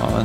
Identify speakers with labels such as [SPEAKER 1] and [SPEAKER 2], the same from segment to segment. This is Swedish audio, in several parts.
[SPEAKER 1] Ja,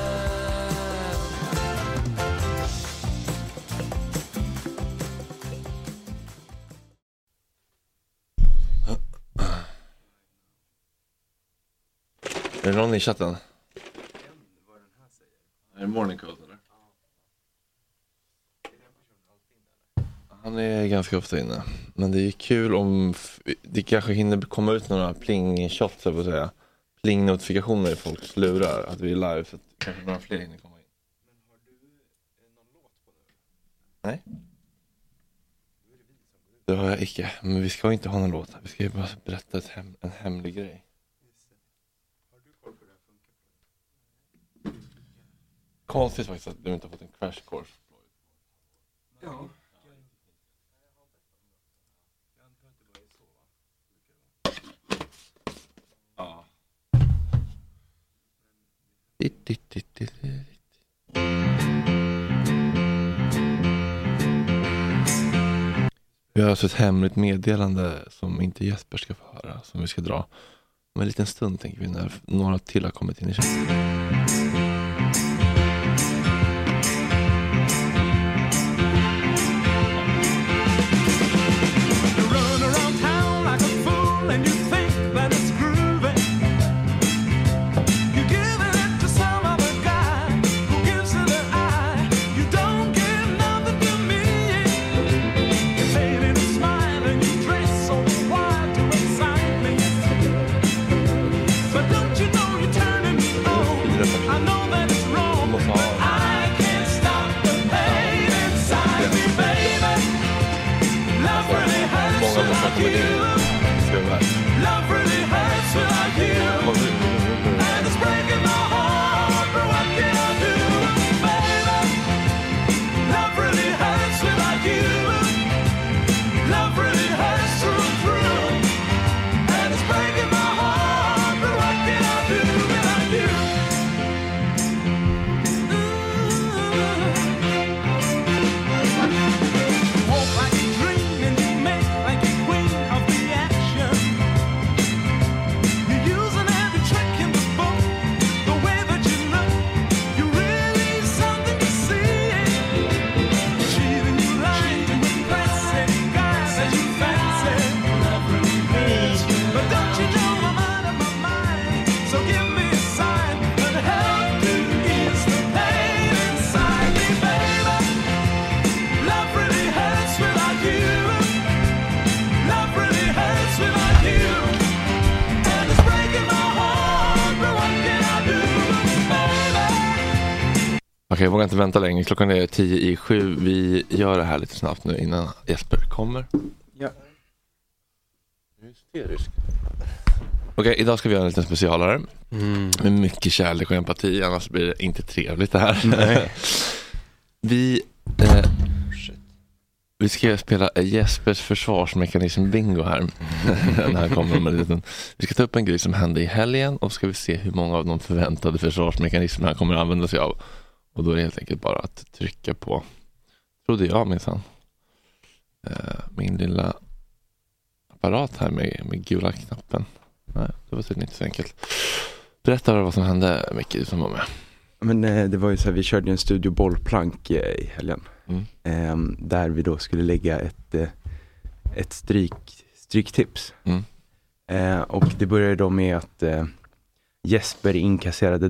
[SPEAKER 1] Är det någon i chatten? Är det morning coat eller? Han är ganska ofta inne. Men det är ju kul om f- det kanske hinner komma ut några pling-shots, höll jag på att säga. Pling-notifikationer i folks lurar att vi är live. Så att kanske några fler hinner komma in. eh, Men har du någon låt på nu? Nej. Det har jag icke. Men vi ska ju inte ha någon låt. Vi ska ju bara berätta ett hem- en hemlig grej. Konstigt faktiskt att du inte har fått en crash course. Ja. Dit, dit, dit, dit, dit. Vi har alltså ett hemligt meddelande som inte Jesper ska få höra, som vi ska dra om en liten stund tänker vi när några till har kommit in i chatten.
[SPEAKER 2] Run around town like a fool and you think that it's groovy. You're giving it to some other guy who gives it an eye. You don't give nothing to me. You fade in a smile and you dress so wide to excite me. But don't you know you're turning me on? I know
[SPEAKER 1] Okej, jag vågar inte vänta längre. Klockan är tio i sju. Vi gör det här lite snabbt nu innan Jesper kommer.
[SPEAKER 3] Ja.
[SPEAKER 1] Hysterisk. Okej, idag ska vi göra en liten specialare. Med mycket kärlek och empati, annars blir det inte trevligt det här. vi, eh, vi ska spela Jespers försvarsmekanism-bingo här. När han kommer om en liten. Vi ska ta upp en grej som hände i helgen och ska vi se hur många av de förväntade försvarsmekanismerna han kommer att använda sig av. Och då är det helt enkelt bara att trycka på, trodde jag minsann, eh, min lilla apparat här med, med gula knappen. Nej, det var tydligen inte så enkelt. Berätta vad som hände Micke, du som var med.
[SPEAKER 3] Men eh, det var ju så här, vi körde ju en studio bollplank eh, i helgen.
[SPEAKER 1] Mm.
[SPEAKER 3] Ehm, där vi då skulle lägga ett, eh, ett stryk, stryktips.
[SPEAKER 1] Mm.
[SPEAKER 3] Eh, och det började då med att eh, Jesper inkasserade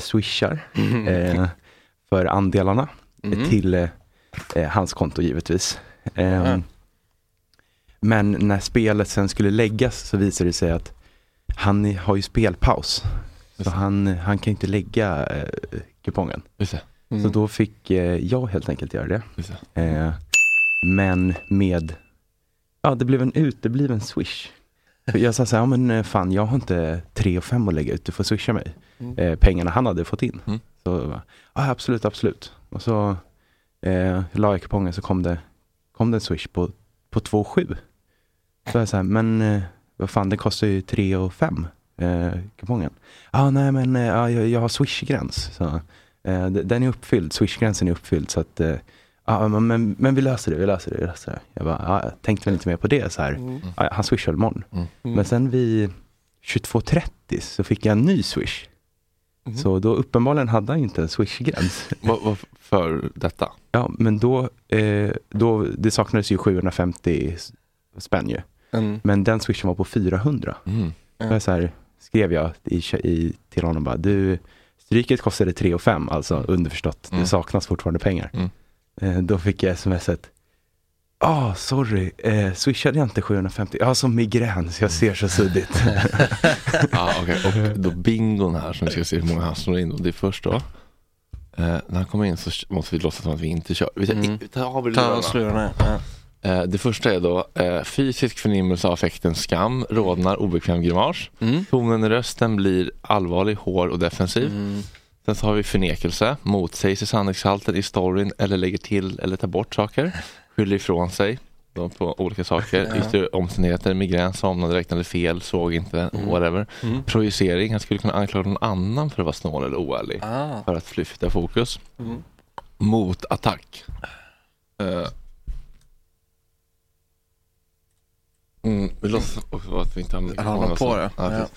[SPEAKER 3] swishar eh, för andelarna
[SPEAKER 1] Mhm.
[SPEAKER 3] till eh, eh, hans konto givetvis. Ehm,
[SPEAKER 1] Ja.
[SPEAKER 3] Men när spelet sen skulle läggas så visade det sig att han i- har ju spelpaus. Så
[SPEAKER 1] Just det.
[SPEAKER 3] han, han kan inte lägga eh, kupongen.
[SPEAKER 1] Just det. Mm.
[SPEAKER 3] Så då fick eh, jag helt enkelt göra det.
[SPEAKER 1] Just det.
[SPEAKER 3] Eh, men med, ja det blev en utebliven swish. För Jag sa så här, ja men eh, fan jag har inte 3 och 5 att lägga ut, du får swisha mig.
[SPEAKER 1] Mm.
[SPEAKER 3] Eh, pengarna han hade fått in.
[SPEAKER 1] Mm.
[SPEAKER 3] Så jag bara, ja absolut, absolut. Och så eh, la jag kupongen så kom det, kom det en swish på, på 2 7. Så jag så här, men eh, vad fan det kostar ju 3 och 5 eh, kupongen. Ja nej men eh, ja, jag, jag har swishgräns. Så, eh, d- den är uppfylld, swishgränsen är uppfylld så att eh, Ja, men, men, men vi löser det, vi löser det, vi löser det. Jag bara, ja, jag tänkte väl inte mer på det så här. Ja, han swishar imorgon.
[SPEAKER 1] Mm.
[SPEAKER 3] Men sen vid 22.30 så fick jag en ny swish. Så då uppenbarligen hade han ju inte en swishgräns.
[SPEAKER 1] Mhm. Vad, vad för detta?
[SPEAKER 3] Ja, men då, eh, då, det saknades ju 750 s- spänn ju. Men den swishen var på 400.
[SPEAKER 1] Mm.
[SPEAKER 3] Mm. Så här, skrev jag i, i, till honom bara, du, stryket kostade 3 och 5, alltså underförstått,
[SPEAKER 1] Mm.
[SPEAKER 3] det saknas fortfarande pengar.
[SPEAKER 1] Mm.
[SPEAKER 3] Eh, då fick jag smset, ah sorry, eh, swishade jag inte 750? Jag har som migrän så jag ser så suddigt.
[SPEAKER 1] Ah, okej. Och då bingon här som vi ska se hur många han slår in. Och det är först då. Eh, när han kommer in så måste vi låtsas som att vi inte kör. Vi tar,
[SPEAKER 4] Mm.
[SPEAKER 1] vi tar av
[SPEAKER 4] Ta av
[SPEAKER 1] lurarna.
[SPEAKER 4] slurarna. Ja.
[SPEAKER 1] Eh, det första är då eh, fysisk förnimmelse av affekten skam, rodnar, obekväm grimas.
[SPEAKER 4] Mm.
[SPEAKER 1] Tonen i rösten blir allvarlig, hård och defensiv.
[SPEAKER 4] Mm.
[SPEAKER 1] Sen så har vi förnekelse, motsägs i sanningshalten i storyn eller lägger till eller tar bort saker. Skyller ifrån sig då, på olika saker.
[SPEAKER 4] Ja.
[SPEAKER 1] Yttre omständigheter, migrän, somnade, räknade fel, såg inte,
[SPEAKER 4] Mm.
[SPEAKER 1] whatever.
[SPEAKER 4] Mm.
[SPEAKER 1] Projicering, han skulle kunna anklaga någon annan för att vara snål eller oärlig.
[SPEAKER 4] Ah.
[SPEAKER 1] För att flytta fokus.
[SPEAKER 4] Mm.
[SPEAKER 1] Motattack. Eh. Mm, vi låtsas också att vi inte har
[SPEAKER 4] Han håller på det.
[SPEAKER 1] Ja, precis.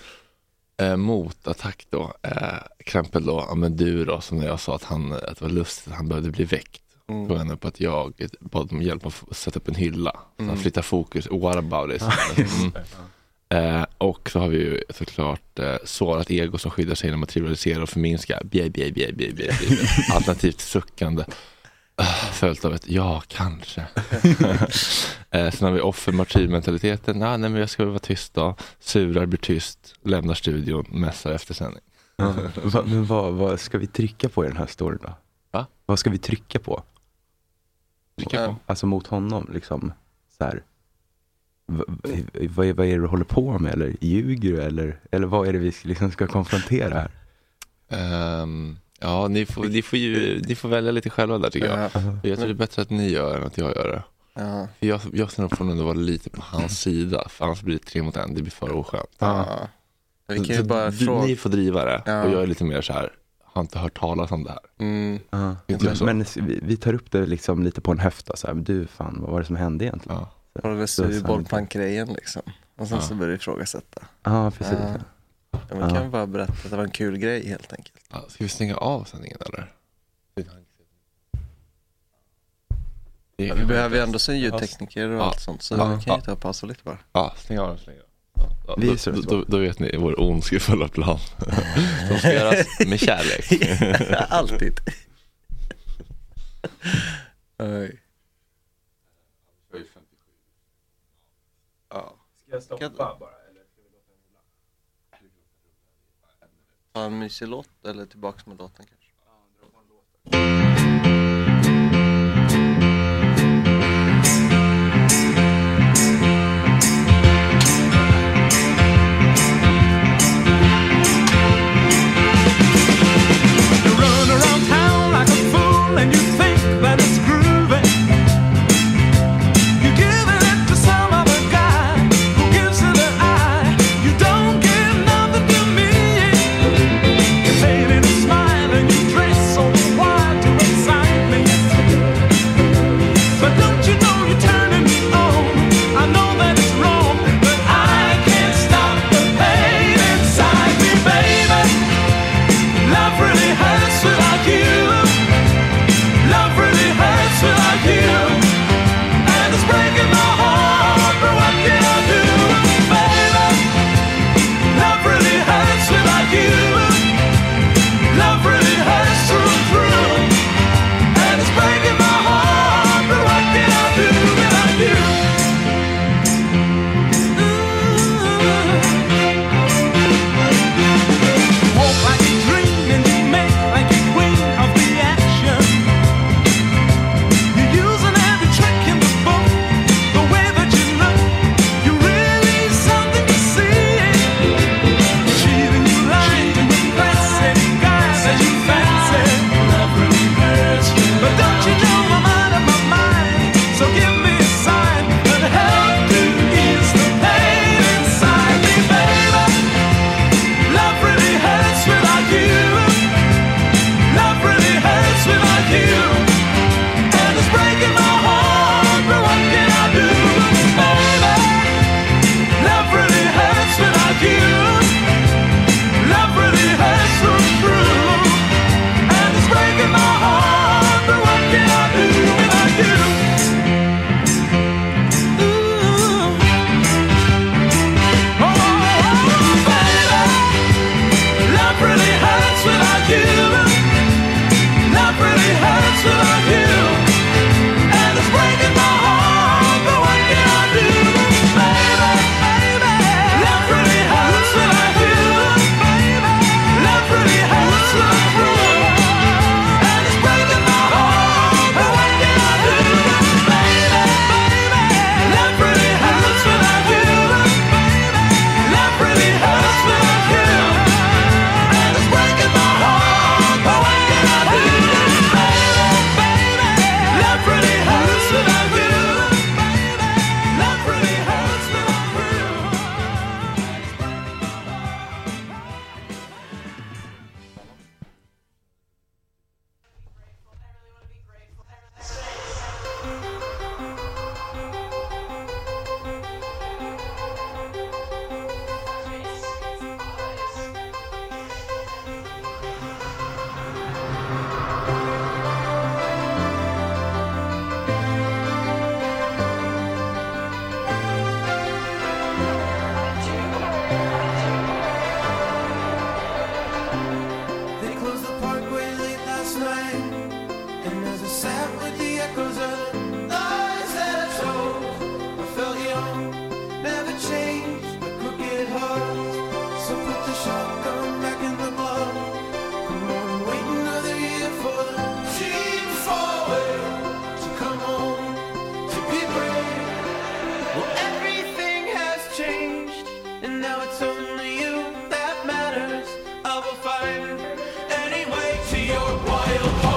[SPEAKER 1] Eh, motattack då. Eh, exempel då, ja, men du då som när jag sa att, han, att det var lustigt, han behövde bli väckt.
[SPEAKER 4] Mm.
[SPEAKER 1] Tog henne på att jag bad om hjälp att f- sätta upp en hylla. Så
[SPEAKER 4] Mm.
[SPEAKER 1] han flyttar fokus, what about it. Mm. Eh, och så har vi ju såklart eh, sårat ego som skyddar sig genom att trivialisera och förminska. Bjä, bjä, bjä, bjä, bjä, bjä. Alternativt suckande. Ah, Följt av ett ja, kanske. eh, sen har vi offer martyrmentaliteten. Ah, nej, men jag ska väl vara tyst då. Surar, blir tyst, lämnar studion, mässar efter sändning.
[SPEAKER 3] Va, men vad, vad ska vi trycka på i den här storyn då?
[SPEAKER 1] Va?
[SPEAKER 3] Vad ska vi trycka på?
[SPEAKER 1] Trycka på.
[SPEAKER 3] Alltså mot honom liksom, så här. Va- va- Vad är, vad är det du håller på med eller ljuger du eller, eller vad är det vi liksom ska konfrontera här?
[SPEAKER 1] Ehm, ja, ni får, ni, får ju, ni får välja lite själva där tycker jag.
[SPEAKER 4] Ja.
[SPEAKER 1] Jag tror det är bättre att ni gör än att jag gör det.
[SPEAKER 4] Ja.
[SPEAKER 1] För jag, jag ser nog får nog vara lite på hans sida, för annars blir det tre mot en, det blir för oskönt.
[SPEAKER 4] Ja. Vi kan ju
[SPEAKER 1] Så
[SPEAKER 4] bara
[SPEAKER 1] vi-
[SPEAKER 4] fråga.
[SPEAKER 1] Ni får driva det,
[SPEAKER 4] Ja.
[SPEAKER 1] och jag är lite mer så här, har inte hört talas om det här.
[SPEAKER 4] Mm.
[SPEAKER 3] Ja,
[SPEAKER 1] Inte jag
[SPEAKER 3] men,
[SPEAKER 1] så.
[SPEAKER 3] men s- vi, vi tar upp det liksom lite på en höfta, så här, du fan vad var det som hände egentligen?
[SPEAKER 1] Ja.
[SPEAKER 4] Håller
[SPEAKER 3] Så
[SPEAKER 4] sig i
[SPEAKER 3] sant.
[SPEAKER 4] bollplank-grejen liksom. Och sen
[SPEAKER 1] Ja.
[SPEAKER 4] så börjar vi ifrågasätta.
[SPEAKER 3] Ja, precis.
[SPEAKER 4] Ja. Ja, men
[SPEAKER 3] Ja.
[SPEAKER 4] kan vi bara berätta att det var en kul grej helt enkelt.
[SPEAKER 1] Ja, Ska vi stänga av sändningen eller? Det
[SPEAKER 4] Ja,
[SPEAKER 1] är
[SPEAKER 4] vi
[SPEAKER 1] kanske-
[SPEAKER 4] behöver ju ändå sen ljudtekniker och
[SPEAKER 1] Ja.
[SPEAKER 4] allt sånt. Så
[SPEAKER 3] Ja.
[SPEAKER 4] vi kan ju ta paus och lite bara.
[SPEAKER 1] Ja, stäng av den så länge. Ja,
[SPEAKER 3] Vi
[SPEAKER 1] då,
[SPEAKER 3] är så
[SPEAKER 1] då,
[SPEAKER 3] tillbaka.
[SPEAKER 1] då, då vet ni vår ondskefulla plan. Som ska göras med kärlek.
[SPEAKER 4] Alltid. Oj. Ja. Ska jag stoppa bara? Ta en mysig låt eller tillbaks med låten kanske?
[SPEAKER 2] Oh, the shotgun back in the blood. Come on, wait another year for the team forward to come home, to be brave. Well, everything has changed, and now it's only you that matters. I will find any way to your wild home.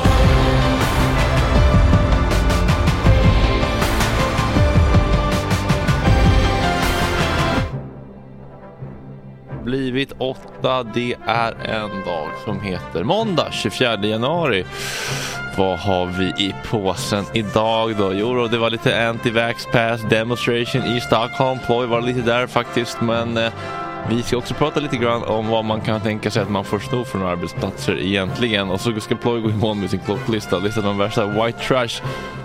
[SPEAKER 1] Blivit åtta, det är en dag som heter måndag 24 januari. Vad har vi i påsen idag då? Jo, då, det var lite anti-vax pass demonstration i Stockholm. Ploy var lite där faktiskt, men eh, vi ska också prata lite grann om vad man kan tänka sig att man får sno från arbetsplatser egentligen. Och så ska Ploy gå i mål med sin klocklista. Listan de värsta white trash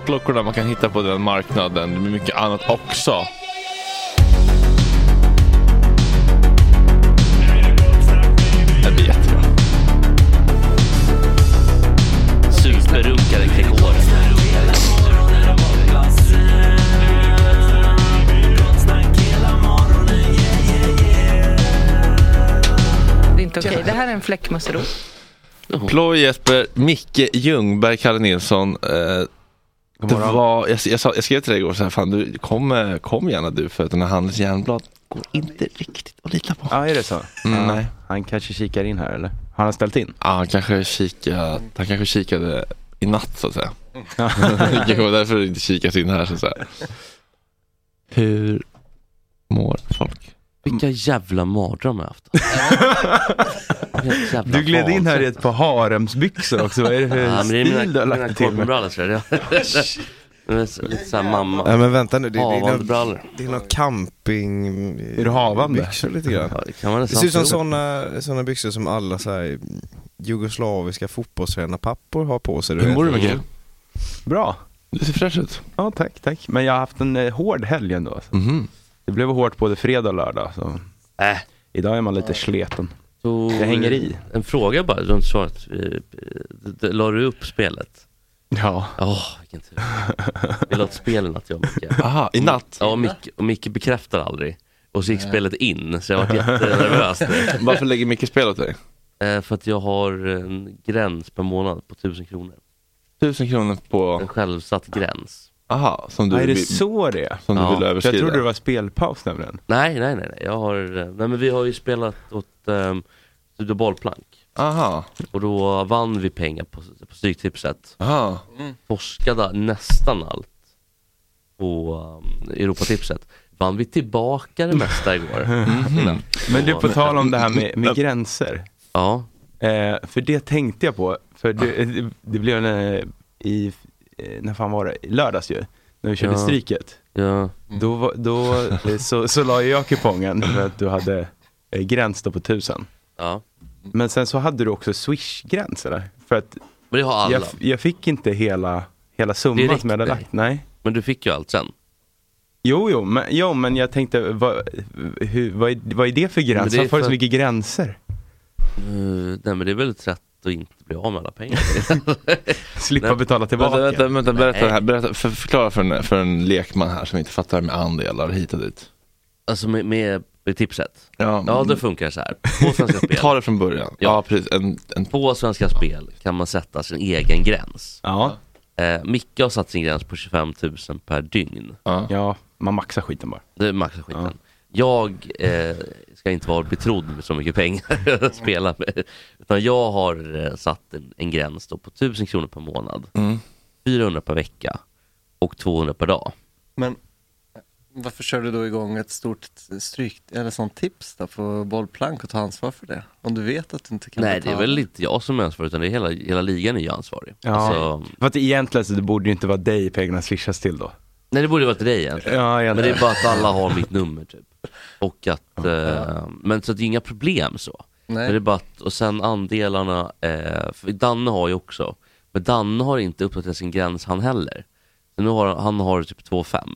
[SPEAKER 1] klockorna man kan hitta på den marknaden. Det blir mycket annat också. Det blir jättebra.
[SPEAKER 5] Superrunkare kring året.
[SPEAKER 6] Det är inte okej. Det här är en fläckmussrot.
[SPEAKER 1] Ploy Jesper, Micke Ljungberg, Kalle Nilsson. Eh,
[SPEAKER 3] God
[SPEAKER 1] det
[SPEAKER 3] morgon.
[SPEAKER 1] var, jag, jag, sa, jag skrev till dig igår så här, fan du, kom, eh, kom gärna du för att den här Handels järnblad går inte riktigt att lita på.
[SPEAKER 3] Ja, är det så?
[SPEAKER 1] Mm,
[SPEAKER 3] Ja,
[SPEAKER 1] nej.
[SPEAKER 3] Han kanske kikar in här eller? Har han ställt in?
[SPEAKER 1] Ah, han, kanske kika, han kanske kikade i natt så att säga.
[SPEAKER 3] Ja.
[SPEAKER 1] det
[SPEAKER 3] Mm.
[SPEAKER 1] kanske var därför det inte kikas in här så att säga. Hur mår folk?
[SPEAKER 5] Vilka jävla mardrömmar jag haft. Vilket jävla
[SPEAKER 3] Du gled in här i ett
[SPEAKER 5] vansinne.
[SPEAKER 3] par haremsbyxor också. Vad är det för
[SPEAKER 5] Ja, men det är
[SPEAKER 3] stil du
[SPEAKER 5] mina,
[SPEAKER 3] har
[SPEAKER 5] mina
[SPEAKER 3] lagt till med?
[SPEAKER 5] korvbrallor tror jag. Men det är Lite såhär mamma,
[SPEAKER 7] Nej men vänta nu, det, det, är, någon,
[SPEAKER 5] avandbrallor.
[SPEAKER 7] det är någon camping...
[SPEAKER 3] Är du havande?
[SPEAKER 7] Byxor lite grann.
[SPEAKER 5] Ja, det kan man
[SPEAKER 7] Det
[SPEAKER 5] nästan
[SPEAKER 7] ser ut som
[SPEAKER 5] tro.
[SPEAKER 7] såna, såna byxor som alla så här jugoslaviska fotbollstränarpappor har på sig. du
[SPEAKER 1] Hur
[SPEAKER 7] vet.
[SPEAKER 1] mår du Micke?
[SPEAKER 3] Bra.
[SPEAKER 1] Du ser fräsch ut.
[SPEAKER 3] Ja, tack, tack. Men jag har haft en eh, hård helg ändå. Alltså.
[SPEAKER 1] Mhm.
[SPEAKER 3] Det blev hårt både fredag och lördag. Så.
[SPEAKER 5] Äh.
[SPEAKER 3] Idag är man lite sleten.
[SPEAKER 5] Så,
[SPEAKER 3] Jag hänger i.
[SPEAKER 5] En fråga bara runt svaret. Eh, eh, d- La du upp spelet?
[SPEAKER 3] Ja.
[SPEAKER 5] Åh, vilken tur. Vi la åt spelen att jag och Micke.
[SPEAKER 1] Aha, i natt?
[SPEAKER 5] Ja, och Micke, och Micke bekräftar aldrig. Och så gick spelet in, så jag var jättenervös nu.
[SPEAKER 1] Varför lägger Micke spel åt dig?
[SPEAKER 5] Eh, För att jag har en gräns per månad på 1000 kronor.
[SPEAKER 1] Tusen kronor på,
[SPEAKER 5] En självsatt gräns.
[SPEAKER 1] aha, som du
[SPEAKER 3] är det
[SPEAKER 1] vill-
[SPEAKER 3] så det är?
[SPEAKER 1] Som
[SPEAKER 5] Ja,
[SPEAKER 1] du vill
[SPEAKER 3] Jag
[SPEAKER 1] överskrida?
[SPEAKER 3] trodde det var spelpaus nämligen.
[SPEAKER 5] Nej, nej, nej, nej. jag har, eh, nej men vi har ju spelat åt um, Studio Bollplank
[SPEAKER 1] Aha,
[SPEAKER 5] och då vann vi pengar på, på Stryktipset.
[SPEAKER 1] aha.
[SPEAKER 3] Mm.
[SPEAKER 5] Forskade nästan allt på um, Europatipset. Vann vi tillbaka det Mm. mesta igår.
[SPEAKER 1] Mhm.
[SPEAKER 5] Innan.
[SPEAKER 3] Mm. Men du,
[SPEAKER 5] Och-
[SPEAKER 3] på tal om det här med, med gränser.
[SPEAKER 5] Ja,
[SPEAKER 3] Eh, för det tänkte jag på, för det, det blev en, eh, i, eh, när fan var det? I lördags ju, när vi körde
[SPEAKER 5] Ja.
[SPEAKER 3] Stryket.
[SPEAKER 5] ja,
[SPEAKER 3] Då, var- då eh, så, så la jag kupongen för att du hade eh, gräns då på 1000.
[SPEAKER 5] ja.
[SPEAKER 3] Men sen så hade du också swish-gräns eller? För att
[SPEAKER 5] Men det har alla.
[SPEAKER 3] jag, jag fick inte hela, hela summan
[SPEAKER 5] Direkt,
[SPEAKER 3] som jag hade
[SPEAKER 5] nej.
[SPEAKER 3] lagt. Nej.
[SPEAKER 5] Men du fick ju allt sen.
[SPEAKER 3] Jo, jo, men, jo, men jag tänkte, vad, hur, vad, är, vad är det för
[SPEAKER 5] Men
[SPEAKER 3] gräns?
[SPEAKER 5] det är
[SPEAKER 3] Varför har du
[SPEAKER 5] för-
[SPEAKER 3] så mycket gränser?
[SPEAKER 5] Uh, nej men det är väl ett sätt att inte bli av med alla pengar.
[SPEAKER 3] Slippa
[SPEAKER 5] Nej.
[SPEAKER 3] betala tillbaka.
[SPEAKER 1] Vänta, vänta, vänta berätta,
[SPEAKER 5] Nej.
[SPEAKER 1] här, berätta för, förklara för en, för en lekman här som inte fattar med andelar hit och dit.
[SPEAKER 5] alltså med, med, med tipset.
[SPEAKER 1] Ja,
[SPEAKER 5] Ja, det funkar så här. På Svenska Spel.
[SPEAKER 1] Ta det från början. Ja,
[SPEAKER 5] Ja.
[SPEAKER 1] precis. En, en,
[SPEAKER 5] På Svenska Spel kan man sätta sin egen gräns.
[SPEAKER 3] Ja,
[SPEAKER 5] Eh, Micke har satt sin gräns på 25 000 per dygn.
[SPEAKER 1] ja.
[SPEAKER 3] ja, man maxar skiten bara.
[SPEAKER 5] Det är max skiten. Jag eh, ska inte vara betrodd med så mycket pengar att spela med. Utan jag har eh, satt en, en gräns då på 1000 kronor per månad,
[SPEAKER 1] Mm.
[SPEAKER 5] 400 per vecka och 200 per dag.
[SPEAKER 4] Men eh, varför kör du då igång ett stort stryk, eller sånt tips där på bollplank och ta ansvar för det? Om du vet att du inte kan
[SPEAKER 5] Nej, det
[SPEAKER 4] betala.
[SPEAKER 5] är väl inte jag som är ansvarig utan det är hela, hela ligan är ju ansvarig.
[SPEAKER 3] Ja.
[SPEAKER 5] Alltså,
[SPEAKER 3] För att egentligen så det borde ju inte vara dig pengarna swishas till då.
[SPEAKER 5] nej, det borde vara till dig egentligen.
[SPEAKER 3] Ja,
[SPEAKER 5] Men det är bara att alla har mitt nummer typ. Och att, eh, men så att det är inga problem så.
[SPEAKER 4] Nej.
[SPEAKER 5] Men det är bara att, och sen andelarna, eh, för Danne har ju också, men Danne har inte uppdaterat sin gräns han heller. Så nu har, han har typ 2,5.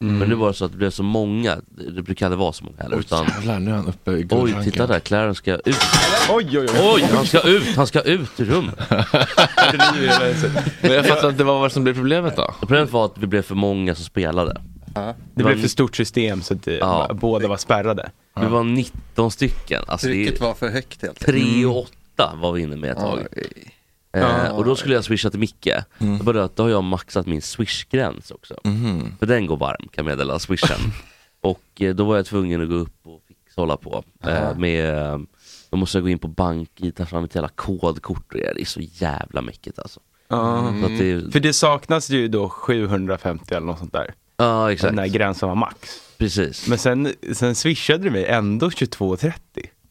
[SPEAKER 3] Mm.
[SPEAKER 5] Men nu var det så att det blev så många, det brukar aldrig vara så många heller. utan,
[SPEAKER 1] Jävlar, nu är han uppe i
[SPEAKER 5] oj,
[SPEAKER 1] guldranken.
[SPEAKER 5] titta där, Clarence ska ut.
[SPEAKER 3] Oj, oj, oj.
[SPEAKER 5] Oj, han ska ut, han ska ut ur rummet.
[SPEAKER 1] Men jag fattar inte vad var det som blev problemet då.
[SPEAKER 5] Och Problemet var att vi blev för många som spelade.
[SPEAKER 4] Ja.
[SPEAKER 3] Det
[SPEAKER 5] var
[SPEAKER 3] blev för
[SPEAKER 5] ni-
[SPEAKER 3] stort system så att eh,
[SPEAKER 5] Ja.
[SPEAKER 3] båda var spärrade.
[SPEAKER 5] Vi var 19 stycken. Alltså, det
[SPEAKER 4] Trycket
[SPEAKER 5] är
[SPEAKER 4] var för högt helt Mm.
[SPEAKER 5] 3 och 8 var vi inne med ett tag.
[SPEAKER 4] Oj.
[SPEAKER 5] Eh, och då skulle jag swisha till Micke. Det var bara att då har jag maxat min swish-gräns också. För den går varm kan jag meddela, swishen. och eh, då var jag tvungen att gå upp och fixa hålla på. Eh, med, eh, då måste jag gå in på bank-id, ta fram ett jävla kodkort och det är så jävla mäckigt alltså. Så att det,
[SPEAKER 3] För det saknas ju då 750 eller något sånt där.
[SPEAKER 5] ja
[SPEAKER 3] Den
[SPEAKER 5] exakt,
[SPEAKER 3] där gränsen var max.
[SPEAKER 5] precis.
[SPEAKER 3] Men sen, sen swishade du mig ändå 22.30.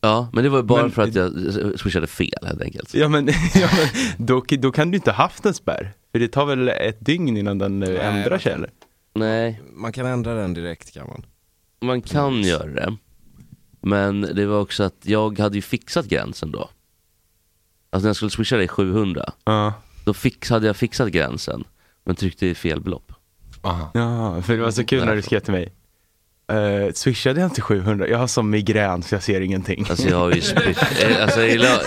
[SPEAKER 5] ja, men det var ju bara
[SPEAKER 3] Men-
[SPEAKER 5] för att jag eh, swishade fel helt enkelt.
[SPEAKER 3] Ja men, ja, men då, då kan du inte haft en spärr. För det tar väl ett dygn innan den eh, ändrar sig eller?
[SPEAKER 5] Nej,
[SPEAKER 7] Man kan ändra den direkt kan man.
[SPEAKER 5] man kan göra det. Men det var också att jag hade ju fixat gränsen då. Alltså när jag skulle swisha dig 700
[SPEAKER 3] Ja.
[SPEAKER 5] Då fix, hade jag fixat gränsen, men tryckte i fel belopp.
[SPEAKER 3] Ja, för det var så kul när du skrev till mig. Uh, swishade jag inte 700? Jag har som migrän så jag ser ingenting.
[SPEAKER 5] Alltså jag har ju spytt, eh, alltså i, lö,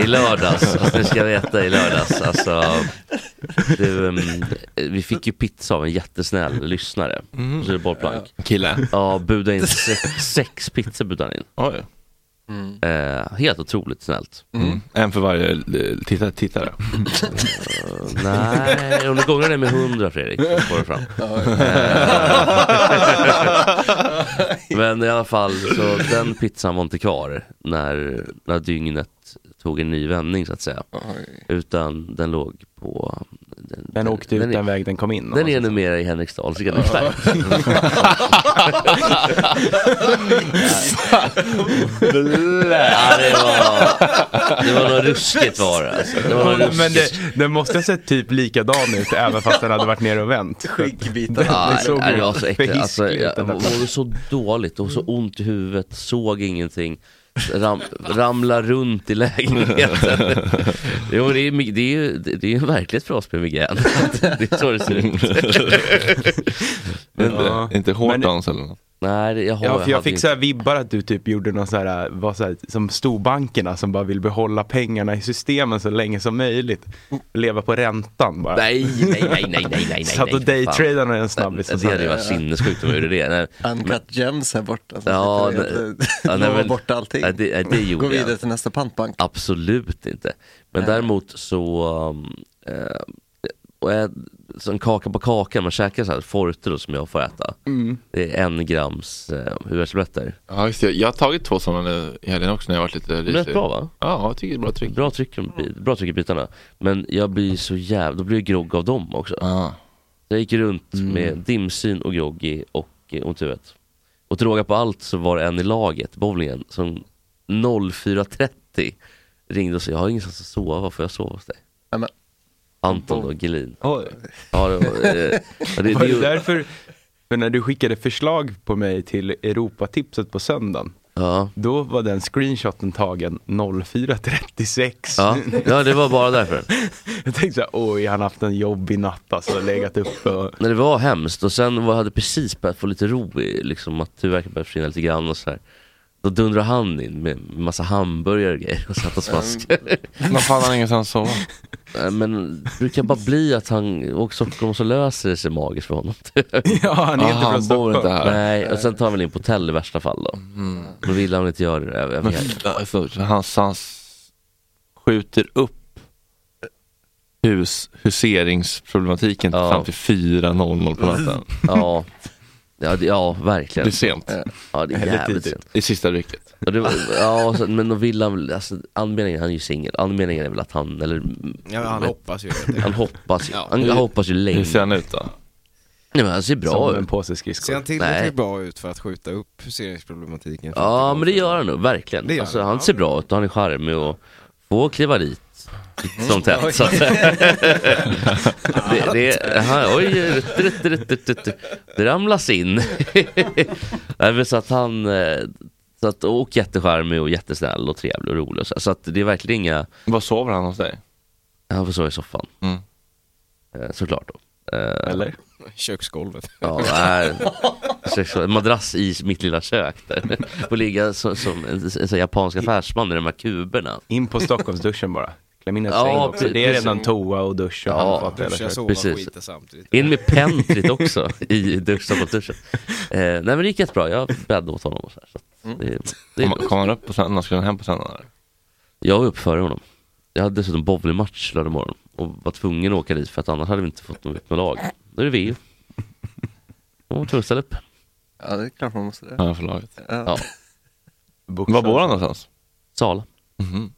[SPEAKER 5] i lördags, alltså ni ska veta i lördags, alltså du, ehm, vi fick ju pizza av en jättesnäll lyssnare, mm. så det är bollplank.
[SPEAKER 8] Kille?
[SPEAKER 5] Ja, budade in sex, sex pizzor budade han in.
[SPEAKER 8] Oj.
[SPEAKER 5] Eh, helt otroligt snällt.
[SPEAKER 1] Mm.
[SPEAKER 8] En för varje eh, tittare. tittare.
[SPEAKER 5] Eh, nej, om du gånger det med hundra Fredrik, så får du fram. Eh, Men i alla fall, så den pizzan var inte kvar när, när dygnet tog en ny vändning så att säga.
[SPEAKER 4] Oj.
[SPEAKER 5] Utan den låg på... Den,
[SPEAKER 3] Den åkte ut
[SPEAKER 5] den,
[SPEAKER 3] den väg den kom in. om
[SPEAKER 5] den
[SPEAKER 3] man
[SPEAKER 5] är
[SPEAKER 3] säger så.
[SPEAKER 5] numera i Henriksdals reningsverk. ja, det, var, det var något ruskigt var det, alltså. det var något ruskigt.
[SPEAKER 3] Men det, den måste ha sett typ likadan ut även fast den hade varit nere och vänt.
[SPEAKER 4] Skinkbitar.
[SPEAKER 5] Ja,
[SPEAKER 3] Det såg
[SPEAKER 5] nej,
[SPEAKER 3] ju
[SPEAKER 5] det var så äckligt. Alltså,
[SPEAKER 3] förhiskligt
[SPEAKER 5] jag
[SPEAKER 3] ut, den där Mm.
[SPEAKER 5] mådde så dåligt och så ont i huvudet, såg ingenting. Ram, ramla runt i lägenheten. Jo, men det, är, mig- det, är, ju- det det är ju en verklighet för oss med migrän. Det är så det ser ut.
[SPEAKER 3] Ja.
[SPEAKER 8] Inte hårt
[SPEAKER 3] Men- eh,
[SPEAKER 8] dans eller något?
[SPEAKER 5] Nej, det- jag har
[SPEAKER 3] Ja, för jag
[SPEAKER 5] hade
[SPEAKER 3] fick
[SPEAKER 5] inte-
[SPEAKER 3] så här vibbar att du typ gjorde någon så här, var så här, som storbankerna som bara vill behålla pengarna i systemen så länge som möjligt. Leva på räntan bara.
[SPEAKER 5] Nej, nej, nej, nej, nej, nej.
[SPEAKER 3] Satt och
[SPEAKER 5] nej, fan.
[SPEAKER 3] daytradade en snabbis och
[SPEAKER 5] Det hade ju
[SPEAKER 3] sen,
[SPEAKER 5] varit sinnessjukt om jag gjorde det. Nej,
[SPEAKER 4] Uncut gems här borta. som
[SPEAKER 5] Ja,
[SPEAKER 4] sitter och
[SPEAKER 5] nej.
[SPEAKER 4] heter-
[SPEAKER 5] Ja, nej,
[SPEAKER 4] lovar
[SPEAKER 5] men-
[SPEAKER 4] bort allting.
[SPEAKER 5] nej, det, nej, det
[SPEAKER 4] Gå
[SPEAKER 5] gjorde jag.
[SPEAKER 4] vidare till nästa pantbank.
[SPEAKER 5] Absolut inte. Men däremot så, um, eh, och ä- som kaka på kaka, man käkar så här forte då som jag får äta. Det är en grams eh, huvudvärkstabletter.
[SPEAKER 8] Mm. Ja, just det. Jag har tagit två sådana nu i helgen också när jag varit eh, lite risig.
[SPEAKER 5] Rätt bra va?
[SPEAKER 8] Ja, jag tycker det är bra tryck.
[SPEAKER 5] Bra tryck, bra tryck i bitarna. Men jag blir så jävla, då blir jag grogg av dem också.
[SPEAKER 8] Ja.
[SPEAKER 5] Jag gick runt med dimsyn och groggy och eh, ont i huvudet. Och till råga på allt så var det en i laget, bowlingen, som 04.30 ringde och sa jag har ingenstans att sova, får jag sova hos dig?
[SPEAKER 4] Ja, men-
[SPEAKER 5] Anton och Gelin.
[SPEAKER 3] Oj.
[SPEAKER 5] Ja, det, var, eh, ja, det,
[SPEAKER 3] Var det
[SPEAKER 5] det,
[SPEAKER 3] därför, för när du skickade förslag på mig till Europatipset på söndagen,
[SPEAKER 5] ja,
[SPEAKER 3] då var den screenshoten tagen 04.36.
[SPEAKER 5] ja, ja, det var bara därför.
[SPEAKER 3] Jag tänkte såhär, oj han har haft en jobbig natt alltså, legat uppe och...
[SPEAKER 5] När det var hemskt och sen var, hade precis börjat få lite ro i liksom, att tuvverken började försvinna lite grann och så här. Då dundrade han in med massa hamburgare och grejer och satt och smaskade.
[SPEAKER 8] Någon fan har ingenstans att sova.
[SPEAKER 5] Nej, Men det brukar bara bli att han åker till Stockholm och så löser det sig magiskt för honom.
[SPEAKER 3] Ja, han är
[SPEAKER 8] Ah,
[SPEAKER 3] inte från
[SPEAKER 8] han bor inte
[SPEAKER 3] Stockholm.
[SPEAKER 8] här.
[SPEAKER 5] Nej, och sen tar han väl in på hotell i värsta fall då. Då vill han väl inte göra det. Jag vet.
[SPEAKER 8] Men alltså, han, han skjuter upp hus, huseringsproblematiken
[SPEAKER 5] Ja.
[SPEAKER 8] fram till 4.00 på natten.
[SPEAKER 5] Ja. Ja, det, ja,
[SPEAKER 8] Det är
[SPEAKER 5] verkligen.
[SPEAKER 8] sent.
[SPEAKER 5] Ja, det är
[SPEAKER 3] Eller
[SPEAKER 5] jävligt
[SPEAKER 3] tidigt.
[SPEAKER 5] sent.
[SPEAKER 8] I sista rycket.
[SPEAKER 5] Och det, var- ja, och sen- men då vill han väl, alltså, anledningen, han är ju singel, anledningen är väl att han, eller
[SPEAKER 7] Ja, han
[SPEAKER 5] vet-
[SPEAKER 7] hoppas ju. att det-
[SPEAKER 5] han hoppas ju,
[SPEAKER 7] Ja.
[SPEAKER 5] han, han hoppas ju
[SPEAKER 8] Hur
[SPEAKER 5] länge.
[SPEAKER 8] ser han ut då?
[SPEAKER 5] Nej, men han ser bra
[SPEAKER 3] Som
[SPEAKER 5] ut.
[SPEAKER 3] en påse
[SPEAKER 7] Ser han
[SPEAKER 3] skridskor.
[SPEAKER 5] Nej.
[SPEAKER 7] tillräckligt bra ut för att skjuta upp huseringsproblematiken?
[SPEAKER 5] Ja, men det gör han nog, verkligen.
[SPEAKER 7] Det gör
[SPEAKER 5] alltså,
[SPEAKER 7] han.
[SPEAKER 5] han ser bra ut och han är charmig och får kliva dit. Som tätt. Så att, det, det, han, oj, rutt, rutt, rutt, rutt, rutt. det ramlas in. Nej, men så att han, eh, så att, och jättecharmig och jättesnäll och trevlig och rolig. och Så, så att det är verkligen inga,
[SPEAKER 8] Var sover han hos dig?
[SPEAKER 5] han får sova i soffan.
[SPEAKER 8] Mm.
[SPEAKER 5] Eh, Såklart då. Eh,
[SPEAKER 3] Eller?
[SPEAKER 7] Köksgolvet.
[SPEAKER 5] Ja, nej. Sex- madrass i mitt lilla kök där. Och ligga som, som en, en, sån japansk affärsman i de här kuberna.
[SPEAKER 3] In på Stockholmsduschen bara. kläm in ett
[SPEAKER 5] Ja,
[SPEAKER 3] säng också.
[SPEAKER 5] precis.
[SPEAKER 3] Det är redan toa och dusch och
[SPEAKER 5] Ja,
[SPEAKER 3] handfat. och hela
[SPEAKER 7] Duscha,
[SPEAKER 3] köret.
[SPEAKER 7] sova,
[SPEAKER 5] Precis.
[SPEAKER 7] skita samtidigt.
[SPEAKER 5] In med pentrit också i dusch, Stockholmsduschen. Eh, nej men det gick jättebra, jag bäddade åt honom och så här, så att det, det är
[SPEAKER 1] Kom,
[SPEAKER 5] lugnt.
[SPEAKER 1] kom Mm. han upp på söndagen? Skulle han hem på söndagen? eller?
[SPEAKER 5] Jag var upp före honom. Jag hade dessutom bowlingmatch lördag morgon och var tvungen att åka dit för att annars hade vi inte fått något med lag. Då är det VU. De var tvungna att ställa upp.
[SPEAKER 4] Ja, det är klart man måste det.
[SPEAKER 1] Ja, förlaget.
[SPEAKER 4] Ja.
[SPEAKER 5] Ja.
[SPEAKER 3] Boxar.
[SPEAKER 1] Var bor han någonstans?
[SPEAKER 5] Sala.
[SPEAKER 1] Mhm.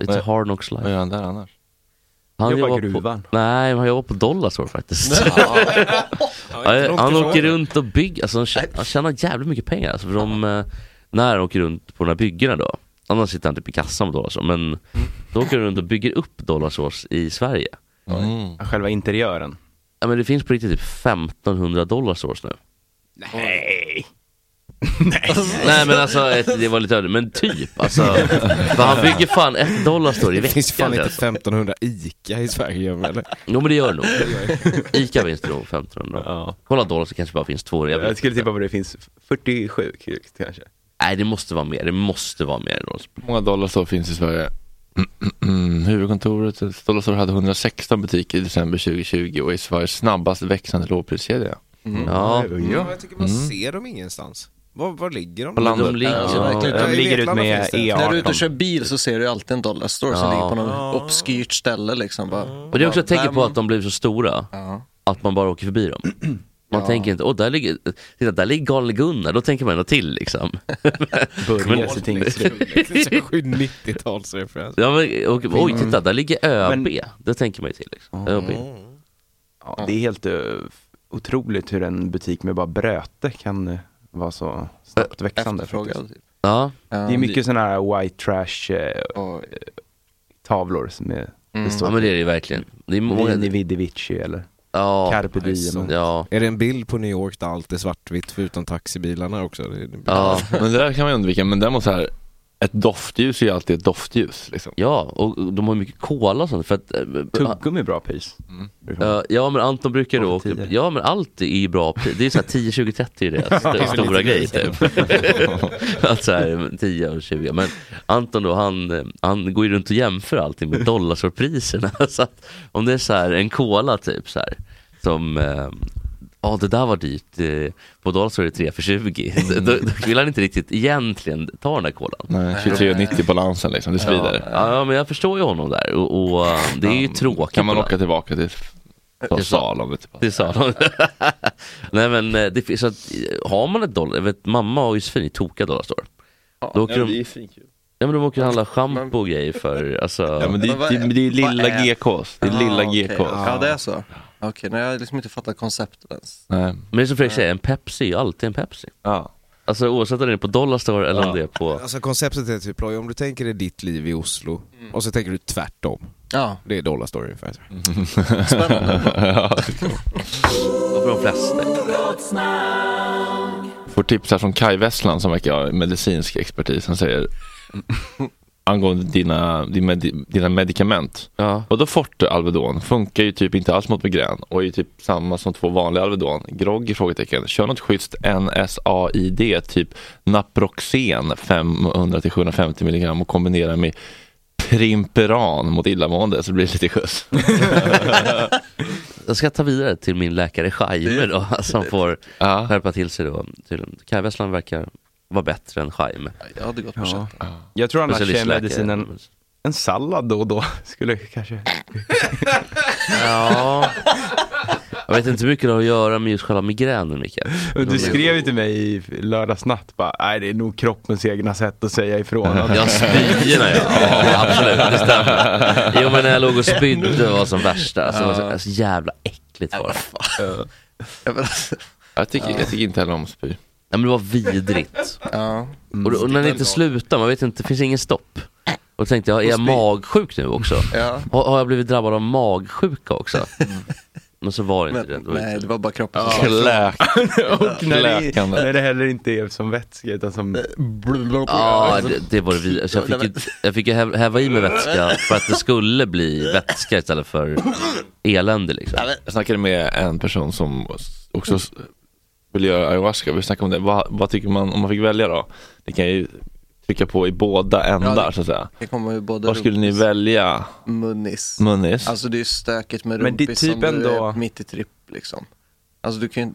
[SPEAKER 5] Lite hard knocks life.
[SPEAKER 1] Vad gör han där annars?
[SPEAKER 5] Han
[SPEAKER 3] Jobbar
[SPEAKER 5] på,
[SPEAKER 3] gruvan.
[SPEAKER 5] Nej, men han jobbar på Dollarstore faktiskt. Ja,
[SPEAKER 7] inte långt
[SPEAKER 5] han
[SPEAKER 7] ifrån.
[SPEAKER 5] åker runt och bygger, alltså, han tjä- han tjänar jävligt mycket pengar. Alltså, för de, eh, när han åker runt på de här byggena då, annars sitter han typ i kassan på Dollarstore, men då åker han runt och bygger upp Dollarstores i Sverige.
[SPEAKER 1] Mm.
[SPEAKER 3] Själva interiören.
[SPEAKER 5] Ja, men det finns på riktigt typ 1500 Dollarstores nu.
[SPEAKER 3] Nej.
[SPEAKER 5] Nej men alltså, ett, det var lite ödigt, men typ alltså. För han bygger fan ett Dollarstore i
[SPEAKER 7] Det
[SPEAKER 5] veckan.
[SPEAKER 7] finns fan inte
[SPEAKER 5] alltså.
[SPEAKER 7] 1500 ICA i Sverige gör man, eller?
[SPEAKER 5] Jo men det gör det nog. Ica finns det nog 1500.
[SPEAKER 3] Ja.
[SPEAKER 5] Kolla dollar så kanske bara finns två. Jag vet
[SPEAKER 3] Jag skulle
[SPEAKER 5] inte.
[SPEAKER 3] tippa på det finns 47 kuk kanske.
[SPEAKER 5] Nej det måste vara mer, det måste vara mer. Då.
[SPEAKER 1] Hur många dollar så finns i Sverige? Mm, huvudkontoret Dollarstore hade 116 butiker i december 2020 och är Sveriges snabbast växande lågpriskedja.
[SPEAKER 3] Mm.
[SPEAKER 5] Ja,
[SPEAKER 7] Mm. Ja, jag tycker man ser dem ingenstans. Var, var ligger de?
[SPEAKER 1] På landet.
[SPEAKER 5] de ligger
[SPEAKER 4] Ja,
[SPEAKER 5] ja,
[SPEAKER 4] verkligen.
[SPEAKER 3] De
[SPEAKER 7] i
[SPEAKER 3] ligger ut
[SPEAKER 7] Vetlanda
[SPEAKER 3] med
[SPEAKER 7] finns det.
[SPEAKER 3] E18.
[SPEAKER 7] Ja,
[SPEAKER 4] När du är ute och kör bil så ser du ju alltid en dollarstore som
[SPEAKER 5] Ja.
[SPEAKER 4] ligger på något obskyrt ställe liksom. Bara,
[SPEAKER 5] Och det är också ett
[SPEAKER 4] Där
[SPEAKER 5] tecken på
[SPEAKER 4] man-
[SPEAKER 5] att de blir så stora,
[SPEAKER 4] Ja.
[SPEAKER 5] att man bara åker förbi dem. Man tänker inte, åh där ligger, titta där ligger galne Gunnar, då tänker man ändå till liksom.
[SPEAKER 3] Börjes i Tingsryd.
[SPEAKER 4] typ
[SPEAKER 7] Liksom 90-talsreferens.
[SPEAKER 5] Ja, men, och, oj titta,
[SPEAKER 3] Mm.
[SPEAKER 5] där ligger ÖB, då tänker man ju till liksom. ÖB.
[SPEAKER 3] Ja, det är helt eh, otroligt hur en butik med bara bröte kan eh, vara så snabbt växande.
[SPEAKER 4] Efterfrågad
[SPEAKER 3] faktiskt.
[SPEAKER 4] typ.
[SPEAKER 5] Ja,
[SPEAKER 3] Det är mycket sådana här white trash eh,
[SPEAKER 4] Och,
[SPEAKER 3] tavlor som är, det står
[SPEAKER 5] ja men det är det ju verkligen. Det är många,
[SPEAKER 3] Vini Vidi Vici eller
[SPEAKER 5] ja,
[SPEAKER 3] Carpe Diem.
[SPEAKER 5] ja,
[SPEAKER 7] Är det en bild på New York där allt är svartvitt förutom taxibilarna också? Det är en bild.
[SPEAKER 5] ja.
[SPEAKER 1] Men det där kan man ju undvika, men däremot så här, ett doftljus är ju alltid ett doftljus. Liksom.
[SPEAKER 5] Ja, och de har ju mycket kola och sånt för att eh,
[SPEAKER 3] Tuggummi är bra pris. Brukar man-
[SPEAKER 5] eh, Ja men Anton brukar då,
[SPEAKER 3] Och tider.
[SPEAKER 5] ja men allt är ju bra, pri- det är såhär 10, 20, 30 är deras st- stora grej typ. Att såhär 10 och 20, men Anton då han, eh, han går ju runt och jämför allting med dollarsorpriserna. Så att om det är såhär en cola typ såhär, som, eh, ja det där var dyrt, eh, på dollar är det 3 för 20. Då, då vill han inte riktigt egentligen ta den här kolan.
[SPEAKER 1] Nej, 23,90 balansen liksom, det svider.
[SPEAKER 5] Ja, ja men jag förstår ju honom där och, och eh, det är ju tråkigt.
[SPEAKER 1] Kan man
[SPEAKER 5] på
[SPEAKER 1] åka tillbaka till
[SPEAKER 5] Det sa-
[SPEAKER 1] sal om det typ.
[SPEAKER 5] Det sa de. Nej men eh, det finns, så att, eh, har man ett dollar, jag vet, mamma och Josefin är tokiga dollarstore. Då åker de, ja, men de åker och handlar schampo och grejer för, alltså,
[SPEAKER 1] Ja, men det,
[SPEAKER 4] Men vad
[SPEAKER 1] det,
[SPEAKER 4] är-
[SPEAKER 1] det är
[SPEAKER 4] vad
[SPEAKER 1] lilla
[SPEAKER 4] är-
[SPEAKER 1] GKs. Det är lilla
[SPEAKER 4] Ah, okej.
[SPEAKER 1] GKs.
[SPEAKER 4] Ja, det är så. Okej, nej jag har liksom inte fattat konceptet ens.
[SPEAKER 1] Nej.
[SPEAKER 5] men det är som Fredrik säger, en Pepsi är ju alltid en Pepsi.
[SPEAKER 1] Ja.
[SPEAKER 5] Alltså oavsett om det är på dollarstore eller om det är på,
[SPEAKER 7] Alltså konceptet är typ, Roy, om du tänker dig ditt liv i Oslo och så tänker du tvärtom.
[SPEAKER 4] Mm. Ja,
[SPEAKER 7] Det är dollarstory ungefär.
[SPEAKER 4] spännande.
[SPEAKER 5] på de flesta.
[SPEAKER 1] Får tips här från Kai Westland som verkar ha medicinsk expertis. Han säger angående dina, din med, dina medicament.
[SPEAKER 5] Ja.
[SPEAKER 1] Och då Forte Alvedon funkar ju typ inte alls mot migrän och är ju typ samma som två vanliga Alvedon. Grogg? i Frågetecken. Kör något schysst NSAID, typ Naproxen 500-750 milligram och kombinera med Primperan mot illamående så blir det lite skjuts.
[SPEAKER 5] Jag ska ta vidare till min läkare Jaime då, som får skärpa till sig då. tydligen. Kaj Westland verkar vara bättre än Jaime.
[SPEAKER 4] Jag hade gått på
[SPEAKER 3] Ja.
[SPEAKER 4] köttet.
[SPEAKER 3] Jag tror annars är
[SPEAKER 5] Specialistläkare.
[SPEAKER 3] medicinen en sallad då och då skulle kanske
[SPEAKER 5] Ja. Jag vet inte hur mycket det har att göra med just själva migränen Mikael.
[SPEAKER 3] Och Du skrev ju till mig i lördags natt bara, nej det är nog kroppens egna sätt att säga ifrån.
[SPEAKER 5] Ja, spyorna ja. ja. Absolut, det stämmer. Jo men när jag låg och spydde var som värst alltså, det var så, så jävla äckligt var det.
[SPEAKER 4] Ja, men alltså,
[SPEAKER 1] Jag tycker, jag tycker inte heller om spy.
[SPEAKER 5] Ja, men det var vidrigt.
[SPEAKER 4] ja.
[SPEAKER 5] Mm. Och, och när det inte slutar, man vet inte, det finns ingen stopp. Och då tänkte jag, är jag magsjuk nu också?
[SPEAKER 4] Ja. Mm.
[SPEAKER 5] Har, har jag blivit drabbad av magsjuka också? Men så var det inte
[SPEAKER 4] Men,
[SPEAKER 5] det. det. var
[SPEAKER 4] nej, det
[SPEAKER 5] inte-
[SPEAKER 4] var bara kroppen som
[SPEAKER 1] Kläk.
[SPEAKER 3] Och när det,
[SPEAKER 1] Läkande.
[SPEAKER 3] när det heller inte är som vätska utan som,
[SPEAKER 5] Ja, det,
[SPEAKER 4] alltså-
[SPEAKER 5] det var det vi, så jag fick ju, jag fick ju häv- häva i mig vätska för att det skulle bli vätska istället för elände liksom.
[SPEAKER 1] Jag snackade med en person som också s- ville göra ayahuasca. Vi snackade om det. Vad, vad tycker man om man fick välja då? Det kan ju pricka på i båda ändar så att säga.
[SPEAKER 4] Det kommer ju både
[SPEAKER 1] Var skulle ni
[SPEAKER 4] rumpis,
[SPEAKER 1] välja
[SPEAKER 4] Munnis.
[SPEAKER 1] munnis?
[SPEAKER 4] Alltså det är ju stökigt med
[SPEAKER 3] Men det är
[SPEAKER 4] rumpis
[SPEAKER 3] typ
[SPEAKER 4] om du
[SPEAKER 3] ändå-
[SPEAKER 4] är mitt i tripp liksom. Alltså du kan ju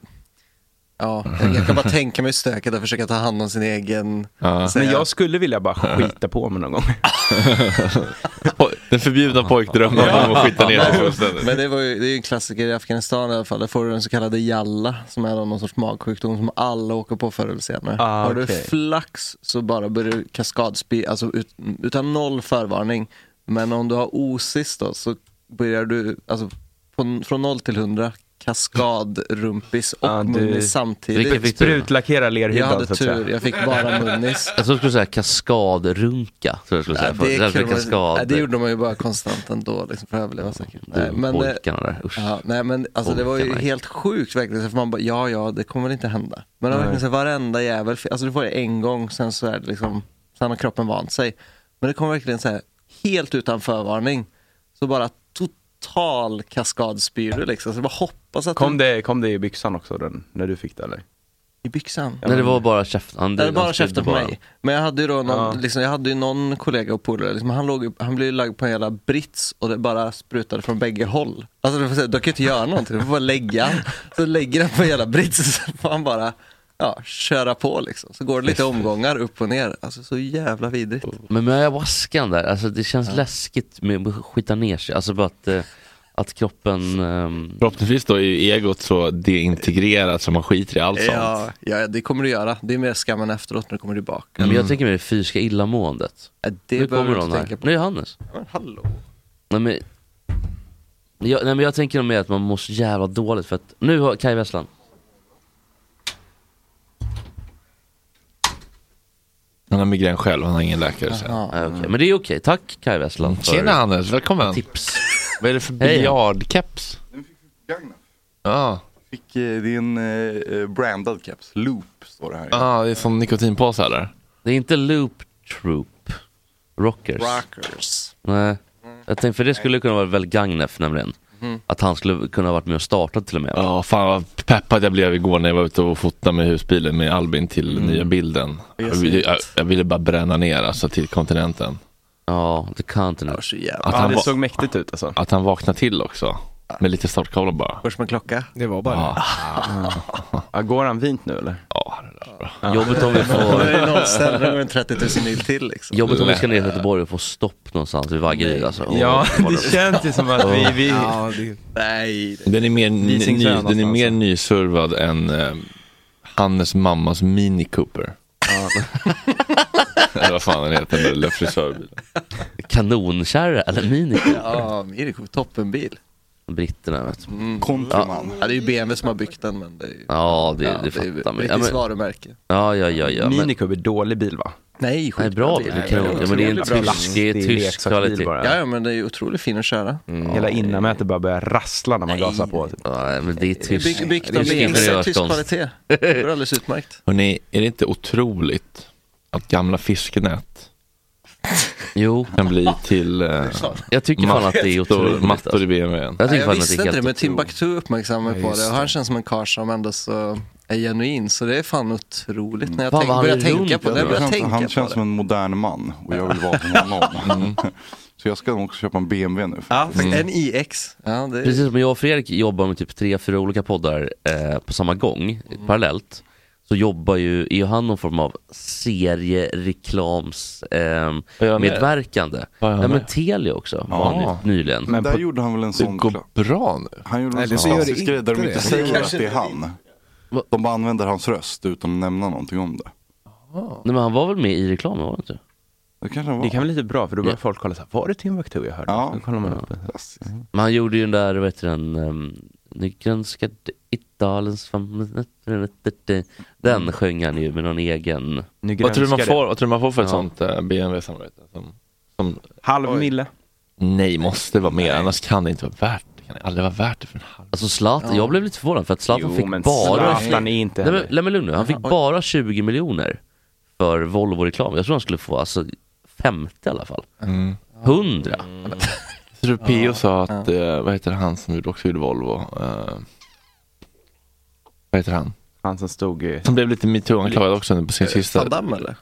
[SPEAKER 4] Ja, jag, jag kan bara tänka mig hur stökigt att försöka ta hand om sin egen...
[SPEAKER 1] Ja.
[SPEAKER 3] Men jag skulle vilja bara skita på mig någon gång.
[SPEAKER 1] Po- Den förbjudna pojkdrömmen om att skita ner sig fullständigt.
[SPEAKER 4] Men det, var ju, det är ju en klassiker i Afghanistan i alla fall. Där får du den så kallade jalla, som är någon sorts magsjukdom som alla åker på förr eller senare.
[SPEAKER 3] Ah,
[SPEAKER 4] Har du
[SPEAKER 3] okej.
[SPEAKER 4] flax så bara börjar du kaskadspy, alltså ut, utan noll förvarning. Men om du har osis då så börjar du, alltså på, från noll till hundra, kaskadrumpis och
[SPEAKER 3] Ah, du-
[SPEAKER 4] munnis
[SPEAKER 5] Vilket
[SPEAKER 4] samtidigt.
[SPEAKER 5] fick du?
[SPEAKER 3] Sprutlackera
[SPEAKER 4] Jag
[SPEAKER 3] lerhyddan
[SPEAKER 4] hade
[SPEAKER 3] så att
[SPEAKER 4] tur,
[SPEAKER 3] säga.
[SPEAKER 4] jag fick bara munnis.
[SPEAKER 5] Jag tror du skulle säga kaskadrunka. Tror jag skulle säga.
[SPEAKER 4] Ja,
[SPEAKER 5] för det är
[SPEAKER 4] kunde man-
[SPEAKER 5] kaskad.
[SPEAKER 4] Nej, det gjorde man ju bara konstant ändå liksom, för att överleva säkert. Nej,
[SPEAKER 5] men,
[SPEAKER 4] men, eh,
[SPEAKER 5] pojkarna där, usch.
[SPEAKER 4] Ja, nej men alltså det var ju
[SPEAKER 5] Orkar man.
[SPEAKER 4] helt sjukt verkligen, för man bara ja ja det kommer väl inte hända. Men det var verkligen så här, varenda jävel, alltså du får det en gång sen så är det liksom, sen har kroppen vant sig. Men det kom verkligen så här helt utan förvarning, så bara total kaskadspyr du liksom. Så du bara hoppas att
[SPEAKER 3] Kom
[SPEAKER 4] du,
[SPEAKER 3] det, kom det i byxan också den, när du fick det eller?
[SPEAKER 4] i byxan.
[SPEAKER 5] Nej det var bara käften. Han,
[SPEAKER 4] Det är
[SPEAKER 5] han
[SPEAKER 4] bara
[SPEAKER 5] spydde
[SPEAKER 4] käften på
[SPEAKER 5] bara.
[SPEAKER 4] mig. Men jag hade ju då någon,
[SPEAKER 3] Ja.
[SPEAKER 4] liksom, jag hade ju någon kollega och polare, liksom, han, låg, ju- han blev ju lagd på en jävla brits och det bara sprutade från bägge håll. Alltså du, får säga, du kan ju inte göra någonting, du får bara lägga han. Så lägger han på en jävla brits och så får han bara ja, köra på liksom. Så går det lite omgångar upp och ner. Alltså så jävla vidrigt.
[SPEAKER 5] Men med ayahuascan där, alltså det känns läskigt med att skita ner sig. Alltså bara att, eh, att kroppen... ehm,
[SPEAKER 1] Förhoppningsvis då är ju egot så deintegrerat så man skiter i allt sånt.
[SPEAKER 4] Ja, ja, det kommer du göra. Det är mer skammen efteråt när du kommer tillbaka.
[SPEAKER 5] Men Mm. jag tänker mer det fysiska illamåendet.
[SPEAKER 4] Ja, Det
[SPEAKER 5] nu
[SPEAKER 4] behöver
[SPEAKER 5] kommer
[SPEAKER 4] du
[SPEAKER 5] någon
[SPEAKER 4] inte
[SPEAKER 5] här.
[SPEAKER 4] tänka på.
[SPEAKER 5] Nu är Hannes.
[SPEAKER 4] Men hallå.
[SPEAKER 5] Nej men, jag, nej men jag tänker nog mer att man mår så jävla dåligt för att nu har Kaj Wesslan.
[SPEAKER 1] Han har migrän själv, han har ingen läkare. Så.
[SPEAKER 4] Ja.
[SPEAKER 5] Nej, okej. Men det är okej, tack Kaj Wesslan för
[SPEAKER 1] Tjena Hannes, välkommen!
[SPEAKER 5] tips.
[SPEAKER 1] Vad är det för
[SPEAKER 5] Hej.
[SPEAKER 1] biljardkeps? Ja,
[SPEAKER 9] Fick, eh, det är en eh, eh, brandad keps, Loop står det här.
[SPEAKER 1] ah, det är som nikotinpåse eller?
[SPEAKER 5] Det är inte Loop Troop Rockers.
[SPEAKER 4] Rockers.
[SPEAKER 5] Nej. Jag tänkte, för det skulle kunna vara väl Gagnef nämligen.
[SPEAKER 4] Mm-hmm.
[SPEAKER 5] Att han skulle kunna ha varit med och startat till och med.
[SPEAKER 1] Ja, fan vad peppad jag blev igår när jag var ute och fotade med husbilen med Albin till
[SPEAKER 5] Mm.
[SPEAKER 1] nya bilden. Jag, ville- jag, jag ville bara bränna ner alltså till kontinenten.
[SPEAKER 5] Ja, The Continent.
[SPEAKER 4] Det var så jävla...
[SPEAKER 1] Att,
[SPEAKER 3] Ja,
[SPEAKER 1] han,
[SPEAKER 3] det
[SPEAKER 1] va-
[SPEAKER 3] såg mäktigt ut alltså.
[SPEAKER 1] att han vaknade till också. Med lite startkolla bara.
[SPEAKER 4] Först med klocka.
[SPEAKER 6] Det var bara det.
[SPEAKER 1] Ja,
[SPEAKER 3] Ja, går han vint nu eller?
[SPEAKER 1] ja, det där var bra.
[SPEAKER 5] Jobbet om vi
[SPEAKER 4] Nu är
[SPEAKER 5] får...
[SPEAKER 4] det nollställd, nu går den 30 000 mil till liksom.
[SPEAKER 5] Jobbet om vi ska ner till Göteborg och få stopp någonstans vid Vaggeryd alltså. Åh, vad det-
[SPEAKER 3] känns ju som att vi... vi...
[SPEAKER 6] Ja, det,
[SPEAKER 4] Nej,
[SPEAKER 1] Den är mer, ny,
[SPEAKER 3] Visingsö
[SPEAKER 1] den är
[SPEAKER 3] någonstans.
[SPEAKER 5] alltså.
[SPEAKER 1] mer nyservad än eh, Hannes mammas Mini Cooper. Eller vad fan den heter, den där lilla frisörbilen.
[SPEAKER 5] Kanonkärra eller mini?
[SPEAKER 4] alltså. Ja, Mirko, toppenbil. Mm.
[SPEAKER 5] Britterna vet du.
[SPEAKER 9] Kontraman.
[SPEAKER 4] Ja, det är ju BMW som har byggt den men det är ju...
[SPEAKER 5] Ja, det,
[SPEAKER 4] Ja,
[SPEAKER 5] det
[SPEAKER 4] är ju
[SPEAKER 5] fattar man ju. ja,
[SPEAKER 4] Brittiskt
[SPEAKER 5] men,
[SPEAKER 4] varumärke.
[SPEAKER 5] ja, ja, ja, ja. Men,
[SPEAKER 3] Minicub är dålig bil va?
[SPEAKER 4] Nej,
[SPEAKER 5] nej, bra bil. Det kan, ja, men det är en
[SPEAKER 3] Otroligt bra
[SPEAKER 5] tysk, det är
[SPEAKER 3] lastbil,
[SPEAKER 5] tysk
[SPEAKER 3] leksaksbil
[SPEAKER 5] kvalitet. Mm.
[SPEAKER 3] bara.
[SPEAKER 4] Ja, ja, men det är ju otroligt fin att köra.
[SPEAKER 3] Hela innanmätet bara börjar rassla när man gasar på. Typ.
[SPEAKER 5] Ja, men det är tysk.
[SPEAKER 4] Bygg, byggt
[SPEAKER 5] det är
[SPEAKER 4] av BMW,
[SPEAKER 5] ingenjörskonst.
[SPEAKER 4] tysk kvalitet. Det går alldeles utmärkt.
[SPEAKER 1] Hörrni, är det inte otroligt att gamla fiskenät
[SPEAKER 5] Jo,
[SPEAKER 1] kan bli till eh,
[SPEAKER 5] jag tycker fan att det är
[SPEAKER 1] mattor,
[SPEAKER 5] otroligt.
[SPEAKER 1] mattor
[SPEAKER 5] Alltså.
[SPEAKER 1] i BMWn?
[SPEAKER 5] Jag
[SPEAKER 4] Nej,
[SPEAKER 5] tycker
[SPEAKER 4] jag
[SPEAKER 5] fan att
[SPEAKER 4] visste
[SPEAKER 5] det är
[SPEAKER 4] inte det,
[SPEAKER 5] helt
[SPEAKER 4] men
[SPEAKER 5] otroligt.
[SPEAKER 4] Timbuktu uppmärksammade mig på det och han känns som en karl som ändå så är genuin. Så det är fan otroligt när jag
[SPEAKER 5] Fan,
[SPEAKER 4] tänk,
[SPEAKER 5] vad han
[SPEAKER 4] börjar
[SPEAKER 5] är
[SPEAKER 4] tänka
[SPEAKER 5] rund,
[SPEAKER 4] på det.
[SPEAKER 5] ja.
[SPEAKER 4] Jag börjar
[SPEAKER 9] Han känns-
[SPEAKER 4] tänka
[SPEAKER 9] han
[SPEAKER 4] på
[SPEAKER 9] känns som
[SPEAKER 4] det.
[SPEAKER 9] en modern man och jag vill vara som honom.
[SPEAKER 5] Mm.
[SPEAKER 9] Så jag ska nog också köpa en BMW nu. Mm.
[SPEAKER 4] Ja, En IX. Ja, det är...
[SPEAKER 5] Precis som jag och Fredrik jobbar med typ tre, fyra olika poddar eh, på samma gång, parallellt, så jobbar ju, är ju han någon form av seriereklams eh,
[SPEAKER 1] Vad gör han med?
[SPEAKER 5] medverkande.
[SPEAKER 1] Vad gör han
[SPEAKER 5] Ja men
[SPEAKER 1] med?
[SPEAKER 5] Telia också var
[SPEAKER 1] Ja.
[SPEAKER 5] han ju nyligen.
[SPEAKER 3] Men
[SPEAKER 9] Där
[SPEAKER 3] på,
[SPEAKER 9] gjorde han väl en
[SPEAKER 1] Det
[SPEAKER 9] sån
[SPEAKER 1] går
[SPEAKER 9] kla-
[SPEAKER 1] bra nu.
[SPEAKER 9] Han gjorde
[SPEAKER 6] Nej,
[SPEAKER 9] en sån
[SPEAKER 6] det gör
[SPEAKER 9] klassisk
[SPEAKER 6] inte
[SPEAKER 9] grej där de
[SPEAKER 6] det.
[SPEAKER 9] inte säger att det är han.
[SPEAKER 5] Va?
[SPEAKER 9] De bara använder hans röst utan att nämna någonting om det.
[SPEAKER 5] Nej, men han var väl med i reklamen var han inte?
[SPEAKER 9] Det kanske han var.
[SPEAKER 3] det kan vara lite bra för då börjar folk kolla så här, var det Timbuktu jag hörde?
[SPEAKER 9] Ja.
[SPEAKER 3] Så kollar man upp. det.
[SPEAKER 9] Klassiskt.
[SPEAKER 1] Mm.
[SPEAKER 5] Men han gjorde ju den där, vad heter den, um, Nyckeln ska d- Italiens fam- Den sjöng han ju med någon egen.
[SPEAKER 3] Nu
[SPEAKER 1] Vad tror, du man
[SPEAKER 3] grönskar det.
[SPEAKER 1] får, vad tror du man får för ett
[SPEAKER 5] Ja.
[SPEAKER 1] sånt eh, BMW-samarbete? Som, som,
[SPEAKER 3] Halv mille.
[SPEAKER 1] nej, måste vara mer, annars kan det inte vara värt det. kan det aldrig vara värt det för en halv.
[SPEAKER 5] Alltså Zlatan, jag blev lite förvånad för att Zlatan fick bara
[SPEAKER 3] Zlatan är inte
[SPEAKER 5] Nej men,
[SPEAKER 3] heller-
[SPEAKER 5] nej, men lugn nu, han fick bara 20 miljoner för Volvo-reklam. Jag tror han skulle få alltså 50 i alla fall.
[SPEAKER 4] Mm.
[SPEAKER 5] 100!
[SPEAKER 1] Jag tror P.O. sa att, eh, vad heter han som gjorde- också gjorde Volvo? Eh, vad heter han?
[SPEAKER 3] Han som stod i...
[SPEAKER 1] Som blev lite metoo-anklagad också nu på sin sista...
[SPEAKER 4] Saddam Eh, eller?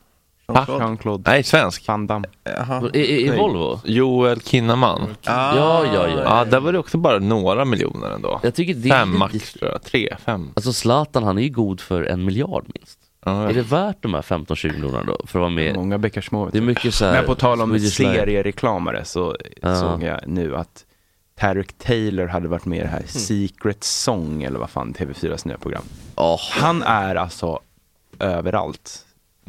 [SPEAKER 4] Jean-Claude.
[SPEAKER 3] Jean-Claude
[SPEAKER 8] Nej, svensk.
[SPEAKER 3] Van Damme.
[SPEAKER 4] Jaha.
[SPEAKER 5] I, i, i
[SPEAKER 8] Nej.
[SPEAKER 5] Volvo?
[SPEAKER 8] Joel Kinnaman.
[SPEAKER 4] Ah.
[SPEAKER 5] Ja, ja, ja.
[SPEAKER 8] Ja, där var det också bara några miljoner ändå.
[SPEAKER 5] Jag tycker det
[SPEAKER 8] Fem
[SPEAKER 5] är
[SPEAKER 8] max
[SPEAKER 5] lite...
[SPEAKER 8] tror jag. Tre, fem.
[SPEAKER 5] Alltså Zlatan han är ju god för en miljard minst.
[SPEAKER 8] Ja, jag
[SPEAKER 5] Är det
[SPEAKER 8] vet.
[SPEAKER 5] värt de här 15-20 miljonerna då? För att vara med?
[SPEAKER 3] Många bäckar små.
[SPEAKER 5] Det är mycket så här,
[SPEAKER 3] Men på tal om
[SPEAKER 5] Swedish Life.
[SPEAKER 3] seriereklamare så
[SPEAKER 5] Ja.
[SPEAKER 3] såg jag nu att Tarek Taylor hade varit med i det
[SPEAKER 5] Mm.
[SPEAKER 3] här Secret Song eller vad fan TV4s nya program.
[SPEAKER 5] Ja.
[SPEAKER 3] Han är alltså överallt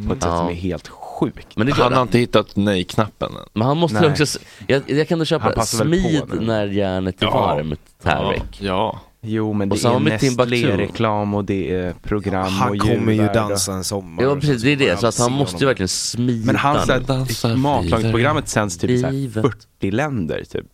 [SPEAKER 3] på ett sätt
[SPEAKER 5] Ja.
[SPEAKER 3] som är helt sjukt.
[SPEAKER 5] Mm. Men det är klart,
[SPEAKER 8] Han har inte hittat nej-knappen än.
[SPEAKER 5] Men han måste
[SPEAKER 3] Nej.
[SPEAKER 5] också, s- jag, jag kan då
[SPEAKER 3] Han
[SPEAKER 5] köpa
[SPEAKER 3] passar väl på
[SPEAKER 5] smid
[SPEAKER 3] nu.
[SPEAKER 5] när järnet är
[SPEAKER 8] Ja.
[SPEAKER 5] varmt, Tarek.
[SPEAKER 8] Ja.
[SPEAKER 3] Jo men
[SPEAKER 5] Och
[SPEAKER 3] det
[SPEAKER 5] samma
[SPEAKER 3] är
[SPEAKER 5] med Timbuktu.
[SPEAKER 3] Nestlé-reklam och det är program
[SPEAKER 7] Han
[SPEAKER 3] och
[SPEAKER 7] kommer ju
[SPEAKER 3] djurvärld och-
[SPEAKER 7] dansa en sommar.
[SPEAKER 5] Ja precis, det är det.
[SPEAKER 7] kommer
[SPEAKER 5] Så att han
[SPEAKER 7] jag
[SPEAKER 5] måste ju
[SPEAKER 7] se honom.
[SPEAKER 5] verkligen smida.
[SPEAKER 3] Men han
[SPEAKER 5] nu. Dansa
[SPEAKER 3] sa matlagningsprogrammet sänds typ så här
[SPEAKER 5] Livet.
[SPEAKER 3] 40 länder typ.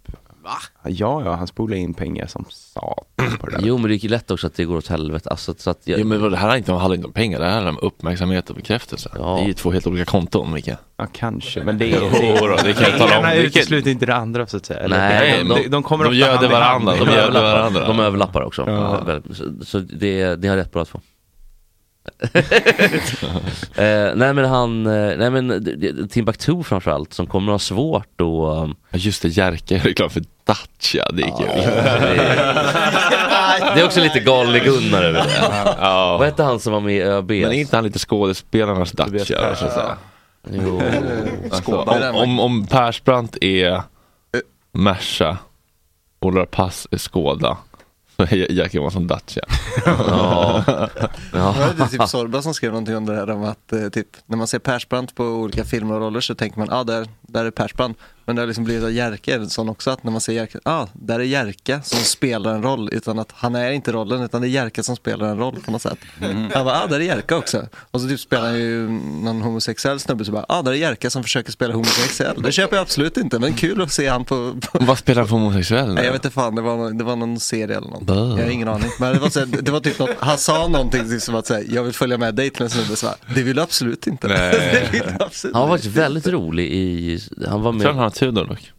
[SPEAKER 3] Va? Ja, ja, han spolar in pengar som satan på det där.
[SPEAKER 5] Jo men det är ju lätt också att det går åt helvete. Alltså, så att jag,
[SPEAKER 8] Jo, men vad- det här är inte, handlar inte om pengar, det här handlar om uppmärksamhet och bekräftelse.
[SPEAKER 5] Ja.
[SPEAKER 8] Det är ju två helt olika konton, Micke.
[SPEAKER 3] Ja, kanske. Men det är...
[SPEAKER 8] Jo då, det kan jag tala om.
[SPEAKER 3] ena
[SPEAKER 8] Vilket-
[SPEAKER 3] utesluter inte det andra så att säga. Eller?
[SPEAKER 5] Nej,
[SPEAKER 3] de,
[SPEAKER 8] men
[SPEAKER 3] de, de kommer
[SPEAKER 8] de
[SPEAKER 3] ofta
[SPEAKER 8] gör det
[SPEAKER 3] hand i hand.
[SPEAKER 8] varandra, de gör-
[SPEAKER 5] överlappar.
[SPEAKER 8] varandra.
[SPEAKER 5] De överlappar också.
[SPEAKER 8] Ja.
[SPEAKER 5] Eh, väl, Så, så det, det har rätt bra att få. eh, nej men han, eh, nej men det- det- Timbuktu framförallt som kommer att ha svårt och um,
[SPEAKER 8] Ja, Just det, Jerka är reklam för Dacia, det är kul.
[SPEAKER 5] Det är också lite galne-Gunnar över det. Vad hette han som var med i ÖB?
[SPEAKER 8] Men är inte han lite skådespelarnas
[SPEAKER 3] Tobias
[SPEAKER 8] Dacia?
[SPEAKER 3] Persson.
[SPEAKER 8] alltså, så här?
[SPEAKER 5] Jo.
[SPEAKER 8] Alltså, om, om, om Persbrandt är Merca och Laura Pass är Skåda, så är Jerka Johansson Dacia.
[SPEAKER 5] Ja.
[SPEAKER 4] Var
[SPEAKER 5] Ja.
[SPEAKER 4] det inte typ Sorba som skrev någonting om det här om att eh, typ, när man ser Persbrandt på olika filmer och roller så tänker man ah, där, där är Persbrandt. Men det har liksom blivit att Jerka är en sån också att när man ser Jerka, ah, där är Jerka som spelar en roll utan att han är inte rollen utan det är Jerka som spelar en roll på något sätt. Han bara, ah, där är Jerka också. Och så typ spelar han ju någon homosexuell snubbe så bara, ah, där är Jerka som försöker spela homosexuell. Det köper jag absolut inte men kul att se han på, på
[SPEAKER 8] Vad spelar han för homosexuell?
[SPEAKER 4] Nej, jag vet inte fan, det var, någon- det var någon serie eller något. Jag har
[SPEAKER 1] Mm.
[SPEAKER 4] ingen aning. Men det var, så här, det var typ något, han sa någonting typ som att säga, jag vill följa med dig till en snubbe. Så här, Det vill du absolut inte. det, vill du absolut.
[SPEAKER 5] Han var faktiskt väldigt rolig i, han var
[SPEAKER 8] Jag tror han
[SPEAKER 5] med,
[SPEAKER 8] har Tudor dock.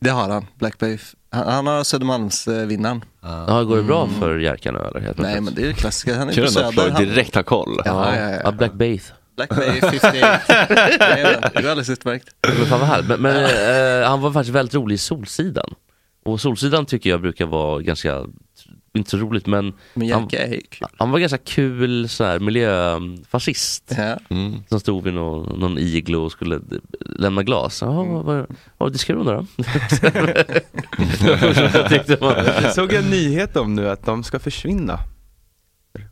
[SPEAKER 4] det har han, Black Bay. Han, han har Södermalmsvinnaren. Mm.
[SPEAKER 5] ja, går det bra för Jerka nu eller? Helt
[SPEAKER 4] Nej, men det är ju klassiker. Han är
[SPEAKER 8] Kul
[SPEAKER 4] på
[SPEAKER 8] ändå att
[SPEAKER 4] Söder.
[SPEAKER 8] Florida
[SPEAKER 4] Han,
[SPEAKER 8] direkt har koll.
[SPEAKER 4] ja, ja,
[SPEAKER 5] ja.
[SPEAKER 4] ja.
[SPEAKER 5] Black Bath.
[SPEAKER 4] Black Bay 58. Nej, men det är alldeles utmärkt.
[SPEAKER 5] Men fan vad härligt. Men, men eh, han var faktiskt väldigt rolig i Solsidan. Och Solsidan tycker jag brukar vara ganska, inte så roligt men
[SPEAKER 4] Men
[SPEAKER 5] han,
[SPEAKER 4] Jerka är ju kul.
[SPEAKER 5] han var ganska kul så här miljöfascist.
[SPEAKER 4] Ja.
[SPEAKER 8] Mm.
[SPEAKER 5] Som stod vid någon, någon iglo och skulle d- lämna glas. Jaha,
[SPEAKER 4] Mm.
[SPEAKER 5] vad, vad, vad diskar du då? Vad tyckte man?
[SPEAKER 3] Jag såg en nyhet om nu att de ska försvinna.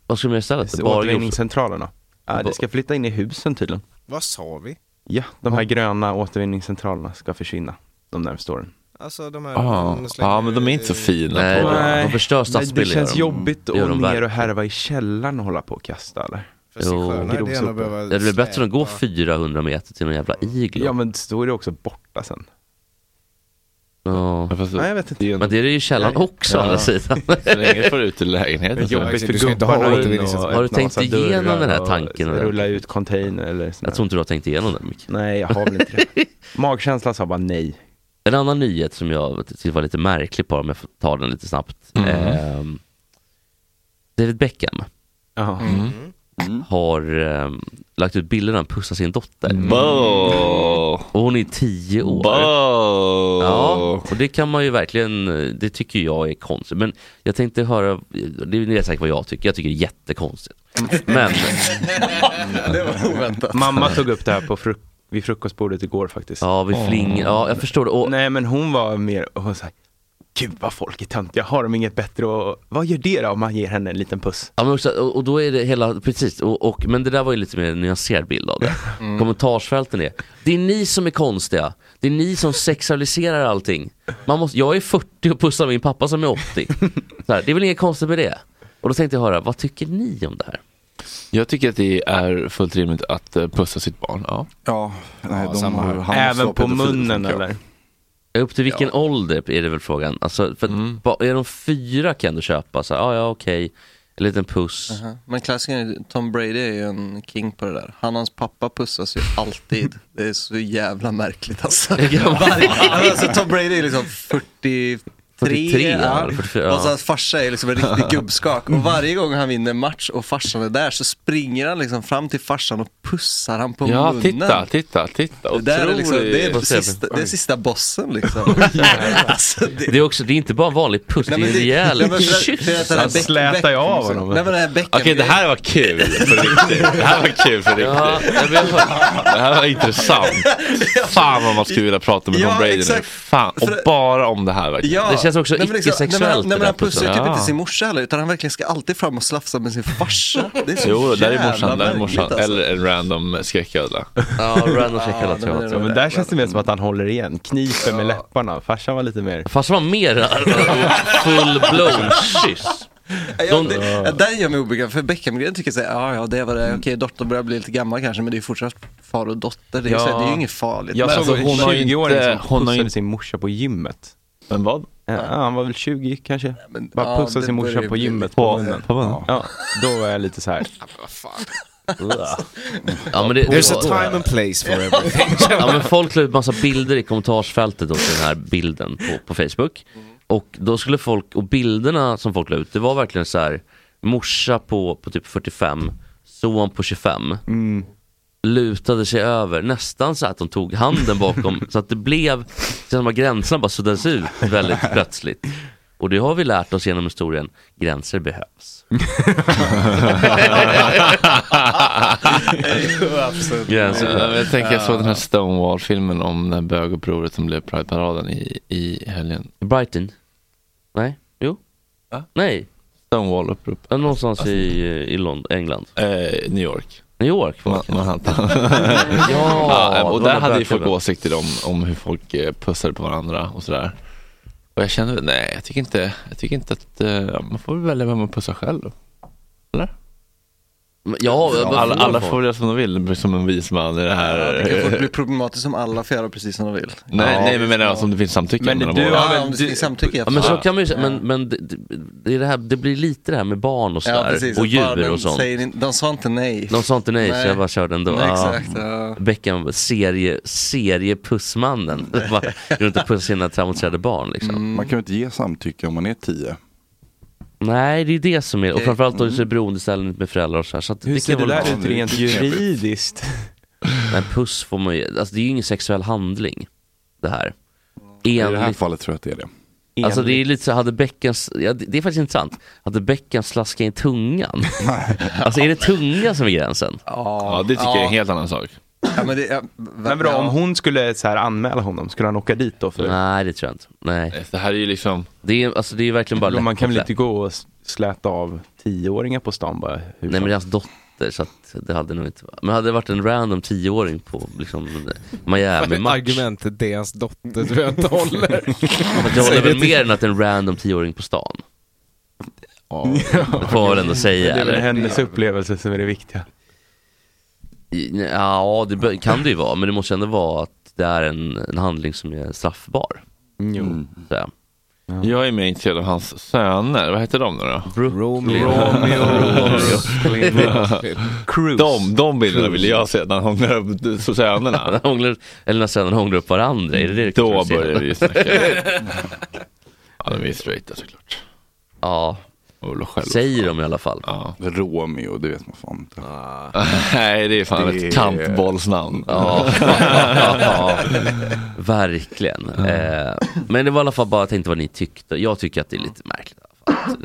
[SPEAKER 5] Vad skulle man göra istället? Bara glos?
[SPEAKER 3] Återvinningscentralerna. Ja, det ska flytta in i husen tydligen.
[SPEAKER 7] Vad sa vi?
[SPEAKER 3] Ja, de här gröna återvinningscentralerna ska försvinna de närmaste åren.
[SPEAKER 7] Alltså
[SPEAKER 5] Ah.
[SPEAKER 7] de här...
[SPEAKER 8] Ja,
[SPEAKER 7] de slänger-
[SPEAKER 8] ja, men de är inte så fina
[SPEAKER 5] Nej,
[SPEAKER 8] på...
[SPEAKER 5] de- de förstör
[SPEAKER 3] Nej, det
[SPEAKER 5] stadsbilden.
[SPEAKER 3] känns
[SPEAKER 5] gör de.
[SPEAKER 3] jobbigt
[SPEAKER 5] Det gör
[SPEAKER 3] att
[SPEAKER 5] de
[SPEAKER 3] ner
[SPEAKER 5] verkligen.
[SPEAKER 3] och härva i källaren och hålla på och kasta eller?
[SPEAKER 7] För sig
[SPEAKER 5] Jo,
[SPEAKER 7] själva, det är
[SPEAKER 3] grovsopor.
[SPEAKER 7] ändå att behöva
[SPEAKER 5] Det är väl bättre att gå
[SPEAKER 7] släpa.
[SPEAKER 5] 400 meter till någon jävla iglo?
[SPEAKER 3] Ja men då är det också borta sen.
[SPEAKER 5] Ja.
[SPEAKER 8] Ja, fast-
[SPEAKER 3] Nej jag vet inte.
[SPEAKER 8] Det är ju
[SPEAKER 5] Men det är det ju källan också å andra sidan.
[SPEAKER 8] så länge du får ut i lägenheten.
[SPEAKER 3] Men
[SPEAKER 8] så-
[SPEAKER 3] jobbigt för
[SPEAKER 7] Du ska inte ha
[SPEAKER 3] gubbarna
[SPEAKER 7] återvinningssystem.
[SPEAKER 3] och
[SPEAKER 5] Har du
[SPEAKER 3] öppna
[SPEAKER 5] tänkt
[SPEAKER 3] massa
[SPEAKER 5] igenom
[SPEAKER 3] dörrar
[SPEAKER 5] den här
[SPEAKER 3] och
[SPEAKER 5] tanken?
[SPEAKER 3] Rulla ut container eller sådär.
[SPEAKER 5] Jag tror inte du har tänkt igenom det mycket.
[SPEAKER 3] Nej, jag har väl inte det. Magkänslan sa bara nej.
[SPEAKER 5] En annan nyhet som jag tyckte var lite märklig på om jag får ta den lite snabbt.
[SPEAKER 3] Mm.
[SPEAKER 8] Mhm.
[SPEAKER 5] Ehm, David Beckham
[SPEAKER 3] Ja.
[SPEAKER 5] har ehm, lagt ut bilder när han pussar sin dotter.
[SPEAKER 8] Bo!
[SPEAKER 5] Och hon är tio år.
[SPEAKER 8] Bo!
[SPEAKER 5] Ja, och det kan man ju verkligen, det tycker jag är konstigt. Men jag tänkte höra, det ni vet säkert vad jag tycker, jag tycker det är jättekonstigt. Men
[SPEAKER 3] Mamma tog upp det här på fruk- vid frukostbordet igår faktiskt.
[SPEAKER 5] Ja, vi fling. Ja, jag förstår det. Och,
[SPEAKER 3] Nej men hon var mer, hon sa, gud vad folk är töntiga, har de inget bättre och vad gör det då om man ger henne en liten puss?
[SPEAKER 5] ja, men också, och, och då är det hela, precis. Och, och, men det där var ju lite mer en nyanserad bild av det. Kommentarsfälten är, det är ni som är konstiga. Det är ni som sexualiserar allting. Man måste, jag är 40 och pussar min pappa som är 80. Så här, det är väl inget konstigt med det. Och då tänkte jag höra, vad tycker ni om det här?
[SPEAKER 8] Jag tycker att det är fullt rimligt att eh, pussa sitt barn. Ja.
[SPEAKER 9] Ja, nej,
[SPEAKER 7] Ja,
[SPEAKER 9] de,
[SPEAKER 7] samma här.
[SPEAKER 9] han
[SPEAKER 3] Även
[SPEAKER 9] var
[SPEAKER 3] på
[SPEAKER 9] pedofil,
[SPEAKER 3] munnen
[SPEAKER 9] tänker jag.
[SPEAKER 3] eller?
[SPEAKER 5] Upp till vilken ålder är det väl frågan? Alltså, för att ba- är de fyra kan du köpa, så här, ah, ja okej, en liten puss.
[SPEAKER 4] Aha. Men klassikern, är ju- Tom Brady är ju en king på det där. Han och hans pappa pussas ju alltid. Det är så jävla märkligt alltså. Varje- alltså Tom Brady är liksom 40,
[SPEAKER 5] 43
[SPEAKER 4] ja.
[SPEAKER 5] eller 44,
[SPEAKER 4] Och så
[SPEAKER 5] ja.
[SPEAKER 4] hans farsa är liksom en riktig gubbskak. Och varje gång han vinner match och farsan är där så springer han liksom fram till farsan och pussar han på
[SPEAKER 1] Ja,
[SPEAKER 4] munnen.
[SPEAKER 1] titta, titta, titta.
[SPEAKER 4] Det, där är liksom, det, är
[SPEAKER 5] Vad säger
[SPEAKER 4] sista,
[SPEAKER 5] vi?
[SPEAKER 4] det är sista bossen liksom. alltså, det,
[SPEAKER 5] Det är också, det är inte bara en vanlig puss, det är Alltså, en
[SPEAKER 4] nej,
[SPEAKER 5] rejäl
[SPEAKER 4] men för att- för att
[SPEAKER 5] kyss.
[SPEAKER 4] den här Beck-
[SPEAKER 3] slätar jag av
[SPEAKER 4] Beck-
[SPEAKER 3] honom.
[SPEAKER 4] Nej men den här
[SPEAKER 1] Okej,
[SPEAKER 4] bäcken
[SPEAKER 1] det här var kul på riktigt. Det här var kul på
[SPEAKER 5] Ja,
[SPEAKER 1] riktigt.
[SPEAKER 5] jag vet inte.
[SPEAKER 1] Det här var intressant. Fan vad man skulle vilja prata med
[SPEAKER 4] Ja,
[SPEAKER 1] Tom Brady nu.
[SPEAKER 4] exakt.
[SPEAKER 1] Fan, och
[SPEAKER 4] För-
[SPEAKER 1] bara om det här verkligen.
[SPEAKER 4] Ja,
[SPEAKER 5] Det känns också
[SPEAKER 4] nej, men liksom,
[SPEAKER 5] icke-sexuellt,
[SPEAKER 4] Nej, men han- nej,
[SPEAKER 5] den
[SPEAKER 4] men
[SPEAKER 5] här
[SPEAKER 4] han pussar ju
[SPEAKER 5] pussen.
[SPEAKER 4] typ
[SPEAKER 1] Ja.
[SPEAKER 4] inte sin morsa heller, utan han verkligen ska alltid fram och slafsa med sin farsa. Det är så
[SPEAKER 1] Jo, där är morsan,
[SPEAKER 4] jävla
[SPEAKER 1] där är morsan.
[SPEAKER 4] märkligt, alltså.
[SPEAKER 1] Eller en random skräcködla.
[SPEAKER 5] Ja, random check alla tror
[SPEAKER 4] Ja, det
[SPEAKER 5] jag.
[SPEAKER 4] var
[SPEAKER 3] Ja,
[SPEAKER 4] det.
[SPEAKER 3] men där känns det mer som att han håller igen, kniper med läpparna. Farsan var lite mer...
[SPEAKER 5] Fast det var mer full-blown kyss.
[SPEAKER 4] Ja, det, ja, där gör mig obekväm, för Beckham-grejen tycker jag så här, ja ja det var det,
[SPEAKER 5] Mm.
[SPEAKER 4] okej dottern börjar bli lite gammal kanske, men det är ju fortsatt far och dotter, det är, ju
[SPEAKER 1] Ja.
[SPEAKER 4] så här, det är ju inget farligt.
[SPEAKER 1] Jag
[SPEAKER 4] Men-
[SPEAKER 1] såg-
[SPEAKER 3] Alltså,
[SPEAKER 1] hon
[SPEAKER 3] hon
[SPEAKER 1] har ju
[SPEAKER 3] 20-åring
[SPEAKER 1] inte-
[SPEAKER 3] som
[SPEAKER 4] liksom
[SPEAKER 1] hon har ju
[SPEAKER 3] pussade
[SPEAKER 1] inte-
[SPEAKER 3] sin morsa på gymmet.
[SPEAKER 1] Men vad?
[SPEAKER 3] Ja, han var väl 20 kanske.
[SPEAKER 4] men-
[SPEAKER 3] Bara
[SPEAKER 4] ja,
[SPEAKER 3] pussa
[SPEAKER 4] det
[SPEAKER 3] sin
[SPEAKER 4] börjar
[SPEAKER 3] morsa
[SPEAKER 4] ju
[SPEAKER 3] på
[SPEAKER 4] bli
[SPEAKER 3] gymmet
[SPEAKER 4] lite-
[SPEAKER 3] på munnen.
[SPEAKER 1] På munnen?
[SPEAKER 3] Ja, då var jag lite så här.
[SPEAKER 5] Ja, men det,
[SPEAKER 7] There's a time and place for everything.
[SPEAKER 5] Ja men folk la ut massa bilder i kommentarsfältet åt den här bilden på, på Facebook. Och då skulle folk, och bilderna som folk la ut, det var verkligen så här morsa på, på typ 45, son på 25.
[SPEAKER 9] Mm.
[SPEAKER 5] Lutade sig över, nästan så att de tog handen bakom, så att det blev, så att de här gränserna bara suddades ut väldigt plötsligt. Och det har vi lärt oss genom historien, gränser behövs. Gränser
[SPEAKER 1] Ja,
[SPEAKER 5] behövs.
[SPEAKER 1] men jag tänker jag såg den här Stonewall-filmen om det här bögupproret som blev Pride-paraden i, i helgen.
[SPEAKER 5] Brighton? Nej? Jo? Nej,
[SPEAKER 1] Stonewall-upprop. Alltså-
[SPEAKER 5] Ja, Någonstans i, i Lond- England.
[SPEAKER 1] Eh, New York.
[SPEAKER 5] New York.
[SPEAKER 1] Ma- Manhattan.
[SPEAKER 5] Ja,
[SPEAKER 1] och
[SPEAKER 5] det var
[SPEAKER 1] där hade ju folk
[SPEAKER 5] verkligen.
[SPEAKER 1] åsikter om, om hur folk eh, pussade på varandra och sådär. Och jag kände, nej jag tycker inte, jag tycker inte att eh, man får väl välja vem man pussar själv.
[SPEAKER 5] Men- Ja, vad
[SPEAKER 1] Alla,
[SPEAKER 5] får
[SPEAKER 1] alla
[SPEAKER 5] folk?
[SPEAKER 1] får väl göra som de vill, som en vis man i det här.
[SPEAKER 4] Ja, det kan fort bli problematiskt om alla får göra precis som de vill.
[SPEAKER 1] nej, nej men menar jag som det finns samtycke
[SPEAKER 3] Men
[SPEAKER 1] mellan
[SPEAKER 3] du
[SPEAKER 1] båda.
[SPEAKER 3] har-
[SPEAKER 4] Ja,
[SPEAKER 3] men
[SPEAKER 4] om det
[SPEAKER 3] du-
[SPEAKER 4] finns samtycke
[SPEAKER 5] Ja, men så
[SPEAKER 1] Ja.
[SPEAKER 5] kan man ju säga, men, men det, det- det, är det, här, det blir lite det här med barn och
[SPEAKER 4] Ja,
[SPEAKER 5] sådär,
[SPEAKER 4] precis.
[SPEAKER 5] och
[SPEAKER 4] Bara
[SPEAKER 5] djur
[SPEAKER 4] de
[SPEAKER 5] och sånt.
[SPEAKER 4] säger in- De sa inte nej.
[SPEAKER 5] De sa inte nej,
[SPEAKER 4] Nej.
[SPEAKER 5] så jag bara körde ändå.
[SPEAKER 4] Nej,
[SPEAKER 5] Ja.
[SPEAKER 4] exakt, ja.
[SPEAKER 5] Beckham, serie, seriepussmannen. Bara Runt och pussar sina traumatiserade barn liksom.
[SPEAKER 4] Mm.
[SPEAKER 9] Man kan ju inte ge samtycke om man är tio.
[SPEAKER 5] Nej, det är det som är, och
[SPEAKER 4] Okej. Mm.
[SPEAKER 5] framförallt då är det beroendeställning med föräldrar och sådär. Så att
[SPEAKER 3] Hur
[SPEAKER 5] det
[SPEAKER 3] ser
[SPEAKER 5] kan
[SPEAKER 3] det
[SPEAKER 5] vara
[SPEAKER 3] där
[SPEAKER 9] Ja,
[SPEAKER 3] ut
[SPEAKER 9] det är
[SPEAKER 3] rent
[SPEAKER 9] lite knepigt.
[SPEAKER 3] juridiskt?
[SPEAKER 5] Men puss får man ju, alltså det är ju ingen sexuell handling det här.
[SPEAKER 9] I det här
[SPEAKER 5] Enligt
[SPEAKER 9] fallet tror jag att det är det.
[SPEAKER 5] Alltså det är lite så, hade bäcken, ja, det, det är faktiskt intressant, hade bäcken slaskat in tungan? alltså är det tungan som är gränsen?
[SPEAKER 1] Ja det tycker jag är en helt annan sak.
[SPEAKER 4] Ja, men det, ja,
[SPEAKER 3] Men bra, om hon skulle så här anmäla honom, skulle han åka dit då? För
[SPEAKER 5] Nej det tror jag inte, nej.
[SPEAKER 1] Det här är ju liksom,
[SPEAKER 5] Det är, alltså, det är verkligen bara
[SPEAKER 3] Men man kan väl
[SPEAKER 5] lätt-
[SPEAKER 3] inte gå och s- släta av tioåringar på stan bara?
[SPEAKER 5] Nej men
[SPEAKER 3] Hur som-
[SPEAKER 5] det är hans dotter så att det hade nog inte Men hade det varit en random tioåring på liksom Miami-match,
[SPEAKER 7] Argumentet det är hans dotter tror jag inte håller.
[SPEAKER 5] Fast jag håller väl mer än att en random tioåring på stan. Det får man väl ändå säga
[SPEAKER 3] det är väl
[SPEAKER 5] eller?
[SPEAKER 3] hennes upplevelse som är det viktiga.
[SPEAKER 5] I- Ja det bör- kan det ju vara, men det måste ändå vara att det är en, en handling som är straffbar. Mm.
[SPEAKER 3] Jo.
[SPEAKER 5] Så här.
[SPEAKER 1] jag är mer intresserad av hans söner, vad heter de nu då?
[SPEAKER 3] Cruise.
[SPEAKER 1] De, de bilderna ville jag se när han hånglar upp sönerna.
[SPEAKER 5] När hånglar, eller när sönerna hånglar upp varandra, är det det du
[SPEAKER 1] Då
[SPEAKER 5] kanske vill se?
[SPEAKER 1] börjar vi ju snacka. Ja, de är ju straighta såklart.
[SPEAKER 5] Ja,
[SPEAKER 1] Och väl själv.
[SPEAKER 5] säger de i alla fall. Ah,
[SPEAKER 1] Ja.
[SPEAKER 9] Romeo, det vet man fan inte.
[SPEAKER 1] Nej, det är fan
[SPEAKER 9] Det är-
[SPEAKER 1] ett kantbollsnamn.
[SPEAKER 5] Ja, ja, verkligen. Eh, men det var i alla fall bara, jag tänkte vad ni tyckte. Jag tycker att det är lite märkligt. i alla fall.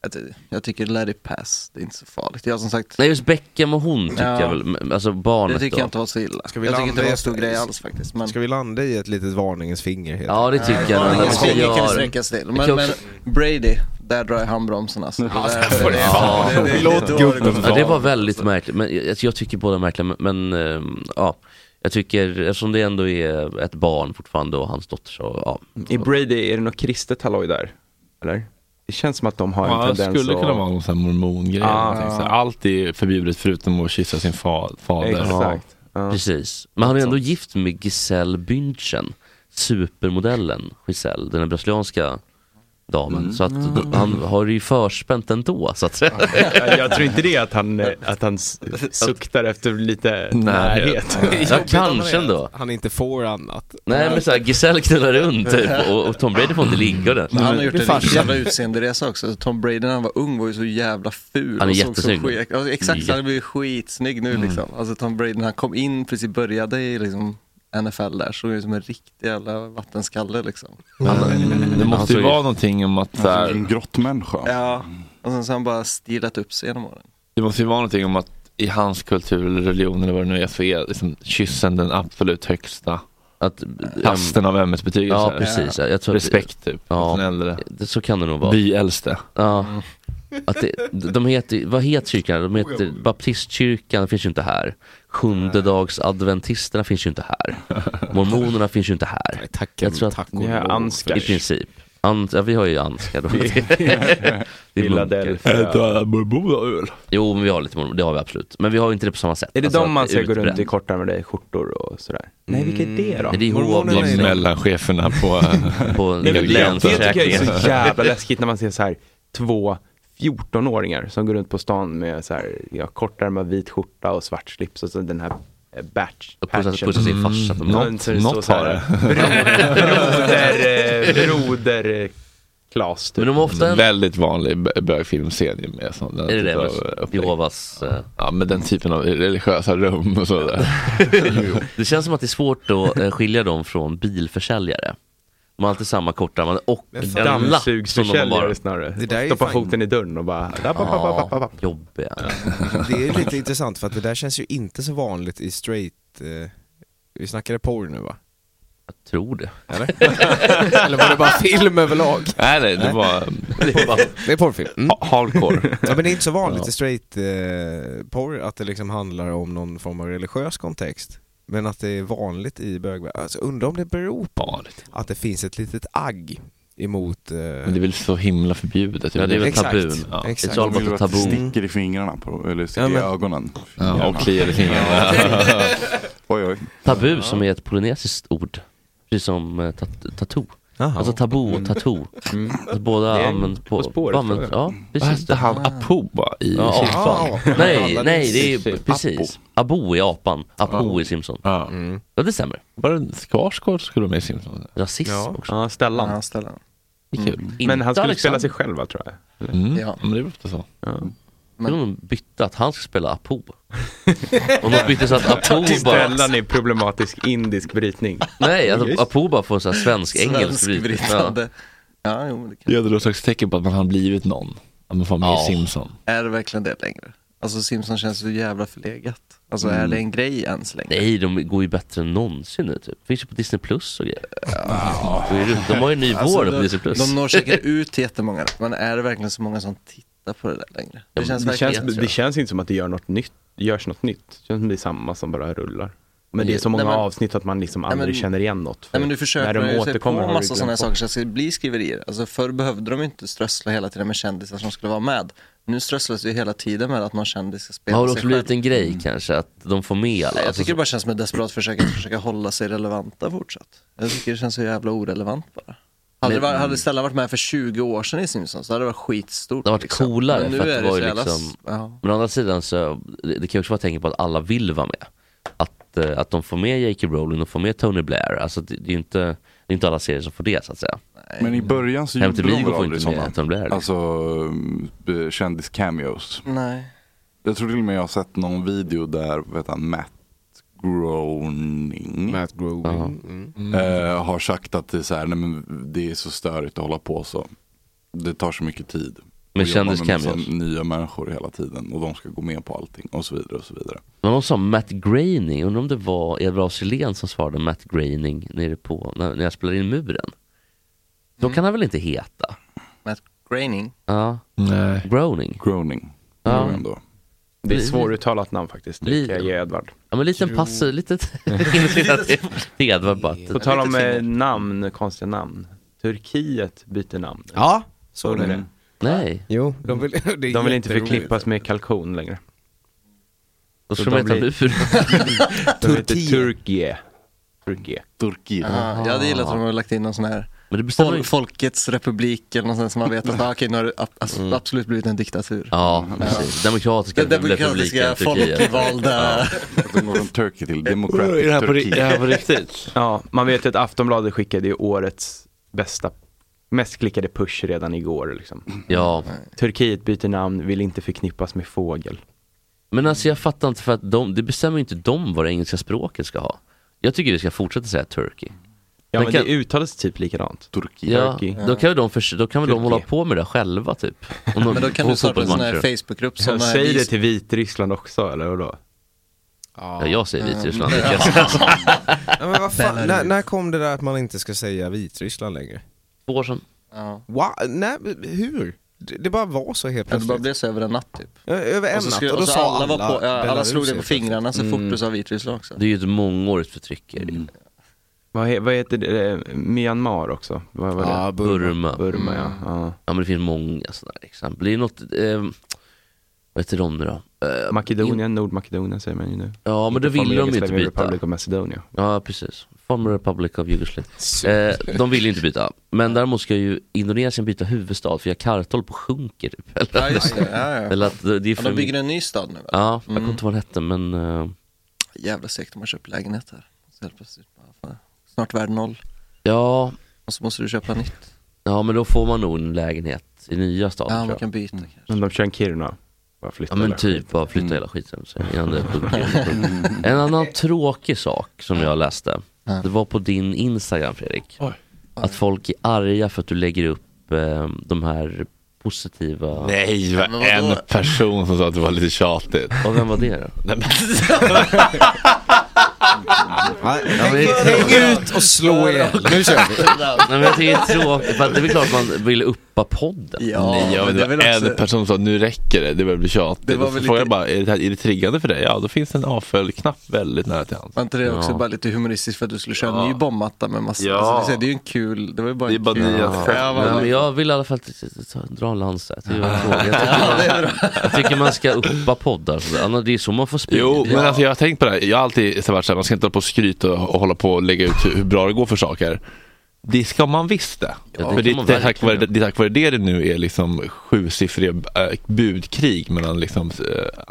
[SPEAKER 4] Jag, ty- jag tycker let it pass, det är inte så farligt. Jag som sagt,
[SPEAKER 5] Nej, just Beckham och hon tycker
[SPEAKER 4] Ja.
[SPEAKER 5] jag väl, men- alltså barnet
[SPEAKER 4] det tycker
[SPEAKER 5] då.
[SPEAKER 4] jag inte var så illa.
[SPEAKER 7] Ska vi
[SPEAKER 4] jag tycker
[SPEAKER 7] landa
[SPEAKER 4] inte det var
[SPEAKER 7] i
[SPEAKER 4] en
[SPEAKER 7] ett-
[SPEAKER 4] stor grej alls faktiskt. Men...
[SPEAKER 7] Ska vi landa i ett litet varningens finger? Helt?
[SPEAKER 5] Ja, det tycker jag. nog att vi
[SPEAKER 4] Varningens
[SPEAKER 5] ska
[SPEAKER 4] finger kan
[SPEAKER 5] göra.
[SPEAKER 4] sträckas till.
[SPEAKER 5] Jag kan
[SPEAKER 4] Men, men Brady, där drar jag handbromsen alltså. Det där-
[SPEAKER 5] Ja.
[SPEAKER 4] det- det- det-
[SPEAKER 7] Låt
[SPEAKER 4] det- det-
[SPEAKER 7] gubben
[SPEAKER 5] Ja, det var väldigt märkligt, men jag, jag tycker båda är märkliga, men, men ehm, ja. Jag tycker, eftersom det ändå är ett barn fortfarande och hans dotter så, ja.
[SPEAKER 3] I Brady, är det något kristet halloj där? Eller? Det känns som att de har en
[SPEAKER 1] Ja, det
[SPEAKER 3] tendens
[SPEAKER 1] skulle
[SPEAKER 3] att...
[SPEAKER 1] kunna vara någon sån här mormongrej.
[SPEAKER 3] Ah.
[SPEAKER 1] eller någonting så här. Allt är förbjudet förutom att kyssa sin fa fader.
[SPEAKER 3] Exakt. Ja.
[SPEAKER 5] Precis. Men han är ändå gift med Giselle Bündchen, supermodellen Giselle, den här brasilianska damen.
[SPEAKER 3] Mm.
[SPEAKER 5] Så att han har det ju förspänt ändå så att säga.
[SPEAKER 3] Jag tror inte det att han, eh, att han s- suktar efter lite närhet.
[SPEAKER 5] Ja, kanske ändå.
[SPEAKER 7] Han inte får annat.
[SPEAKER 5] Nej men såhär, Giselle knullar runt typ och, och Tom Brady får inte ligga ordentligt.
[SPEAKER 4] Men han har gjort
[SPEAKER 7] Min
[SPEAKER 4] en
[SPEAKER 7] farsa.
[SPEAKER 4] riktigt jävla utseenderesa också. Tom Brady när han var ung var ju så jävla ful.
[SPEAKER 5] Han är
[SPEAKER 4] och såg
[SPEAKER 5] jättesnygg
[SPEAKER 4] Så
[SPEAKER 5] nu. Mm.
[SPEAKER 4] skek- alltså, exakt,
[SPEAKER 5] Jätte-
[SPEAKER 4] han har blivit skitsnygg nu liksom. Alltså Tom Brady när han kom in, precis började i liksom NFL där, såg ju ut som en riktig jävla vattenskalle liksom.
[SPEAKER 8] Det måste ju
[SPEAKER 3] Alltså,
[SPEAKER 5] såg ju-
[SPEAKER 8] vara någonting om att så
[SPEAKER 9] Alltså,
[SPEAKER 8] här,
[SPEAKER 9] en grottmänniska.
[SPEAKER 4] Ja. Och sen så har han bara stilat upp sig genom åren.
[SPEAKER 8] Det måste ju vara någonting om att i hans kultur eller religion eller vad det nu är så är liksom kyssen den absolut högsta
[SPEAKER 5] Att,
[SPEAKER 8] kasten av ämnesbetygelser.
[SPEAKER 5] ja precis, jag tror att-
[SPEAKER 8] Respekt typ,
[SPEAKER 5] Ja.
[SPEAKER 8] ja. den äldre.
[SPEAKER 5] Det, så kan det nog vara.
[SPEAKER 8] By äldste.
[SPEAKER 5] Ja. Att det, de heter, vad heter kyrkan? De heter baptistkyrkan finns ju inte här. Sjundedagsadventisterna finns ju inte här. Mormonerna finns ju inte här.
[SPEAKER 7] Tack,
[SPEAKER 5] Jag tror att-
[SPEAKER 7] tack
[SPEAKER 3] Ja, anskar.
[SPEAKER 5] I princip. An, ja, vi har ju anskar då. Det är munkar.
[SPEAKER 3] Philadelphia.
[SPEAKER 5] Jo, men vi har lite mormoner, det har vi absolut. Men vi har ju inte det på samma sätt.
[SPEAKER 3] Är det
[SPEAKER 5] Alltså,
[SPEAKER 3] de man
[SPEAKER 5] att
[SPEAKER 3] ska gå runt i
[SPEAKER 5] utbrett.
[SPEAKER 3] kortärmade skjortor och sådär? Nej, vilka är det då?
[SPEAKER 5] Nej, det Mm. är
[SPEAKER 7] Mormonerna är-
[SPEAKER 5] Jehovas
[SPEAKER 8] Mellancheferna på...
[SPEAKER 5] på
[SPEAKER 3] Nej, men det, det tycker jag
[SPEAKER 5] länsförsäkringen.
[SPEAKER 3] är så jävla läskigt när man ser så här två 14-åringar som går runt på stan med så här, ja, kortärmad vit skjorta och svart slips och så den här eh, batch Mm.
[SPEAKER 5] Och pussa- pussa sin farsa på munnen.
[SPEAKER 3] Något,
[SPEAKER 8] något har det.
[SPEAKER 3] Broder, eh, broder eh, Klas
[SPEAKER 5] Men
[SPEAKER 3] typ.
[SPEAKER 5] de har ofta en...
[SPEAKER 8] väldigt vanlig bö- bögfilmscen ju med sån där
[SPEAKER 5] Är det det?
[SPEAKER 8] typ av
[SPEAKER 5] med
[SPEAKER 8] upplägg.
[SPEAKER 5] Jehovas... eh,
[SPEAKER 8] Ja men den typen av religiösa rum och sådär.
[SPEAKER 5] Det känns som att det är svårt att eh, skilja dem från bilförsäljare. De har alltid samma kortärmade och
[SPEAKER 7] Men
[SPEAKER 5] en lapp som
[SPEAKER 7] fan,
[SPEAKER 5] de bara...
[SPEAKER 3] Dammsugsförsäljare snarare.
[SPEAKER 7] Det där är ju
[SPEAKER 3] Stoppa
[SPEAKER 7] fan-
[SPEAKER 3] foten i dörren och bara...
[SPEAKER 5] Ja, jobbiga.
[SPEAKER 7] Det är lite intressant för att det där känns ju inte så vanligt i straight... Eh, vi snackade porr nu va?
[SPEAKER 5] Jag tror det.
[SPEAKER 7] Eller? Eller var det bara film överlag?
[SPEAKER 8] nej nej, det var
[SPEAKER 5] det är bara,
[SPEAKER 7] Det är porrfilm. Mm.
[SPEAKER 8] ha- hardcore.
[SPEAKER 7] Ja, men det är inte så vanligt i straight eh, porr att det liksom handlar om någon form av religiös kontext. Men att det är vanligt i bögvärlden. Alltså, undrar om det beror på
[SPEAKER 8] Vanligt.
[SPEAKER 7] att det finns ett litet agg emot... Eh,
[SPEAKER 8] Men det är väl så himla förbjudet.
[SPEAKER 5] Ja, det är väl
[SPEAKER 7] Exakt.
[SPEAKER 5] tabun.
[SPEAKER 8] Ja.
[SPEAKER 7] Exakt.
[SPEAKER 5] It's all
[SPEAKER 9] De vill
[SPEAKER 5] about
[SPEAKER 9] ju
[SPEAKER 5] the
[SPEAKER 9] att det
[SPEAKER 5] taboo.
[SPEAKER 9] sticker i fingrarna, på, eller sticker
[SPEAKER 7] Ja, men-
[SPEAKER 9] i ögonen.
[SPEAKER 8] Ja, och kliar i fingrarna.
[SPEAKER 9] Oj, oj.
[SPEAKER 5] Tabu som är ett polynesiskt ord. Precis som eh, tat- tattoo.
[SPEAKER 7] Jaha. Mm.
[SPEAKER 5] Alltså tabu och tattoo. Alltså båda
[SPEAKER 3] Det är
[SPEAKER 5] används på...
[SPEAKER 3] På spåret,
[SPEAKER 5] på använt,
[SPEAKER 3] tror
[SPEAKER 5] ja,
[SPEAKER 8] Vad
[SPEAKER 5] precis.
[SPEAKER 8] hette
[SPEAKER 5] Det.
[SPEAKER 8] han? Apoba i
[SPEAKER 5] Ja, apan.
[SPEAKER 7] Ja,
[SPEAKER 5] Nej, nej, det är
[SPEAKER 8] Simpsons.
[SPEAKER 5] precis. Abo är apan. Apo är Simpson.
[SPEAKER 8] Ja.
[SPEAKER 4] Mm.
[SPEAKER 3] Mm.
[SPEAKER 5] Ja, det stämmer.
[SPEAKER 8] Mm. Var det Skarsgård skulle vara med i Simpsons?
[SPEAKER 5] Rasism
[SPEAKER 7] Ja.
[SPEAKER 5] också.
[SPEAKER 3] Ja, Stellan. Mm.
[SPEAKER 4] Ja, ställen.
[SPEAKER 8] Det är kul.
[SPEAKER 3] Men han skulle spela
[SPEAKER 5] Alexander.
[SPEAKER 3] sig själv va, tror jag.
[SPEAKER 8] Mm.
[SPEAKER 4] Ja.
[SPEAKER 8] Men det är ofta så.
[SPEAKER 5] Men de bytte att han ska spela Apo. Om de bytte så att Apo bara...
[SPEAKER 3] Stellan är problematisk indisk brytning.
[SPEAKER 5] Nej, att Apo bara får så här svensk-engelsk brytning. Ja.
[SPEAKER 4] Svenskbrytande. Ja, jo, men det kan.
[SPEAKER 8] Det är någon slags tecken på att man har blivit någon. Att man får med
[SPEAKER 5] Ja.
[SPEAKER 8] i Simpson.
[SPEAKER 4] Är det verkligen det längre? Alltså Simpson känns så jävla förlegat. Alltså
[SPEAKER 5] Mm.
[SPEAKER 4] är det en grej ens längre?
[SPEAKER 5] Nej, de går ju bättre än någonsin nu typ. Finns ju på Disney Plus och grejer. Det är ju- De har ju en ny
[SPEAKER 4] Alltså,
[SPEAKER 5] vår på Disney
[SPEAKER 4] de,
[SPEAKER 5] Plus.
[SPEAKER 4] de når säkert ut till jättemånga, men är det verkligen så många som tittar på det där längre? Det känns
[SPEAKER 3] Det
[SPEAKER 4] verkligen
[SPEAKER 3] känns,
[SPEAKER 4] tror jag.
[SPEAKER 3] det känns inte som att det gör något nytt, görs något nytt. Det känns som det är samma som bara rullar. Men det är så
[SPEAKER 4] Nej,
[SPEAKER 3] många
[SPEAKER 4] men-
[SPEAKER 3] avsnitt att man liksom aldrig
[SPEAKER 4] men-
[SPEAKER 3] känner igen något. För
[SPEAKER 4] Nej men nu försöker de ju sig på
[SPEAKER 3] har liksom du
[SPEAKER 4] massa
[SPEAKER 3] glömt
[SPEAKER 4] sådana
[SPEAKER 3] bort.
[SPEAKER 4] saker så att det blir skriverier. Alltså förr behövde de ju inte strössla hela tiden med kändisar som skulle vara med. Nu strösslas det ju hela tiden med att någon kändis ska spela
[SPEAKER 5] Har det
[SPEAKER 4] sig
[SPEAKER 5] också
[SPEAKER 4] själv.
[SPEAKER 5] blivit en grej kanske, att de får med alla?
[SPEAKER 4] Nej, jag
[SPEAKER 5] Alltså,
[SPEAKER 4] tycker det bara känns som ett desperat försök att försöka hålla sig relevanta fortsatt. Jag tycker det känns så jävla orelevant bara. Hade, det var, hade Stellan varit med för 20 år sedan i Simpsons, så hade det varit skitstort. liksom.
[SPEAKER 5] Det hade varit coolare,
[SPEAKER 4] Men nu
[SPEAKER 5] för att
[SPEAKER 4] är
[SPEAKER 5] det var
[SPEAKER 4] så
[SPEAKER 5] ju
[SPEAKER 4] jävla-
[SPEAKER 5] liksom-
[SPEAKER 4] Ja.
[SPEAKER 5] Men å andra sidan så, det det kan ju också vara ett tecken på att alla vill vara med. Att, eh, att de får med J.K. Rowling, de får med Tony Blair. Alltså det, det är ju inte, det är inte alla serier som får det så att säga.
[SPEAKER 9] Men i början så
[SPEAKER 5] Hem
[SPEAKER 9] gjorde
[SPEAKER 5] till
[SPEAKER 9] de
[SPEAKER 5] Vigo
[SPEAKER 9] väl
[SPEAKER 5] får
[SPEAKER 9] aldrig
[SPEAKER 5] inte med
[SPEAKER 9] sådana.
[SPEAKER 5] Tony Blair. Liksom.
[SPEAKER 9] Alltså mm, b- kändis-cameos.
[SPEAKER 4] Nej.
[SPEAKER 9] Jag tror till och med jag har sett någon video där, vet han, Matt Groening
[SPEAKER 7] Matt Groening. Mm.
[SPEAKER 9] eh, har sagt att det är så här, nej men det är så störigt att hålla på så. Det tar så mycket tid.
[SPEAKER 5] Med
[SPEAKER 9] Och jobba med
[SPEAKER 5] kändiscameos.
[SPEAKER 9] massa nya människor hela tiden och de ska gå med på allting och så vidare och så vidare.
[SPEAKER 5] Men någon sa Matt Groening, undrar om det var Edvard af Sillén som svarade Matt Groening nere på, när, när jag spelade in muren. Så
[SPEAKER 9] Mm.
[SPEAKER 5] kan han väl inte heta?
[SPEAKER 4] Matt Groening.
[SPEAKER 5] Ja,
[SPEAKER 8] Nej.
[SPEAKER 5] Groening.
[SPEAKER 9] Groening.
[SPEAKER 5] Ja.
[SPEAKER 9] tror jag Ändå.
[SPEAKER 3] Det är svåruttalat namn faktiskt, det kan jag ge Edvard.
[SPEAKER 5] Ja men liten pass, litet... till Edvard bara.
[SPEAKER 3] På tal om eh, namn, konstiga namn. Turkiet byter namn.
[SPEAKER 7] Ja, så
[SPEAKER 3] Såg ni
[SPEAKER 7] är det.
[SPEAKER 3] det?
[SPEAKER 5] Nej,
[SPEAKER 7] Jo, de vill, det är
[SPEAKER 3] De vill inte
[SPEAKER 7] jätteroligt.
[SPEAKER 3] förklippas med kalkon längre.
[SPEAKER 5] då
[SPEAKER 3] Så
[SPEAKER 5] ska man
[SPEAKER 3] de
[SPEAKER 5] heta
[SPEAKER 3] blir-
[SPEAKER 5] bur.
[SPEAKER 3] De heter Turkiet. Turkiet.
[SPEAKER 9] Turkiet.
[SPEAKER 4] Ah, Jag hade gillat om de hade lagt in någon sån här
[SPEAKER 5] Men det bestämmer
[SPEAKER 4] Fol-
[SPEAKER 5] ju-
[SPEAKER 4] Folkets republik eller någonstans som man vet att ah, okej, nu har det ab- abs-
[SPEAKER 5] Mm.
[SPEAKER 4] absolut blivit en diktatur.
[SPEAKER 5] Ja, precis. Demokratiska
[SPEAKER 4] Den demokratiska
[SPEAKER 5] republiken Turkiet.
[SPEAKER 4] folkvalda.
[SPEAKER 9] Att de går från Turkey till Democratic
[SPEAKER 8] Är det här på, ri- är det
[SPEAKER 9] Turkey.
[SPEAKER 8] här på riktigt?
[SPEAKER 3] Ja, man vet ju att Aftonbladet skickade ju årets bästa, mest klickade push redan igår liksom.
[SPEAKER 5] Ja,
[SPEAKER 3] Turkiet byter namn, vill inte förknippas med fågel.
[SPEAKER 5] men alltså jag fattar inte för att de, det bestämmer ju inte de vad det engelska språket ska ha. Jag tycker vi ska fortsätta säga Turkey.
[SPEAKER 3] Ja
[SPEAKER 5] Den
[SPEAKER 3] men
[SPEAKER 5] kan-
[SPEAKER 3] det uttalas typ likadant.
[SPEAKER 9] Turkey.
[SPEAKER 5] Ja,
[SPEAKER 3] Turkey.
[SPEAKER 5] då kan väl de, förs- då kan väl de
[SPEAKER 3] Turkey.
[SPEAKER 5] hålla på med det själva typ. Om de-
[SPEAKER 4] Men då kan
[SPEAKER 5] på
[SPEAKER 4] du starta en sån här
[SPEAKER 5] fotbollsmatcher.
[SPEAKER 4] Facebookgrupp som
[SPEAKER 3] Jag
[SPEAKER 4] är
[SPEAKER 3] säger
[SPEAKER 4] vi-
[SPEAKER 3] det till Vitryssland också eller vadå?
[SPEAKER 5] Ja, jag säger Vitryssland. Det känns-
[SPEAKER 7] Ja, men vad fan, när, när kom det där att man inte ska säga Vitryssland längre?
[SPEAKER 5] Två år sedan.
[SPEAKER 4] Ja.
[SPEAKER 7] Wow, nej, hur? Det, det bara var så helt
[SPEAKER 4] Det bara
[SPEAKER 7] plötsligt.
[SPEAKER 4] blev så över en natt typ.
[SPEAKER 7] Ö- Över en
[SPEAKER 4] Och så, skulle,
[SPEAKER 7] natt, och då
[SPEAKER 4] och så
[SPEAKER 7] sa
[SPEAKER 4] alla,
[SPEAKER 7] alla
[SPEAKER 4] var på, ja, alla
[SPEAKER 7] Belarus
[SPEAKER 4] slog det på
[SPEAKER 7] helt plötsligt.
[SPEAKER 4] fingrarna så
[SPEAKER 5] Mm.
[SPEAKER 4] fort du sa Vitryssland också.
[SPEAKER 5] Det är ju ett mångårigt förtryck. är det
[SPEAKER 3] Mm.
[SPEAKER 5] ju.
[SPEAKER 3] Vad, he, vad heter det? Eh, Myanmar också? Vad var det?
[SPEAKER 7] Ja, Burma.
[SPEAKER 5] Burma. Mm.
[SPEAKER 3] Burma ja. ja.
[SPEAKER 5] Ja men det finns många sådana här exempel. Det är något, eh, vad heter de nu då? Eh,
[SPEAKER 3] Makedonien, Nordmakedonien säger man ju nu.
[SPEAKER 5] ja men då ville de ju inte
[SPEAKER 3] Islamic
[SPEAKER 5] byta.
[SPEAKER 3] Republic of Macedonia.
[SPEAKER 5] Ja precis. Former Republic of Yugoslavia. Eh, de vill ju inte byta. Men däremot ska ju Indonesien byta huvudstad för Jakarta håller på och sjunker typ. Eller,
[SPEAKER 4] Ja just det, ja, ja.
[SPEAKER 5] eller att det är
[SPEAKER 4] Ja,
[SPEAKER 5] för
[SPEAKER 4] de
[SPEAKER 5] mycket.
[SPEAKER 4] bygger en ny stad nu va? Mm.
[SPEAKER 5] Ja, jag kommer inte ihåg vad den hette men eh,
[SPEAKER 4] Jävla segt om man köper lägenhet här. Så helt plötsligt bara, fan, snart värd noll.
[SPEAKER 5] ja,
[SPEAKER 4] Och så måste du köpa nytt.
[SPEAKER 5] ja men då får man nog en lägenhet i nya staden
[SPEAKER 4] Ja,
[SPEAKER 5] tror
[SPEAKER 4] man
[SPEAKER 5] jag.
[SPEAKER 4] kan byta kanske.
[SPEAKER 3] Men de kör en Kiruna. Bara flytta
[SPEAKER 5] Ja men
[SPEAKER 3] hela skiten.
[SPEAKER 5] typ bara flytta hela skiten så innan det sjunker. En annan tråkig sak som jag läste,
[SPEAKER 4] Ja.
[SPEAKER 5] det var på din Instagram Fredrik. Att folk är arga för att du lägger upp eh, de här positiva...
[SPEAKER 1] Nej, det
[SPEAKER 4] Men
[SPEAKER 1] var
[SPEAKER 4] vadå?
[SPEAKER 1] en person som sa att det var lite tjatigt.
[SPEAKER 5] Och vem var det då?
[SPEAKER 1] Nej, men,
[SPEAKER 7] Häng ut och slå er. Nu kör vi.
[SPEAKER 5] Nej men jag tycker det är tråkigt, för att det är väl klart man vill uppa podden.
[SPEAKER 4] Ja,
[SPEAKER 1] nej, jag
[SPEAKER 4] men det, är
[SPEAKER 1] vet, det
[SPEAKER 4] väl
[SPEAKER 1] var en
[SPEAKER 4] också,
[SPEAKER 1] person som sa nu räcker det, det börjar bli tjatigt.
[SPEAKER 4] Det var
[SPEAKER 1] Och så
[SPEAKER 4] väl
[SPEAKER 1] frågade
[SPEAKER 4] lite-
[SPEAKER 1] jag bara, är det, här, är det triggande för dig? Ja, då finns det en avföljd-knapp väldigt nära till hands.
[SPEAKER 4] var inte det också
[SPEAKER 5] Ja.
[SPEAKER 4] bara lite humoristiskt för att du skulle köra en ny
[SPEAKER 1] Ja.
[SPEAKER 4] bombmatta med massa,
[SPEAKER 1] Ja.
[SPEAKER 4] alltså, det, är- det är ju en kul, det var ju bara
[SPEAKER 1] Det är
[SPEAKER 4] en
[SPEAKER 1] bara
[SPEAKER 4] kul.
[SPEAKER 1] nya
[SPEAKER 4] ja.
[SPEAKER 1] skämt.
[SPEAKER 4] Ja,
[SPEAKER 5] Men,
[SPEAKER 4] men,
[SPEAKER 5] jag vill i alla fall t- t- ta- dra en lans där. Jag tycker, det var en fråga. jag, tycker man, jag tycker man ska uppa poddar, så där. Annars det är så man får spridning.
[SPEAKER 1] Jo, men alltså jag har tänkt på det här. Jag har alltid så här varit så här, man ska inte hålla på och skryta och, och hålla på och lägga ut hur, hur bra det går för saker. Det ska man visst det.
[SPEAKER 5] Ja, det
[SPEAKER 1] för det,
[SPEAKER 5] kan man
[SPEAKER 1] det, är tack vare,
[SPEAKER 5] verkligen.
[SPEAKER 1] det är tack vare det det nu är liksom sjusiffriga äh, budkrig mellan liksom äh,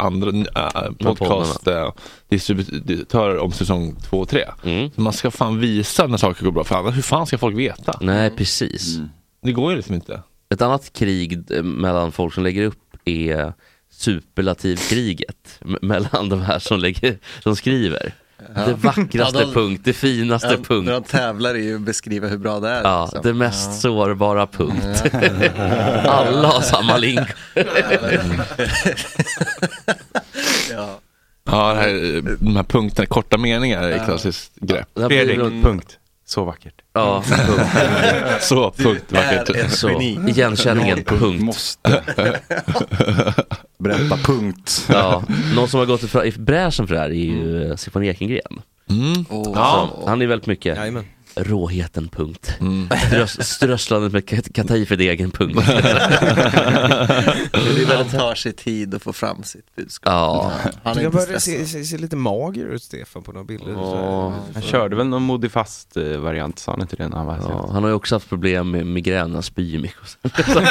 [SPEAKER 1] andra äh, podcastdistributörer om säsong två och tre.
[SPEAKER 5] Mm.
[SPEAKER 1] Så man ska fan visa när saker går bra, för annars hur fan ska folk veta?
[SPEAKER 5] Nej precis.
[SPEAKER 1] Det går ju liksom inte.
[SPEAKER 5] Ett annat krig eh, mellan folk som lägger upp är superlativkriget m- mellan de här som, lägger, som skriver. Det vackraste
[SPEAKER 4] Ja, de-
[SPEAKER 5] punkt, det finaste
[SPEAKER 4] ja,
[SPEAKER 5] punkt.
[SPEAKER 4] när de tävlar är ju att beskriva hur bra det är.
[SPEAKER 5] Ja,
[SPEAKER 4] liksom.
[SPEAKER 5] det mest sårbara punkt. Alla har samma link.
[SPEAKER 4] Ja.
[SPEAKER 1] Ja, det här, de här punkterna, korta meningar är klassiskt grepp.
[SPEAKER 5] Det här blir
[SPEAKER 3] Fredrik,
[SPEAKER 5] väl-
[SPEAKER 3] punkt. Så vackert.
[SPEAKER 5] Ja, punkt.
[SPEAKER 1] Så, punkt, vackert.
[SPEAKER 4] Är ett
[SPEAKER 5] Så,
[SPEAKER 4] geni.
[SPEAKER 5] igenkänningen, punkt.
[SPEAKER 9] Måste. Berätta punkt. Mm.
[SPEAKER 5] Ja, någon som har gått i fra- i bräschen för det här är ju eh, Stefan Ekengren.
[SPEAKER 1] Mm.
[SPEAKER 4] Åh,
[SPEAKER 5] Så, han är väldigt mycket råheten, punkt.
[SPEAKER 1] Mm.
[SPEAKER 5] Strös, strösslandet med kat- katajfidegen, punkt.
[SPEAKER 4] Han tar sig tid att få fram sitt budskap.
[SPEAKER 5] Ja.
[SPEAKER 4] Han är
[SPEAKER 7] Jag
[SPEAKER 4] inte
[SPEAKER 7] började se,
[SPEAKER 4] stressad.
[SPEAKER 7] se, se lite mager ut Stefan på några bilder.
[SPEAKER 3] Han körde väl någon modifast-variant, sa han inte det när han var här?
[SPEAKER 5] Ja, han har ju också haft problem med migrän, han spyr mycket. och sånt.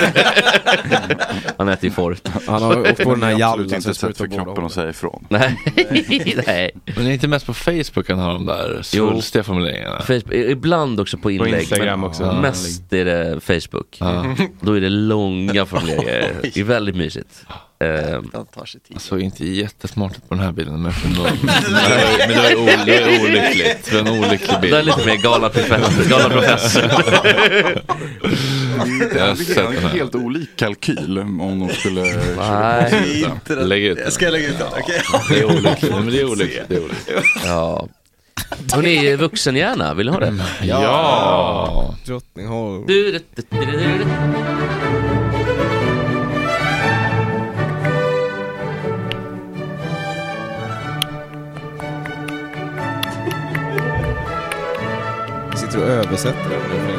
[SPEAKER 5] han äter ju forut.
[SPEAKER 7] Han har åkt på den här
[SPEAKER 9] Absolut
[SPEAKER 7] jallan
[SPEAKER 9] inte
[SPEAKER 7] som
[SPEAKER 9] ett sätt
[SPEAKER 7] sprutar
[SPEAKER 9] för
[SPEAKER 7] båda
[SPEAKER 9] kroppen
[SPEAKER 7] hållen.
[SPEAKER 9] att säga ifrån.
[SPEAKER 5] Nej, nej.
[SPEAKER 1] Men det är inte mest på Facebook han har de där
[SPEAKER 5] Jo.
[SPEAKER 1] svulstiga formuleringarna?
[SPEAKER 5] Facebook, ibland också på inlägg.
[SPEAKER 3] Instagram
[SPEAKER 5] men
[SPEAKER 3] också.
[SPEAKER 5] Mest är det Facebook. Då är det långa formuleringar. Det är väldigt
[SPEAKER 3] Ah,
[SPEAKER 5] mysigt. Eh,
[SPEAKER 4] Han tar sig tid.
[SPEAKER 1] Jag såg Alltså, inte jättesmart ut på den här bilden men, men, det, var ju o- det var ju olyckligt. Det var en olycklig
[SPEAKER 5] det är
[SPEAKER 1] bild.
[SPEAKER 5] lite mer galna professor. Galna professor.
[SPEAKER 9] Det
[SPEAKER 1] har sett
[SPEAKER 9] är en
[SPEAKER 1] den här.
[SPEAKER 9] helt olik kalkyl om de skulle...
[SPEAKER 5] Nej.
[SPEAKER 4] Inte den-
[SPEAKER 1] Lägg ut den.
[SPEAKER 4] Jag ska lägga ut den, okej.
[SPEAKER 1] Det är olyckligt. Men det är olyckligt. Det är olyckligt.
[SPEAKER 5] Ja. Hörni, vuxenhjärna, vill ni ha det?
[SPEAKER 1] Ja!
[SPEAKER 7] Drottningholm. Sitter du och översätter den nu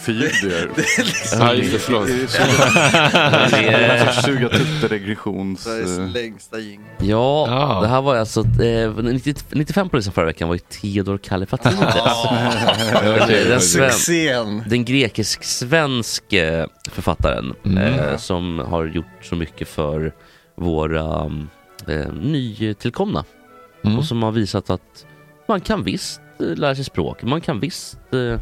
[SPEAKER 7] Fredrik?
[SPEAKER 9] Vad är det för ljud du gör.
[SPEAKER 8] liksom- Ja, just det, förlåt.
[SPEAKER 9] Det är så- det är en
[SPEAKER 2] Alltså,
[SPEAKER 5] Eh.
[SPEAKER 9] sorts suga tuttar-regressions...
[SPEAKER 4] Sveriges längsta jing.
[SPEAKER 5] Ja, det här var alltså eh, 90, 95 poliser förra veckan var ju Theodor Kallifatides.
[SPEAKER 4] Okej,
[SPEAKER 5] Alltså. den, sven,
[SPEAKER 4] Succén!
[SPEAKER 5] den grekisk-svenske författaren eh, som har gjort så mycket för våra eh, nytillkomna. Och som har visat att man kan visst eh, lära sig språk, man kan visst eh,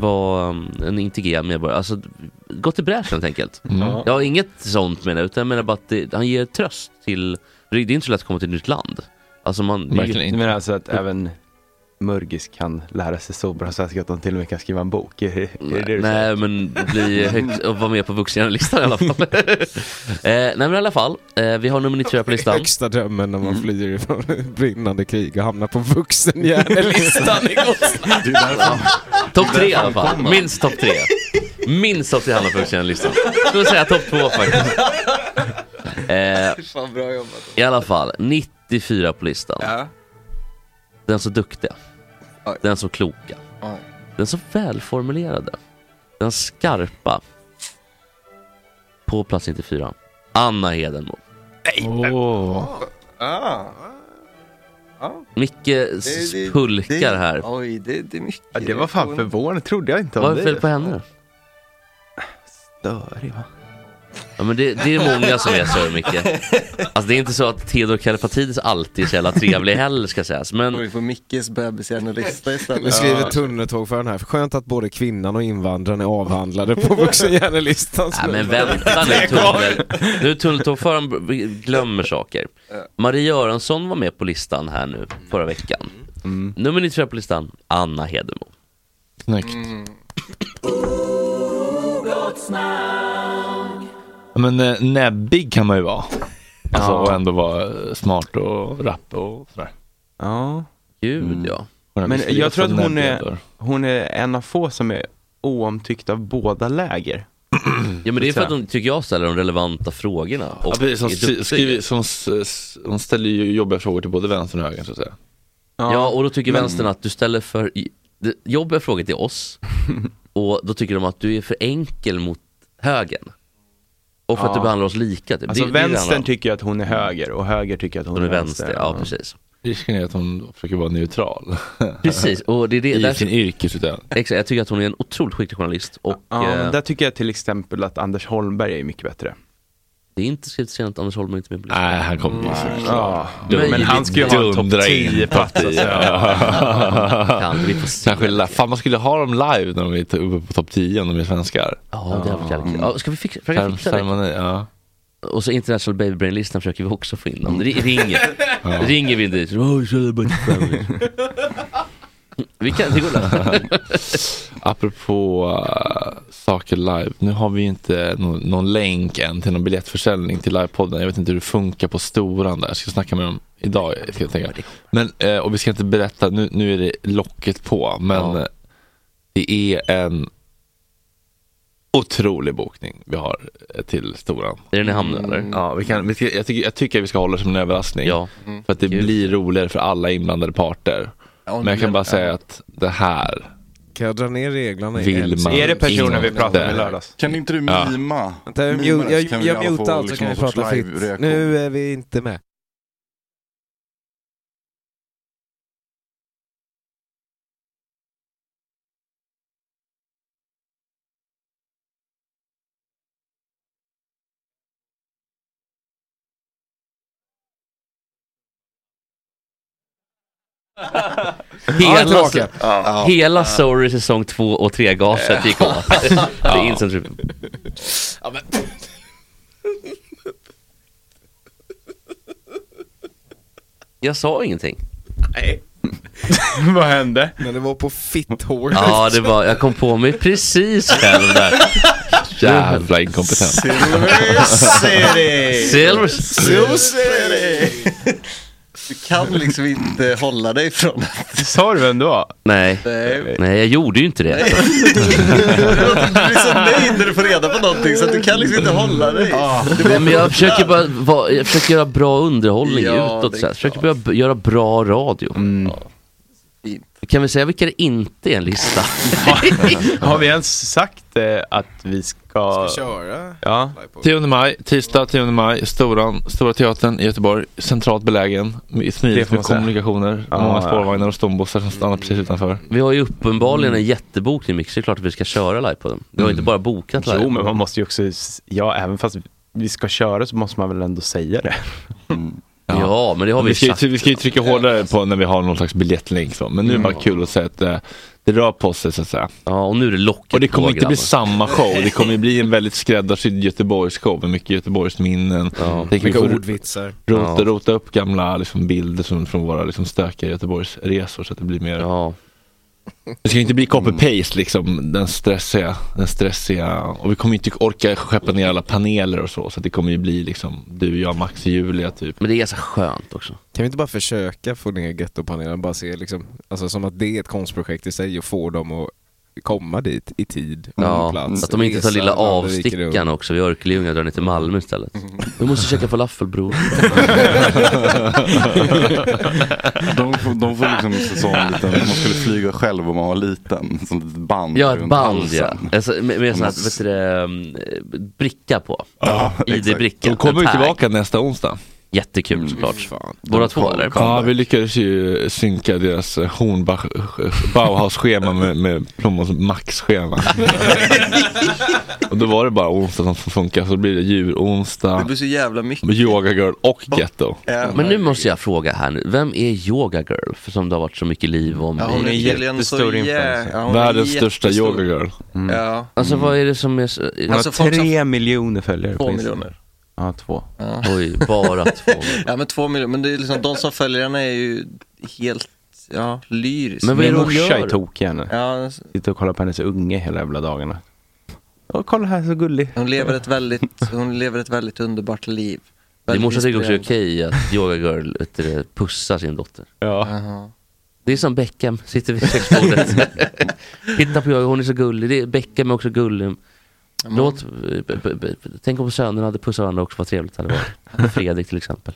[SPEAKER 5] vara um, en integrerad medborgare. Alltså, gå till bräschen helt enkelt.
[SPEAKER 1] Mm.
[SPEAKER 8] Ja.
[SPEAKER 5] Ja, inget sånt menar jag, utan jag menar bara att det, han ger tröst till... Det är inte så lätt att komma till ett nytt land. Alltså man...
[SPEAKER 1] Verkligen
[SPEAKER 3] Du
[SPEAKER 1] inte.
[SPEAKER 3] menar alltså att även Murgis kan lära sig så bra svenska att han till och med kan skriva en bok? Är det, är det det du
[SPEAKER 5] Nej
[SPEAKER 3] säger?
[SPEAKER 5] men bli högt och vara med på vuxenlistan i alla fall. eh, nej men i alla fall, eh, vi har nummer 94 på listan. Mm.
[SPEAKER 7] Högsta drömmen när man flyr ifrån brinnande krig och hamnar på vuxenhjärnelistan i Gotland.
[SPEAKER 9] Det är därför-
[SPEAKER 5] Topp tre i alla fall, minst topp tre. Minst topp tre hamnar på vuxenlistan. Jag skulle säga topp två faktiskt. Eh,
[SPEAKER 4] Fan bra jobbat.
[SPEAKER 5] I alla fall, 94 på listan.
[SPEAKER 4] Ja.
[SPEAKER 5] Den så duktiga.
[SPEAKER 4] Oj.
[SPEAKER 5] Den så kloka.
[SPEAKER 4] Oj.
[SPEAKER 5] Den så välformulerade. Den skarpa. På plats 94. Anna Hedenmo.
[SPEAKER 8] Åh.
[SPEAKER 4] Ah.
[SPEAKER 5] Micke s-
[SPEAKER 4] det-
[SPEAKER 5] pulkar här.
[SPEAKER 4] Oj, det, det är mycket.
[SPEAKER 3] Ja, det var fan förvånande, trodde jag inte om
[SPEAKER 5] Vad är det
[SPEAKER 3] dig.
[SPEAKER 5] fel på henne då?
[SPEAKER 3] Störig va?
[SPEAKER 5] Ja, men det, det är många som är så Micke. Alltså det är inte så att Theodor Kallifatides alltid är så jävla trevlig heller ska sägas.
[SPEAKER 4] Kommer
[SPEAKER 5] Men
[SPEAKER 4] vi få Mickes bebishjärnelista
[SPEAKER 7] Nu
[SPEAKER 4] istället?
[SPEAKER 7] skriver tunneltågföraren här, skönt att både kvinnan och invandraren är avhandlade på vuxenhjärnelistan.
[SPEAKER 5] Nej men vänta nu tunnel. Nu tunneltågföraren b- glömmer saker. Maria Göransson var med på listan här nu förra veckan.
[SPEAKER 8] Mm.
[SPEAKER 5] Nummer 94 på listan, Anna Hedemo.
[SPEAKER 1] Snyggt. Ja, Men eh, näbbig kan man ju vara. Alltså,
[SPEAKER 3] Ja.
[SPEAKER 1] Och ändå vara eh, smart och rapp och sådär.
[SPEAKER 3] Ja.
[SPEAKER 5] Gud
[SPEAKER 1] Mm.
[SPEAKER 5] ja.
[SPEAKER 1] Hon
[SPEAKER 3] Men
[SPEAKER 1] visst
[SPEAKER 3] jag
[SPEAKER 1] levt
[SPEAKER 3] tror att
[SPEAKER 1] som
[SPEAKER 3] hon
[SPEAKER 1] näbbig
[SPEAKER 3] är-
[SPEAKER 1] då.
[SPEAKER 3] Hon är en av få som är oomtyckt av båda läger.
[SPEAKER 5] Ja men det är för
[SPEAKER 3] Så
[SPEAKER 5] att de, tycker jag, ställer de relevanta frågorna. Och
[SPEAKER 8] Mm. Ja, precis, som
[SPEAKER 5] är duktig.
[SPEAKER 8] skri- skriver, som, s- s- hon ställer ju jobbiga frågor till både vänstern och högern så att säga.
[SPEAKER 5] Ja, och då tycker vänstern att du ställer för i- det- jobbiga frågor till oss och då tycker de att du är för enkel mot högern. Och för att
[SPEAKER 3] Ja.
[SPEAKER 5] du behandlar oss lika. Typ.
[SPEAKER 3] Alltså
[SPEAKER 5] det det
[SPEAKER 3] vänstern
[SPEAKER 5] handlar om.
[SPEAKER 3] tycker att hon är höger och höger tycker att hon
[SPEAKER 5] de är vänster. Ja, precis.
[SPEAKER 1] Risken är att hon försöker vara neutral
[SPEAKER 5] Precis, och det är det.
[SPEAKER 1] i
[SPEAKER 5] Där,
[SPEAKER 1] sin yrkesutövning.
[SPEAKER 5] exakt, jag tycker att hon är en otroligt skicklig journalist och
[SPEAKER 3] Ja,
[SPEAKER 5] eh,
[SPEAKER 3] men där tycker jag till exempel att Anders Holmberg är mycket bättre.
[SPEAKER 5] det är inte skrivet sent att Anders Holm inte är med på listan.
[SPEAKER 1] Nej, han kommer bli såklart.
[SPEAKER 3] Mm. Ja,
[SPEAKER 5] Men
[SPEAKER 3] men han ska ju ha en topp
[SPEAKER 1] dundra in
[SPEAKER 3] 10 plats. Alltså.
[SPEAKER 5] Kan, vi får se.
[SPEAKER 1] Kanske, la- fan man skulle ha dem live när de är t- uppe på topp 10 om de är svenskar.
[SPEAKER 5] Ja, det har varit jävligt kul. ja, Ska vi fixa, försöka
[SPEAKER 1] Cere-
[SPEAKER 5] fixa det?
[SPEAKER 1] Ceremoni, ja.
[SPEAKER 5] Och så International Baby Brain-listan försöker vi också få in
[SPEAKER 3] Mm.
[SPEAKER 5] dem. Ri- Ringer. Ringer vi dit. Oh, så är det bara fem. vi kan, det går lätt.
[SPEAKER 1] Apropå äh, saker live, nu har vi ju inte någon, någon länk än till någon biljettförsäljning till livepodden. Jag vet inte hur det funkar på Storan där. Jag ska snacka med dem idag ska jag tänka. Men, eh, och vi ska inte berätta, nu, nu är det locket på. Men
[SPEAKER 5] Ja.
[SPEAKER 1] eh, det är en otrolig bokning vi har eh, till Storan.
[SPEAKER 5] Är den i hamn nu eller?
[SPEAKER 1] Ja, vi kan, vi ska, jag, tycker, jag tycker att vi ska hålla det som en överraskning.
[SPEAKER 5] Ja.
[SPEAKER 1] För att det
[SPEAKER 5] Kul.
[SPEAKER 1] blir roligare för alla inblandade parter. Men jag kan bara säga att det här
[SPEAKER 7] Kan jag dra ner reglerna? i
[SPEAKER 1] vill
[SPEAKER 7] en
[SPEAKER 1] man
[SPEAKER 3] Är det personen vi
[SPEAKER 1] inte.
[SPEAKER 3] pratade med i lördags?
[SPEAKER 9] Kan inte du
[SPEAKER 1] Ja.
[SPEAKER 9] mima?
[SPEAKER 7] Vänta, jag,
[SPEAKER 9] Mima
[SPEAKER 7] mute,
[SPEAKER 9] det,
[SPEAKER 7] jag,
[SPEAKER 9] så kan
[SPEAKER 7] jag,
[SPEAKER 9] vi i alla
[SPEAKER 7] mutar
[SPEAKER 9] fall
[SPEAKER 7] allt så
[SPEAKER 9] liksom
[SPEAKER 7] kan vi
[SPEAKER 9] någon sorts
[SPEAKER 7] prata fritt.
[SPEAKER 9] live-reaktion.
[SPEAKER 7] Nu är vi inte med. Ja,
[SPEAKER 5] Hela,
[SPEAKER 7] tillbaka.
[SPEAKER 5] hela Sorry säsong 2 och 3-gaset gick åt. Det är instant Jag sa ingenting.
[SPEAKER 3] Vad hände?
[SPEAKER 7] Men det var på fitthåret.
[SPEAKER 5] Ja, det var, jag kom på mig precis själv där.
[SPEAKER 1] jävla inkompetent.
[SPEAKER 5] Silver.
[SPEAKER 4] Du kan liksom inte hålla dig från
[SPEAKER 3] Sa du vem det var?
[SPEAKER 5] Nej.
[SPEAKER 4] det.
[SPEAKER 5] Nej, jag gjorde ju inte det.
[SPEAKER 4] Du blir så nöjd liksom när du får reda på någonting så att du kan liksom inte hålla dig.
[SPEAKER 5] Nej, men jag försöker bara vara- jag försöker göra bra underhållning
[SPEAKER 4] Ja,
[SPEAKER 5] utåt.
[SPEAKER 4] det är
[SPEAKER 5] Så här.
[SPEAKER 4] klart.
[SPEAKER 5] Försöker bara b- göra bra radio.
[SPEAKER 4] Fint.
[SPEAKER 5] Kan vi säga vilka det inte är en lista?
[SPEAKER 1] Har vi ens sagt eh, att vi ska...
[SPEAKER 7] Ska köra?
[SPEAKER 1] Ja. 10 maj, tisdag 10 maj, Storan, Stora Teatern i Göteborg. Centralt belägen, i
[SPEAKER 5] Det
[SPEAKER 1] smidigt
[SPEAKER 5] får man
[SPEAKER 1] med
[SPEAKER 5] säga.
[SPEAKER 1] kommunikationer,
[SPEAKER 5] Ja,
[SPEAKER 1] många
[SPEAKER 5] ja.
[SPEAKER 1] spårvagnar och stombussar som stannar precis utanför. Mm.
[SPEAKER 5] Vi har ju uppenbarligen en jättebokning Mix, det är klart att vi ska köra live på den. Vi
[SPEAKER 4] Mm.
[SPEAKER 5] har ju inte bara bokat live.
[SPEAKER 3] Jo, men man måste ju också, ja även fast vi ska köra så måste man väl ändå säga det.
[SPEAKER 5] Ja, men det har vi,
[SPEAKER 1] vi ska, ju-
[SPEAKER 5] sagt.
[SPEAKER 1] Vi ska ju trycka hårdare på när vi har någon slags biljettlänk så. Men nu är det bara kul att säga att eh, det rör på sig så att säga.
[SPEAKER 5] Ja, och nu är det locket
[SPEAKER 1] Och det
[SPEAKER 5] på,
[SPEAKER 1] kommer inte bli
[SPEAKER 5] grabbar.
[SPEAKER 1] samma show. Det kommer ju bli en väldigt skräddarsydd Göteborgsshow med mycket Göteborgsminnen. Tänker vi
[SPEAKER 7] Mycket
[SPEAKER 1] får
[SPEAKER 7] ordvitsar.
[SPEAKER 1] Rota,
[SPEAKER 7] Ja.
[SPEAKER 1] rota upp gamla liksom, bilder som, från våra liksom, stökiga Göteborgsresor så att det blir mer Det ska inte bli copy-paste liksom, den stressiga, den stressiga och vi kommer inte orka skeppa ner alla paneler och så så att det kommer ju bli liksom du, jag, Max och Julia typ
[SPEAKER 5] Men det är ganska skönt också
[SPEAKER 7] Kan vi inte bara försöka få ner gettopanelen? Bara se liksom, alltså som att det är ett konstprojekt i sig och få dem att komma dit i tid och
[SPEAKER 5] Ja, mm.
[SPEAKER 7] plats.
[SPEAKER 5] att de inte tar
[SPEAKER 7] Resa,
[SPEAKER 5] lilla
[SPEAKER 7] Vallevik,
[SPEAKER 5] avstickaren
[SPEAKER 7] Lund.
[SPEAKER 5] också vid Örkelljunga och drar ner till Malmö istället.
[SPEAKER 9] Mm.
[SPEAKER 5] Vi måste käka falafel bror.
[SPEAKER 9] De får, de får liksom en säsong lite, man skulle flyga själv om man var liten, som ett band
[SPEAKER 5] Ja, ett
[SPEAKER 9] runt
[SPEAKER 5] band ja.
[SPEAKER 9] halsen.
[SPEAKER 5] Alltså, med, med sån här,
[SPEAKER 9] Man-
[SPEAKER 5] vet du, det, um, bricka på.
[SPEAKER 9] Ja, exakt.
[SPEAKER 5] ID-bricka.
[SPEAKER 1] De kommer ju
[SPEAKER 5] En tag.
[SPEAKER 1] tillbaka nästa onsdag.
[SPEAKER 4] Mm,
[SPEAKER 5] Jättekul såklart. Båda två eller?
[SPEAKER 1] Ja, vi lyckades ju synka deras eh, Hornbach, eh, Bauhaus-schema med, med Plommons Max-schema. och då var det bara onsdag som funkar, så då blir det djuronsdag,
[SPEAKER 4] Det blir så jävla mycket.
[SPEAKER 1] yoga girl och ghetto.
[SPEAKER 5] Men nu måste jag fråga här nu, vem är Yoga Girl? För som det har varit så mycket liv om
[SPEAKER 4] Ja, hon är
[SPEAKER 5] i-
[SPEAKER 4] tydligen så jä- ja, hon är
[SPEAKER 1] Världens största
[SPEAKER 4] jättestor.
[SPEAKER 1] yoga girl. Mm.
[SPEAKER 4] Ja. Alltså,
[SPEAKER 5] Alltså vad är det som är så...
[SPEAKER 3] Hon har tre miljoner följare
[SPEAKER 4] Två
[SPEAKER 3] på Instagram.
[SPEAKER 4] miljoner.
[SPEAKER 3] Ja, två.
[SPEAKER 4] Ja.
[SPEAKER 5] Oj, bara två.
[SPEAKER 4] ja men två miljoner, men det är liksom, de som följer henne är ju helt, ja, lyrisk.
[SPEAKER 3] Men vad är det Min hon morsa gör? är tokig henne.
[SPEAKER 4] Ja,
[SPEAKER 3] Sitter och kollar på hennes unge hela jävla dagarna. Och kolla här så gullig.
[SPEAKER 4] hon lever ett väldigt, hon lever ett väldigt underbart liv.
[SPEAKER 5] Din morsa tycker också det är
[SPEAKER 4] inspirerande.
[SPEAKER 5] okej att Yoga Girl vet du det, pussar sin dotter.
[SPEAKER 4] Jaha.
[SPEAKER 5] Det är som Beckham, sitter vid köksbordet. Hitta på Yoga, hon är så gullig. Det är Beckham är också
[SPEAKER 4] Mm.
[SPEAKER 5] gullig. Låt, b- b- b- tänk om sönerna hade pussat varandra också, vad trevligt det hade varit. Fredrik till exempel.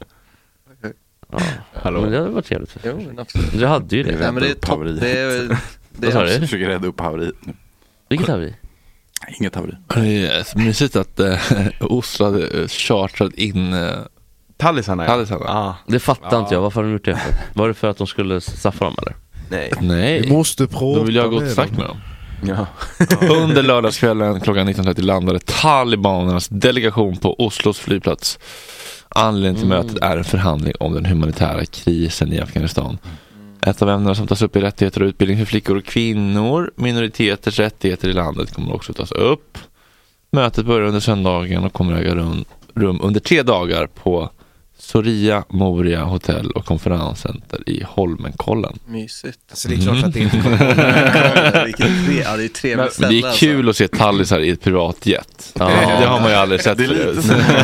[SPEAKER 5] Ja, men det hade varit trevligt.
[SPEAKER 4] Jo, men absolut.
[SPEAKER 5] Du hade ju det.
[SPEAKER 4] Ja, men det är topp. Det är, det
[SPEAKER 5] Vad sa
[SPEAKER 4] är
[SPEAKER 5] du?
[SPEAKER 9] Jag försöker rädda upp haveriet nu.
[SPEAKER 5] Vilket haveri?
[SPEAKER 9] Inget haveri.
[SPEAKER 1] Det är så mysigt att eh, Oslo hade eh, chartrat in eh,
[SPEAKER 3] Tallisarna.
[SPEAKER 1] Tallisarna.
[SPEAKER 5] Det fattar
[SPEAKER 1] Ja.
[SPEAKER 5] inte jag, varför har de gjort det? Var det för att de skulle straffa dem eller?
[SPEAKER 3] Nej.
[SPEAKER 1] Nej.
[SPEAKER 5] Vi
[SPEAKER 1] måste prata Då vill jag gå
[SPEAKER 5] med
[SPEAKER 1] till snack
[SPEAKER 5] dem.
[SPEAKER 1] med dem.
[SPEAKER 3] Ja.
[SPEAKER 1] Under lördagskvällen klockan 19.30 landade talibanernas delegation på Oslos flygplats. Anledningen till
[SPEAKER 5] Mm.
[SPEAKER 1] mötet är en förhandling om den humanitära krisen i Afghanistan. Ett av ämnena som tas upp är rättigheter och utbildning för flickor och kvinnor. Minoriteters rättigheter i landet kommer också tas upp. Mötet börjar under söndagen och kommer äga rum, rum under tre dagar på Soria Moria hotell och konferenscenter i Holmenkollen.
[SPEAKER 4] mysigt.
[SPEAKER 1] Alltså, det är klart att det inte kommer att
[SPEAKER 4] vara- Vilket tre- alltså. ja, det är ett
[SPEAKER 1] Men
[SPEAKER 4] trevligt
[SPEAKER 1] det
[SPEAKER 4] ställe
[SPEAKER 5] alltså.
[SPEAKER 1] är kul att se tallisar i ett privatjet.
[SPEAKER 5] Ja.
[SPEAKER 1] Det har man ju aldrig sett
[SPEAKER 9] Det är lite
[SPEAKER 1] förut.
[SPEAKER 9] som- det är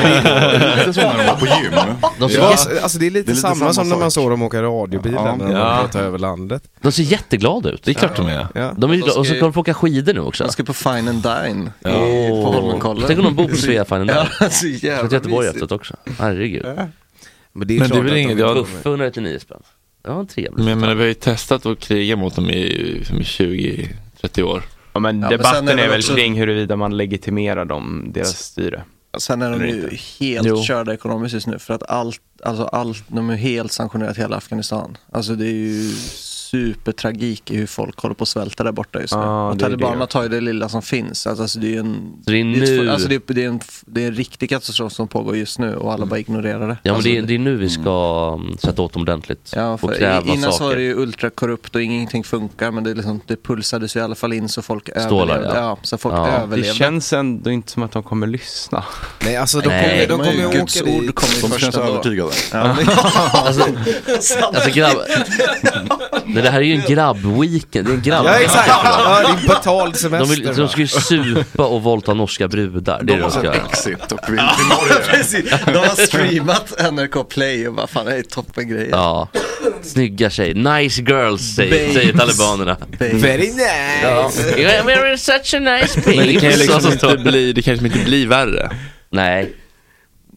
[SPEAKER 9] lite som när de var på gym.
[SPEAKER 5] De ser,
[SPEAKER 7] Ja,
[SPEAKER 5] jätte-
[SPEAKER 7] alltså det är lite, samma, som när man såg dem åka radiobilen
[SPEAKER 5] Ja.
[SPEAKER 7] när de
[SPEAKER 5] Ja.
[SPEAKER 7] ja. över landet.
[SPEAKER 5] de ser jätteglada ut.
[SPEAKER 1] Det är klart de är.
[SPEAKER 7] Ja.
[SPEAKER 5] De är ju,
[SPEAKER 4] De ska
[SPEAKER 5] och så
[SPEAKER 4] ju-
[SPEAKER 5] kommer de få åka skidor nu också.
[SPEAKER 4] De ska på Fine and Dine i,
[SPEAKER 5] Åh.
[SPEAKER 4] på Holmenkollen.
[SPEAKER 5] Tänk om de bor på Sveafine där.
[SPEAKER 4] Ja, så
[SPEAKER 5] Jag ska
[SPEAKER 4] jävla
[SPEAKER 5] till Göteborg
[SPEAKER 4] mysigt.
[SPEAKER 5] efteråt också. Herregud.
[SPEAKER 7] Men
[SPEAKER 1] det är Men det är klart väl att de inget- inte jag- kommer.
[SPEAKER 5] Buffe 199 spänn. Det var en trevlig.
[SPEAKER 1] Men jag menar, vi har ju testat att kriga mot dem i, som i 20-30 år.
[SPEAKER 3] Ja, men
[SPEAKER 4] men
[SPEAKER 3] debatten
[SPEAKER 4] sen är det
[SPEAKER 3] är väl
[SPEAKER 4] också-
[SPEAKER 3] kring huruvida man legitimerar dem, deras styre.
[SPEAKER 4] Sen är de
[SPEAKER 3] Eller
[SPEAKER 4] ju
[SPEAKER 3] inte.
[SPEAKER 4] helt
[SPEAKER 3] Jo.
[SPEAKER 4] körda ekonomiskt just nu för att allt, alltså allt, de är helt sanktionerat hela Afghanistan. Alltså det är ju supertragik i hur folk håller på att svälta där borta just nu.
[SPEAKER 3] Ja,
[SPEAKER 5] Ah,
[SPEAKER 4] och
[SPEAKER 3] det är
[SPEAKER 4] talibanerna
[SPEAKER 3] det.
[SPEAKER 4] tar ju det lilla som finns. Alltså, alltså det är ju en...
[SPEAKER 5] Så det är
[SPEAKER 4] ett-
[SPEAKER 5] nu-
[SPEAKER 4] Alltså det är, det, är en, det är en riktig katastrof som pågår just nu och alla bara ignorerar det.
[SPEAKER 5] Mm. Ja men
[SPEAKER 4] alltså,
[SPEAKER 5] det är, det är nu vi ska mm, sätta åt dem ordentligt.
[SPEAKER 4] Ja,
[SPEAKER 5] och
[SPEAKER 4] för
[SPEAKER 5] kräva
[SPEAKER 4] i- innan så var
[SPEAKER 5] saker.
[SPEAKER 4] det ju ultrakorrupt och ingenting funkar men det, är liksom, det pulsades ju i alla fall in så folk
[SPEAKER 5] Stålar,
[SPEAKER 4] överlevde.
[SPEAKER 5] ja.
[SPEAKER 4] Ja, så folk
[SPEAKER 5] Ja.
[SPEAKER 3] Det
[SPEAKER 4] överlevde.
[SPEAKER 3] känns ändå inte som att de kommer lyssna.
[SPEAKER 7] Nej, alltså de
[SPEAKER 5] Nej.
[SPEAKER 7] kommer, de
[SPEAKER 4] De har ju
[SPEAKER 7] kommer åka
[SPEAKER 4] Guds ord
[SPEAKER 7] dit.
[SPEAKER 4] kommer ju
[SPEAKER 9] De
[SPEAKER 4] första
[SPEAKER 9] känns
[SPEAKER 4] dagen.
[SPEAKER 9] övertygade.
[SPEAKER 4] Ja,
[SPEAKER 5] Alltså, alltså grabb... Nej, det här är ju en grabbweekend. Det är en grabb...
[SPEAKER 7] Ja exakt, ja, det är betald
[SPEAKER 5] De,
[SPEAKER 7] semester.
[SPEAKER 5] vill, de ska ju supa och våldta norska brudar. Det är
[SPEAKER 9] De
[SPEAKER 5] det
[SPEAKER 9] har
[SPEAKER 5] de ska
[SPEAKER 9] sett
[SPEAKER 5] göra.
[SPEAKER 9] Exit och vill till Norge.
[SPEAKER 4] Precis, de har streamat NRK Play och bara fan det här är toppen grejer.
[SPEAKER 5] Ja. Snygga tjejer. Nice girls säger,
[SPEAKER 4] Babes.
[SPEAKER 5] säger talibanerna.
[SPEAKER 7] Very nice!
[SPEAKER 5] Yeah, We're such a nice
[SPEAKER 1] Men det kan ju
[SPEAKER 5] babes.
[SPEAKER 1] liksom
[SPEAKER 5] Och så står-
[SPEAKER 1] inte bli, det kanske inte blir värre.
[SPEAKER 5] Nej.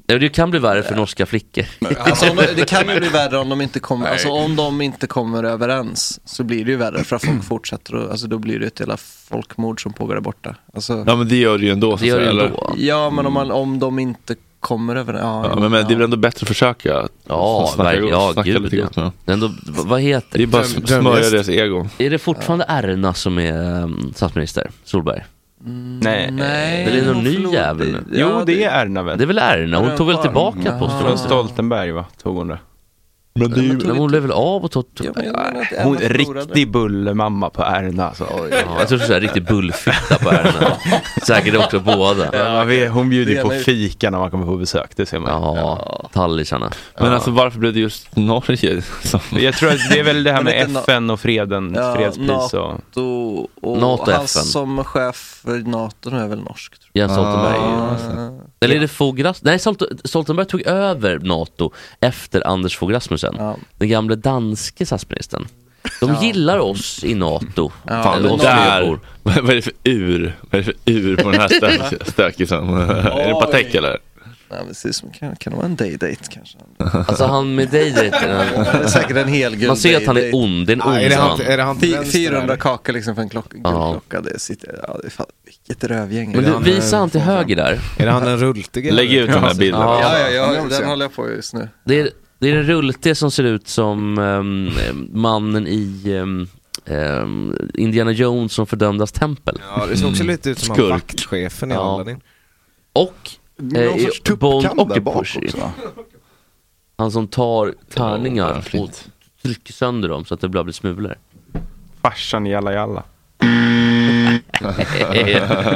[SPEAKER 5] Nej, det kan bli värre för norska flickor.
[SPEAKER 4] Alltså, om de, det kan ju bli värre om de inte kommer, alltså, om de inte kommer överens så blir det ju värre för att folk fortsätter och, alltså, då blir det ett jävla folkmord som pågår där borta. Alltså,
[SPEAKER 1] Ja men det gör det ju ändå. så
[SPEAKER 5] Det gör
[SPEAKER 1] att
[SPEAKER 5] det
[SPEAKER 1] säga, Mm.
[SPEAKER 5] ändå.
[SPEAKER 4] ja men om, man, om de inte kommer överens, ja,
[SPEAKER 1] Ja, men, men det är väl ändå bättre att försöka
[SPEAKER 5] Ja,
[SPEAKER 1] snacka,
[SPEAKER 5] verkligen. Ja,
[SPEAKER 1] snacka
[SPEAKER 5] gud,
[SPEAKER 1] lite
[SPEAKER 5] ja.
[SPEAKER 1] gott med dem.
[SPEAKER 5] Men då, v- vad heter
[SPEAKER 1] Det är bara att
[SPEAKER 7] Dröm-
[SPEAKER 1] smörja
[SPEAKER 7] drömgäst.
[SPEAKER 1] deras egon.
[SPEAKER 5] Är det fortfarande Erna som är um, statsminister? Solberg?
[SPEAKER 3] Nej.
[SPEAKER 4] Mm, Nej,
[SPEAKER 5] eh, Det är någon ny
[SPEAKER 4] förlåt.
[SPEAKER 5] jävel.
[SPEAKER 4] Ja,
[SPEAKER 3] Jo, det är Erna
[SPEAKER 5] Det är
[SPEAKER 3] väl?
[SPEAKER 5] väl Erna? Hon tog väl tillbaka på
[SPEAKER 3] Från
[SPEAKER 5] sig?
[SPEAKER 3] Stoltenberg va? Tog hon det.
[SPEAKER 1] Men det är ju...
[SPEAKER 5] Men hon blev väl av och tog...
[SPEAKER 4] Ja, men jag menar att Erna
[SPEAKER 3] Hon
[SPEAKER 4] förlorade.
[SPEAKER 3] riktig bullermamma på Erna alltså. Oj.
[SPEAKER 5] Ja, jag tror det är så här riktig bullfitta på Erna. Säkert också båda.
[SPEAKER 3] Ja, man vet, hon bjuder ju
[SPEAKER 4] Det
[SPEAKER 3] på
[SPEAKER 4] ena är-
[SPEAKER 3] fika när man kommer på besök, det ser man.
[SPEAKER 5] Ja, tallisarna.
[SPEAKER 1] Men alltså varför blev det just Norge? som-
[SPEAKER 3] Jag tror att det är väl det här
[SPEAKER 4] Men
[SPEAKER 3] med
[SPEAKER 4] lite na-
[SPEAKER 3] FN och freden,
[SPEAKER 4] Ja,
[SPEAKER 3] fredspris
[SPEAKER 4] na-
[SPEAKER 3] och...
[SPEAKER 4] Nato och
[SPEAKER 5] Nato,
[SPEAKER 4] han
[SPEAKER 5] FN.
[SPEAKER 4] som chef för Nato nu är väl norsk. Tror
[SPEAKER 5] Jens Stoltenberg.
[SPEAKER 4] jag.
[SPEAKER 5] Eller är det Fogh Rasmussen? Nej, Stolt- Stoltenberg tog över NATO efter Anders Fogh Rasmussen.
[SPEAKER 4] Ja.
[SPEAKER 5] Den gamle danske statsministern. De gillar oss i NATO.
[SPEAKER 4] Ja,
[SPEAKER 1] Fan,
[SPEAKER 4] eller
[SPEAKER 1] det
[SPEAKER 5] oss
[SPEAKER 4] någon-
[SPEAKER 1] där.
[SPEAKER 5] nybor.
[SPEAKER 1] Vad vad är det för ur? Vad är det för ur på den här stö- stökisen? Är det Patek eller?
[SPEAKER 4] Ja, men precis, som- kan, kan det vara en day-date kanske?
[SPEAKER 5] Alltså han med dig dejten.
[SPEAKER 4] Det är säkert en hel gul
[SPEAKER 5] Man ser att han är
[SPEAKER 4] day-date.
[SPEAKER 5] ond, det är en
[SPEAKER 7] Ah, är,
[SPEAKER 5] ond
[SPEAKER 7] det
[SPEAKER 5] man.
[SPEAKER 7] han, är det han till
[SPEAKER 4] Fy-
[SPEAKER 7] vänster?
[SPEAKER 4] 400
[SPEAKER 7] eller?
[SPEAKER 4] kakor liksom för en klock, gul
[SPEAKER 5] Ja.
[SPEAKER 4] klocka. Det sitter, ja, det är fan, vilket rövgäng.
[SPEAKER 5] Men
[SPEAKER 4] Ja,
[SPEAKER 5] du,
[SPEAKER 7] han
[SPEAKER 5] visa
[SPEAKER 7] är-
[SPEAKER 5] han till höger där.
[SPEAKER 7] Är det han den rultige?
[SPEAKER 1] Lägg ut den här bilden.
[SPEAKER 5] Ja.
[SPEAKER 4] ja, ja,
[SPEAKER 7] Ja,
[SPEAKER 4] den
[SPEAKER 7] ja.
[SPEAKER 4] håller jag på just nu.
[SPEAKER 5] Det är, det är en rulte som ser ut som ehm, mannen i ehm, ehm, Indiana Jones som fördömdas tempel. Mm.
[SPEAKER 7] Ja, det ser också lite ut som han
[SPEAKER 1] Skurk.
[SPEAKER 7] vaktchefen i
[SPEAKER 5] Ja.
[SPEAKER 7] Aladdin.
[SPEAKER 5] Och
[SPEAKER 9] Någon
[SPEAKER 5] Eh,
[SPEAKER 9] sorts
[SPEAKER 5] Bond
[SPEAKER 9] tuppkam där bak
[SPEAKER 5] Octopus.
[SPEAKER 9] också va?
[SPEAKER 5] han som tar
[SPEAKER 1] Ja,
[SPEAKER 5] tärningar och
[SPEAKER 1] fint.
[SPEAKER 5] trycker sönder dem så att det bara blir smulor.
[SPEAKER 3] Farsan Jalla Jalla.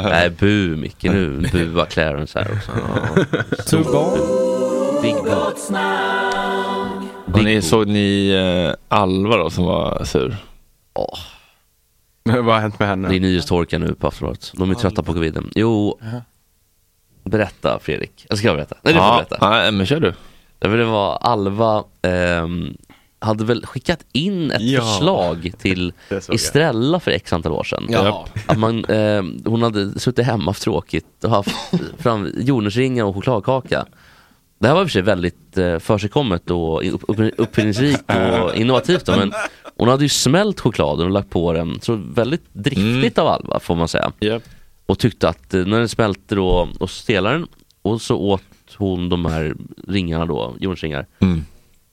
[SPEAKER 5] Nej, bu Micke nu. Bua Clarence här också. Big Bo.
[SPEAKER 1] Och ni, såg ni eh, Alva då som var sur?
[SPEAKER 5] Ja,
[SPEAKER 3] Vad har hänt med
[SPEAKER 5] det är
[SPEAKER 3] henne?
[SPEAKER 5] nyhetstorka nu på Aftonbladet. De är trötta på coviden. Jo, berätta Fredrik. Jag ska berätta. Nej, du får berätta.
[SPEAKER 1] nej, men kör du.
[SPEAKER 5] Ja, men det var Alva ehm, hade väl skickat in ett
[SPEAKER 3] Ja.
[SPEAKER 5] förslag till
[SPEAKER 3] Det såg jag.
[SPEAKER 5] Estrella för x antal år sedan.
[SPEAKER 1] Ja.
[SPEAKER 5] Att man, ehm, hon hade suttit hemma haft tråkigt och haft fram jordnötsringar och chokladkaka. Det här var i och för sig väldigt eh, försigkommet och i- upp- upp- uppfinningsrikt och innovativt. Då, men hon hade ju smält chokladen och lagt på den. Så väldigt driftigt av
[SPEAKER 1] Mm.
[SPEAKER 5] Alva får man säga.
[SPEAKER 1] Japp.
[SPEAKER 5] Och tyckte att eh, när den smälte då och stelade den och så åt hon de här ringarna då, jordnötsringar
[SPEAKER 1] Mm.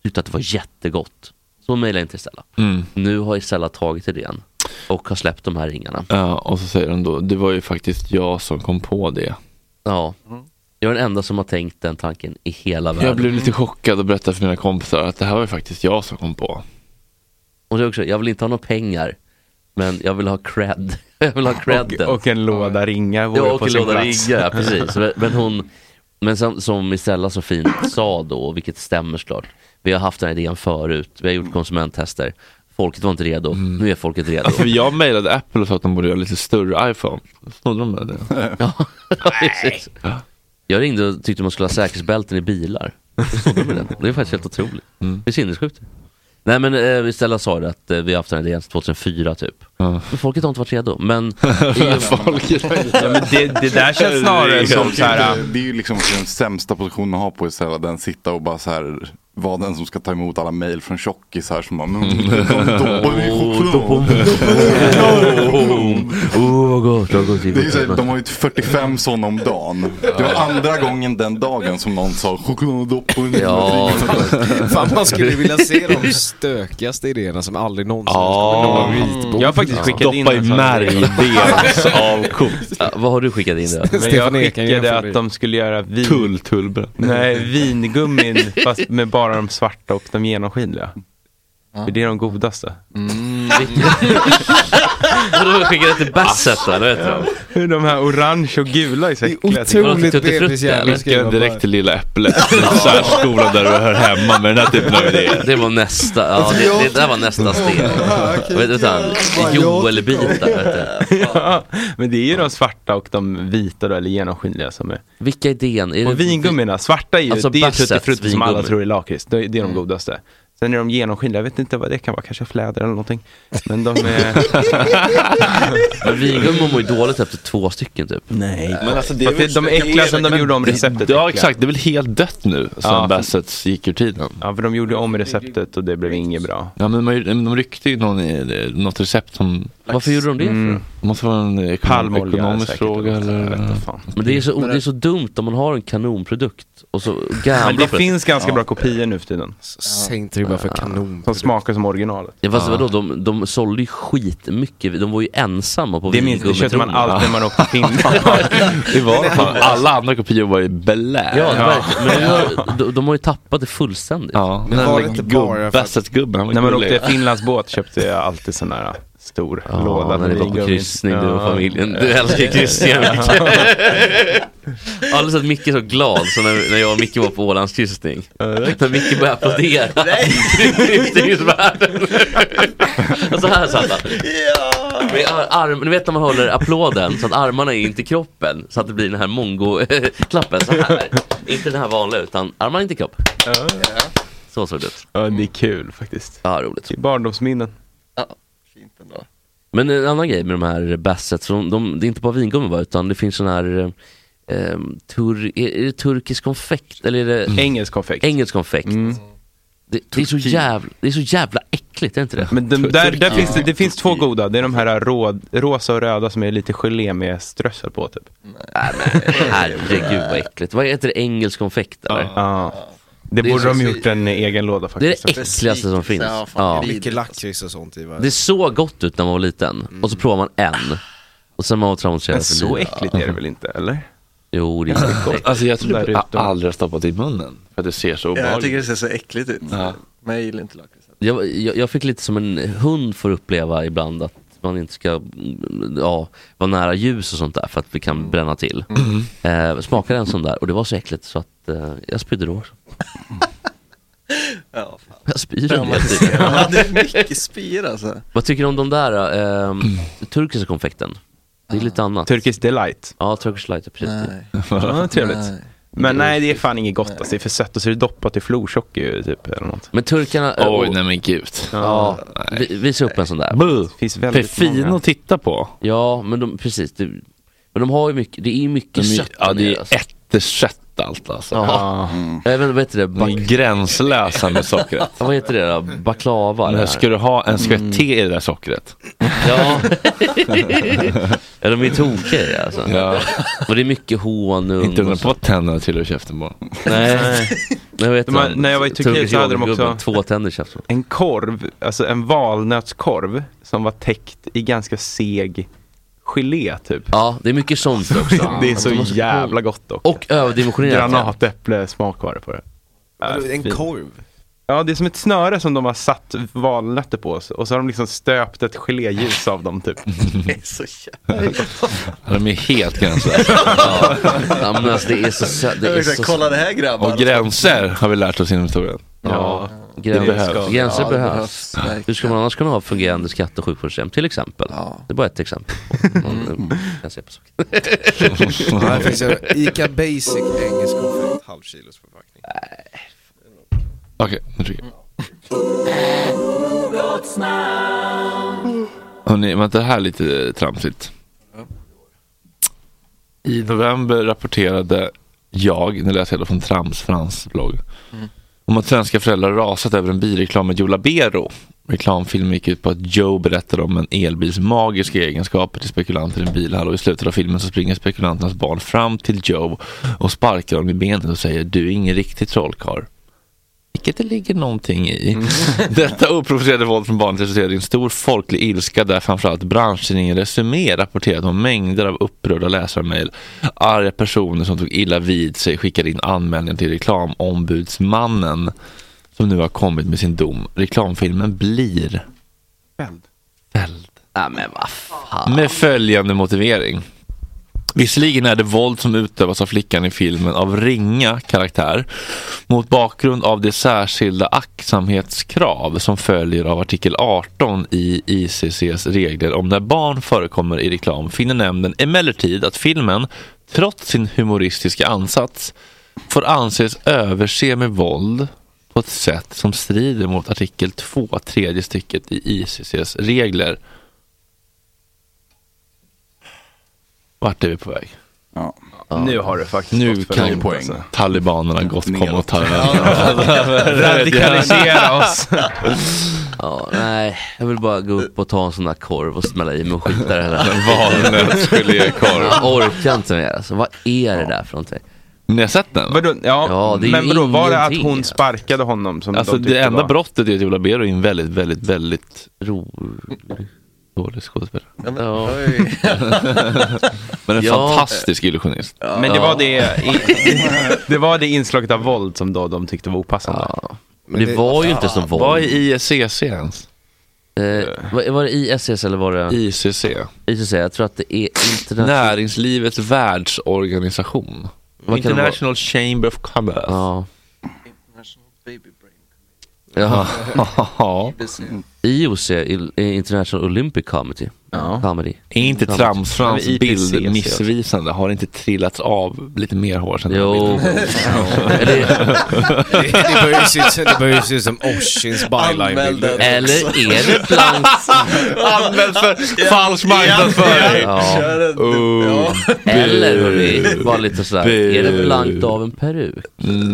[SPEAKER 5] tyckte att det var jättegott. Så mejlade jag in till Stella.
[SPEAKER 1] Mm.
[SPEAKER 5] Nu har Stella tagit idén och har släppt de här ringarna.
[SPEAKER 1] Ja, och så säger de då, det var ju faktiskt jag som kom på det. Mm.
[SPEAKER 5] Ja. Jag är den enda som har tänkt den tanken i hela världen.
[SPEAKER 1] Jag blev lite chockad och berättade för mina kompisar att det här var ju faktiskt jag som kom på.
[SPEAKER 5] Och det är också, jag vill inte ha några pengar, men jag vill ha cred. Jag vill ha credden.
[SPEAKER 3] Och, och en låda ringar vore
[SPEAKER 5] Ja, och
[SPEAKER 3] på
[SPEAKER 5] en
[SPEAKER 3] sin
[SPEAKER 5] låda
[SPEAKER 3] plats.
[SPEAKER 5] riggar, ja, precis. Men- Men hon, men som, som Estella så fint sa då, och vilket stämmer såklart. Vi har haft den här idén förut, vi har gjort konsumenttester. Folket var inte redo, nu är folket redo.
[SPEAKER 1] Alltså jag mejlade Apple och sa att de borde göra lite större iPhone. Då Snodde de det?
[SPEAKER 5] Precis. Jag ringde och tyckte man skulle ha säkerhetsbälten i bilar. Då stod de med den. Det är faktiskt helt otroligt. Det är sinnessjukt. Nej men eh, Stella sa det att eh, vi har haft den här idén sedan 2004 typ.
[SPEAKER 1] Ja.
[SPEAKER 5] Men folket har inte varit redo. Men
[SPEAKER 1] Folket.
[SPEAKER 3] Ja, men det, det där känns snarare som så här. äh,
[SPEAKER 9] Det är ju liksom den sämsta positionen att ha på Isella, den sitta och bara så här vara den som ska ta emot alla mejl från tjockisar som bara mm, de doppar i choklad.
[SPEAKER 5] oh vad gott, vad gott,
[SPEAKER 9] Det är så här, de har ju 45 sådana om dagen. Det var andra gång den dagen som någon sa chokladdoppar i
[SPEAKER 5] Ja.
[SPEAKER 7] Fan man skulle vilja se de stökigaste idéerna som aldrig någonsin
[SPEAKER 1] Ja.
[SPEAKER 7] kommer nå en vitbok.
[SPEAKER 3] Jag har faktiskt skickat in
[SPEAKER 1] Doppa i
[SPEAKER 3] en sån här.
[SPEAKER 1] märgdels avkok.
[SPEAKER 5] Vad har du skickat in då?
[SPEAKER 3] Men jag
[SPEAKER 7] Stefan Ekan
[SPEAKER 3] skickade
[SPEAKER 7] gör
[SPEAKER 3] att
[SPEAKER 7] det.
[SPEAKER 3] de skulle göra vin.
[SPEAKER 1] Tull, tullbröd.
[SPEAKER 3] Nej, vingummin fast med bara de svarta och de genomskinliga. För det är de godaste.
[SPEAKER 2] Mm.
[SPEAKER 5] Har du skickat det till Bassett då? Det vet jag.
[SPEAKER 3] Hur de här orange och gula är så
[SPEAKER 7] Det är
[SPEAKER 3] äckliga.
[SPEAKER 5] Tuttifrutti,
[SPEAKER 7] otroligt
[SPEAKER 5] typ eller?
[SPEAKER 7] bebisjävlar
[SPEAKER 1] Skicka direkt till lilla Äpplet. Särskolan där du hör hemma med den här typen av idéer.
[SPEAKER 5] Det var nästa, ja det, det där var nästa steg. Vet du vad han, Joel-bitar vet du.
[SPEAKER 3] Ja, men det är ju de svarta och de vita då, eller genomskinliga som är.
[SPEAKER 5] Vilka idén? Är det-
[SPEAKER 3] Och vingummina, svarta är ju,
[SPEAKER 5] Alltså
[SPEAKER 3] det är ju
[SPEAKER 5] Bassets
[SPEAKER 3] tuttifrutti som alla
[SPEAKER 5] vingummi. Mm.
[SPEAKER 3] tror är lakrits. Det, är- det är de godaste. Sen är de genomskinliga, jag vet inte vad det kan vara, kanske fläder eller någonting. Men de är...
[SPEAKER 5] Men vingummin mår ju dåligt efter två stycken typ.
[SPEAKER 3] Nej.
[SPEAKER 8] Men alltså, det är
[SPEAKER 3] Fast det-
[SPEAKER 8] väl-
[SPEAKER 3] de är äckliga som de
[SPEAKER 8] Men-
[SPEAKER 3] gjorde om receptet.
[SPEAKER 1] Ja
[SPEAKER 3] tycker jag.
[SPEAKER 1] exakt, det är väl helt dött nu sen
[SPEAKER 3] Ja.
[SPEAKER 1] Bassets gick ur tiden.
[SPEAKER 3] Ja, för de gjorde om receptet och det blev inget bra.
[SPEAKER 1] Ja men man, de ryckte ju någon, i- något recept som,
[SPEAKER 5] Varför gjorde de det?
[SPEAKER 3] Mm.
[SPEAKER 1] det måste vara en ekonom,
[SPEAKER 3] Palmolja
[SPEAKER 1] ekonomisk
[SPEAKER 3] säkert,
[SPEAKER 1] fråga eller?
[SPEAKER 3] Jag vet inte fan.
[SPEAKER 5] Men det är, så, det är så dumt om man har en kanonprodukt och så
[SPEAKER 3] Men
[SPEAKER 5] gamblar
[SPEAKER 3] det
[SPEAKER 5] för det.
[SPEAKER 3] finns ganska bra kopior nu för tiden.
[SPEAKER 7] Säg inte det bara för kanon.
[SPEAKER 3] Som smakar som Ah. originalet.
[SPEAKER 5] Ah. Ja, fast vadå, de, de sålde ju skitmycket, de var ju ensamma på
[SPEAKER 3] Det minns det köpte man
[SPEAKER 5] vingummitonen.
[SPEAKER 3] alltid när man åkte till Finland. alltså.
[SPEAKER 1] Det var fan, alla andra kopior var ju blä.
[SPEAKER 5] Ja,
[SPEAKER 3] Ja.
[SPEAKER 5] verkligen. Men de har, de, de har ju tappat det fullständigt.
[SPEAKER 1] Ja,
[SPEAKER 7] Men
[SPEAKER 1] den
[SPEAKER 7] var
[SPEAKER 1] där
[SPEAKER 7] det inte
[SPEAKER 1] gubb-
[SPEAKER 7] bara för att-
[SPEAKER 1] Bassetgubben, han var
[SPEAKER 3] När man
[SPEAKER 1] gullig.
[SPEAKER 3] åkte Finlands båt köpte jag alltid sån här stor
[SPEAKER 5] Ja,
[SPEAKER 3] låda.
[SPEAKER 5] när ni
[SPEAKER 3] med
[SPEAKER 5] var på
[SPEAKER 3] vingummi.
[SPEAKER 5] kryssning du och
[SPEAKER 3] Ja.
[SPEAKER 5] familjen. Du älskar kryssningar Micke. Jag har aldrig sett Micke så glad som när, när jag och Micke var på Ålandskryssning. När Micke började applådera. Kryssningsvärlden. Och så här satt han. Med ar- arm, ni vet när man håller applåden så att armarna är inte i kroppen. Så att det blir den här mongo-klappen så här. Inte den här vanliga utan armarna inte i kropp. Så såg det ut.
[SPEAKER 3] Ja, det är kul faktiskt.
[SPEAKER 5] Ja, roligt.
[SPEAKER 3] Det är Barndomsminnen.
[SPEAKER 4] Fint ändå.
[SPEAKER 5] Men en annan grej med de här Bassets, de, de, det är inte bara vingummi va, utan det finns sån här eh, ehm, tur, är, är det turkisk konfekt eller är det
[SPEAKER 3] Engelsk konfekt.
[SPEAKER 5] engelsk konfekt?
[SPEAKER 3] Mm.
[SPEAKER 5] Det, det, är så jävla, det är så jävla äckligt, är det inte det?
[SPEAKER 3] Men de, där, där finns det, det finns två goda. Det är de här rå, rosa och röda som är lite gelé med strössel på typ.
[SPEAKER 5] Herregud vad äckligt. Vad heter det, engelsk konfekt eller?
[SPEAKER 3] Ja. Det,
[SPEAKER 5] Det är
[SPEAKER 3] borde
[SPEAKER 5] så-
[SPEAKER 3] de gjort en egen låda
[SPEAKER 5] Det är
[SPEAKER 3] faktiskt.
[SPEAKER 5] det äckligaste som finns.
[SPEAKER 4] Ja, fan,
[SPEAKER 5] Ja.
[SPEAKER 4] gris.
[SPEAKER 7] Mycket lakrits och sånt i va?
[SPEAKER 5] Det såg gott ut när man var liten och
[SPEAKER 4] Mm.
[SPEAKER 5] så provar man en. Och sen har man varit traumatiserad
[SPEAKER 3] Men
[SPEAKER 5] för
[SPEAKER 3] så
[SPEAKER 5] livet.
[SPEAKER 3] äckligt är det väl inte, eller?
[SPEAKER 5] Jo, det är så äckligt.
[SPEAKER 1] Alltså jag tror
[SPEAKER 3] Där
[SPEAKER 1] du jag
[SPEAKER 3] ute.
[SPEAKER 1] aldrig har stoppat i munnen. För att det ser så
[SPEAKER 4] Ja, jag
[SPEAKER 1] obehagligt
[SPEAKER 4] tycker
[SPEAKER 1] ut.
[SPEAKER 4] det ser så äckligt ut.
[SPEAKER 1] Ja.
[SPEAKER 4] Men jag gillar inte lakrits.
[SPEAKER 5] Jag, jag, jag fick lite som en hund får uppleva ibland att man inte ska mm, ja, vara nära ljus och sånt där för att det kan bränna till.
[SPEAKER 4] Mm.
[SPEAKER 5] Eh, smakade en sån där och det var så äckligt så att eh, jag spydde då också.
[SPEAKER 4] Ja, fan.
[SPEAKER 5] Jag spyr en del.
[SPEAKER 4] Ja, det är mycket spyr alltså.
[SPEAKER 5] Vad tycker du om de där eh,
[SPEAKER 1] Mm.
[SPEAKER 5] turkiska konfekten? Det är lite annat.
[SPEAKER 3] Turkish delight.
[SPEAKER 5] ja, Turkish light, ja, precis.
[SPEAKER 4] Nej.
[SPEAKER 3] Ja, trevligt.
[SPEAKER 4] Nej.
[SPEAKER 3] Men nej, det är fan inget gott alltså. Det är för sött och så är det doppat i florsocker ju, typ eller något.
[SPEAKER 5] Men turkarna, eh,
[SPEAKER 1] Oj
[SPEAKER 5] och-
[SPEAKER 1] nej men gud.
[SPEAKER 5] ja, vi, visa upp en sån där.
[SPEAKER 1] Buh.
[SPEAKER 3] Det finns väldigt
[SPEAKER 1] Fin
[SPEAKER 3] många.
[SPEAKER 1] att titta på.
[SPEAKER 5] Ja, men de, precis. Det, men de har ju mycket, det är ju
[SPEAKER 1] De
[SPEAKER 5] mycket
[SPEAKER 1] är,
[SPEAKER 5] sött
[SPEAKER 1] ja
[SPEAKER 5] där
[SPEAKER 1] det
[SPEAKER 5] nere,
[SPEAKER 1] är
[SPEAKER 5] alltså.
[SPEAKER 1] ättekött allt alltså.
[SPEAKER 5] Ja. Även, vad heter det?
[SPEAKER 1] De är gränslösa med sockret.
[SPEAKER 5] Ja, vad heter det då? Baklava? det
[SPEAKER 1] Men
[SPEAKER 5] här.
[SPEAKER 1] ska du ha en skvätt te i det där sockret?
[SPEAKER 5] Ja. ja, de är tokiga i det, alltså.
[SPEAKER 1] Ja.
[SPEAKER 5] Och det är mycket honung.
[SPEAKER 1] Inte undra
[SPEAKER 5] och
[SPEAKER 1] på
[SPEAKER 5] så-
[SPEAKER 1] vad tänderna trillar ur käften på.
[SPEAKER 5] Nej. Nej, vet
[SPEAKER 3] De här- när jag var i Turkiet så hade de också-
[SPEAKER 5] Två tänder i käften.
[SPEAKER 3] En korv, alltså en valnötskorv som var täckt i ganska seg gelé typ.
[SPEAKER 5] Ja, det är mycket sånt också.
[SPEAKER 3] det är så jävla gott dock.
[SPEAKER 5] Och överdimensionerat.
[SPEAKER 3] granatäpple smak var det på det.
[SPEAKER 7] Vadå, En
[SPEAKER 3] Fin.
[SPEAKER 7] korv?
[SPEAKER 3] Ja, det är som ett snöre som de har satt valnötter på oss och så har de liksom stöpt ett geléljus av dem typ.
[SPEAKER 4] Det är så jävla...
[SPEAKER 1] De är helt gränslösa.
[SPEAKER 5] Ja, men alltså, det är så sött. Det är
[SPEAKER 4] Jag vill säga,
[SPEAKER 5] så
[SPEAKER 4] Kolla det här grabbar.
[SPEAKER 1] Och gränser har vi lärt oss inom historien.
[SPEAKER 3] Ja.
[SPEAKER 5] gränser
[SPEAKER 3] behövs.
[SPEAKER 5] Gränser
[SPEAKER 4] Ja, det
[SPEAKER 5] behövs.
[SPEAKER 4] behövs, verkligen.
[SPEAKER 5] Hur ska man annars kunna ha fungerande skatte och sjukvårdssystem till exempel?
[SPEAKER 4] Ja.
[SPEAKER 5] Det är bara ett exempel. på-
[SPEAKER 3] Mm.
[SPEAKER 5] Man eh, kan se på saker.
[SPEAKER 7] Nej, det finns ju Ica Basic engelsk konfekt, halvkilos förpackning.
[SPEAKER 1] Okej, nu trycker jag. Hörrni, var inte det här lite tramsigt? I november rapporterade jag, nu läser jag då från Trams Frans blogg, om att svenska föräldrar rasat över en bilreklam med Joe Labero. Reklamfilmen gick ut på att Joe berättar om en elbils magiska egenskaper till spekulanter i en bilhall och i slutet av filmen så springer spekulanternas barn fram till Joe och sparkar honom i benet och säger du är ingen riktig trollkarl. Vilket det ligger någonting i.
[SPEAKER 3] Mm.
[SPEAKER 1] Detta oprovocerade våld från barnet resulterade i en stor folklig ilska där framförallt branschtidningen Resumé rapporterade om mängder av upprörda läsarmail. Arga personer som tog illa vid sig skickade in anmälningar till reklamombudsmannen som nu har kommit med sin dom. Reklamfilmen blir fälld.
[SPEAKER 5] Nej, men vad fan.
[SPEAKER 1] Med följande motivering. Visserligen är det våld som utövas av flickan i filmen av ringa karaktär mot bakgrund av det särskilda aktsamhetskrav som följer av artikel 18 i ICCs regler om när barn förekommer i reklam finner nämnden emellertid att filmen, trots sin humoristiska ansats, får anses överse med våld på ett sätt som strider mot artikel 2, tredje stycket i ICCs regler. Vart är vi på väg?
[SPEAKER 9] Ja.
[SPEAKER 3] Nu har du faktiskt
[SPEAKER 1] Nu
[SPEAKER 3] gått för
[SPEAKER 1] kan
[SPEAKER 3] långt,
[SPEAKER 1] poäng.
[SPEAKER 3] alltså.
[SPEAKER 1] talibanerna gott komma och ta
[SPEAKER 2] alltså,
[SPEAKER 3] Radikalisera oss.
[SPEAKER 5] Ja, nej, jag vill bara gå upp och ta en sån där korv och smälla i mig och skita i det där.
[SPEAKER 1] Valnötsgelékorv.
[SPEAKER 5] Jag orkar inte mer alltså. Vad är det där för någonting?
[SPEAKER 1] Ni har sett den?
[SPEAKER 3] Vadå, ja,
[SPEAKER 5] Ja, det är ju
[SPEAKER 3] men vadå, var det att
[SPEAKER 5] ingenting,
[SPEAKER 3] hon
[SPEAKER 5] alltså.
[SPEAKER 3] sparkade honom som
[SPEAKER 1] Alltså
[SPEAKER 3] de
[SPEAKER 1] det
[SPEAKER 3] tyckte
[SPEAKER 1] enda
[SPEAKER 3] var...
[SPEAKER 1] brottet är att Jola Bero är en väldigt, väldigt, väldigt rolig, dålig skådespelare.
[SPEAKER 5] Ja.
[SPEAKER 1] Men en
[SPEAKER 5] Ja.
[SPEAKER 1] fantastisk illusionist.
[SPEAKER 3] Men det var det, i, det var det inslaget av våld som då de tyckte var opassande.
[SPEAKER 5] Men det,
[SPEAKER 7] det-
[SPEAKER 5] var ju inte så våld.
[SPEAKER 1] Vad är ISCC ens?
[SPEAKER 5] eh, var, var det ISS eller var det
[SPEAKER 1] ICC.
[SPEAKER 5] ICC? Jag tror att det är internationellt.
[SPEAKER 1] Näringslivets världsorganisation.
[SPEAKER 5] Vad kan det vara?
[SPEAKER 1] International Chamber of Commerce.
[SPEAKER 5] Ja.
[SPEAKER 1] Ja.
[SPEAKER 5] IOC, Il- eh, International Olympic Committee. Comedy.
[SPEAKER 1] Är inte Tramsfrans
[SPEAKER 3] Ja, men IPCC
[SPEAKER 5] E
[SPEAKER 1] bild missvisande? Har det inte trillats av lite mer hår sen den
[SPEAKER 5] Jo.
[SPEAKER 1] bilden?
[SPEAKER 5] eller,
[SPEAKER 7] Det, det börjar ju se ut som- det börjar ju se ut som Oshins byline-bilder.
[SPEAKER 5] eller är det blankt?
[SPEAKER 1] Anmäld för falsk marknadsföring!
[SPEAKER 5] Ja.
[SPEAKER 1] Oh,
[SPEAKER 5] Eller
[SPEAKER 1] bu.
[SPEAKER 5] hörni, bara lite sådär.
[SPEAKER 1] Bu.
[SPEAKER 5] Är det blankt av en peruk?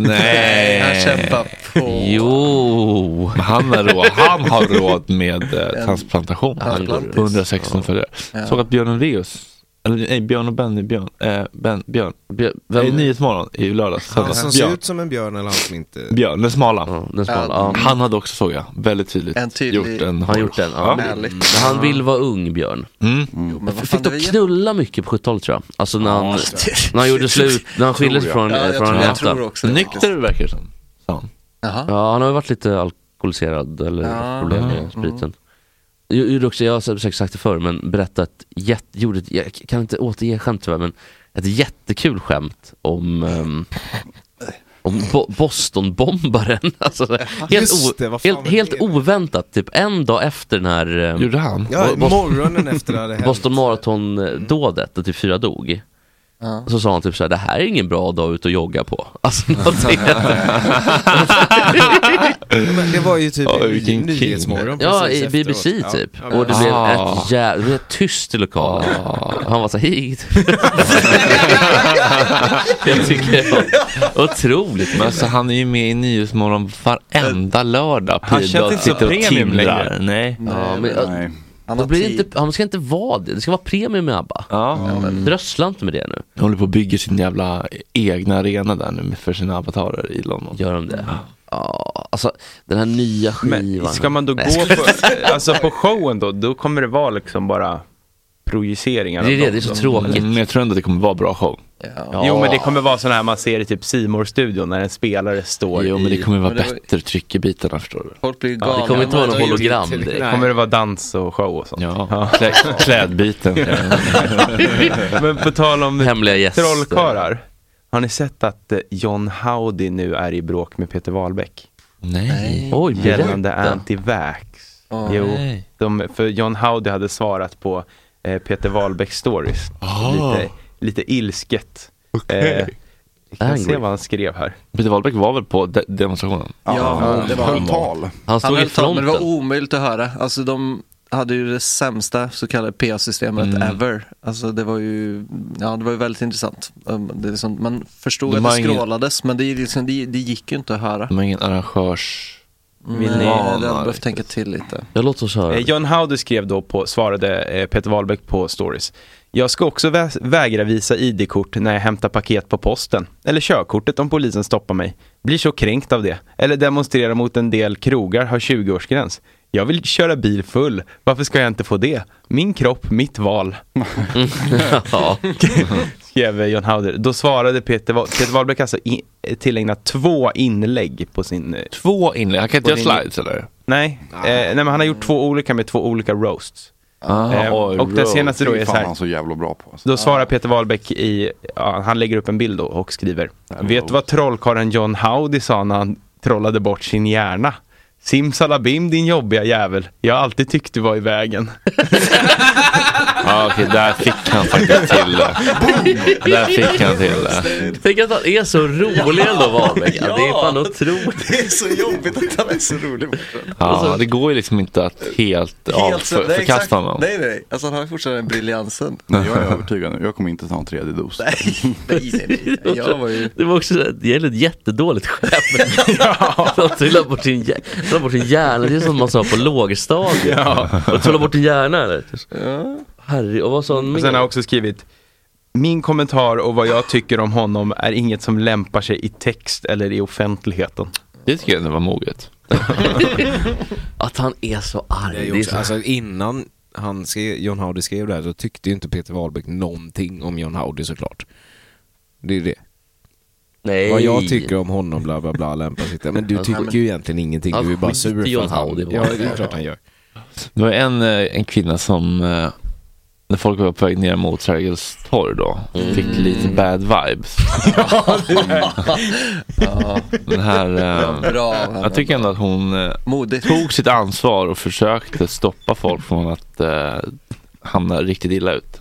[SPEAKER 1] Nej.
[SPEAKER 4] Han kämpar på.
[SPEAKER 5] Jo.
[SPEAKER 1] Men Han, är råd, han har råd med eh, transplantation.
[SPEAKER 5] Transplantis.
[SPEAKER 1] 116 följare. Såg att Björn Ulvaeus, eller nej Björn och Benny, Björn, eh, ben, Björn,
[SPEAKER 5] Björn-
[SPEAKER 1] vem? i
[SPEAKER 5] Vem?
[SPEAKER 1] Nyhetsmorgon i lördags.
[SPEAKER 7] Han som
[SPEAKER 1] söndags.
[SPEAKER 7] ser
[SPEAKER 1] Björn,
[SPEAKER 7] ut som en björn eller han som inte...
[SPEAKER 1] Björn, den smala.
[SPEAKER 5] Ja, den smala. Ja.
[SPEAKER 1] Han hade också såg jag, väldigt tydligt
[SPEAKER 4] En tydlig-
[SPEAKER 1] gjort
[SPEAKER 5] Han
[SPEAKER 1] en
[SPEAKER 5] har gjort den. Ja.
[SPEAKER 1] Ja.
[SPEAKER 4] Härligt.
[SPEAKER 5] Men han vill vara ung, Björn.
[SPEAKER 1] Mm.
[SPEAKER 4] Jo, men vad
[SPEAKER 5] Fick
[SPEAKER 4] fan, det var
[SPEAKER 5] dock
[SPEAKER 4] jätte...
[SPEAKER 5] knulla mycket på 70-talet tror jag. Alltså när han, när han gjorde slut, när han skildes från,
[SPEAKER 4] Ja, jag,
[SPEAKER 5] från
[SPEAKER 4] tror,
[SPEAKER 5] den
[SPEAKER 4] jag tror
[SPEAKER 5] äkta.
[SPEAKER 4] också det.
[SPEAKER 1] Nykter verkar det som. sa han.
[SPEAKER 4] Jaha.
[SPEAKER 5] Ja, han har ju varit lite alkoholiserad eller
[SPEAKER 4] Ja.
[SPEAKER 5] haft problem
[SPEAKER 7] Mm.
[SPEAKER 5] med spriten. Jag, gjorde också, jag har säkert sagt det förr, men berättat, jätt, gjorde ett, jag kan inte återge skämt tyvärr, men ett jättekul skämt om ehm, om Bo Bostonbombaren. Alltså, helt,
[SPEAKER 7] Just
[SPEAKER 5] o-
[SPEAKER 7] det, vad fan
[SPEAKER 5] helt,
[SPEAKER 7] var det?
[SPEAKER 5] helt oväntat, typ en dag efter den här ehm,
[SPEAKER 1] Gjorde han?
[SPEAKER 7] Ja,
[SPEAKER 5] Bos-
[SPEAKER 7] morgonen efter det hade hänt. Mm.
[SPEAKER 5] Boston Marathon-dådet där typ fyra dog.
[SPEAKER 4] Ja.
[SPEAKER 5] Så sa han typ såhär, det här är ingen bra dag ut och jogga på. Alltså någonting.
[SPEAKER 7] Men det var ju typ
[SPEAKER 1] Oj,
[SPEAKER 7] oh,
[SPEAKER 1] vilken
[SPEAKER 7] Nyhetsmorgon
[SPEAKER 5] ja,
[SPEAKER 7] precis
[SPEAKER 5] i BBC
[SPEAKER 7] efteråt.
[SPEAKER 5] typ.
[SPEAKER 7] Ja.
[SPEAKER 5] Och det blev
[SPEAKER 1] Ah.
[SPEAKER 5] ett jävla, det blev tyst i lokalen. Han var såhär, hej. Jag tycker det var otroligt.
[SPEAKER 1] Men alltså, han är ju med i Nyhetsmorgon varenda lördag.
[SPEAKER 3] Han
[SPEAKER 1] Pidot
[SPEAKER 3] känns inte så
[SPEAKER 1] sitter och
[SPEAKER 3] premium
[SPEAKER 1] tindrar.
[SPEAKER 3] längre.
[SPEAKER 1] Nej.
[SPEAKER 5] Ja, men, ja,
[SPEAKER 9] Nej.
[SPEAKER 4] Han
[SPEAKER 5] då
[SPEAKER 4] har
[SPEAKER 5] blir det
[SPEAKER 4] tid.
[SPEAKER 5] inte, han ska inte vara det. Det ska vara premium med ABBA.
[SPEAKER 1] Ja.
[SPEAKER 5] Drösla inte med det nu.
[SPEAKER 1] De håller på och bygger sin jävla egna arena där nu för sina avatarer i London.
[SPEAKER 5] Gör de det? Ja, alltså den här nya
[SPEAKER 3] Men
[SPEAKER 5] skivan.
[SPEAKER 3] ska man då gå på, alltså på showen då, då kommer det vara liksom bara projiceringar av
[SPEAKER 5] Det är det,
[SPEAKER 3] dem
[SPEAKER 5] det är så
[SPEAKER 3] då.
[SPEAKER 5] tråkigt.
[SPEAKER 1] Men jag tror ändå att det kommer vara bra show.
[SPEAKER 5] Ja.
[SPEAKER 3] Jo men det kommer vara sådana här man ser i typ Simor studion när en spelare står
[SPEAKER 1] Jo
[SPEAKER 3] i,
[SPEAKER 1] men det kommer vara
[SPEAKER 4] Men det var-
[SPEAKER 1] bättre tryck i bitarna förstår du.
[SPEAKER 4] Folk blir galna.
[SPEAKER 5] det kommer inte vara något
[SPEAKER 4] Man har gjort-
[SPEAKER 5] hologram direkt.
[SPEAKER 3] kommer det vara dans och show och sånt.
[SPEAKER 1] Ja, Klä, klädbiten.
[SPEAKER 3] Men på tal om
[SPEAKER 5] Hemliga gäster.
[SPEAKER 3] trollkarlar, har ni sett att eh, John Howdy nu är i bråk med Peter Wahlbeck?
[SPEAKER 1] Nej.
[SPEAKER 5] Oj,
[SPEAKER 3] gällande
[SPEAKER 5] berätta.
[SPEAKER 3] anti-vax.
[SPEAKER 4] Åh,
[SPEAKER 3] jo,
[SPEAKER 1] nej.
[SPEAKER 3] de, för John Howdy hade svarat på eh, Peter Wahlbecks stories.
[SPEAKER 1] Ah.
[SPEAKER 3] Lite, lite ilsket. Eh, vi kan
[SPEAKER 5] Angry.
[SPEAKER 3] se vad han skrev här.
[SPEAKER 1] Peter Wahlbeck var väl på de- demonstrationen?
[SPEAKER 9] Ja,
[SPEAKER 4] Ja, det var-
[SPEAKER 9] höll tal.
[SPEAKER 5] Han
[SPEAKER 4] Han
[SPEAKER 5] stod i
[SPEAKER 4] höll tal, men
[SPEAKER 5] fronten.
[SPEAKER 4] det var omöjligt att höra. Alltså de hade ju det sämsta så kallade PA-systemet
[SPEAKER 5] Mm.
[SPEAKER 4] ever. Alltså det var ju, ja det var ju väldigt intressant. Um, Det är liksom, man förstod
[SPEAKER 1] De
[SPEAKER 4] att
[SPEAKER 1] har
[SPEAKER 4] det
[SPEAKER 1] ingen-
[SPEAKER 4] skrålades, men det, är liksom, det, det gick ju inte att höra.
[SPEAKER 1] De har ingen arrangörs...
[SPEAKER 4] Nej,
[SPEAKER 3] ni-
[SPEAKER 4] det hade
[SPEAKER 1] Vana,
[SPEAKER 4] jag behövt
[SPEAKER 1] riktigt.
[SPEAKER 4] tänka till lite.
[SPEAKER 5] Ja, låt oss höra.
[SPEAKER 3] Eh, John Howdy skrev då på, svarade eh, Peter Wahlbeck på stories. Jag ska också vä- vägra visa ID-kort när jag hämtar paket på posten. Eller körkortet om polisen stoppar mig. Blir så kränkt av det. Eller demonstrerar mot en del krogar har 20-årsgräns. Jag vill köra bil full. Varför ska jag inte få det? Min kropp, mitt val.
[SPEAKER 5] ja.
[SPEAKER 3] skrev eh, John Hauder. Då svarade Peter, Wa- Peter Wahlbeck alltså i, tillägnat två inlägg på sin... eh,
[SPEAKER 1] Två inlägg, han kan inte
[SPEAKER 3] Och
[SPEAKER 1] göra
[SPEAKER 3] det är-
[SPEAKER 1] slides eller?
[SPEAKER 3] Nej, eh, nej men han har gjort två olika med två olika roasts. Eh,
[SPEAKER 1] Ah, oj,
[SPEAKER 3] och det
[SPEAKER 1] roast.
[SPEAKER 3] senaste då
[SPEAKER 9] Det
[SPEAKER 3] är
[SPEAKER 9] är
[SPEAKER 3] så
[SPEAKER 9] fan
[SPEAKER 3] här.
[SPEAKER 9] han så jävla bra på. Alltså.
[SPEAKER 3] Då svarar Peter Wahlbeck i, ja, han lägger upp en bild då och skriver. Vet du vad trollkarlen John Howdy sa när han trollade bort sin hjärna? Simsalabim din jobbiga jävel, jag har alltid tyckt du var i vägen.
[SPEAKER 1] Ja, okej, där fick han faktiskt till det. Där fick han till det.
[SPEAKER 5] Tänk att han är så rolig ändå Wahlbeck. Ja. Det är fan otroligt.
[SPEAKER 4] Det är så jobbigt att han är så rolig. fortfarande.
[SPEAKER 1] Ja, det går ju liksom inte att helt, av,
[SPEAKER 4] Alltså, Helt så-
[SPEAKER 1] för,
[SPEAKER 4] nej, exakt.
[SPEAKER 1] förkasta honom.
[SPEAKER 4] Nej, nej, alltså han har ju fortfarande den briljansen.
[SPEAKER 9] Jag är övertygad nu. Jag kommer inte ta en tredje dos.
[SPEAKER 4] Nej, nej, nej, nej. Jag var ju...
[SPEAKER 5] Det var också så här- det är ett jättedåligt skämt. De trillar bort sin, hjär- trillar bort sin hjärna, det är som man sa på lågstadiet. De trillar bort din hjärna eller? Harry, och vad sa han
[SPEAKER 3] Och sen har
[SPEAKER 5] mer?
[SPEAKER 3] jag också skrivit min kommentar och vad jag tycker om honom är inget som lämpar sig i text eller i offentligheten.
[SPEAKER 1] Det tycker jag ändå var moget.
[SPEAKER 5] Att han är så arg.
[SPEAKER 7] Det är ju
[SPEAKER 5] det är
[SPEAKER 7] också,
[SPEAKER 5] så...
[SPEAKER 7] alltså innan han skrev, John Howdy skrev det här så tyckte ju inte Peter Wahlbeck någonting om John Howdy såklart. Det är ju det.
[SPEAKER 5] Nej.
[SPEAKER 7] Vad jag tycker om honom bla bla bla lämpar sig inte. Men du
[SPEAKER 5] Ja,
[SPEAKER 7] tycker
[SPEAKER 5] men-
[SPEAKER 7] ju egentligen ingenting,
[SPEAKER 5] Ja,
[SPEAKER 7] du är bara
[SPEAKER 5] skit i
[SPEAKER 7] sur för
[SPEAKER 5] John
[SPEAKER 7] att han...
[SPEAKER 5] Howdy,
[SPEAKER 7] Ja,
[SPEAKER 5] bara.
[SPEAKER 7] det är klart han gör.
[SPEAKER 1] Det var en, eh, en kvinna som, eh, när folk var på väg ner mot Sergels torg då, fick lite bad vibes. Den här, eh,
[SPEAKER 4] Bra.
[SPEAKER 1] jag tycker ändå att hon eh,
[SPEAKER 4] Modigt.
[SPEAKER 1] tog sitt ansvar och försökte stoppa folk från att eh, hamna riktigt illa ut.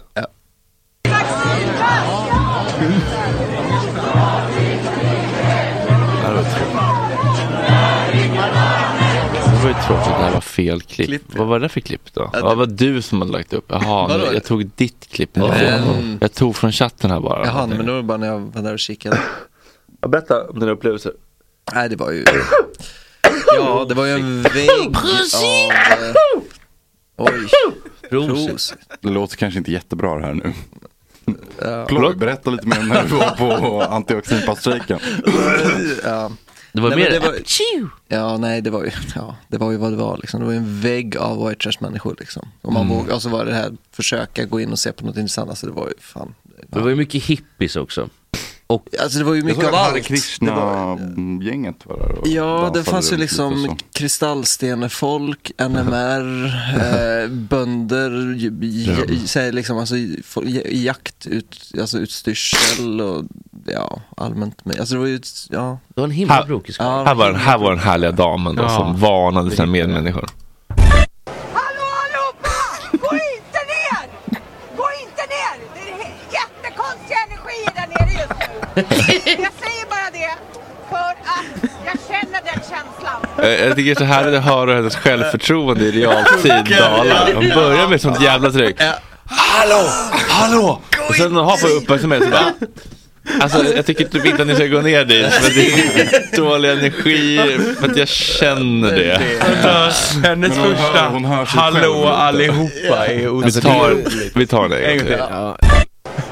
[SPEAKER 1] Det här var ju tråkigt. Det var ju tråkigt att det här var fel klipp.
[SPEAKER 4] Klipp.
[SPEAKER 1] Vad var det för klipp då?
[SPEAKER 4] Ja,
[SPEAKER 1] Vad var du som hade lagt upp? Jaha,
[SPEAKER 4] Vadå?
[SPEAKER 1] nu, jag tog ditt klipp. nu.
[SPEAKER 4] Men-
[SPEAKER 1] Jag tog från chatten här bara.
[SPEAKER 4] Jaha, men då var det bara när jag var där och kikade.
[SPEAKER 1] Berätta om dina upplevelser.
[SPEAKER 4] Nej, det var ju... Ja, det var ju en vägg av... eh, Oj, pros.
[SPEAKER 9] Det låter kanske inte jättebra det här nu. Ploy, berätta lite mer om när du var på antioxidantstrejken.
[SPEAKER 4] Ja.
[SPEAKER 5] Det var
[SPEAKER 4] Nej,
[SPEAKER 5] mer
[SPEAKER 4] men det var-
[SPEAKER 5] Achoo!
[SPEAKER 4] Ja, nej, det var ju, ja, det var ju vad det var liksom. Det var ju en vägg av white trash-människor liksom. Och,
[SPEAKER 5] Mm.
[SPEAKER 4] man våg, och så var det här, försöka gå in och se på något intressant. Alltså det var ju fan.
[SPEAKER 5] Det var ju mycket hippies också.
[SPEAKER 4] Alltså det var ju mycket av allt. Det var-
[SPEAKER 9] Krishna-gänget var där och
[SPEAKER 4] Ja, det
[SPEAKER 9] dansade
[SPEAKER 4] fanns ju
[SPEAKER 9] runt lite
[SPEAKER 4] liksom
[SPEAKER 9] så.
[SPEAKER 4] kristallstenefolk, NMR, eh, bönder, j- j- j- säg liksom, alltså, fol- j- jakt, ut, alltså, utstyrsel och ja, allmänt. med- Alltså det var ju, ett- ja.
[SPEAKER 5] Det var en himla
[SPEAKER 1] Ha-
[SPEAKER 5] brokig skola.
[SPEAKER 4] ja
[SPEAKER 1] Här var, den, här var den härliga damen då,
[SPEAKER 3] Ja.
[SPEAKER 1] som varnade sina medmänniskor.
[SPEAKER 2] Hallå allihopa! Gå inte ner! Gå inte ner! Det är jättekonstiga energier där nere just nu. Jag säger bara det för att jag känner den känslan.
[SPEAKER 1] Eh, Jag tycker det är så härligt att höra hennes självförtroende i realtid dala. Hon börjar med sånt jävla tryck. Hallå! Hallå! Och sen när hon har fått uppmärksamhet så bara Alltså jag tycker typ inte att ni ska gå ner dit för det är dålig energi för att jag känner det.
[SPEAKER 3] Hennes
[SPEAKER 9] Men hon hör-
[SPEAKER 3] första
[SPEAKER 9] hon hör sig själv
[SPEAKER 3] hallå
[SPEAKER 9] lite.
[SPEAKER 3] allihopa är
[SPEAKER 1] Vi
[SPEAKER 3] otroligt.
[SPEAKER 1] tar, vi tar det
[SPEAKER 3] En
[SPEAKER 1] en
[SPEAKER 3] gång
[SPEAKER 1] gång till.
[SPEAKER 3] till.
[SPEAKER 7] Ja,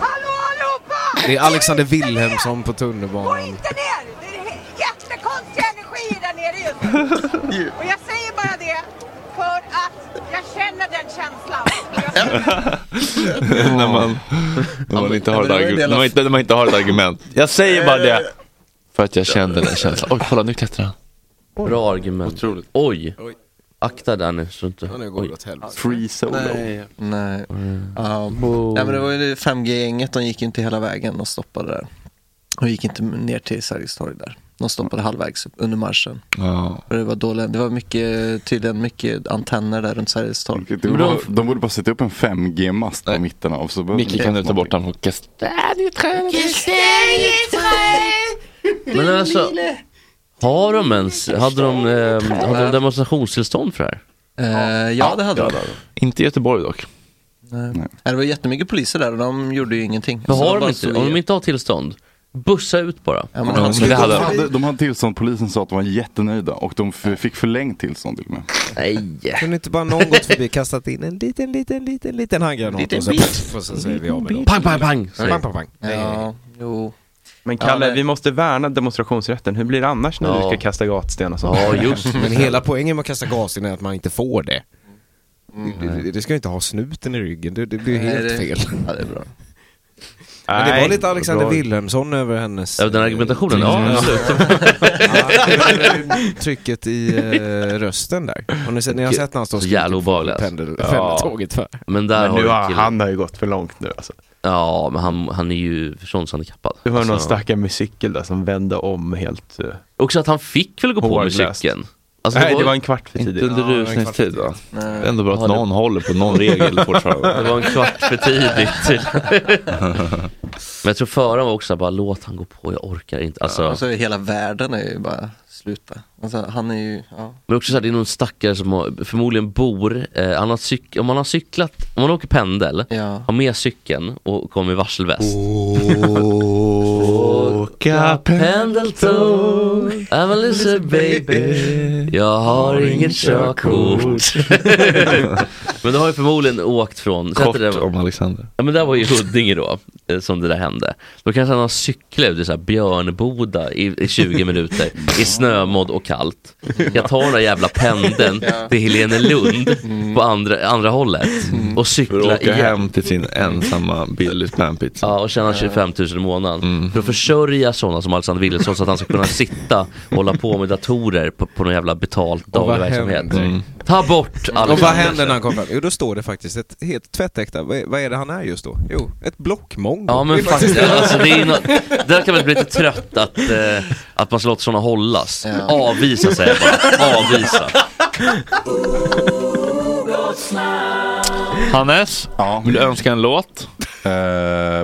[SPEAKER 2] Hallå allihopa!
[SPEAKER 7] det är Alexander
[SPEAKER 2] Gå inte ner!
[SPEAKER 7] Wilhelmsson på
[SPEAKER 2] Gå
[SPEAKER 7] tunnelbanan.
[SPEAKER 2] inte ner! Det är jättekonstiga energier där nere just nu. Och jag säger bara det för att jag känner den känslan. Jag
[SPEAKER 1] När man, när man, inte, har
[SPEAKER 4] men
[SPEAKER 1] ett
[SPEAKER 4] det var ju en del
[SPEAKER 1] argument, när
[SPEAKER 4] av-
[SPEAKER 1] man, inte, när man inte har ett argument. Jag säger bara det.
[SPEAKER 5] Eh,
[SPEAKER 1] För att jag kände den känslan. Oj, kolla nu klättrar han.
[SPEAKER 5] Bra argument.
[SPEAKER 1] Otroligt.
[SPEAKER 5] Oj.
[SPEAKER 7] Oj.
[SPEAKER 5] Akta där nu så inte...
[SPEAKER 7] Ja, nu går
[SPEAKER 5] Oj.
[SPEAKER 7] det åt helvete.
[SPEAKER 9] Free solo.
[SPEAKER 4] Nej. Ja. Nej, men det var ju det 5G-gänget, de gick inte hela vägen och stoppade där. De gick inte ner till Sergels torg där. De stoppade halvvägs upp under marschen.
[SPEAKER 1] Ja.
[SPEAKER 4] Och det var dåliga, det var mycket, tydligen mycket antenner där runt Sergels torg.
[SPEAKER 9] Det var, de borde bara sätta upp en 5G-mast på
[SPEAKER 1] Nej.
[SPEAKER 9] mitten av. Så behöver
[SPEAKER 1] Micke
[SPEAKER 9] de-
[SPEAKER 1] kan du ta bort honom från kast-
[SPEAKER 5] Men alltså, har de ens, hade de, eh, hade de demonstrationstillstånd för det här?
[SPEAKER 4] Eh, ja, det hade de.
[SPEAKER 1] Inte i Göteborg dock.
[SPEAKER 4] Nej. Nej. Det var jättemycket poliser där och de gjorde ju ingenting.
[SPEAKER 5] Men
[SPEAKER 4] Alltså,
[SPEAKER 5] har de
[SPEAKER 4] bara
[SPEAKER 5] inte,
[SPEAKER 4] stod
[SPEAKER 5] om de
[SPEAKER 4] i-
[SPEAKER 5] inte har tillstånd, bussa ut bara.
[SPEAKER 4] Ja, men
[SPEAKER 1] Ja,
[SPEAKER 4] han
[SPEAKER 1] men det
[SPEAKER 4] stod-
[SPEAKER 1] hade-
[SPEAKER 9] De hade, de hade tillstånd, polisen sa att de var jättenöjda och de f- fick förlängt tillstånd till och med.
[SPEAKER 5] Nej.
[SPEAKER 7] Kunde inte bara någon gått förbi, kastat in en liten, liten, liten, liten handgranat och så, och så säger vi av med dem.
[SPEAKER 5] Pang, pang, pang. säger
[SPEAKER 7] Pang,
[SPEAKER 5] jag.
[SPEAKER 7] pang, pang. Nej, nej, nej.
[SPEAKER 4] Ja, jo.
[SPEAKER 3] Men
[SPEAKER 4] Ja,
[SPEAKER 3] Kalle,
[SPEAKER 4] nej.
[SPEAKER 3] vi måste värna demonstrationsrätten. Hur blir det annars när du
[SPEAKER 5] Ja.
[SPEAKER 3] ska kasta gatsten och sånt?
[SPEAKER 5] Ja, just
[SPEAKER 7] Men hela poängen med att kasta gas in är att man inte får det.
[SPEAKER 5] Mm.
[SPEAKER 7] Det, det, det ska ju inte ha snuten i ryggen, det, det blir
[SPEAKER 4] Nej,
[SPEAKER 7] helt
[SPEAKER 4] det-
[SPEAKER 7] fel.
[SPEAKER 4] Ja, det är bra.
[SPEAKER 7] Men det var lite Alexander
[SPEAKER 3] bra.
[SPEAKER 7] Wilhelmsson över hennes...
[SPEAKER 5] Ja, den argumentationen,
[SPEAKER 7] eh,
[SPEAKER 5] ja
[SPEAKER 7] tryck-
[SPEAKER 5] absolut.
[SPEAKER 7] Ja, trycket i eh, rösten där. Har ni, sett, ni har sett när han står och
[SPEAKER 5] Så jävla obehaglig,
[SPEAKER 7] på
[SPEAKER 5] alltså.
[SPEAKER 7] pendel,
[SPEAKER 3] Ja.
[SPEAKER 7] pendeltåget för?
[SPEAKER 5] Men där
[SPEAKER 3] Men
[SPEAKER 5] har
[SPEAKER 3] nu
[SPEAKER 5] du
[SPEAKER 3] har,
[SPEAKER 5] killen.
[SPEAKER 3] han har ju gått för långt nu alltså.
[SPEAKER 5] Ja, men han, han är ju förståndshandikappad.
[SPEAKER 3] Det var någon
[SPEAKER 5] Alltså,
[SPEAKER 3] stackare med cykel där som vände om helt... eh,
[SPEAKER 5] Också att han fick väl gå på med
[SPEAKER 3] Hårdlöst.
[SPEAKER 5] cykeln.
[SPEAKER 1] Alltså,
[SPEAKER 3] Nej, det var en kvart för tidigt.
[SPEAKER 1] Inte under
[SPEAKER 3] Ja, det var en
[SPEAKER 1] rusningstid va? Det
[SPEAKER 4] Nej.
[SPEAKER 1] är ändå bra att
[SPEAKER 5] Ja, det-
[SPEAKER 1] någon håller på någon regel fortfarande.
[SPEAKER 5] Det var en kvart för tidigt. Men jag tror föraren var också såhär, bara låt han gå på, jag orkar inte. Alltså,
[SPEAKER 4] Alltså hela världen är ju bara sluta. Alltså han är ju, ja.
[SPEAKER 5] Men också såhär, det är någon stackare som har, förmodligen bor, eh, han har cyk- om man har cyklat, om man åker pendel,
[SPEAKER 4] Ja.
[SPEAKER 5] har med cykeln och kommer i varselväst.
[SPEAKER 1] Åka
[SPEAKER 5] Pendeltåg, I'm a loser baby, jag har inget körkort. men då har jag förmodligen åkt från, sätter
[SPEAKER 1] Kort
[SPEAKER 5] det där-
[SPEAKER 1] om Alexander.
[SPEAKER 5] Ja men där var ju Huddinge då, eh, som det där hände. Då kanske han har cyklat ut i så här Björnboda i, i 20 minuter, i snömodd och kallt. Jag tar den där jävla pendeln till Helene Lund på andra, andra hållet och
[SPEAKER 1] För
[SPEAKER 5] cyklar
[SPEAKER 1] att åka
[SPEAKER 5] igen.
[SPEAKER 1] hem till sin ensamma Billys panpizza.
[SPEAKER 5] Ja, och tjäna 25 000 i månaden.
[SPEAKER 8] Mm.
[SPEAKER 5] För att försörja sådana som Alexander Wilhelmsson så att han ska kunna sitta och hålla på med datorer på, på någon jävla betalt daglig
[SPEAKER 7] vad
[SPEAKER 5] verksamhet.
[SPEAKER 7] händer?
[SPEAKER 1] Mm.
[SPEAKER 5] Ta bort Alexander.
[SPEAKER 7] Och vad händer när han kommer fram? Jo, då står det faktiskt ett helt tvättäkta, vad är, vad är det han är just då? Jo, ett blockmongo.
[SPEAKER 5] Ja
[SPEAKER 7] Det
[SPEAKER 5] men
[SPEAKER 7] är faktiskt-
[SPEAKER 5] faktiskt, alltså, det är no... där kan man bli lite trött att, eh, att man ska låta sådana hållas.
[SPEAKER 4] Ja.
[SPEAKER 5] Avvisa säger jag bara, avvisa.
[SPEAKER 1] Hannes,
[SPEAKER 9] Ja.
[SPEAKER 1] vill du önska en låt?
[SPEAKER 9] Eh,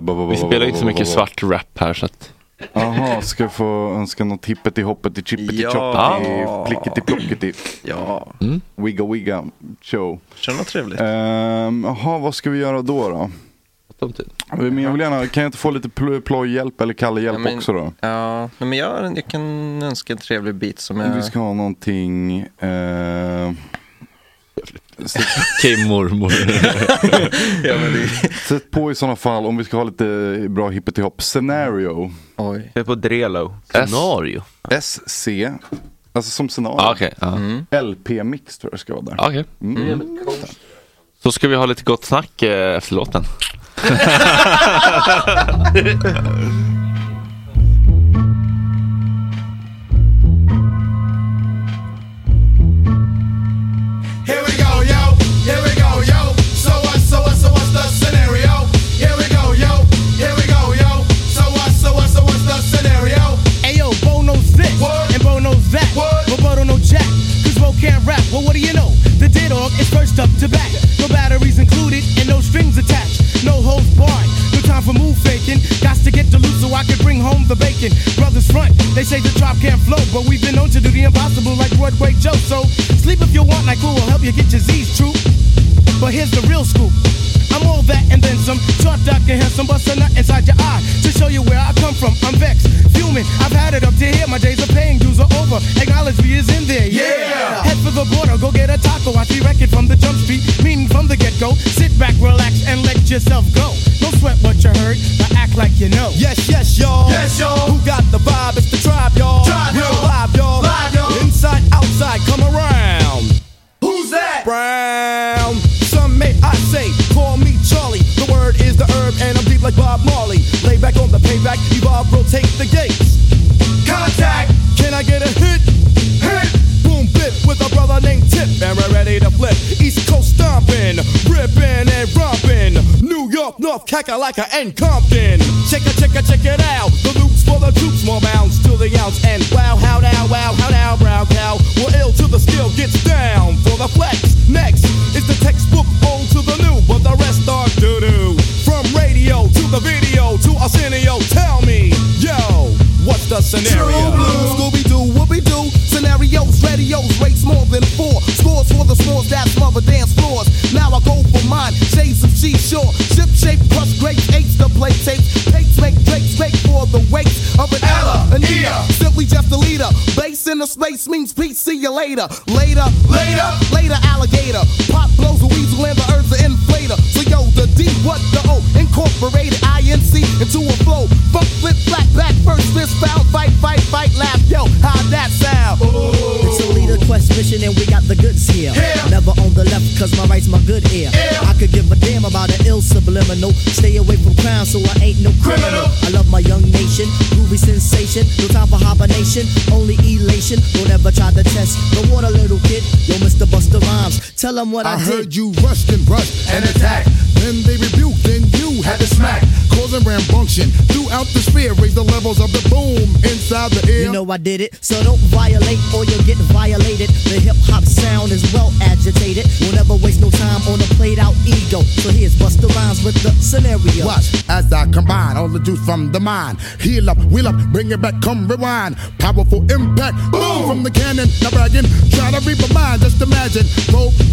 [SPEAKER 9] bo- bo- bo-
[SPEAKER 1] Vi
[SPEAKER 9] bo-
[SPEAKER 1] spelar
[SPEAKER 9] bo-
[SPEAKER 1] inte så
[SPEAKER 9] bo-
[SPEAKER 1] mycket
[SPEAKER 9] bo- bo-
[SPEAKER 1] svart rap här så att...
[SPEAKER 9] Jaha, ska jag få önska något tippet i hoppet i chippet i
[SPEAKER 4] Ja.
[SPEAKER 9] choppet i plicket i plocket i
[SPEAKER 4] Ja,
[SPEAKER 1] Mm.
[SPEAKER 9] wigga wigga show.
[SPEAKER 4] kör något trevligt.
[SPEAKER 9] Ehm, Jaha, vad ska vi göra då då? Men jag vill gärna, kan jag inte få lite pl- plojhjälp eller kallehjälp
[SPEAKER 4] Ja, men-
[SPEAKER 9] också då?
[SPEAKER 4] Ja, nej, men jag, jag kan önska en trevlig bit som jag...
[SPEAKER 9] Vi ska ha någonting... Eh,
[SPEAKER 1] Okej mormor.
[SPEAKER 4] ja, men det...
[SPEAKER 9] sätt på i sådana fall, om vi ska ha lite bra hippetihopp, scenario.
[SPEAKER 4] Oj.
[SPEAKER 3] Jag är på Drelo.
[SPEAKER 5] Scenario.
[SPEAKER 9] SC, alltså som scenario.
[SPEAKER 1] Ja, Okej, ja.
[SPEAKER 9] LP-mix tror jag ska vara där.
[SPEAKER 1] Ja, okej.
[SPEAKER 9] Mm.
[SPEAKER 1] Så ska vi ha lite gott snack eh, efter låten.
[SPEAKER 8] Here we go, yo. Here we go, yo. So what? So what? So what's the scenario? Here we go, yo. Here we go, yo. So what? So what? So what's the scenario?
[SPEAKER 10] Ayo, Bo knows this,
[SPEAKER 8] What?
[SPEAKER 10] and Bo knows that,
[SPEAKER 8] What?
[SPEAKER 10] but Bo don't know jack, cause Bo can't rap. Well, what do you know? The dead dog is first up to bat. No batteries included, and no strings attached. No holds barred, no time for move faking. Got to get the loot so I can bring home the bacon. Brothers front, they say the drop can't flow, but we've been known to do the impossible like Broadway Joe. So sleep if you want, like who will help you get your Z's true. But here's the real scoop. I'm all that and then some. Short, dark, and handsome, but a nut inside your eye to show you where I come from. I'm vexed, fuming. I've had it up to here. My days of paying dues are over. Acknowledge me is in there. Yeah. Head for the border, go get a taco. I see record from the jump street, meaning from the get-go. Sit back, relax, and let yourself go. Don't sweat what you heard, but act like you know.
[SPEAKER 8] Yes, yes, y'all. Yes, y'all. Who got the vibe? It's the tribe, y'all. Tribe, Real live, y'all. Live, y'all. Inside, outside, come around. Who's that? Brown. Some may I say, call me Charlie. The word is the herb, and I'm deep like Bob Marley. Lay back on the payback, evolve, rotate the gates. Contact. Can I get a hit? Hit. Boom, bit with a brother named Tip, and we're ready to flip. East Coast stomping, ripping and romping. New York, North Kakalaka, and Compton. Check it, check it, check it out. The loops for the troops, more bounds to the ounce. And wow, how now, wow, how now, brown cow. We're ill till the steel gets down for the flex. Next is the textbook old to the new, but the rest are doo doo. From radio to the video to Arsenio, tell me, yo, what's the scenario?
[SPEAKER 10] True blue. Scooby Doo, whoopie doo. Scenarios, radios, rates more than four. Scores for the scores that smother dance floors. Now I go for mine, shades of seashore. Ship shape, crush grapes, apes to play tapes. Pates make drakes, make for the wakes of an Ella, Anita. Simply just a leader. Bass in the space means peace, see you later. Later, later, later, alligator. Pop blows a weasel and the earth's an inflator. So yo, the D, what the O? Incorporated INC into a flow. Fuck, flip, flat, back, first fist, foul, fight, fight, fight, laugh. Yo, how that sound? It's a leader quest mission and we got the goods here. Never on the left cause my right's my good ear. I could give a damn about an ill subliminal.
[SPEAKER 11] criminal. Stay away from crime, so I ain't no criminal. I love my young nation, groovy sensation. No time for hibernation, only elation. Don't ever try to test the water, little kid. Yo, Mr. Buster Rhymes, tell them what I,
[SPEAKER 12] I
[SPEAKER 11] did.
[SPEAKER 12] heard you rushed and rushed and attacked. Then they rebuked, then you had to smack, causing rambunction throughout the sphere. Raise the levels of the boom inside the ear.
[SPEAKER 11] You know I did it, so don't violate or you'll get violated. The hip hop sound is well agitated. We'll never waste no time on a played out ego. So here's Busta Rhymes with the scenario.
[SPEAKER 12] Watch as I combine all the juice from the mind. Heal up, wheel up, bring it back, come rewind. Powerful impact, boom from the cannon. Now bragging, try to reap a mine. Just imagine,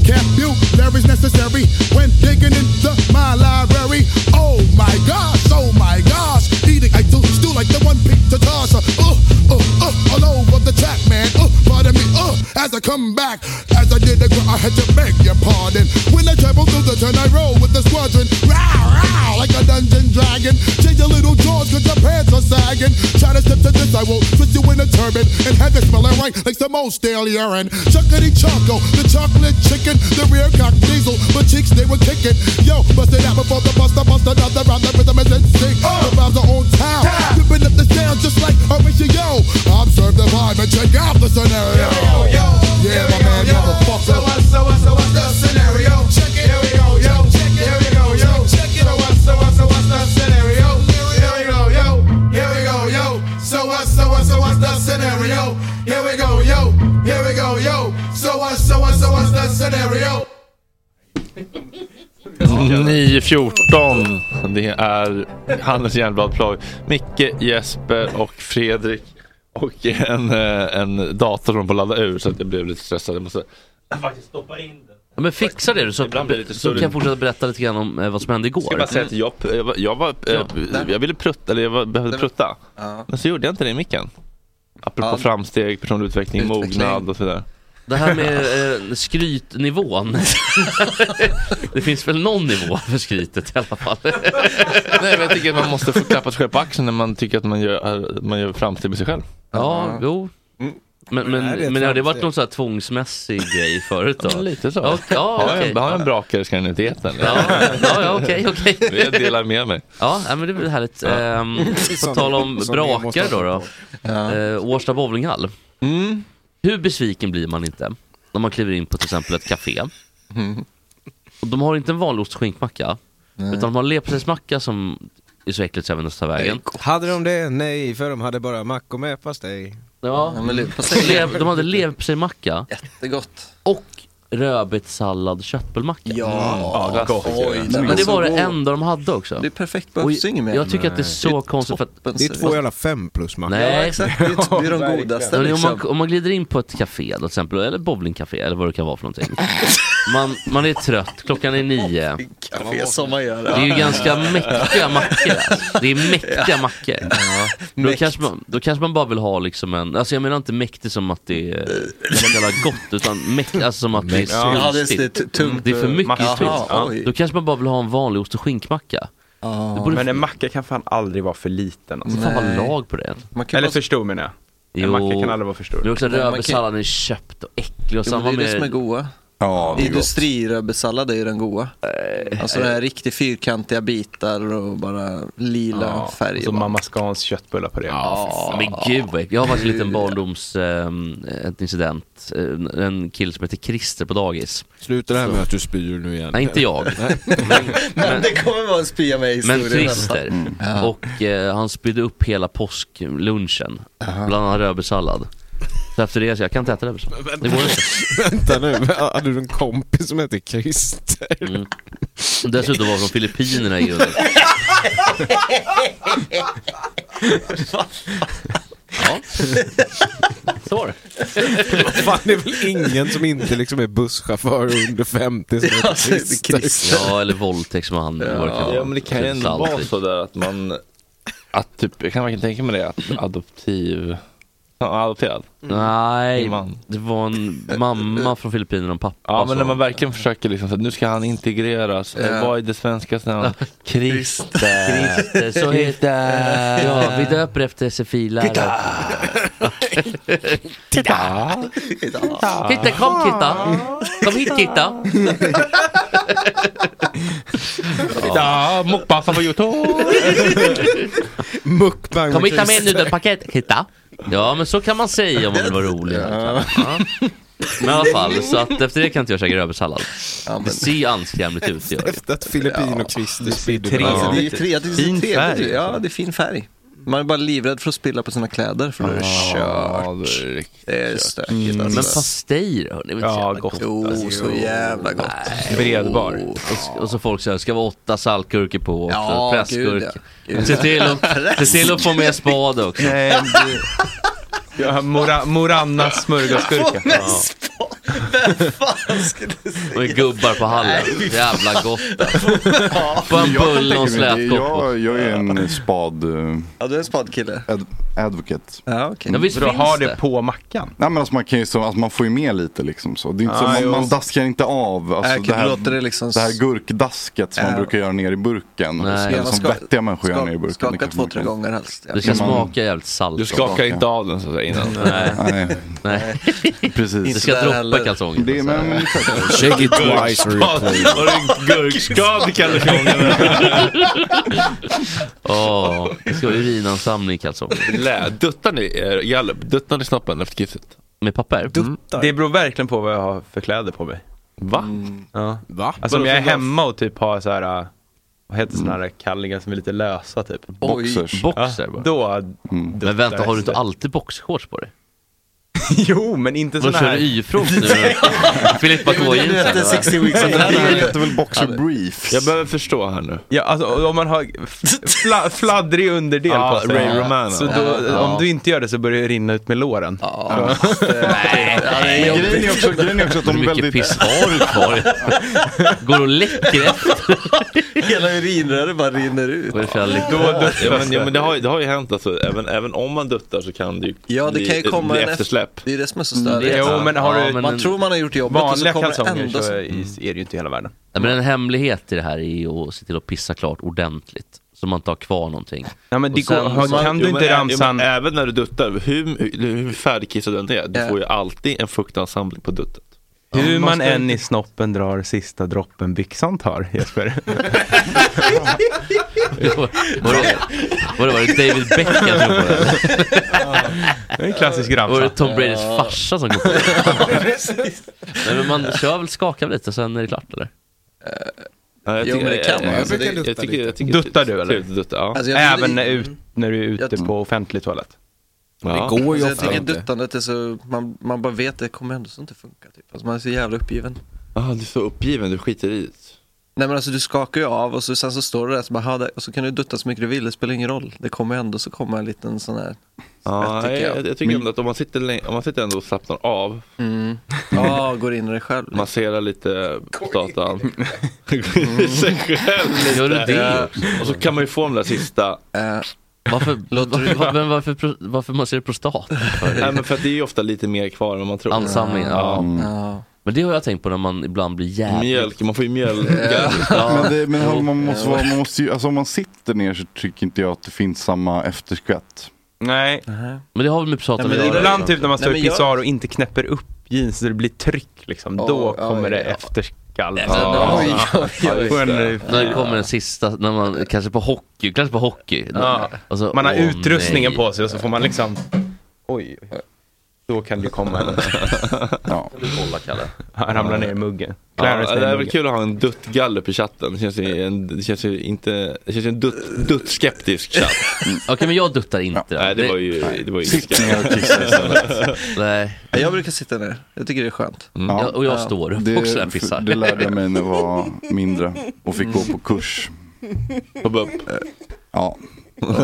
[SPEAKER 12] vocabulary's necessary when digging into my library. Oh my gosh, oh my gosh, eating I do, stew like the one pizza toss. Uh, uh, uh, all over the track, man. Uh, pardon me, uh, as I come back, as I did, the gr- I had to beg your pardon. When I travel through the turn, I roll with the squadron. Row, row, like a dungeon dragon. Change your little jaws, cause your pants are sagging. Try to step to this, I will twist you in a turban and have it smelling right like some old stale urine. Chuckity choco, the chocolate chicken, the rear cock diesel, but cheeks they were kicking. Yo, bust it out before the buster, bust another round, the rhythm is in sync. The vibes are on town, ripping up the sound just like Horatio. Observe the vibe and check out the scenario. yeah, my man, motherfucker. So what's, so what's, so what's the scenario? Check it, here we go, yo. Check it, here we go, yo. Check it, so what's, so what's, so what's the scenario? Here we go, yo. Here we go, yo. So what's, so what's, so what's the scenario? Here we go, yo. Here we go, yo. So what's, so what's, so what's the scenario?
[SPEAKER 8] 9.14 Det är Hannes Järnblad Ploj, Micke, Jesper och Fredrik och en, eh, en dator de får ladda ur så att jag blev lite stressad. Jag måste faktiskt stoppa in den.
[SPEAKER 5] Ja, men fixa det du, så,
[SPEAKER 8] Ibland blir det lite
[SPEAKER 5] så
[SPEAKER 8] surrigt.
[SPEAKER 5] kan jag fortsätta berätta lite grann om eh, vad som hände igår.
[SPEAKER 8] Ska jag bara säga att jag, jag, var- jag, var, eh, jag ville prutta, eller jag var, behövde prutta. Men så gjorde jag inte det i micken. Apropå
[SPEAKER 5] Ja.
[SPEAKER 8] framsteg, personlig utveckling,
[SPEAKER 5] Utveckling.
[SPEAKER 8] mognad och sådär.
[SPEAKER 5] Det här med eh, skrytnivån. det finns väl någon nivå för skrytet i alla fall.
[SPEAKER 8] Nej, men jag tycker att man måste få klappa sig själv på axeln när man tycker att man gör, man gör framsteg med sig själv.
[SPEAKER 5] Ja, jo.
[SPEAKER 8] Mm.
[SPEAKER 5] Men, men,
[SPEAKER 8] Det här är ett
[SPEAKER 5] men, har det varit
[SPEAKER 8] framsteg.
[SPEAKER 5] någon sån här tvångsmässig grej förut
[SPEAKER 8] Ja,
[SPEAKER 5] då?
[SPEAKER 8] men lite så.
[SPEAKER 5] Ja, okej. ja,
[SPEAKER 8] har,
[SPEAKER 5] okej.
[SPEAKER 8] jag, har jag en brakare ska den ut i etern.
[SPEAKER 5] Ja, ja, ja, okej, okej.
[SPEAKER 8] Jag delar med mig.
[SPEAKER 5] Ja, nej, men det blir härligt.
[SPEAKER 8] Ja.
[SPEAKER 5] Ja. på
[SPEAKER 8] Som-
[SPEAKER 5] tal om
[SPEAKER 8] som vi måste
[SPEAKER 5] brakar
[SPEAKER 8] ha Mm.
[SPEAKER 5] då. då.
[SPEAKER 8] koll
[SPEAKER 5] Eh, Årsta bowlinghall. Hur besviken blir man inte när man kliver in på till exempel ett café. Mm. Och de har inte en vanlig ost och skinkmacka.
[SPEAKER 7] Nej.
[SPEAKER 5] Utan de har leprosejsmacka som är så äckligt så även nästa vägen.
[SPEAKER 7] Hade de det? Nej, för de hade bara mackor med pastej.
[SPEAKER 5] Ja, Lev- de hade leverpastejmacka. Jättegott. Och rödbetssallad köttbullmacka.
[SPEAKER 4] Mm. Ja, Ja, gott. oj, den
[SPEAKER 5] Men
[SPEAKER 4] var
[SPEAKER 5] det
[SPEAKER 4] så
[SPEAKER 5] var det
[SPEAKER 4] god.
[SPEAKER 5] enda de hade också.
[SPEAKER 4] Det är perfekt
[SPEAKER 5] Och
[SPEAKER 4] behövs inget mer.
[SPEAKER 5] Jag tycker att det är så
[SPEAKER 4] Nej. Det är
[SPEAKER 5] konstigt för att...
[SPEAKER 4] toppen, Det är två säger jag. jävla
[SPEAKER 7] fem plus
[SPEAKER 5] Nej,
[SPEAKER 4] Ja, exakt. Det är- det är de
[SPEAKER 5] Ja,
[SPEAKER 4] godaste,
[SPEAKER 5] men Om man,
[SPEAKER 4] liksom.
[SPEAKER 5] om man glider in på ett café då, till exempel, eller bowlingcafé eller vad det kan vara för någonting. Man, man är trött, klockan är nio.
[SPEAKER 4] Café som man gör.
[SPEAKER 5] Det är ju ganska mäktiga mackor. alltså. Det är mäktiga mackor. Då,
[SPEAKER 4] Mäkt.
[SPEAKER 5] kanske man, då kanske man bara vill ha liksom en, alltså jag menar inte mäktig som att det är så jävla gott, utan mäkt, alltså som att det är
[SPEAKER 4] Mäkt. Ja, det är
[SPEAKER 5] svulstigt.
[SPEAKER 4] lite tungt.
[SPEAKER 5] Det är för mycket
[SPEAKER 4] Jaha,
[SPEAKER 5] tungt.
[SPEAKER 4] oj.
[SPEAKER 5] Då kanske man bara vill ha en vanlig ost och skinkmacka. Det borde-
[SPEAKER 3] Men en macka kan fan aldrig vara för liten. Alltså.
[SPEAKER 5] Fan, vad Nej. lag på det. Man kan
[SPEAKER 3] Eller
[SPEAKER 5] vara-
[SPEAKER 3] för stor menar jag. En macka kan aldrig vara för stor.
[SPEAKER 5] Det är också rödbetssalladen är köpt och äcklig och
[SPEAKER 4] Jo, men det
[SPEAKER 5] samma
[SPEAKER 4] är det som är
[SPEAKER 5] med...
[SPEAKER 4] goa.
[SPEAKER 9] Ja,
[SPEAKER 5] det är gott.
[SPEAKER 4] Industrirödbetssallad är ju den goa.
[SPEAKER 5] Eh,
[SPEAKER 4] Alltså det här riktigt fyrkantiga bitar och bara lila
[SPEAKER 3] Ja,
[SPEAKER 4] färger.
[SPEAKER 3] och så mamma Scans köttbullar på det.
[SPEAKER 5] Ja, men gud vad äckligt. Jag har varit en liten barndoms, ehm, ett incident, Eh, en kille som heter Christer på dagis.
[SPEAKER 7] Sluta det här
[SPEAKER 5] Så-
[SPEAKER 7] med att du spyr nu igen.
[SPEAKER 5] Nej, inte jag.
[SPEAKER 4] Men det kommer vara en spya mig
[SPEAKER 5] Men Christer,
[SPEAKER 4] Mm.
[SPEAKER 5] och eh, han spydde upp hela påsklunchen, bland annat rödbetssallad. Så efter det, så jag kan inte äta rödbetssallad. Det går inte.
[SPEAKER 7] Vänta nu, hade du en kompis som hette Christer?
[SPEAKER 5] Mm. Dessutom var han från Filippinerna i grunden. Ja. Så var det.
[SPEAKER 7] Fan, det är väl ingen som inte liksom är busschaufför och under 50 som heter Christer?
[SPEAKER 5] Ja, eller våldtäktsman. eller vad det
[SPEAKER 8] Ja,
[SPEAKER 5] vara.
[SPEAKER 8] men det kan ju ändå
[SPEAKER 5] Salt,
[SPEAKER 8] vara
[SPEAKER 5] liksom.
[SPEAKER 8] så där att man, att typ, jag kan verkligen tänka mig det, att adoptiv, ja, adopterad.
[SPEAKER 5] Nej,
[SPEAKER 8] Man.
[SPEAKER 5] det var en mamma från Filippinerna och en pappa.
[SPEAKER 8] Ja men när
[SPEAKER 5] som-
[SPEAKER 8] man verkligen försöker liksom så att nu ska han integreras,
[SPEAKER 5] Ja.
[SPEAKER 8] Alltså- ja. vad är det svenska namnet? Christer!
[SPEAKER 5] Christer, så heter... Ja, vi döper efter SFI-lärare. Titta! Titta, kom Kitta! Kom hit Kitta!
[SPEAKER 1] Ja, mukbangsen på youtube!
[SPEAKER 7] Mukbang
[SPEAKER 5] Kom
[SPEAKER 1] med
[SPEAKER 5] hitta med
[SPEAKER 1] Christer.
[SPEAKER 5] nudelpaket, hitta! Ja men så kan man säga om man vill vara rolig. Ja. Men i alla fall, så att efter det kan inte jag käka rödbetssallad. Det ser ju anskrämligt ut. det gör det.
[SPEAKER 7] Efter att Filippin och Christer spydde
[SPEAKER 5] trevligt
[SPEAKER 7] varandra.
[SPEAKER 5] ut.
[SPEAKER 4] Det är tre, jag tycker det är
[SPEAKER 5] Fin
[SPEAKER 4] trevligt
[SPEAKER 5] färg.
[SPEAKER 4] ju. Ja, det är fin färg. Man är bara livrädd för att spilla på sina kläder för då är det kört. Det är stökigt
[SPEAKER 5] Mm.
[SPEAKER 4] alltså.
[SPEAKER 5] Men pastejer hörni, det är väl så
[SPEAKER 4] Ja,
[SPEAKER 5] jävla
[SPEAKER 4] gott,
[SPEAKER 5] gott?
[SPEAKER 4] Jo, så jävla gott.
[SPEAKER 5] Bredbar. Och, och så folk säger, ska vara åtta saltgurkor på också,
[SPEAKER 4] Ja, gud,
[SPEAKER 5] pressgurka.
[SPEAKER 4] ja. Gud.
[SPEAKER 5] Se till att- se till att få med spad också.
[SPEAKER 3] Nej, det... ja, Mora, Moranna smörgåsgurka.
[SPEAKER 5] Få med Och gubbar på hallen. Jävla gott alltså. Bara en
[SPEAKER 9] Jag kan
[SPEAKER 5] bulle och en
[SPEAKER 9] tänka mig det.
[SPEAKER 5] slätkopp. på.
[SPEAKER 9] jag, jag är en spad... eh,
[SPEAKER 4] Ja, du är en spadkille.
[SPEAKER 9] Ad, advocate.
[SPEAKER 4] Ja, okej.
[SPEAKER 3] Ja, visst Bra, finns ha det det. på mackan.
[SPEAKER 9] Nej men alltså man kan ju, så, alltså man får ju med lite liksom så. Det är inte
[SPEAKER 3] Ah,
[SPEAKER 9] så
[SPEAKER 3] jo.
[SPEAKER 9] man, man daskar inte av. Alltså,
[SPEAKER 3] Nej,
[SPEAKER 9] det, här,
[SPEAKER 3] låter det liksom s- Eh.
[SPEAKER 9] det här gurkdasket som
[SPEAKER 3] Ja.
[SPEAKER 9] man brukar göra ner i burken. Alltså,
[SPEAKER 5] Nej.
[SPEAKER 9] som som
[SPEAKER 5] Ska-
[SPEAKER 9] vettiga människor gör
[SPEAKER 5] ska-
[SPEAKER 9] ner i burken. liksom.
[SPEAKER 5] skaka
[SPEAKER 9] Det kanske
[SPEAKER 5] två,
[SPEAKER 9] man
[SPEAKER 5] tre
[SPEAKER 9] kan.
[SPEAKER 5] gånger helst, ja. Det ska
[SPEAKER 9] Men
[SPEAKER 5] smaka jävligt salt
[SPEAKER 1] Du skakar också. inte av den, så att säga, innan.
[SPEAKER 9] Nej. Nej.
[SPEAKER 5] Nej.
[SPEAKER 9] Precis.
[SPEAKER 5] Det ska Inte där droppa heller. kalsongen,
[SPEAKER 9] Det är
[SPEAKER 5] så att
[SPEAKER 9] men...
[SPEAKER 7] Shake it twice or replay.
[SPEAKER 1] Var det gurkskad i kalsongerna?
[SPEAKER 5] Åh, det ska vara urinansamling i kalsongerna.
[SPEAKER 1] Lä- Duttar ni, eh, Jalle, duttar ni snoppen efter kisset?
[SPEAKER 5] Med papper? Mm.
[SPEAKER 3] Det beror verkligen på vad jag har för kläder på mig.
[SPEAKER 1] Va?
[SPEAKER 3] Ja.
[SPEAKER 7] Va?
[SPEAKER 3] Alltså om
[SPEAKER 1] Vadå
[SPEAKER 3] jag är
[SPEAKER 1] för-
[SPEAKER 3] hemma och typ har så här, äh, vad heter såna här kallingar som är lite lösa typ?
[SPEAKER 5] Boxers. Boxer
[SPEAKER 3] ja,
[SPEAKER 5] bara.
[SPEAKER 3] då
[SPEAKER 5] Men vänta, har du inte alltid boxshorts på dig?
[SPEAKER 3] Jo, men inte
[SPEAKER 5] Vad
[SPEAKER 3] såna
[SPEAKER 5] kör
[SPEAKER 3] här.
[SPEAKER 5] du Y-front nu? Filippa
[SPEAKER 3] Jo, det är
[SPEAKER 5] K-jeansen?
[SPEAKER 3] det, 60 weeks of
[SPEAKER 9] Det heter väl boxer briefs?
[SPEAKER 1] Jag behöver förstå här nu.
[SPEAKER 3] Ja, alltså om man har fla, fladdrig underdel
[SPEAKER 1] Ja,
[SPEAKER 3] på sig.
[SPEAKER 1] Ray Romano.
[SPEAKER 3] Så då,
[SPEAKER 1] Ja.
[SPEAKER 3] om du inte gör det så börjar det rinna ut med låren. Ja.
[SPEAKER 9] Men grejen är också, grejen är också att de är väldigt...
[SPEAKER 5] Går och läcker
[SPEAKER 4] Hela urinröret bara rinner ut.
[SPEAKER 5] Vad är det för jävla-
[SPEAKER 1] Då duttas ja, men, ja, men det, har, ju- det har ju hänt alltså, även, även om man duttar så kan det ju
[SPEAKER 4] Ja, det
[SPEAKER 1] bli,
[SPEAKER 4] kan ju komma
[SPEAKER 1] bli
[SPEAKER 4] en
[SPEAKER 1] eftersläpp.
[SPEAKER 4] Det är det som är så störigt.
[SPEAKER 1] Mm, det- Jo, men har du-
[SPEAKER 4] man tror man har gjort jobbet och så
[SPEAKER 3] Vanliga
[SPEAKER 4] kommer
[SPEAKER 3] kalsonger
[SPEAKER 4] det ändå...
[SPEAKER 3] så
[SPEAKER 4] Så...
[SPEAKER 3] är, är det ju inte i hela världen.
[SPEAKER 5] Nej, men en hemlighet i det här är ju att se till att pissa klart ordentligt. Så man inte har kvar någonting.
[SPEAKER 3] Ja, men
[SPEAKER 5] Och
[SPEAKER 3] det går-
[SPEAKER 5] sen-
[SPEAKER 3] har-
[SPEAKER 5] så-
[SPEAKER 3] kan du inte
[SPEAKER 1] ä-
[SPEAKER 3] ramsan-
[SPEAKER 1] men även när du duttar, hur, hur, hur färdigkissad du än är, du
[SPEAKER 5] Ja.
[SPEAKER 1] får ju alltid en fuktansamling på duttet.
[SPEAKER 3] Hur
[SPEAKER 1] Ja, man
[SPEAKER 3] man
[SPEAKER 1] ska
[SPEAKER 3] än
[SPEAKER 1] inte-
[SPEAKER 3] i snoppen drar sista droppen byxan tar, Jesper.
[SPEAKER 5] Vadå, vadå, var det David Beckham som kom på det?
[SPEAKER 3] Det är en klassisk ramsa.
[SPEAKER 5] Var det Tom Bradys
[SPEAKER 3] Ja.
[SPEAKER 5] farsa som kom på det? Nej, men man kör väl, skakar lite, sen är det klart eller?
[SPEAKER 1] Nej, jag
[SPEAKER 5] Jo,
[SPEAKER 1] tycker-
[SPEAKER 5] men det kan
[SPEAKER 1] jag-
[SPEAKER 5] man.
[SPEAKER 1] jag
[SPEAKER 5] Jag Typ brukar
[SPEAKER 1] tycker- jag
[SPEAKER 5] dutta
[SPEAKER 1] tycker- jag
[SPEAKER 5] lite.
[SPEAKER 1] tycker-
[SPEAKER 3] Duttar du eller?
[SPEAKER 1] Trevligt att dutta, ja.
[SPEAKER 4] Alltså, jag blir-
[SPEAKER 3] Även när ut, när du är ute på offentlig toalett?
[SPEAKER 4] Det går ju alltså, jag tycker duttandet är så, man, man bara vet det kommer ändå så inte funka typ. Alltså man är så jävla uppgiven.
[SPEAKER 1] Ah, du är så uppgiven, du skiter i det.
[SPEAKER 4] Nej men alltså du skakar ju av och så, sen så står du där så bara, "Ha, det- och så kan du dutta så mycket du vill, det spelar ingen roll. Det kommer ändå så kommer en liten sån här
[SPEAKER 1] Ja,
[SPEAKER 4] tycker jag.
[SPEAKER 1] Ah, jag, jag tycker ändå att om man sitter, länge, om man sitter ändå och slappnar av,
[SPEAKER 4] Mm. Ja, går in i dig själv.
[SPEAKER 1] masserar lite prostatan, går in i sig själv lite.
[SPEAKER 5] Gör du det
[SPEAKER 1] Ja.
[SPEAKER 5] också?
[SPEAKER 1] Och så kan man ju få den där sista
[SPEAKER 5] Varför,
[SPEAKER 1] Låter det-
[SPEAKER 5] var, men varför, pro- varför man ser prostat?
[SPEAKER 1] Nej men för att det är ju ofta lite mer kvar än vad man tror
[SPEAKER 5] Ansamlingen, ja.
[SPEAKER 1] Mm.
[SPEAKER 5] Men det har jag tänkt på när man ibland blir jävligt...
[SPEAKER 1] Mjölk, man får ju mjölk
[SPEAKER 9] Men, det, men hallå, man måste vara, man måste ju, alltså om man sitter ner så tycker inte jag att det finns samma efterskvätt.
[SPEAKER 3] Nej.
[SPEAKER 5] Men det har väl med prat
[SPEAKER 3] men
[SPEAKER 5] att göra,
[SPEAKER 3] ibland
[SPEAKER 5] liksom.
[SPEAKER 3] typ när man står
[SPEAKER 5] Nej,
[SPEAKER 3] i
[SPEAKER 5] men jag-
[SPEAKER 3] pissoar och inte knäpper upp jeans så det blir tryck liksom.
[SPEAKER 5] Ja,
[SPEAKER 3] då
[SPEAKER 5] ja,
[SPEAKER 3] kommer det
[SPEAKER 5] ja.
[SPEAKER 3] efterskall.
[SPEAKER 5] Nej, men- oj, oj, oj.
[SPEAKER 3] På en-
[SPEAKER 5] När det kommer den sista, när man, kanske på hockey, kanske på hockey.
[SPEAKER 3] Ja.
[SPEAKER 5] Alltså,
[SPEAKER 3] man har
[SPEAKER 5] åh,
[SPEAKER 3] utrustningen
[SPEAKER 5] nej.
[SPEAKER 3] på sig och så får man liksom, oj, oj. då kan det komma en.
[SPEAKER 9] ja.
[SPEAKER 5] Kolla Kalle.
[SPEAKER 3] Han ramlar ner i muggen. Clarence
[SPEAKER 1] Ja,
[SPEAKER 3] ner
[SPEAKER 1] det
[SPEAKER 3] i
[SPEAKER 1] är väl
[SPEAKER 3] muggen.
[SPEAKER 1] kul att ha en duttgallup i chatten, det känns ju, en, det känns ju inte, det känns ju en dutt, duttskeptisk chatt
[SPEAKER 5] Mm. Okej men jag duttar inte då.
[SPEAKER 1] Nej det var ju, det var ju
[SPEAKER 5] Nej.
[SPEAKER 4] Ja, Jag brukar sitta ner, jag tycker det är skönt.
[SPEAKER 9] Ja.
[SPEAKER 5] Jag- och jag står upp också när jag pissar.
[SPEAKER 9] Det lärde jag mig när jag var mindre och fick gå på kurs.
[SPEAKER 1] På BUP?
[SPEAKER 9] Ja.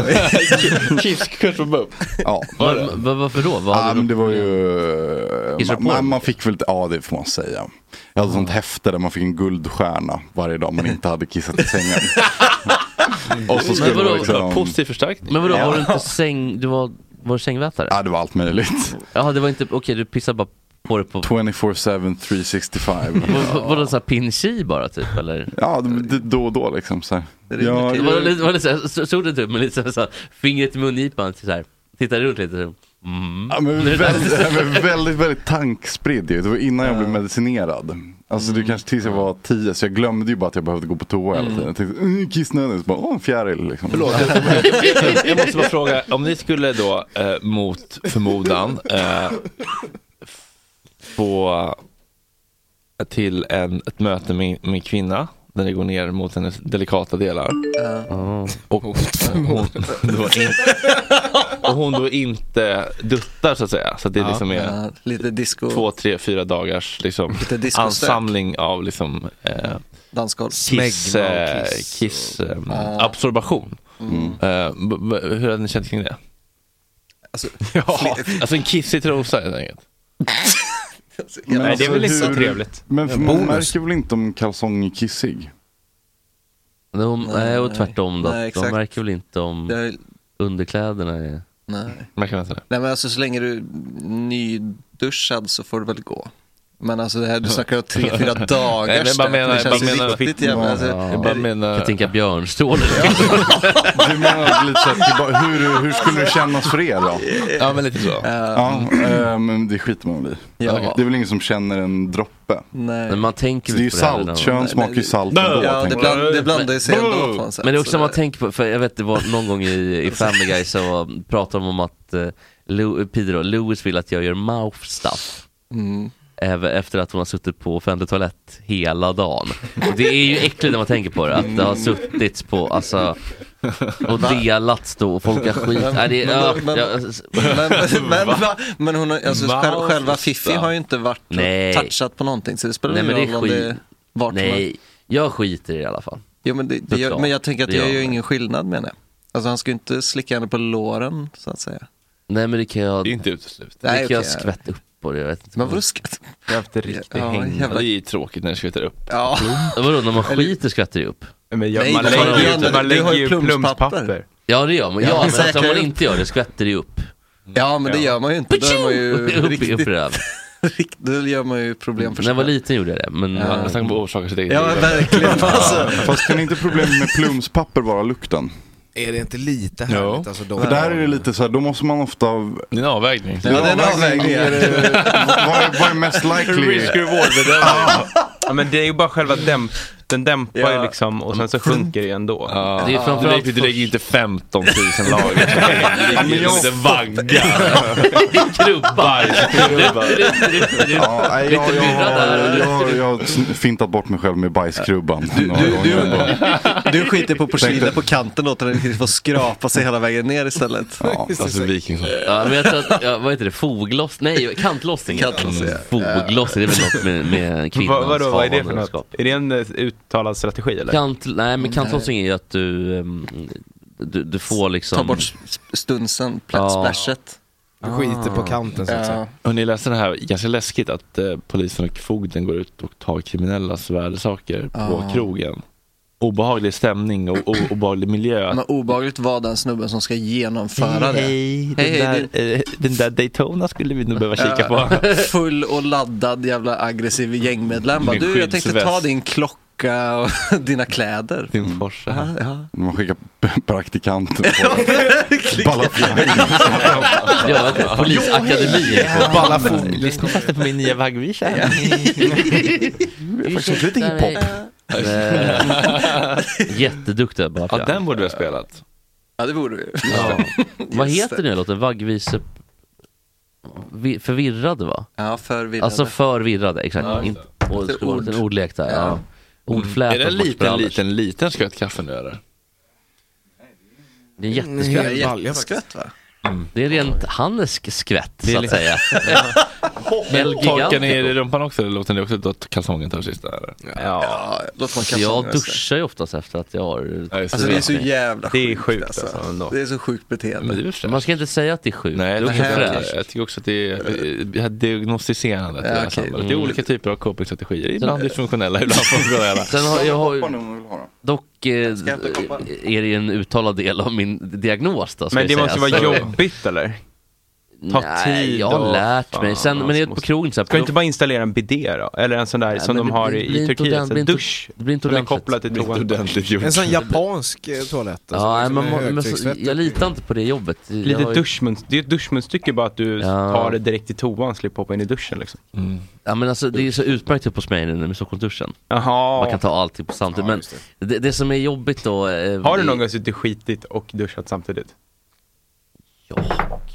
[SPEAKER 1] Kisskurs på BUP?
[SPEAKER 9] Ja.
[SPEAKER 5] Var, var, varför då? Vad
[SPEAKER 9] Ja,
[SPEAKER 5] hade
[SPEAKER 9] men
[SPEAKER 5] du
[SPEAKER 9] det var ju...
[SPEAKER 5] Kissade
[SPEAKER 9] Man,
[SPEAKER 5] du på
[SPEAKER 9] man, man fick väl, ja det får man säga. Jag hade ett sånt häfte där man fick en guldstjärna varje dag man inte hade kissat i sängen. Mm. Och så skulle det liksom...
[SPEAKER 1] Positiv förstärkning
[SPEAKER 5] Men vadå,
[SPEAKER 9] Ja.
[SPEAKER 5] var du inte säng, du var, var du sängvätare?
[SPEAKER 9] Ja, det var allt möjligt.
[SPEAKER 5] Jaha, det var inte, okej du pissade bara på det på,
[SPEAKER 9] 24-7, 365.
[SPEAKER 5] var, var det såhär pinchi bara typ eller?
[SPEAKER 9] Ja, det- det- då och då liksom så här. Ja,
[SPEAKER 5] Det var lite, var lite såhär, så- såg du typ med lite såhär, fingret i mungipan såhär, tittade runt lite så, mm.
[SPEAKER 9] Ja, men väldigt, ja, men väldigt, väldigt tankspridd ju. Det var innan jag blev medicinerad. Alltså
[SPEAKER 1] Mm.
[SPEAKER 9] det kanske tills jag var tio, så jag glömde ju bara att jag behövde gå på toa hela tiden. Jag tänkte, mm, kissnödig, så bara, åh en fjäril liksom.
[SPEAKER 1] Förlåt, jag, jag måste bara fråga, om ni skulle då eh, mot förmodan eh, få till en, ett möte med med en kvinna, där ni går ner mot hennes delikata delar. Och, hon, då in, och hon då inte duttar så att säga. Så att det
[SPEAKER 4] Ja.
[SPEAKER 1] liksom är
[SPEAKER 4] Ja, lite disco.
[SPEAKER 1] två, tre, fyra dagars liksom,
[SPEAKER 4] Lite discostök.
[SPEAKER 1] ansamling av liksom, eh,
[SPEAKER 4] Dansgolv.
[SPEAKER 1] kiss,
[SPEAKER 4] Smegma och Mm.
[SPEAKER 1] eh,
[SPEAKER 4] kiss
[SPEAKER 1] kiss eh,
[SPEAKER 4] Ah.
[SPEAKER 1] absorbation. Eh, b- b- hur hade ni känt kring det?
[SPEAKER 4] Alltså,
[SPEAKER 1] ja, alltså en kissig trosa helt enkelt.
[SPEAKER 9] Men alltså,
[SPEAKER 1] Nej, det är väl inte så
[SPEAKER 9] hur-
[SPEAKER 1] trevligt.
[SPEAKER 9] Men
[SPEAKER 1] Ja,
[SPEAKER 9] för man
[SPEAKER 1] bonus.
[SPEAKER 9] märker väl inte om kalsong är kissig?
[SPEAKER 5] De, nej, och tvärtom då.
[SPEAKER 4] Nej,
[SPEAKER 5] de
[SPEAKER 4] exakt.
[SPEAKER 5] märker väl inte om underkläderna är...
[SPEAKER 4] Nej.
[SPEAKER 1] Märker man inte det?
[SPEAKER 4] Nej men alltså så länge du är nyduschad så får du väl gå. Men alltså det här, du snackar om tre, fyra dagar.
[SPEAKER 5] Nej, men jag bara menar-
[SPEAKER 4] det känns
[SPEAKER 5] jag bara menar-
[SPEAKER 4] riktigt jävla... Alltså,
[SPEAKER 5] Ja. Jag bara menar- Katinka Björnstål.
[SPEAKER 9] Du menar lite så att det bara, hur, hur skulle det kännas för er då?
[SPEAKER 1] Ja men lite så.
[SPEAKER 9] Ja, eh, men det skiter man väl i.
[SPEAKER 5] Ja.
[SPEAKER 9] Det är väl ingen som känner en droppe.
[SPEAKER 4] Nej.
[SPEAKER 5] Men man tänker
[SPEAKER 9] Så det är ju
[SPEAKER 5] inte på här
[SPEAKER 9] salt,
[SPEAKER 5] när man-
[SPEAKER 9] kön smakar ju salt ändå. tänker jag.
[SPEAKER 5] Men det är också man tänker på, för jag vet det var någon gång i, i Family Guy så pratade de om att eh, Lou- Pedro, Louis vill att jag gör mouth stuff.
[SPEAKER 4] Mm.
[SPEAKER 5] Även efter att hon har suttit på offentlig toalett hela dagen. Och det är ju äckligt när man tänker på det, att det
[SPEAKER 4] Mm.
[SPEAKER 5] har suttits på, alltså och
[SPEAKER 4] Va?
[SPEAKER 5] delats då och folk har skit. Nej, det,
[SPEAKER 4] men,
[SPEAKER 5] ja,
[SPEAKER 4] men,
[SPEAKER 5] jag-
[SPEAKER 4] men, men,
[SPEAKER 5] Va?
[SPEAKER 4] va? men hon har, alltså,
[SPEAKER 5] Va?
[SPEAKER 4] själv, själva Fifi har ju inte varit
[SPEAKER 5] Nej.
[SPEAKER 4] och touchat på någonting så det spelar
[SPEAKER 5] Nej
[SPEAKER 4] ingen
[SPEAKER 5] men det
[SPEAKER 4] roll
[SPEAKER 5] är
[SPEAKER 4] om det
[SPEAKER 5] skit.
[SPEAKER 4] är vart hon har-
[SPEAKER 5] Nej, jag skiter i det i alla fall.
[SPEAKER 4] Jo, men, det, det gör,
[SPEAKER 5] Såklart.
[SPEAKER 4] men jag tänker att
[SPEAKER 5] Det
[SPEAKER 4] det gör
[SPEAKER 5] gör
[SPEAKER 4] ju
[SPEAKER 5] det.
[SPEAKER 4] ingen skillnad menar jag. Alltså han ska ju inte slicka henne på låren så att säga.
[SPEAKER 5] Nej men det kan jag... Det
[SPEAKER 1] är inte uteslutet.
[SPEAKER 5] Det
[SPEAKER 4] Nej,
[SPEAKER 5] kan jag
[SPEAKER 4] okej.
[SPEAKER 5] skvätta upp på det, jag vet inte.
[SPEAKER 4] Men vadå skvätt?
[SPEAKER 3] Jag har haft en
[SPEAKER 4] Ja,
[SPEAKER 3] riktig
[SPEAKER 4] ja,
[SPEAKER 3] häng.
[SPEAKER 4] jävla-
[SPEAKER 1] Det är ju tråkigt när det skvätter upp.
[SPEAKER 4] Ja.
[SPEAKER 5] Vadå, när man skiter skvätter det upp?
[SPEAKER 3] Men
[SPEAKER 4] jag- Nej, man du lägger har ju- ju- man du har lägger ju ju plumspapper. plumspapper.
[SPEAKER 5] Ja det gör man, ja,
[SPEAKER 4] Ja,
[SPEAKER 5] men alltså, om man
[SPEAKER 4] säkert.
[SPEAKER 5] inte gör det skvätter det upp.
[SPEAKER 4] Ja men det gör man ju inte. Då är man ju
[SPEAKER 5] upp, upp i
[SPEAKER 4] riktigt...
[SPEAKER 5] röv.
[SPEAKER 4] rikt- Då gör man ju problem för
[SPEAKER 5] När jag var liten gjorde jag det, men...
[SPEAKER 4] Ja, jag snackar
[SPEAKER 1] om orsaker till det.
[SPEAKER 4] Ja verkligen alltså.
[SPEAKER 9] Fast kan inte problemet med plumspapper vara lukten?
[SPEAKER 7] Är det inte lite härligt? Alltså, de
[SPEAKER 9] För där är det lite så här, då måste man ofta...
[SPEAKER 1] Det är en avvägning.
[SPEAKER 9] Ja, det är en avvägning. Är det- vad, är, vad är mest likely?
[SPEAKER 3] Ja men det är ju bara själva dämp, den dämpar ju liksom och sen så sjunker det ju ändå.
[SPEAKER 1] Det är framförallt du lägger- du lägger ju inte 15 000 lager. Det ligger ju som en vagga. Krubbar.
[SPEAKER 9] Ja, nej, jag, jag, har,
[SPEAKER 5] där.
[SPEAKER 9] jag, har- jag har sn- fintat bort mig själv med bajskrubban. några
[SPEAKER 4] du-
[SPEAKER 9] gånger
[SPEAKER 4] du-
[SPEAKER 9] bara.
[SPEAKER 4] Du skiter på
[SPEAKER 9] Tänkte-
[SPEAKER 4] porslinet på kanten åt den får skrapa sig hela vägen ner istället.
[SPEAKER 9] Ja,
[SPEAKER 1] Alltså vikingsson.
[SPEAKER 5] Ja, men jag tror att, ja, vad heter det, fogloss? Nej, kantlossning.
[SPEAKER 4] Kantlossning, ja.
[SPEAKER 5] Foglossning, det är väl något med, med kvinnans
[SPEAKER 3] Vad, vadå, vad är det för
[SPEAKER 5] havandeskap.
[SPEAKER 3] något? Är det en eh, uttalad strategi eller?
[SPEAKER 5] Kant, nej men kantlossning är ju att du, ehm, du, du får liksom...
[SPEAKER 4] Ta bort s- stunsen,
[SPEAKER 5] Ja.
[SPEAKER 4] plat- splashet.
[SPEAKER 7] Du skiter på kanten så att säga.
[SPEAKER 1] Och ni läste det här, ganska läskigt att eh, polisen och fogden går ut och tar kriminellas värdesaker på
[SPEAKER 4] Ja.
[SPEAKER 1] krogen. Obehaglig stämning och o- obehaglig miljö.
[SPEAKER 4] Men obehagligt var den snubben som ska genomföra det.
[SPEAKER 1] den,
[SPEAKER 4] hej,
[SPEAKER 1] där, eh, den där Daytona skulle vi nog behöva kika på.
[SPEAKER 4] det- Full och laddad jävla aggressiv gängmedlem. Bara,
[SPEAKER 1] Min
[SPEAKER 4] du, jag tänkte ta
[SPEAKER 1] skyddsväst.
[SPEAKER 4] din klocka och dina kläder.
[SPEAKER 1] Din Porsche.
[SPEAKER 4] Ja,
[SPEAKER 9] Man skickar p- praktikanten på
[SPEAKER 5] Ja, polisakademi.
[SPEAKER 1] Balla fogden. Lyssna fast på min nya vaggvisa.
[SPEAKER 9] det. är faktiskt lite hiphop.
[SPEAKER 5] Eh, Jätteduktiga bara.
[SPEAKER 1] Ja, den borde vi ha spelat.
[SPEAKER 4] ja det borde vi ju.
[SPEAKER 5] Vad heter den här låten? Vaggvise... Vi- Förvirrade va?
[SPEAKER 4] Ja, förvirrande.
[SPEAKER 5] Alltså förvirrade, exakt.
[SPEAKER 1] Ja,
[SPEAKER 5] Inte, och, det
[SPEAKER 4] Lite
[SPEAKER 5] skulle vara en liten
[SPEAKER 4] ord.
[SPEAKER 5] ordlek där. Ja. Ordflät.
[SPEAKER 1] Mm. Är det en
[SPEAKER 5] och
[SPEAKER 1] liten,
[SPEAKER 5] bortbrallor.
[SPEAKER 1] liten, liten skvätt kaffe nu eller?
[SPEAKER 5] Det är en
[SPEAKER 4] Mm, det är
[SPEAKER 5] jätteskvätt.
[SPEAKER 4] jätteskvätt va?
[SPEAKER 5] Det är rent hannesk skvätt så att
[SPEAKER 1] Mm. li-
[SPEAKER 5] säga. El
[SPEAKER 1] Torkar
[SPEAKER 5] Gigante.
[SPEAKER 1] ni er i rumpan också eller låter ni också ta kalsongen ta sista? Eller?
[SPEAKER 4] Ja, låt man
[SPEAKER 5] Så
[SPEAKER 4] kasta
[SPEAKER 5] Alltså, jag
[SPEAKER 4] ångra sig.
[SPEAKER 5] duschar ju oftast efter att jag har...
[SPEAKER 1] Ja, just
[SPEAKER 4] Alltså det är så
[SPEAKER 5] Nej.
[SPEAKER 4] jävla
[SPEAKER 3] Det är
[SPEAKER 4] sjukt
[SPEAKER 3] sjukt
[SPEAKER 4] alltså.
[SPEAKER 3] alltså ändå.
[SPEAKER 4] Det är så sjukt beteende.
[SPEAKER 5] Man ska inte säga att det är sjukt.
[SPEAKER 1] Nej,
[SPEAKER 5] det är
[SPEAKER 1] jag
[SPEAKER 5] också
[SPEAKER 1] tycker,
[SPEAKER 4] okej.
[SPEAKER 1] jag, jag tycker också att det är det här diagnostiserandet i det här
[SPEAKER 4] okej.
[SPEAKER 1] samhället. Det är
[SPEAKER 5] Mm.
[SPEAKER 1] olika typer av copingstrategier. Ibland dysfunktionella, ibland funktionella.
[SPEAKER 5] Sen har jag
[SPEAKER 9] Vad
[SPEAKER 5] har,
[SPEAKER 9] nu vill ha då?
[SPEAKER 5] dock eh,
[SPEAKER 4] jag hämta koppar?
[SPEAKER 5] är det ju en uttalad del av min diagnos då, ska
[SPEAKER 3] Men det
[SPEAKER 5] jag
[SPEAKER 3] måste
[SPEAKER 5] säga.
[SPEAKER 3] vara
[SPEAKER 5] Så-
[SPEAKER 3] jobbigt eller? Ta
[SPEAKER 5] Nej,
[SPEAKER 3] tid
[SPEAKER 5] jag har
[SPEAKER 3] och- alltså,
[SPEAKER 5] lärt mig. Sen- men det är på krogen så här-
[SPEAKER 3] Ska du inte bara installera en bidé då? Eller en sån där
[SPEAKER 5] Nej,
[SPEAKER 3] som
[SPEAKER 5] men
[SPEAKER 3] de
[SPEAKER 5] det
[SPEAKER 3] har
[SPEAKER 5] blir-
[SPEAKER 3] i-
[SPEAKER 5] blir
[SPEAKER 3] i
[SPEAKER 5] inte
[SPEAKER 3] Turkiet.
[SPEAKER 5] ordentligt. Det blir
[SPEAKER 3] En
[SPEAKER 5] inte-
[SPEAKER 3] dusch.
[SPEAKER 5] det blir inte
[SPEAKER 3] Som är
[SPEAKER 5] ordentligt.
[SPEAKER 3] kopplad till
[SPEAKER 5] Det blir inte
[SPEAKER 3] toan.
[SPEAKER 5] ordentligt gjort. En sån
[SPEAKER 7] japansk eh, toalett. alltså,
[SPEAKER 5] Ja, nej,
[SPEAKER 7] liksom
[SPEAKER 5] man,
[SPEAKER 7] med
[SPEAKER 5] må- men så,
[SPEAKER 7] högtryckstvätt.
[SPEAKER 5] jag litar inte på det jobbet.
[SPEAKER 3] Lite
[SPEAKER 5] jag, har ju-
[SPEAKER 3] duschmun, det är ett duschmunstycke bara att du tar det direkt i toan, slipper hoppa in i duschen liksom.
[SPEAKER 5] Ja men alltså det är så utmärkt upp hos mig nu med Stockholmsduschen.
[SPEAKER 3] Jaha.
[SPEAKER 5] Man kan ta allting på samtidigt. men det. Det, som är jobbigt då... eh,
[SPEAKER 3] Har du
[SPEAKER 5] i-
[SPEAKER 3] någon gång suttit skitigt och duschat samtidigt?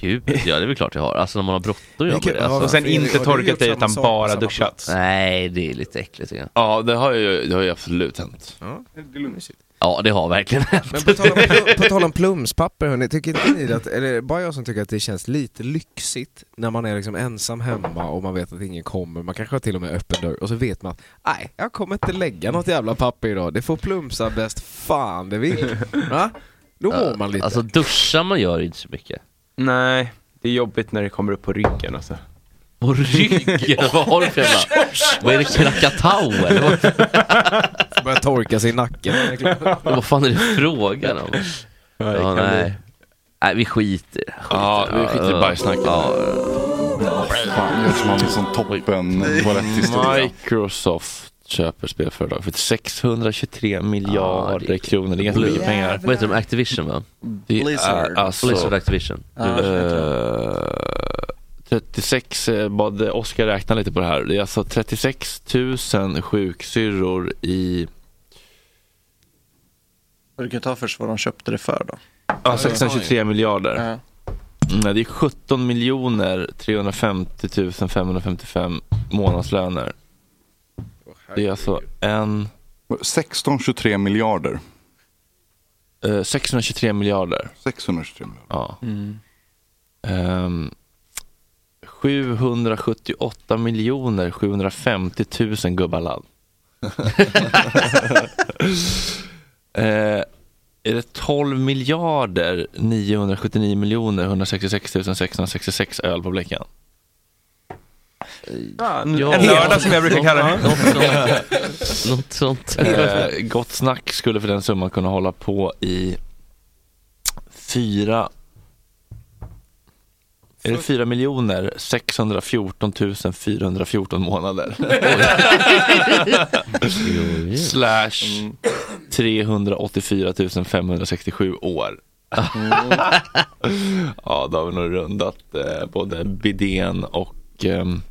[SPEAKER 5] Gud, ja det är väl klart jag har. Alltså när man har bråttom gör man
[SPEAKER 3] Vilket-
[SPEAKER 5] det. Alltså.
[SPEAKER 3] och sen inte Fredrik, har du torkat gjort dig, samma utan sak på bara samma duschat? plats?
[SPEAKER 5] Nej, det är lite äckligt tycker jag.
[SPEAKER 1] Ja, det har ju, det har ju absolut hänt.
[SPEAKER 7] Ja, det är mysigt.
[SPEAKER 5] Ja, det har verkligen hänt.
[SPEAKER 7] Men på tal om, plu- på tal om plumspapper, hörni, tycker inte ni att, eller är det bara jag som tycker att det känns lite lyxigt när man är liksom ensam hemma och man vet att ingen kommer, man kanske har till och med öppen dörr och så vet man att nej, jag kommer inte lägga något jävla papper idag, det får plumsa bäst fan det vill. Va? Då mår man lite.
[SPEAKER 5] Alltså duscha man gör inte så mycket.
[SPEAKER 3] Nej, det är jobbigt när det kommer upp på ryggen alltså.
[SPEAKER 5] På ryggen? Vad har du för jävla... Vad är det, Krakatau eller? Vad-
[SPEAKER 7] Börjar torka sig i nacken.
[SPEAKER 5] Vad fan är det frågan om?
[SPEAKER 7] det
[SPEAKER 5] Ja,
[SPEAKER 7] kan
[SPEAKER 5] nej. nej, vi skiter
[SPEAKER 9] Ja, vi skiter i bajssnacket.
[SPEAKER 5] Ja.
[SPEAKER 9] Fan, jag som har en sån toppen toaletthistoria.
[SPEAKER 1] Microsoft köper spelföretag för 623 miljarder kronor. Det är ganska mycket pengar.
[SPEAKER 5] Vad heter de? Activision va?
[SPEAKER 1] Det
[SPEAKER 5] Blizzard.
[SPEAKER 1] är alltså,
[SPEAKER 5] Blizzard Activision.
[SPEAKER 1] Eh, 36, eh, bad Oskar räkna lite på det här. Det är alltså 36 000 sjuksyrror i...
[SPEAKER 4] Du kan ta först vad de köpte det för då.
[SPEAKER 1] Ja, 623 miljarder.
[SPEAKER 4] Ja.
[SPEAKER 1] Nej, det är 17 miljoner 350 555 månadslöner. Det är alltså en...
[SPEAKER 9] 1623 miljarder.
[SPEAKER 1] 623 miljarder.
[SPEAKER 9] 623 miljarder.
[SPEAKER 1] Ja.
[SPEAKER 9] Mm.
[SPEAKER 1] Ehm, 778 miljoner 750 000 gubbar ladd. Eh, är det 12 miljarder 979 miljoner 166 666 öl på bläckan?
[SPEAKER 5] Ja.
[SPEAKER 3] En lördag som jag brukar kalla det.
[SPEAKER 5] Något sånt.
[SPEAKER 1] Eh, gott snack skulle för den summan kunna hålla på i fyra är det 4 miljoner 614 414 månader? Slash
[SPEAKER 4] Mm.
[SPEAKER 1] 384 567 år.
[SPEAKER 4] Mm.
[SPEAKER 1] ja, då har vi nog rundat eh, både bidén och ehm,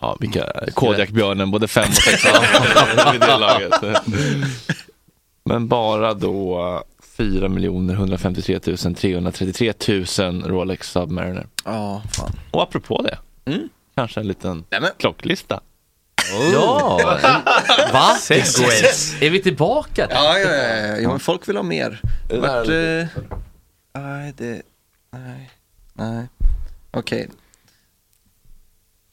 [SPEAKER 1] ja, vilka, Kodiakbjörnen, både fem och sex vid det laget. Men bara då 4 153 333 000 Rolex Submariner.
[SPEAKER 4] Ja, fan. Mm.
[SPEAKER 1] Och apropå det, kanske en liten klocklista.
[SPEAKER 5] Ja! Va?
[SPEAKER 1] Segway.
[SPEAKER 5] Är vi tillbaka?
[SPEAKER 4] Ja, ja, ja, ja. ja men folk vill ha mer.
[SPEAKER 5] Det där
[SPEAKER 4] Vart,
[SPEAKER 5] är
[SPEAKER 4] eh, nej, det, nej, nej, okej.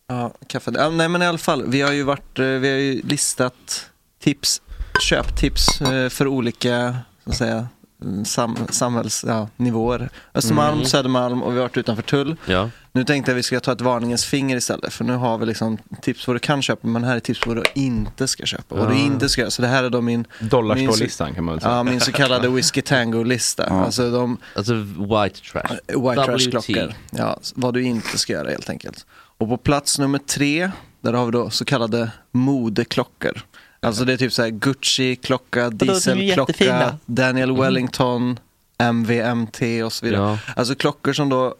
[SPEAKER 4] Ja, kaffe. Ja, nej, men i alla fall, vi har ju varit, eh, vi har ju listat tips, köptips eh, för olika, så att säga, mm, sam, samhällsnivåer. Ja, nivåer. Östermalm,
[SPEAKER 5] Mm.
[SPEAKER 4] Södermalm och vi har varit utanför tull.
[SPEAKER 5] Ja.
[SPEAKER 4] Nu tänkte jag att vi ska ta ett varningens finger istället, för nu har vi liksom tips på vad du kan köpa, men här är tips på vad du inte ska köpa. Vad du
[SPEAKER 3] Ah.
[SPEAKER 4] inte ska göra. Så det här är då min...
[SPEAKER 3] Dollarstore-listan
[SPEAKER 4] min-
[SPEAKER 3] kan man väl säga. Ah.
[SPEAKER 4] Ja, min så kallade whisky tango-lista. Alltså de... Eh,
[SPEAKER 5] Alltså white trash.
[SPEAKER 4] White
[SPEAKER 5] WT.
[SPEAKER 4] trash-klockor. Ja, vad du inte ska göra helt enkelt. Och på plats nummer tre, där har vi då så kallade modeklockor. Alltså det är typ så här Gucci-klocka,
[SPEAKER 5] de är ju
[SPEAKER 4] Diesel-klocka,
[SPEAKER 5] jättefina. Mm.
[SPEAKER 4] Daniel Wellington, MVMT och så vidare.
[SPEAKER 5] Ja.
[SPEAKER 4] Alltså klockor som då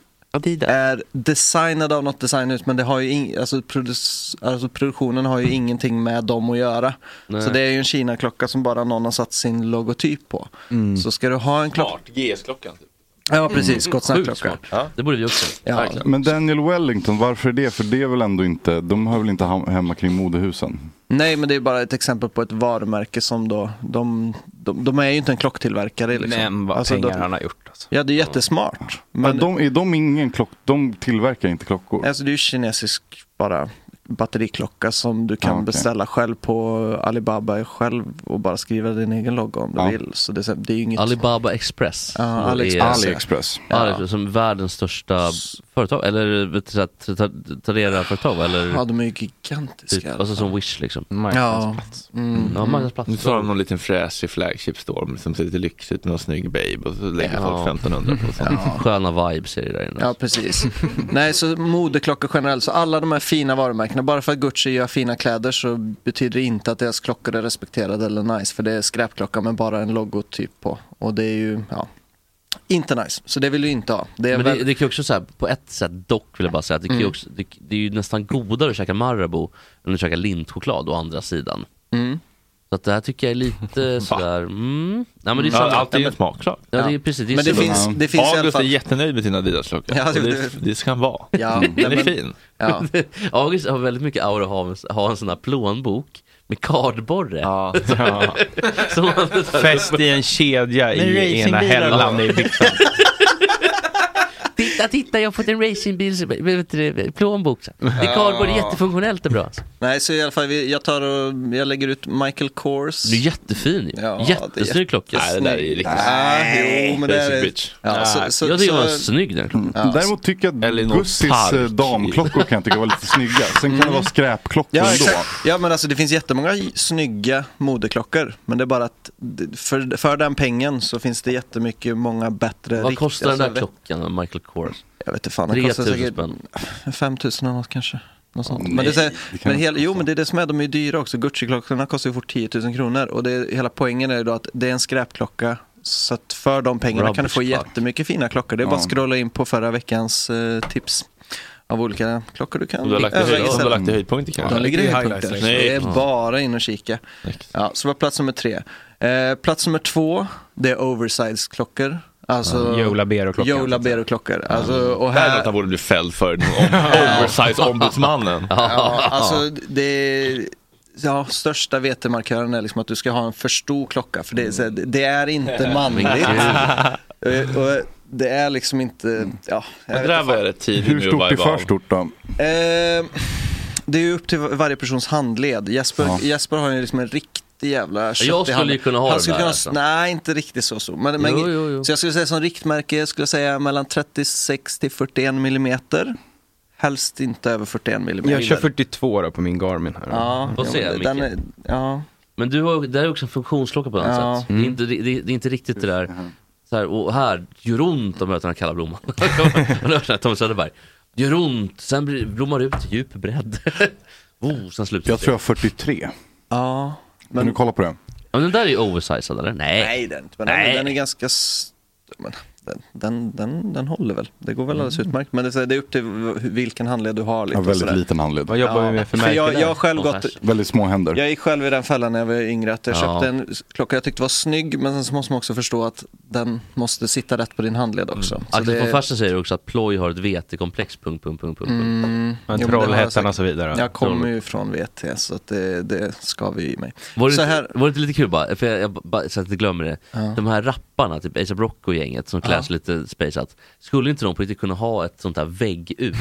[SPEAKER 4] är designade av något designhus men det har ju ing- alltså, produc- alltså produktionen har ju ingenting med dem att göra.
[SPEAKER 1] Nej.
[SPEAKER 4] Så det är ju en Kina-klocka som bara någon har satt sin logotyp på.
[SPEAKER 3] Mm.
[SPEAKER 4] Så ska du ha en klocka...
[SPEAKER 1] GS-klockan.
[SPEAKER 4] Ja precis, gott snack-klocka.
[SPEAKER 5] Mm. Det borde vi också.
[SPEAKER 4] Ja.
[SPEAKER 9] Men Daniel Wellington, varför är det? För det är väl ändå inte, de hör väl inte ha- hemma kring modehusen?
[SPEAKER 4] Nej, men det är bara ett exempel på ett varumärke som då, de, de, de är ju inte en klocktillverkare. Liksom.
[SPEAKER 3] Men vad pengar han har gjort
[SPEAKER 4] alltså. Ja, det är jättesmart.
[SPEAKER 9] Men de, är de ingen klock, de tillverkar inte klockor?
[SPEAKER 4] Alltså det är ju kinesisk bara batteriklocka som du kan
[SPEAKER 9] Ah, okej.
[SPEAKER 4] beställa själv på Alibaba själv och bara skriva din egen logga om du vill. Så det, är så- det är ju inget...
[SPEAKER 5] Alibaba Express.
[SPEAKER 4] Ja,
[SPEAKER 5] som är-
[SPEAKER 4] AliExpress. AliExpress.
[SPEAKER 5] Ja.
[SPEAKER 4] Ja.
[SPEAKER 5] AliExpress, som världens största företag, eller vet du, så att, ta- ta- Tradera-företag eller?
[SPEAKER 4] Ja, de är ju gigantiska.
[SPEAKER 5] Typ, alltså som Wish liksom.
[SPEAKER 4] Marknadsplats. Ja. Mm.
[SPEAKER 5] Ja, marknadsplats.
[SPEAKER 1] Nu tar de någon liten fräschig flagship storm som ser lite lyxigt med någon snygg babe och så lägger
[SPEAKER 4] Ja.
[SPEAKER 1] folk 1500 på sånt.
[SPEAKER 4] Ja.
[SPEAKER 5] Sköna vibes är det där inne.
[SPEAKER 4] Mm. Ja, precis. Nej, så moderklockor generellt. Så alla de här fina varumärkena, bara för att Gucci gör fina kläder så betyder det inte att deras klockor är respekterade eller nice. För det är skräpklocka med bara en logotyp på. Och det är ju, ja, inte nice. Så det vill du inte ha. Det är
[SPEAKER 5] men
[SPEAKER 4] väl...
[SPEAKER 5] det, det kan ju också säga på ett sätt dock vill jag bara säga att det, kan ju
[SPEAKER 4] Mm.
[SPEAKER 5] också, det, det är ju nästan godare att käka Marabou än att käka lintchoklad å andra sidan.
[SPEAKER 4] Mm.
[SPEAKER 5] Så att det här tycker jag är lite sådär, mm. Nej, men det är
[SPEAKER 1] Ja,
[SPEAKER 5] samma-
[SPEAKER 1] allt är ju
[SPEAKER 5] Ja, men-
[SPEAKER 1] en smaksak.
[SPEAKER 5] Ja, det är precis. Det är så-
[SPEAKER 1] August är jättenöjd med sina Adidas-klockor.
[SPEAKER 5] Ja,
[SPEAKER 1] Ja,
[SPEAKER 5] det-
[SPEAKER 1] det, det ska han vara. Mm.
[SPEAKER 5] Ja,
[SPEAKER 1] Den är
[SPEAKER 5] men-
[SPEAKER 1] fin.
[SPEAKER 5] Ja. August har väldigt mycket aura av att ha en sån här plånbok med kardborre. Ja.
[SPEAKER 1] ja. Fäst i en kedja
[SPEAKER 5] Med
[SPEAKER 1] i ena
[SPEAKER 5] racingbilar.
[SPEAKER 1] hällan i byxan.
[SPEAKER 5] titta, titta, jag har fått en racingbil, med- med- vet du det, plånbok. så här. Det är
[SPEAKER 4] Ja.
[SPEAKER 5] kardborre, jättefunktionellt och bra. alltså.
[SPEAKER 4] Nej, så i alla fall, vi- jag tar och, jag lägger ut Michael Kors.
[SPEAKER 5] Det är jättefin ju.
[SPEAKER 4] Ja, det är
[SPEAKER 5] Jättesnygg
[SPEAKER 4] jätte-
[SPEAKER 5] klocka.
[SPEAKER 4] Nej, det där är ju riktigt- Nej, jo, men det Basic är- bitch. ja,
[SPEAKER 5] Nej,
[SPEAKER 4] så- så-
[SPEAKER 5] jag tycker den var
[SPEAKER 4] så- Mm.
[SPEAKER 5] snygg den klockan.
[SPEAKER 9] Mm. Däremot tycker jag
[SPEAKER 5] Elinor
[SPEAKER 9] att Gussis
[SPEAKER 5] Park.
[SPEAKER 9] eh, damklockor kan jag tycka var lite snygga. Sen kan det vara skräpklockor
[SPEAKER 4] Mm. Ja,
[SPEAKER 9] ändå.
[SPEAKER 4] exakt. ja, men alltså det finns jättemånga j- snygga modeklockor. Men det är bara att det- för, för den pengen så finns det jättemycket, många bättre.
[SPEAKER 5] Vad
[SPEAKER 4] rikt-
[SPEAKER 5] kostar den där
[SPEAKER 4] alltså,
[SPEAKER 5] klockan av Michael Kors?
[SPEAKER 4] Jag vet inte fan, den kostar
[SPEAKER 5] 3000
[SPEAKER 4] säkert
[SPEAKER 5] spänn.
[SPEAKER 4] 5000 eller något kanske. Något sånt.
[SPEAKER 5] Åh,
[SPEAKER 4] men det är, så här-
[SPEAKER 5] nej, det kan
[SPEAKER 4] men
[SPEAKER 5] inte
[SPEAKER 4] hel, jo men det är det som är, de är ju dyra också. Gucci-klockorna kostar ju fort 10 000 kronor. Och det är, hela poängen är ju då att det är en skräpklocka. Så att för de pengarna kan du få
[SPEAKER 5] Rubbish fuck.
[SPEAKER 4] jättemycket fina klockor. Det är bara
[SPEAKER 5] Ja.
[SPEAKER 4] att scrolla in på förra veckans eh, tips. Av olika klockor du kan
[SPEAKER 1] Om du har lagt i
[SPEAKER 4] överväga
[SPEAKER 1] höjd- om du har
[SPEAKER 4] istället.
[SPEAKER 1] lagt i höjdpunkter kanske.
[SPEAKER 4] De ligger i
[SPEAKER 1] Det är
[SPEAKER 4] höjdpunkter.
[SPEAKER 1] highlights.
[SPEAKER 4] Det är
[SPEAKER 1] Nej.
[SPEAKER 4] bara in och kika. Ja, så var plats nummer tre. Eh, plats nummer två, det är oversize-klockor. Alltså,
[SPEAKER 1] Ja, Joe Labero-klockan.
[SPEAKER 4] Joe Labero-klockor. Alltså, och
[SPEAKER 1] Det här är
[SPEAKER 4] här,
[SPEAKER 1] något han borde bli fälld för. den om- Oversize-ombudsmannen.
[SPEAKER 4] Ja, alltså det Ja, största vetemarkören är liksom att du ska ha en för stor klocka för det, är så här, det- det är inte manligt. Eh, och det är liksom inte, ja. jag
[SPEAKER 1] Det
[SPEAKER 4] vet
[SPEAKER 1] där
[SPEAKER 4] inte
[SPEAKER 1] var jag rätt tidig
[SPEAKER 9] Hur
[SPEAKER 1] med att
[SPEAKER 9] stort är
[SPEAKER 1] vibe
[SPEAKER 9] för
[SPEAKER 1] av.
[SPEAKER 9] stort då?
[SPEAKER 4] Eh, det är ju upp till varje persons handled. Jesper,
[SPEAKER 9] Ja.
[SPEAKER 4] Jesper har ju liksom en riktig jävla köttig
[SPEAKER 5] skulle
[SPEAKER 4] hand.
[SPEAKER 5] ju kunna ha
[SPEAKER 4] Han
[SPEAKER 5] den
[SPEAKER 4] skulle
[SPEAKER 5] där,
[SPEAKER 4] kunna,
[SPEAKER 5] alltså.
[SPEAKER 4] Nej, inte riktigt så. så. Men, men,
[SPEAKER 5] Jo, jo, jo.
[SPEAKER 4] Så jag skulle säga som riktmärke, skulle jag säga mellan 36 till 41 millimeter. Helst inte över 41 millimeter.
[SPEAKER 3] Jag kör 42 då på min Garmin här.
[SPEAKER 4] Ja,
[SPEAKER 5] Får se,
[SPEAKER 4] den,
[SPEAKER 5] Micke.
[SPEAKER 4] den är, ja.
[SPEAKER 5] Men du har, det här är också en funktionsklocka på något
[SPEAKER 4] Ja.
[SPEAKER 5] sätt. Det, är inte, det, det det är inte riktigt det där,
[SPEAKER 9] Mm.
[SPEAKER 5] så här, och här, det gör ont om mötena kalla blomman. Man hör sån här Tom Söderberg. Det gör ont, sen blir, blommar det ut i djup bredd. oh, sen slutar
[SPEAKER 9] Jag
[SPEAKER 5] det.
[SPEAKER 9] tror jag har 43.
[SPEAKER 4] Ja.
[SPEAKER 9] Kan du kolla på den?
[SPEAKER 5] Ja, men den där är ju oversized eller? Nej.
[SPEAKER 4] Nej, den, men den,
[SPEAKER 5] Nej.
[SPEAKER 4] den är ganska... s- Men den, den, den, den håller väl. Det går väl alldeles
[SPEAKER 5] Mm.
[SPEAKER 4] utmärkt. Men det, är så här, det är upp till v- vilken handled du har. Lite
[SPEAKER 9] Ja,
[SPEAKER 4] och
[SPEAKER 9] väldigt
[SPEAKER 4] sådär.
[SPEAKER 9] liten handled.
[SPEAKER 4] Vad jobbar Ja, vi med för för märke jag- där? jag har själv gått-
[SPEAKER 9] Väldigt små händer.
[SPEAKER 4] Jag gick själv i den fällan när jag var yngre. Att jag
[SPEAKER 9] Ja.
[SPEAKER 4] köpte en s- klocka jag tyckte var snygg. Men sen så måste man också förstå att den måste sitta rätt på din handled också. Så
[SPEAKER 5] Axel
[SPEAKER 4] det-
[SPEAKER 5] von Fersen säger också att ploj har ett vetekomplex, punkt, punkt, punkt, punkt.
[SPEAKER 4] Mm,
[SPEAKER 5] Men
[SPEAKER 4] jo, men det har jag
[SPEAKER 5] Trollhättan
[SPEAKER 4] sagt.
[SPEAKER 5] och så vidare.
[SPEAKER 4] Jag kommer
[SPEAKER 5] Troll-
[SPEAKER 4] ju från VT så att det, det ska vi i mig.
[SPEAKER 5] Var det,
[SPEAKER 4] så
[SPEAKER 5] inte,
[SPEAKER 4] här,
[SPEAKER 5] var det inte lite kul bara, för jag, jag, bara, så att jag inte glömmer det.
[SPEAKER 4] Ja.
[SPEAKER 5] De här rapparna, typ ASAP Rock och gänget som klär
[SPEAKER 4] Ja.
[SPEAKER 5] sig lite spaceat. Skulle inte de på riktigt kunna ha ett sånt här väggur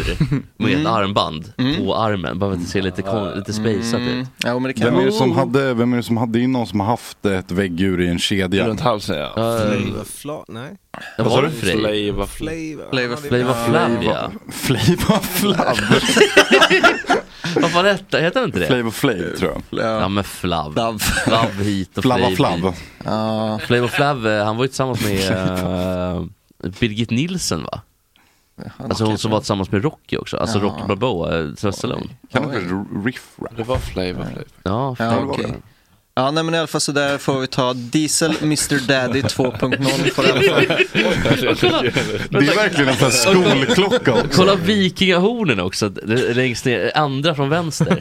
[SPEAKER 5] med
[SPEAKER 9] Mm.
[SPEAKER 5] ett armband
[SPEAKER 4] Mm.
[SPEAKER 5] på armen? Bara för att det ser lite, kon- lite spaceat ut.
[SPEAKER 9] Vem är, det
[SPEAKER 4] Oh.
[SPEAKER 9] som hade, vem är det som hade in någon som har haft ett väggur i en kedja?
[SPEAKER 1] Runt halsen ja.
[SPEAKER 9] Flavor
[SPEAKER 7] Fla, nej.
[SPEAKER 9] Vad sa du?
[SPEAKER 7] Flavor.
[SPEAKER 1] Flavor
[SPEAKER 5] Flavor
[SPEAKER 7] Ja, det-
[SPEAKER 5] Flav,
[SPEAKER 9] Flavor-
[SPEAKER 5] ja.
[SPEAKER 9] Flavor Flav.
[SPEAKER 5] Vad fan hette, heter den inte det?
[SPEAKER 9] Flavor Flav tror jag.
[SPEAKER 5] Ja men Flav.
[SPEAKER 4] Flav,
[SPEAKER 5] hit och
[SPEAKER 9] Flava
[SPEAKER 5] Flav
[SPEAKER 9] Flav.
[SPEAKER 5] dit. Flav och Flav, eh, han var ju tillsammans med eh, Birgit Nilsson va? Alltså hon som var tillsammans med Rocky också, alltså
[SPEAKER 9] Ja.
[SPEAKER 5] Rocky Balboa, eh, Sylvester Stallone.
[SPEAKER 9] Kan det vara Riff Raff?
[SPEAKER 1] Det var Flavor Flav.
[SPEAKER 5] Ja,
[SPEAKER 4] Ja,
[SPEAKER 5] Flav.
[SPEAKER 4] okej. Ja, nej men i alla fall så där får vi ta Diesel Mr Daddy 2.0 på den.
[SPEAKER 5] Kolla.
[SPEAKER 9] Det är verkligen en sån här skolklocka också.
[SPEAKER 5] Kolla vingahornen också, d- längst ner, andra från vänster.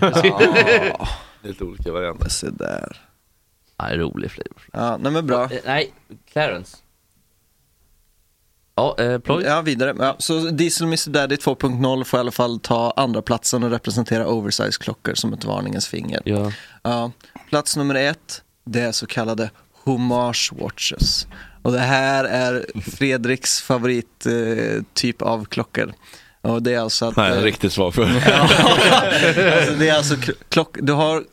[SPEAKER 1] Lite olika varianter.
[SPEAKER 4] Se där.
[SPEAKER 5] Ja, rolig flavor.
[SPEAKER 4] Ja, nej men bra.
[SPEAKER 5] Nej, Clarence. Ja, eh, ploj.
[SPEAKER 4] Ja, vidare. Ja, så Diesel Mr Daddy 2.0 får i alla fall ta andra platsen och representera oversize-klockor som ett varningens finger.
[SPEAKER 5] Ja.
[SPEAKER 4] plats nummer ett, det är så kallade homage watches. Och det här är Fredriks favorittyp eh, typ av klockor. Och det är alltså att...
[SPEAKER 1] Nej,
[SPEAKER 4] eh,
[SPEAKER 1] riktigt svag för.
[SPEAKER 4] alltså, det är alltså k- klock, du har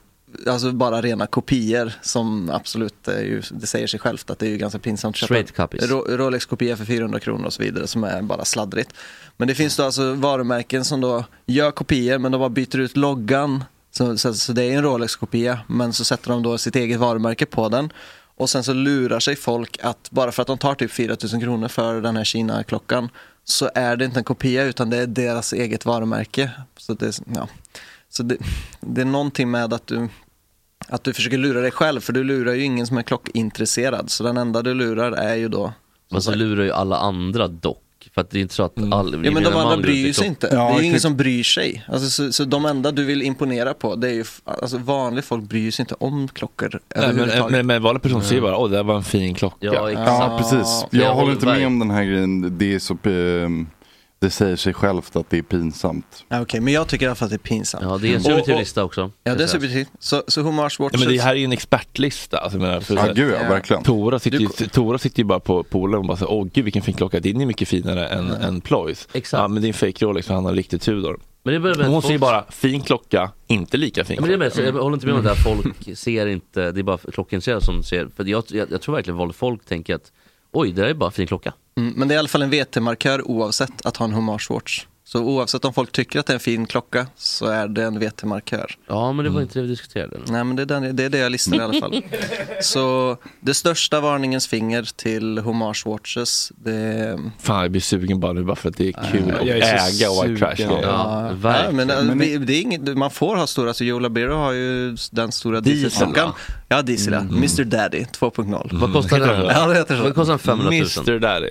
[SPEAKER 4] alltså bara rena kopior som absolut, är ju, det säger sig självt att det är ju ganska pinsamt att köpa.
[SPEAKER 5] Straight copies.
[SPEAKER 4] Ro- Rolex-kopia för 400 kronor och så vidare som är bara sladdrigt. Men det finns då alltså varumärken som då gör kopior men de bara byter ut loggan. Så, så, så det är en Rolex-kopia men så sätter de då sitt eget varumärke på den. Och sen så lurar sig folk att bara för att de tar typ 4000 kronor för den här Kina-klockan så är det inte en kopia utan det är deras eget varumärke. Så det, ja. så det, det är någonting med att du att du försöker lura dig själv för du lurar ju ingen som är klockintresserad. Så den enda du lurar är ju då...
[SPEAKER 5] Men så lurar ju alla andra dock. För att det är inte så att all,
[SPEAKER 4] Mm. Ja men de
[SPEAKER 5] gemene man
[SPEAKER 4] andra
[SPEAKER 5] går ut i
[SPEAKER 4] bryr sig
[SPEAKER 5] klock-
[SPEAKER 4] inte. det är ju ingen som bryr sig. Alltså, så, så de enda du vill imponera på, det är ju... f- Alltså vanligt folk bryr sig inte om klockor
[SPEAKER 1] Nej, men,
[SPEAKER 4] överhuvudtaget.
[SPEAKER 1] men, men vanliga personer säger bara åh det där var en fin klocka.
[SPEAKER 4] Ja, exakt.
[SPEAKER 9] Ja, precis.
[SPEAKER 4] Ja,
[SPEAKER 9] Jag,
[SPEAKER 4] jag
[SPEAKER 9] håller inte
[SPEAKER 4] håller
[SPEAKER 9] med
[SPEAKER 4] med.
[SPEAKER 9] om den här grejen. Det, är så, eh, det säger sig självt att det är pinsamt.
[SPEAKER 4] Ja, Okej, men jag tycker i alla fall att det är pinsamt.
[SPEAKER 5] Ja, det är en subjektiv lista också.
[SPEAKER 4] Ja, det är subjektivt. Så, så Homage
[SPEAKER 1] Ja,
[SPEAKER 4] Watches...
[SPEAKER 1] men det här är ju en expertlista. Alltså, jag menar, för
[SPEAKER 9] Ja,
[SPEAKER 1] så här-
[SPEAKER 9] gud, ja, verkligen.
[SPEAKER 1] Tora sitter, ju, Tora sitter ju bara på poolen och bara säger åh gud vilken fin klocka, din är mycket finare än, än Ploys. Exakt. Ja, men din fake Rolex, han har en riktig Tudor.
[SPEAKER 5] Men det börjar med
[SPEAKER 1] Hon
[SPEAKER 5] att
[SPEAKER 1] säger
[SPEAKER 5] folk-
[SPEAKER 1] bara fin klocka, inte lika fin
[SPEAKER 5] Ja, men det är
[SPEAKER 1] klocka. Mm.
[SPEAKER 5] med, så jag håller inte med om det här, folk ser inte, det är bara klockintresserade som ser. För jag, jag, jag tror verkligen vad folk tänker att oj, det där är bara en fin klocka.
[SPEAKER 4] Mm, men det är i alla fall en VT-markör oavsett att ha en Homage Watch. Så oavsett om folk tycker att det är en fin klocka så är det en VT-markör.
[SPEAKER 5] Ja men det var inte det vi diskuterade.
[SPEAKER 4] Nej men det är, den, det är det jag listar i alla fall. Så det största varningens finger till Homage Watches, det
[SPEAKER 1] Fan jag blir sugen bara nu bara för att det är kul
[SPEAKER 4] Ja,
[SPEAKER 1] att
[SPEAKER 4] jag är så
[SPEAKER 1] äga White Trash.
[SPEAKER 4] Ja, men, äh, vi- det är inget, man får ha stora, så Joe Labero har ju den stora
[SPEAKER 5] Diesel,
[SPEAKER 4] dieselklockan.
[SPEAKER 5] va?
[SPEAKER 4] Ja, diesel ja. Mr Daddy 2.0.
[SPEAKER 5] Vad kostar
[SPEAKER 4] Heter
[SPEAKER 5] den?
[SPEAKER 4] Ja, det heter så.
[SPEAKER 5] Vad kostar den? 500 000?
[SPEAKER 1] Mr Daddy?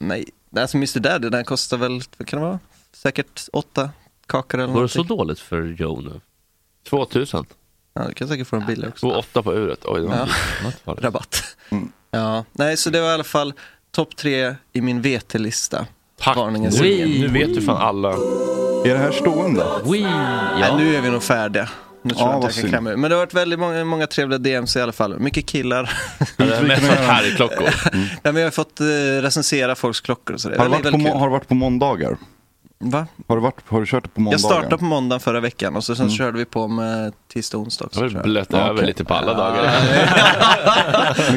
[SPEAKER 4] Nej, alltså Mr Daddy den kostar väl, vad kan det vara? Säkert åtta kakor eller
[SPEAKER 5] Var det så
[SPEAKER 4] någonting.
[SPEAKER 5] dåligt för Joe nu? 2000?
[SPEAKER 4] Ja, du kan säkert få en billig också.
[SPEAKER 1] Och åtta på uret, oj det var Mm.
[SPEAKER 4] Ja.
[SPEAKER 1] dyrt.
[SPEAKER 4] Rabatt. Ja, nej så det var i alla fall topp tre i min VT-lista. Tack! Varningens
[SPEAKER 1] Nu-
[SPEAKER 4] finger.
[SPEAKER 1] nu vet ju fan alla.
[SPEAKER 9] Är det här stående?
[SPEAKER 5] Oui.
[SPEAKER 4] Nej, nu är vi nog färdiga. Nu tror
[SPEAKER 9] Ja,
[SPEAKER 4] jag
[SPEAKER 9] vad
[SPEAKER 4] inte jag kan
[SPEAKER 9] synd.
[SPEAKER 4] klämma ur. Men det har varit väldigt många, många trevliga DMs i alla fall. Mycket killar.
[SPEAKER 1] Mest Mm. Harry-klockor.
[SPEAKER 4] Nej, men jag har fått eh, recensera folks klockor och sådär.
[SPEAKER 9] Har du,
[SPEAKER 4] Det är
[SPEAKER 9] varit på,
[SPEAKER 4] väldigt
[SPEAKER 9] må-
[SPEAKER 4] kul.
[SPEAKER 9] har du varit på måndagar?
[SPEAKER 4] Va?
[SPEAKER 9] Har du, varit, har du kört det på
[SPEAKER 4] Jag
[SPEAKER 9] måndagar?
[SPEAKER 4] startade på måndagen förra veckan och så sen
[SPEAKER 9] Mm.
[SPEAKER 4] körde vi på med tisdag och onsdag också. tror jag.
[SPEAKER 1] Blöt
[SPEAKER 9] Ja,
[SPEAKER 1] över
[SPEAKER 9] okej.
[SPEAKER 1] lite på alla dagar.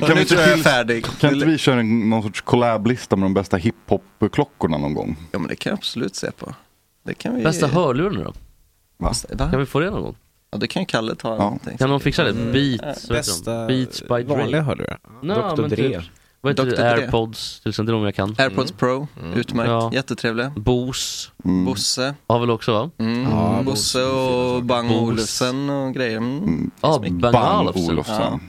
[SPEAKER 9] Men
[SPEAKER 4] nu
[SPEAKER 9] vi inte
[SPEAKER 4] tror jag jag är
[SPEAKER 9] tills-
[SPEAKER 4] färdig.
[SPEAKER 9] Kan inte vi köra en, någon sorts collab-lista med de bästa hiphop-klockorna någon gång?
[SPEAKER 4] Ja men det kan jag absolut se på. Det kan vi...
[SPEAKER 5] Bästa hörlurarna då?
[SPEAKER 9] Va?
[SPEAKER 5] Kan vi få det någon gång?
[SPEAKER 4] Ja det kan ju Kalle ta. någonting.
[SPEAKER 5] Kan någon fixa det?
[SPEAKER 4] Mm.
[SPEAKER 5] Beats,
[SPEAKER 4] Äh,
[SPEAKER 5] vad heter de? Beats by Dre.
[SPEAKER 4] vanliga hörlurar.
[SPEAKER 5] Nå,
[SPEAKER 4] Dr.
[SPEAKER 5] men
[SPEAKER 4] Dre. Mm.
[SPEAKER 5] typ. Vad heter
[SPEAKER 4] Dr.
[SPEAKER 5] det?
[SPEAKER 4] Dre.
[SPEAKER 5] Airpods till exempel, det är de jag kan. Mm.
[SPEAKER 4] Airpods Pro, utmärkt.
[SPEAKER 5] Ja.
[SPEAKER 4] Jättetrevliga.
[SPEAKER 5] Bose.
[SPEAKER 4] Bosse.
[SPEAKER 5] Har väl också va?
[SPEAKER 4] Mm. Bosse och Bang
[SPEAKER 5] Bosse.
[SPEAKER 4] Olufsen och grejer. Mm.
[SPEAKER 5] Ja,
[SPEAKER 4] Snyggt.
[SPEAKER 5] Bang
[SPEAKER 4] Bang
[SPEAKER 5] Olufsen.
[SPEAKER 4] Olufsen.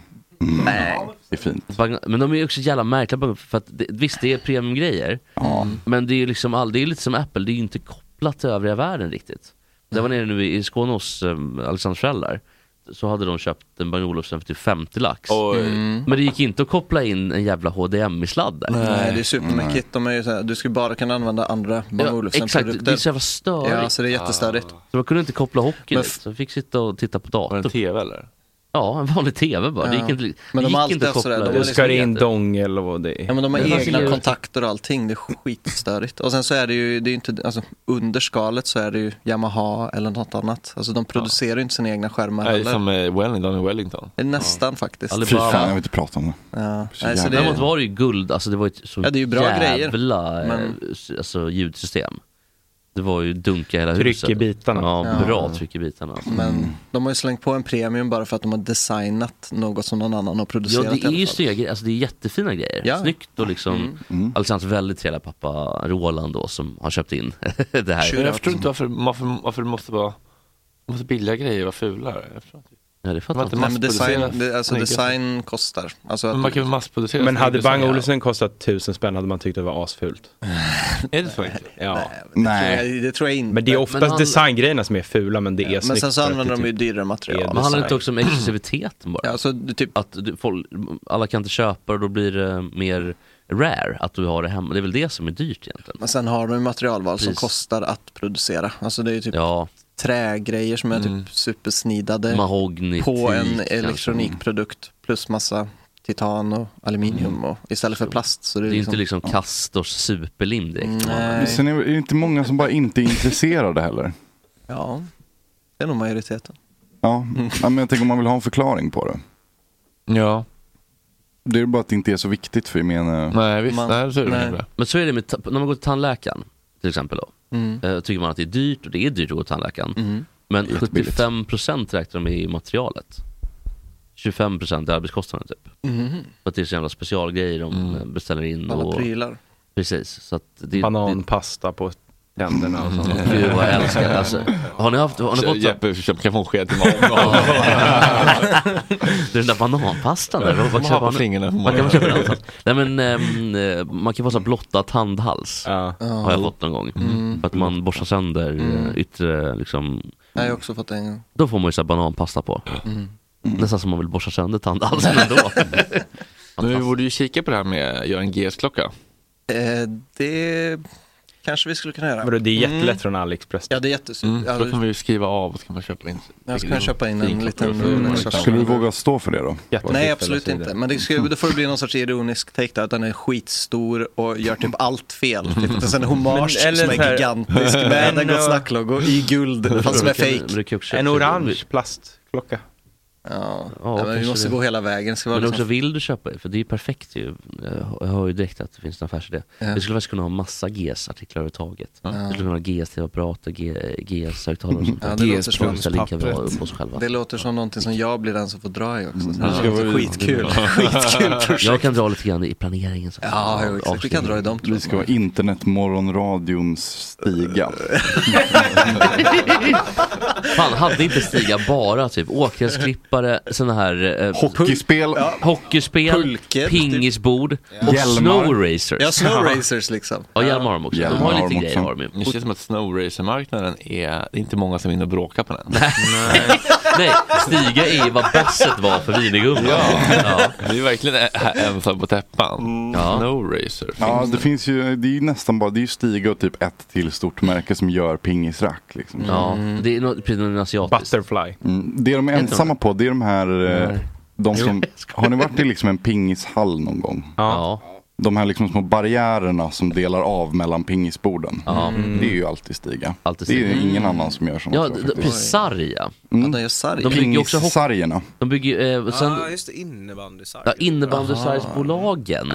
[SPEAKER 4] Nej.
[SPEAKER 5] Det
[SPEAKER 9] är fint.
[SPEAKER 5] Men de är ju också jävla märkliga, bara för att det, visst det är premiumgrejer,
[SPEAKER 4] Mm.
[SPEAKER 5] men det är ju liksom all, det är lite som Apple, det är ju inte kopplat till övriga världen riktigt. Det var nere nu i i Skåne hos um, Alexander föräldrar, så hade de köpt en Bang Olufsen för typ 50 lax.
[SPEAKER 1] Oj.
[SPEAKER 4] Mm.
[SPEAKER 5] Men det gick inte att koppla in en jävla HDMI-sladd där.
[SPEAKER 4] Nej, Mm. det är supermäckigt. De är ju såhär, du ska bara kunna använda andra Bang
[SPEAKER 5] Ja,
[SPEAKER 4] Olufsen
[SPEAKER 5] exakt,
[SPEAKER 4] produkter.
[SPEAKER 5] det är så jävla störigt.
[SPEAKER 4] Ja, så det är jättestörigt.
[SPEAKER 5] Så man kunde inte koppla hockey
[SPEAKER 4] Men
[SPEAKER 5] dit, så vi fick sitta och titta på datorn.
[SPEAKER 1] en TV eller?
[SPEAKER 5] Ja, en vanlig TV bara. Det
[SPEAKER 4] Ja.
[SPEAKER 5] gick inte,
[SPEAKER 4] Men
[SPEAKER 5] det
[SPEAKER 4] de har
[SPEAKER 5] gick
[SPEAKER 4] alltid
[SPEAKER 5] inte att
[SPEAKER 4] haft
[SPEAKER 5] koppla.
[SPEAKER 4] sådär, de
[SPEAKER 5] det.
[SPEAKER 4] har liksom Ska det in jätte-
[SPEAKER 3] dongel och vad det är.
[SPEAKER 4] Ja men de har
[SPEAKER 3] Det fanns
[SPEAKER 4] egna
[SPEAKER 3] ju-
[SPEAKER 4] kontakter och allting, det är skitstörigt. Och sen så är det ju, det är ju inte, alltså under skalet så är det ju Yamaha eller något annat. Alltså de producerar ju inte sina egna skärmar
[SPEAKER 1] Nej,
[SPEAKER 4] heller.
[SPEAKER 1] som eh, Wellington i Wellington.
[SPEAKER 4] Det är nästan faktiskt.
[SPEAKER 9] Fy fan, jag vill inte prata om det.
[SPEAKER 4] Ja.
[SPEAKER 9] Så
[SPEAKER 4] Nej, så
[SPEAKER 9] jävla-
[SPEAKER 4] det,
[SPEAKER 5] Däremot var det ju guld, alltså det var ju ett så
[SPEAKER 4] Ja, det är ju bra
[SPEAKER 5] jävla
[SPEAKER 4] grejer, men-
[SPEAKER 5] eh, s- alltså, ljudsystem. Det var ju dunka hela
[SPEAKER 3] Tryck i
[SPEAKER 5] huset.
[SPEAKER 3] bitarna.
[SPEAKER 5] Ja,
[SPEAKER 4] Ja.
[SPEAKER 5] bra tryck i bitarna.
[SPEAKER 9] Mm.
[SPEAKER 4] men de har ju slängt på en premium bara för att de har designat något som någon annan har
[SPEAKER 5] Ja
[SPEAKER 4] producerat i
[SPEAKER 5] det är
[SPEAKER 4] alla
[SPEAKER 5] ju
[SPEAKER 4] fall.
[SPEAKER 5] snygga grejer, alltså det är jättefina grejer.
[SPEAKER 4] Ja. Mm.
[SPEAKER 5] Snyggt och liksom,
[SPEAKER 3] Mm.
[SPEAKER 5] Alexanders väldigt trevliga pappa Roland då som har köpt in det här.
[SPEAKER 1] Men jag förstår inte varför, varför, varför det måste vara måste billiga grejer vara fulare. Jag förstår inte.
[SPEAKER 5] Ja, det fattar
[SPEAKER 1] Man
[SPEAKER 5] inte.
[SPEAKER 1] inte
[SPEAKER 4] Nej, men
[SPEAKER 1] massproducerat
[SPEAKER 4] design, det, alltså
[SPEAKER 1] snygga
[SPEAKER 4] design kostar. Alltså att
[SPEAKER 1] Men man kan ju massproducera
[SPEAKER 3] Men hade
[SPEAKER 1] snygga
[SPEAKER 3] Bang
[SPEAKER 1] designer.
[SPEAKER 3] Olufsen kostat tusen spänn hade man tyckt det var asfult.
[SPEAKER 5] Mm.
[SPEAKER 1] Är det så enkelt?
[SPEAKER 3] Ja.
[SPEAKER 4] Det tror jag, det tror jag inte.
[SPEAKER 3] Men det är oftast
[SPEAKER 5] han-
[SPEAKER 3] designgrejerna som är fula men det är
[SPEAKER 4] Men
[SPEAKER 3] snyggt.
[SPEAKER 4] sen så
[SPEAKER 3] för att
[SPEAKER 4] använder
[SPEAKER 3] det
[SPEAKER 4] de ju
[SPEAKER 3] typ-
[SPEAKER 4] dyrare material.
[SPEAKER 5] Men handlar det inte också om exklusiviteten bara?
[SPEAKER 4] alltså, typ-
[SPEAKER 5] Att du, folk, alla kan inte köpa och då blir det mer rare att du har det hemma. Det är väl det som är dyrt egentligen.
[SPEAKER 4] Men sen har de ju materialval som
[SPEAKER 5] Pris.
[SPEAKER 4] kostar att producera. Alltså det är ju typ
[SPEAKER 5] Ja. Mm.
[SPEAKER 4] trägrejer som är typ supersnidade
[SPEAKER 5] Mahogny,
[SPEAKER 4] på en
[SPEAKER 5] teak kanske.
[SPEAKER 4] elektronikprodukt plus massa titan och aluminium och, istället för plast. Så det
[SPEAKER 5] Mm. Det
[SPEAKER 4] är
[SPEAKER 5] är ju inte
[SPEAKER 4] liksom,
[SPEAKER 5] liksom Castors superlim direkt.
[SPEAKER 4] Nej.
[SPEAKER 9] Sen är det inte många som bara inte är intresserade heller.
[SPEAKER 4] ja, det är nog majoriteten.
[SPEAKER 9] Ja, ja men jag tänker om man vill ha en förklaring på det.
[SPEAKER 1] Ja.
[SPEAKER 9] Det är bara att det inte är så viktigt för gemene...
[SPEAKER 5] Eh, Men så är det med, ta- när man går till tandläkaren till exempel då. Eh, tycker man att det är dyrt och det är dyrt att gå till tandläkaren.
[SPEAKER 4] Mm.
[SPEAKER 5] Men
[SPEAKER 9] Jättebilligt.
[SPEAKER 5] 75% räknar de i materialet. 25% är arbetskostnaden typ.
[SPEAKER 4] Mhm.
[SPEAKER 5] För att det är så jävla specialgrejer de
[SPEAKER 1] Mm.
[SPEAKER 5] eh, beställer in.
[SPEAKER 4] Alla
[SPEAKER 5] och,
[SPEAKER 4] prylar.
[SPEAKER 5] Precis. Så att det,
[SPEAKER 3] Banan, pasta på tänderna och sånt.
[SPEAKER 5] Gud vad jag älskar det. Alltså, har ni haft, har ni
[SPEAKER 1] Så
[SPEAKER 5] fått
[SPEAKER 1] Jeppe köper- kan få en sked till
[SPEAKER 5] Det är den där bananpastan där.
[SPEAKER 1] Ja,
[SPEAKER 5] Vad-
[SPEAKER 1] man
[SPEAKER 5] vad
[SPEAKER 1] har
[SPEAKER 5] köper
[SPEAKER 1] på
[SPEAKER 5] man-
[SPEAKER 1] flingorna på
[SPEAKER 5] Man kan
[SPEAKER 1] morgonen.
[SPEAKER 5] köpa den någonstans. Nej men ehm, eh, man kan få så här blottad tandhals. Har jag fått någon gång.
[SPEAKER 4] Mm.
[SPEAKER 5] För att man borstar sönder mm. yttre liksom.
[SPEAKER 4] Jag har ju också fått en gång.
[SPEAKER 5] Då får man ju så här bananpasta på.
[SPEAKER 4] Mm.
[SPEAKER 5] Nästan som man vill borsta sönder tandhalsen ändå.
[SPEAKER 1] Men vi borde ju kika på det här med att göra en GS-klocka.
[SPEAKER 4] Eh, det kanske vi skulle kunna göra.
[SPEAKER 1] Vadå, det är jättelätt
[SPEAKER 4] Mm.
[SPEAKER 1] från
[SPEAKER 3] AliExpress.
[SPEAKER 4] Ja, det är jättesynt.
[SPEAKER 1] Mm,
[SPEAKER 4] Ja,
[SPEAKER 1] så
[SPEAKER 4] det-
[SPEAKER 1] då kan vi ju skriva av och så kan man köpa in.
[SPEAKER 4] Jag ska köpa in en
[SPEAKER 1] Fin klocka
[SPEAKER 4] liten-
[SPEAKER 1] för-
[SPEAKER 4] en
[SPEAKER 9] Skulle du våga stå för det då?
[SPEAKER 4] Mm, Nej, absolut inte. Men det, skulle, då får det bli någon sorts ironisk take där, att den är skitstor och gör typ allt fel.
[SPEAKER 5] Mm.
[SPEAKER 4] Typ. Det är en hommage
[SPEAKER 3] Men- eller
[SPEAKER 4] som
[SPEAKER 3] så här-
[SPEAKER 4] är gigantisk med en Gott Snack-logo i guld, fast som är fake.
[SPEAKER 3] En orange plastklocka.
[SPEAKER 4] Ja,
[SPEAKER 5] Ja,
[SPEAKER 4] Nej, men vi
[SPEAKER 5] kanske
[SPEAKER 4] måste
[SPEAKER 5] det.
[SPEAKER 4] gå hela vägen. Ska vara
[SPEAKER 5] men
[SPEAKER 4] liksom...
[SPEAKER 5] också vill du köpa det, för det är ju perfekt ju. Jag hör ju direkt att det finns en affärsidé.
[SPEAKER 4] Ja.
[SPEAKER 5] Vi skulle faktiskt kunna ha massa GS-artiklar överhuvudtaget.
[SPEAKER 4] Ja.
[SPEAKER 5] Vi skulle kunna ha GS-apparater, GS-högtalare och sånt.
[SPEAKER 4] Ja, det låter som-
[SPEAKER 5] Ställa lika bra upp oss själva. Mm.
[SPEAKER 4] Det låter som någonting som jag blir den som får dra i också. Så
[SPEAKER 5] Ja.
[SPEAKER 4] Det låter skitkul. Skitkul projekt.
[SPEAKER 5] Jag kan dra lite grann i planeringen. Så.
[SPEAKER 4] Ja, jo, exakt. Vi kan dra i de
[SPEAKER 9] Vi ska vara internetmorgonradions stiga.
[SPEAKER 5] Fan, hade inte Stiga bara typ åkgräsklippare, såna här... Eh,
[SPEAKER 9] Hockeyspel.
[SPEAKER 5] Hockeyspel,
[SPEAKER 4] Pulket,
[SPEAKER 5] pingisbord och
[SPEAKER 1] Hjälmar.
[SPEAKER 5] snowracers.
[SPEAKER 1] Ja, snowracers
[SPEAKER 4] liksom.
[SPEAKER 5] Ja, hjälmar har de också. de har ju lite grejer har de ju.
[SPEAKER 1] Det känns som att snowracer-marknaden är, det är inte många som vinner och bråkar på den.
[SPEAKER 5] Nej, Stiga är ju vad basset var för vinegumman.
[SPEAKER 1] Ja. Vi är verkligen ä- här ensam på täppan. Snowracer.
[SPEAKER 9] Ja,
[SPEAKER 1] finns
[SPEAKER 9] det finns ju, det är ju nästan bara, det är ju Stiga och typ ett till stort märke som gör pingisrack liksom.
[SPEAKER 5] Ja,
[SPEAKER 4] Mm.
[SPEAKER 5] det är något, precis något asiatiskt.
[SPEAKER 3] Butterfly.
[SPEAKER 9] Mm. Det de är
[SPEAKER 5] Heter de
[SPEAKER 9] ensamma på, det är de här, eh,
[SPEAKER 5] Nej.
[SPEAKER 9] de som,
[SPEAKER 5] Jo.
[SPEAKER 9] har ni varit i liksom en pingishall någon gång?
[SPEAKER 5] Ja.
[SPEAKER 9] De här liksom små barriärerna som delar av mellan pingisborden. Mm.
[SPEAKER 5] Ja.
[SPEAKER 9] Det är ju alltid Stiga.
[SPEAKER 5] Alltid
[SPEAKER 9] det
[SPEAKER 5] Stiga.
[SPEAKER 9] är ju ingen annan som gör sånt.
[SPEAKER 5] Ja,
[SPEAKER 9] tror
[SPEAKER 5] d-
[SPEAKER 9] jag,
[SPEAKER 5] d-
[SPEAKER 9] faktiskt.
[SPEAKER 5] precis. Sarja.
[SPEAKER 9] Mm.
[SPEAKER 4] gör sarg.
[SPEAKER 5] De bygger ju också hockey-
[SPEAKER 9] Pingissargerna.
[SPEAKER 5] De bygger ju, eh, sen,
[SPEAKER 7] Ja, Ah, just det. Innebandysarg.
[SPEAKER 5] ja, innebandysargsbolagen.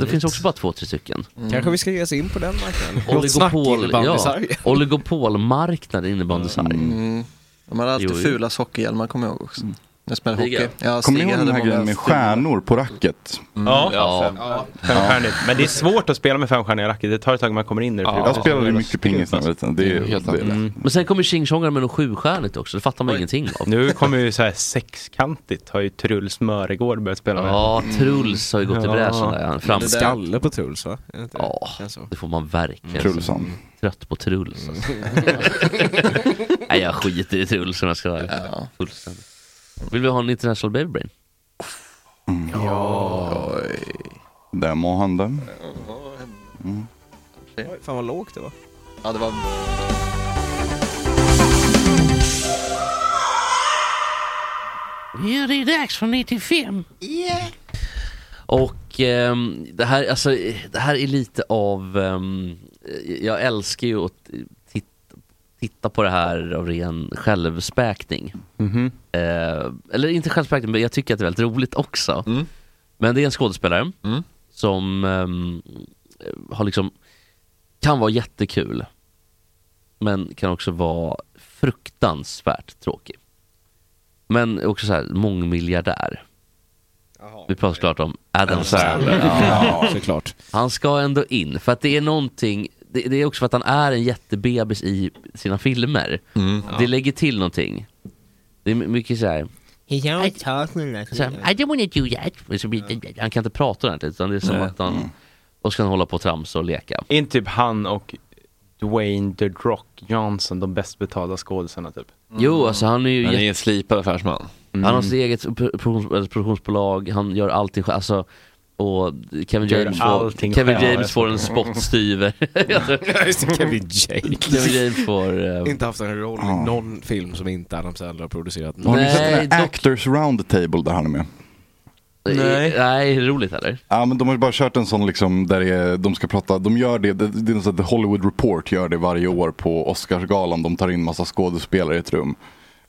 [SPEAKER 5] Det finns också bara två, tre stycken.
[SPEAKER 7] Kanske vi ska ge oss in på den marknaden. Gott snack,
[SPEAKER 5] Oligopol, ja,
[SPEAKER 7] innebandysarg.
[SPEAKER 5] oligopolmarknad innebandysarg.
[SPEAKER 9] Mm.
[SPEAKER 4] Mm. De hade alltid
[SPEAKER 5] Jo, Mm. jo.
[SPEAKER 4] fula hockeyhjälmar kommer jag ihåg också. Jag spelade
[SPEAKER 5] Stiga.
[SPEAKER 4] hockey. Ja,
[SPEAKER 9] Kommer ni
[SPEAKER 4] Stiga
[SPEAKER 9] ihåg den
[SPEAKER 4] hade
[SPEAKER 9] här
[SPEAKER 4] många
[SPEAKER 9] grejen med
[SPEAKER 4] stilar.
[SPEAKER 9] stjärnor på racket?
[SPEAKER 4] Mm,
[SPEAKER 3] Ja,
[SPEAKER 5] Ja.
[SPEAKER 3] fem- femstjärnigt. Men det är svårt att spela med femstjärniga racket. Det tar ett tag man kommer in i det. för det är Mm.
[SPEAKER 9] Jag
[SPEAKER 3] så
[SPEAKER 9] spelade ju
[SPEAKER 3] jävla
[SPEAKER 9] mycket
[SPEAKER 3] skumt,
[SPEAKER 9] pingis när jag
[SPEAKER 3] alltså.
[SPEAKER 9] var liten. Det är det är lätt.
[SPEAKER 5] Men sen kommer tjingtjongarna med något sjustjärnigt också, det fattar man ingenting av.
[SPEAKER 3] Nu kommer ju så här sexkantigt har ju Truls Möregård börjat spela med.
[SPEAKER 5] Ja, Truls har ju gått i bräschen där. Han
[SPEAKER 7] Det där-
[SPEAKER 5] framskall.
[SPEAKER 7] Skalle på Truls va? Är det inte det?
[SPEAKER 5] Ja,
[SPEAKER 7] Känns så.
[SPEAKER 5] det får man verkligen.
[SPEAKER 9] Trulsan.
[SPEAKER 5] Trött på Truls. alltså. Nej, jag skiter i Truls om jag ska vara ärlig. Fullständigt. Vill vi ha en international baby brain?
[SPEAKER 9] Där må han den.
[SPEAKER 7] Mm. Oj, Fan vad lågt det var.
[SPEAKER 4] Ja, det var...
[SPEAKER 5] Ja, det är dags för 95. Och ehm, det, här, alltså, det här är lite av, ehm, jag älskar ju att titta, titta på det här av ren självspäkning.
[SPEAKER 9] Mm-hmm.
[SPEAKER 3] Mhm.
[SPEAKER 5] Eh, eller inte självspäkning, men jag tycker att det är väldigt roligt också.
[SPEAKER 1] Mm.
[SPEAKER 5] Men det är en skådespelare
[SPEAKER 1] Mm.
[SPEAKER 5] som ehm, har liksom, kan vara jättekul, men kan också vara fruktansvärt tråkig. Men också så här mångmiljardär. Vi pratar såklart om Adam Sandler.
[SPEAKER 7] Ja, såklart.
[SPEAKER 5] Han ska ändå in, för att det är någonting, det, det är också för att han är en jättebebis i sina filmer. Det lägger till någonting. Det är my- mycket så här. Så här, I don't wanna do that. Och så blir- Han kan inte prata ordentligt, utan det är som
[SPEAKER 3] Nej.
[SPEAKER 5] att han, och ska han hålla på och tramsa och leka.
[SPEAKER 3] Är inte typ han och Dwayne The Rock Johnson de bäst betalda skådisarna typ?
[SPEAKER 5] Jo, alltså han är ju
[SPEAKER 1] Han
[SPEAKER 5] jätte- Mm.
[SPEAKER 1] är en slipad affärsman.
[SPEAKER 5] Han har sitt eget pro- produktions- eller produktionsbolag, han gör allting själv. Alltså, och Kevin
[SPEAKER 3] Gör
[SPEAKER 5] James, får,
[SPEAKER 3] allting
[SPEAKER 5] Kevin
[SPEAKER 3] själv.
[SPEAKER 5] James får en spottstyver.
[SPEAKER 7] Kevin Jake.
[SPEAKER 5] Kevin James får... eh,
[SPEAKER 7] Inte haft en roll i någon film som inte Adam Sandler har producerat.
[SPEAKER 9] Har ni sett
[SPEAKER 5] Nej,
[SPEAKER 9] den här
[SPEAKER 5] dock-
[SPEAKER 9] Actors Roundtable där han är med?
[SPEAKER 5] Nej. Nej, roligt eller?
[SPEAKER 9] Ja men de har ju bara kört en sån liksom där det är, de ska prata, de gör det, det, det är något sånt, The Hollywood Report gör det varje år på Oscarsgalan. De tar in massa skådespelare i ett rum.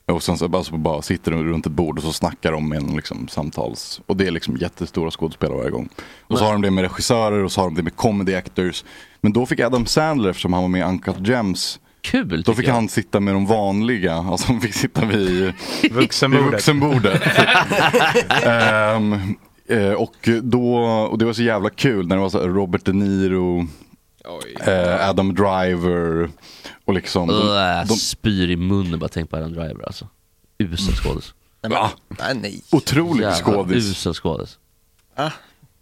[SPEAKER 9] Och sen så bara, så bara sitter de runt ett bord och så snackar de med en liksom samtals. Och det är liksom jättestora skådespelare varje gång. Och så har de det med regissörer och så har de det med comedy actors. Men då fick Adam Sandler, eftersom han var med i Uncut Gems,
[SPEAKER 5] Kul,
[SPEAKER 9] då fick han sitta med de vanliga, alltså han fick sitta vid
[SPEAKER 3] Vuxenbordet.
[SPEAKER 9] vid vuxenbordet. Ehm, eh, och, då, och det var så jävla kul när det var så här Robert De Niro, eh, Adam Driver och liksom...
[SPEAKER 5] Äh, spyr i munnen bara tänk på Adam Driver alltså.
[SPEAKER 4] Mm.
[SPEAKER 5] Usel skådis.
[SPEAKER 9] Va?
[SPEAKER 4] Nej, nej.
[SPEAKER 9] Ah, Otrolig
[SPEAKER 5] Jävla
[SPEAKER 9] skådis.
[SPEAKER 5] Usel skådis.
[SPEAKER 4] Ah,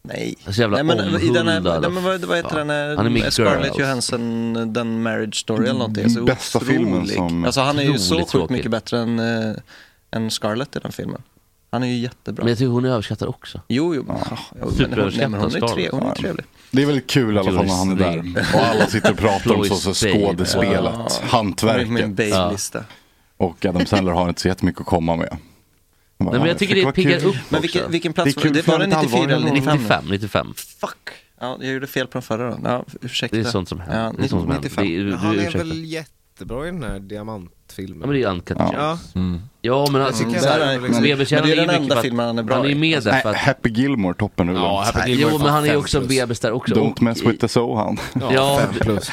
[SPEAKER 4] nej.
[SPEAKER 5] Så jävla alltså.
[SPEAKER 4] nej, men, i den här,
[SPEAKER 5] omhuldad
[SPEAKER 4] nej, men vad, vad heter
[SPEAKER 5] fan.
[SPEAKER 4] den? här-
[SPEAKER 5] Han är alltså. med i
[SPEAKER 4] Scarlett
[SPEAKER 5] Girls.
[SPEAKER 4] Johansson, den Marriage Story eller någonting. Så
[SPEAKER 9] Bästa
[SPEAKER 4] otrolig.
[SPEAKER 9] filmen som-
[SPEAKER 4] Alltså han är ju så
[SPEAKER 9] Otroligt
[SPEAKER 4] sjukt
[SPEAKER 9] tråkig.
[SPEAKER 4] mycket bättre än, eh, än Scarlett i den filmen. Han är ju jättebra.
[SPEAKER 5] Men jag tycker hon är överskattad också.
[SPEAKER 4] Jo, jo. Ah, jo men hon, nej, men hon är, tre, hon är trevlig.
[SPEAKER 9] Det är väldigt kul i alla fall när han är där. Och alla sitter och pratar om så, så skådespelet,
[SPEAKER 4] Ja.
[SPEAKER 9] hantverket.
[SPEAKER 4] Min- Min babylista.
[SPEAKER 9] Och Adam Sandler har inte så jättemycket att komma med. Han bara,
[SPEAKER 5] Nej, men
[SPEAKER 9] "Ja,
[SPEAKER 5] jag tycker
[SPEAKER 9] fick
[SPEAKER 5] det
[SPEAKER 9] vara
[SPEAKER 5] piggar
[SPEAKER 9] kul."
[SPEAKER 5] upp
[SPEAKER 4] Men vilken, vilken plats var det? det? Var det 94 eller 95?
[SPEAKER 5] 95? 95.
[SPEAKER 4] Ja, jag gjorde fel på den förra då. Ja, ursäkta.
[SPEAKER 5] Det är sånt som händer.
[SPEAKER 4] Ja,
[SPEAKER 5] Det är sånt som händer.
[SPEAKER 4] 95.
[SPEAKER 5] Det är- du-
[SPEAKER 7] Han är
[SPEAKER 5] ursäkta.
[SPEAKER 7] väl jättebra i den här diamantfilmen?
[SPEAKER 5] Ja men det är ju Uncut
[SPEAKER 7] Ja.
[SPEAKER 5] Gems. Ja
[SPEAKER 1] Mm.
[SPEAKER 5] men alltså,
[SPEAKER 7] tycker
[SPEAKER 5] så
[SPEAKER 7] jag-
[SPEAKER 5] här,
[SPEAKER 7] Men- men det är liksom-
[SPEAKER 5] Bebistjärnan
[SPEAKER 7] den
[SPEAKER 5] ju mycket
[SPEAKER 7] enda
[SPEAKER 5] för att-
[SPEAKER 7] filmen han är bra
[SPEAKER 5] Han är ju
[SPEAKER 7] i.
[SPEAKER 5] med där
[SPEAKER 9] Nej,
[SPEAKER 5] för att
[SPEAKER 9] Happy Gilmore toppar nu.
[SPEAKER 5] Ja, Happy Gilmore Jo, men han är ju också en
[SPEAKER 9] en
[SPEAKER 5] bebis där också.
[SPEAKER 9] Don't
[SPEAKER 5] Och-
[SPEAKER 9] mess with the soul han.
[SPEAKER 5] Ja.
[SPEAKER 9] Fem
[SPEAKER 5] plus.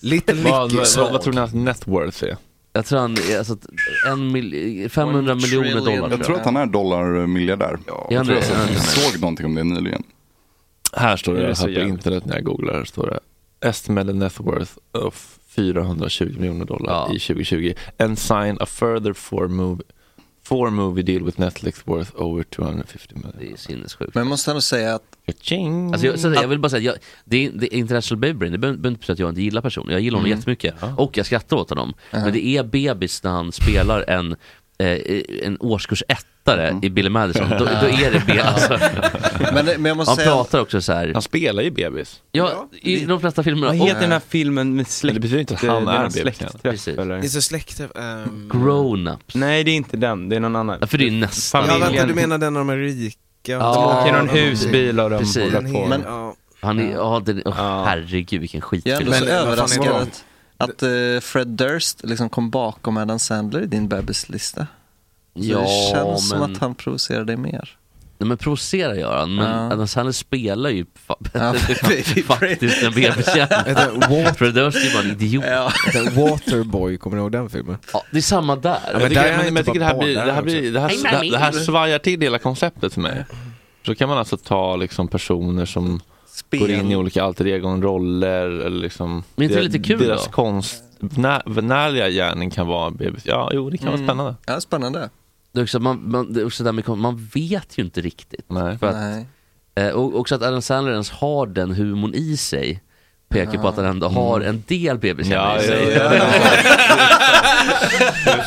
[SPEAKER 7] Little
[SPEAKER 5] Vad-
[SPEAKER 9] Nicky
[SPEAKER 5] vad-
[SPEAKER 9] Soul.
[SPEAKER 5] vad tror
[SPEAKER 1] ni att net worth är?
[SPEAKER 5] Jag tror han, är- alltså, att en mil, 500 miljoner dollar.
[SPEAKER 9] Jag tror att han är dollarmiljardär.
[SPEAKER 5] Är
[SPEAKER 9] jag
[SPEAKER 5] han
[SPEAKER 9] tror
[SPEAKER 5] det?
[SPEAKER 9] jag såg-
[SPEAKER 5] Ja.
[SPEAKER 9] såg någonting om det nyligen.
[SPEAKER 1] Här står det,
[SPEAKER 9] Det är så
[SPEAKER 1] här på
[SPEAKER 9] jävligt.
[SPEAKER 1] internet när jag googlar, här står det Estimated net worth of 420 miljoner dollar i 2020 and sign a further four movie, four movie deal with Netflix worth over 250 million.
[SPEAKER 5] Det är sinnessjukt.
[SPEAKER 4] Men jag måste ändå säga att...
[SPEAKER 5] Alltså jag, så att säga, jag vill bara säga att jag, det, är, det är international baby brain, det behöver behöver inte betyda att jag inte gillar personen. Jag gillar honom
[SPEAKER 4] Mm.
[SPEAKER 5] jättemycket och jag skrattar åt honom. Men det är bebis när han spelar en, eh, en årskurs ettare i Billy Madison. Då, då är det bebis. Alltså.
[SPEAKER 4] Mm. Men, men jag måste
[SPEAKER 5] han
[SPEAKER 4] säga-
[SPEAKER 5] pratar också så här. Han
[SPEAKER 1] spelar ju bebis.
[SPEAKER 5] Ja, i de flesta filmerna.
[SPEAKER 3] Vad heter den här
[SPEAKER 1] filmen med släkt? Det betyder inte att
[SPEAKER 3] Det-
[SPEAKER 1] han
[SPEAKER 3] det är
[SPEAKER 1] är
[SPEAKER 3] någon
[SPEAKER 1] bebisen.
[SPEAKER 3] släktträff,
[SPEAKER 1] Precis.
[SPEAKER 3] eller?
[SPEAKER 7] Det är så släkt... ehm,
[SPEAKER 5] Grown-ups.
[SPEAKER 3] Nej det är inte den, det är någon annan.
[SPEAKER 5] för det är nästan.
[SPEAKER 7] Ja, vänta, du menar den när de är rika?
[SPEAKER 3] De åker i någon husbil och de håller på.
[SPEAKER 7] Men,
[SPEAKER 5] Han är, ja, den, oh, herregud vilken
[SPEAKER 4] Jag är
[SPEAKER 5] skitfilm.
[SPEAKER 4] ändå så överraskad
[SPEAKER 5] Ja.
[SPEAKER 4] att, att eh, Fred Durst liksom kom bakom Adam Sandler i din bebislista. Så det
[SPEAKER 5] Ja,
[SPEAKER 4] känns som
[SPEAKER 5] men-
[SPEAKER 4] att han provocerar dig mer.
[SPEAKER 5] Nej men provocera gör han, men
[SPEAKER 4] Ja.
[SPEAKER 5] Adam Sandler spelar ju fa-
[SPEAKER 4] Ja, Baby
[SPEAKER 5] faktiskt en
[SPEAKER 7] Heter
[SPEAKER 5] bebistjärna. För det är ju bara en idiot.
[SPEAKER 7] Waterboy, kommer du ihåg den filmen?
[SPEAKER 5] Ja, det är samma där.
[SPEAKER 1] Ja, men jag tycker, men jag tycker det här blir, det här, blir det, här,
[SPEAKER 5] Hey,
[SPEAKER 1] det, här,
[SPEAKER 5] mommy.
[SPEAKER 1] det här svajar till hela konceptet för mig. Så kan man alltså ta liksom personer som går in i olika alter egon roller eller liksom
[SPEAKER 5] Men inte det
[SPEAKER 1] deras-
[SPEAKER 5] lite kul
[SPEAKER 1] Deras
[SPEAKER 5] då?
[SPEAKER 1] konstnärliga gärning kan vara en bebis. Ja, jo det kan vara
[SPEAKER 5] Mm.
[SPEAKER 1] spännande.
[SPEAKER 4] Ja, spännande.
[SPEAKER 5] Det är också, man, man, det är också där med, kom- man vet ju inte riktigt. För att,
[SPEAKER 4] Nej.
[SPEAKER 5] eh, och också att Adam Sandler ens har den humorn i sig pekar på att han ändå har en del bebiskärnor
[SPEAKER 1] Mm. Ja,
[SPEAKER 5] i sig.
[SPEAKER 1] ja, ja, ja.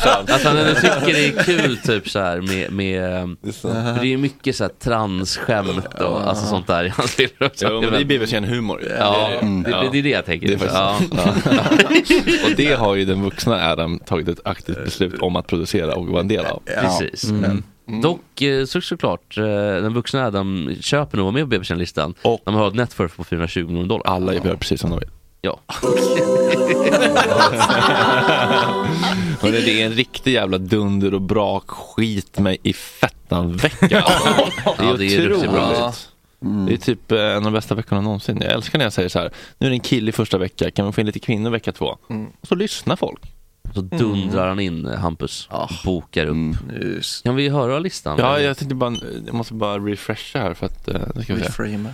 [SPEAKER 5] Att Alltså, han ändå tycker det är kul typ så här med, med för det är ju mycket så här transskämt och alltså sånt där i hans filmer också.
[SPEAKER 1] Jo, men det är bebisgäng humor.
[SPEAKER 5] Ja,
[SPEAKER 1] Mm.
[SPEAKER 5] det, det, det är det jag tänker.
[SPEAKER 1] Det är faktiskt
[SPEAKER 5] ja.
[SPEAKER 1] sant. Och det har ju den vuxna Adam tagit ett aktivt beslut om att producera och vara en del av.
[SPEAKER 5] Precis. Mm. Dock eh, så, såklart, eh, den vuxna Adam köper nog vara med på BBC-listan. Och de har ett networth på 420 miljoner dollar.
[SPEAKER 1] Alla gör precis som de vill.
[SPEAKER 5] Ja.
[SPEAKER 1] Men det är en riktig jävla dunder och brak skit mig i fettan vecka.
[SPEAKER 5] Ja, det är riktigt bra.
[SPEAKER 1] Det är typ eh, en av de bästa veckorna någonsin. Jag älskar när jag säger så här, nu är det en kille i första vecka, kan vi få in lite kvinnor vecka två?
[SPEAKER 5] Mm.
[SPEAKER 1] Och så lyssnar folk.
[SPEAKER 5] Så dundrar han in eh, Hampus, bokar upp.
[SPEAKER 1] Mm.
[SPEAKER 5] Kan vi höra listan?
[SPEAKER 1] Ja, jag tänkte bara, jag måste bara refresha här för att, eh, nu ska vi se.
[SPEAKER 4] Reframe.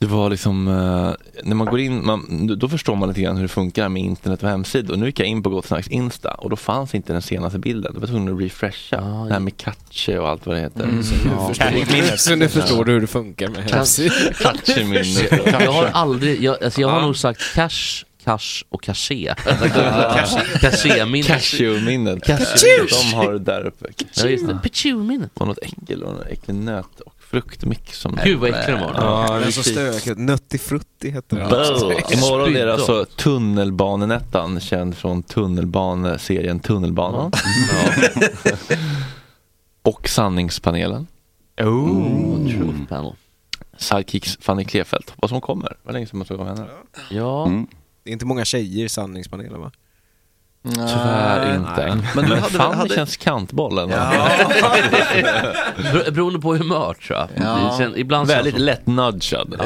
[SPEAKER 1] Det var liksom, eh, när man går in, man, då förstår man lite grann hur det funkar med internet och hemsidor. Nu gick jag in på Gott Snacks Insta och då fanns inte den senaste bilden. Då var jag tvungen att refresha.
[SPEAKER 7] Ah,
[SPEAKER 1] det här med Katche och allt vad det heter.
[SPEAKER 7] Mm, så nu förstår du- så nu förstår du hur det funkar med hemsidor.
[SPEAKER 1] Katche-minnet.
[SPEAKER 5] Jag har aldrig, jag, alltså jag har nog sagt cash, cash och caché. Caché-minnet.
[SPEAKER 1] Cashew-minnet. De har det där uppe.
[SPEAKER 5] Ja, just det. Pechu-minnet.
[SPEAKER 1] Det var något äckel och någon äcklig nöt och fruktmix som
[SPEAKER 5] Gud, vad äcklig den var.
[SPEAKER 1] Ja,
[SPEAKER 7] Den så
[SPEAKER 1] riktigt.
[SPEAKER 7] stökigt. Nutti Frutti heter den.
[SPEAKER 1] Bow. Imorgon är det alltså Tunnelbanenettan, känd från tunnelbaneserien Tunnelbanan. Ja. och Sanningspanelen.
[SPEAKER 5] Oh. Truth panel.
[SPEAKER 1] Sidekicks Fanny Klefelt. Hoppas hon kommer. Vad länge sedan man såg av henne.
[SPEAKER 5] Ja.
[SPEAKER 1] Mm.
[SPEAKER 7] Det är inte många tjejer i sanningspanelen va?
[SPEAKER 1] Tyvärr inte. Men,
[SPEAKER 7] du
[SPEAKER 1] Fanny känns kantbollen.
[SPEAKER 5] Bero- Beroende på humör tror jag. Det kän- ibland
[SPEAKER 1] Väldigt
[SPEAKER 5] känns-
[SPEAKER 1] lätt nudgad.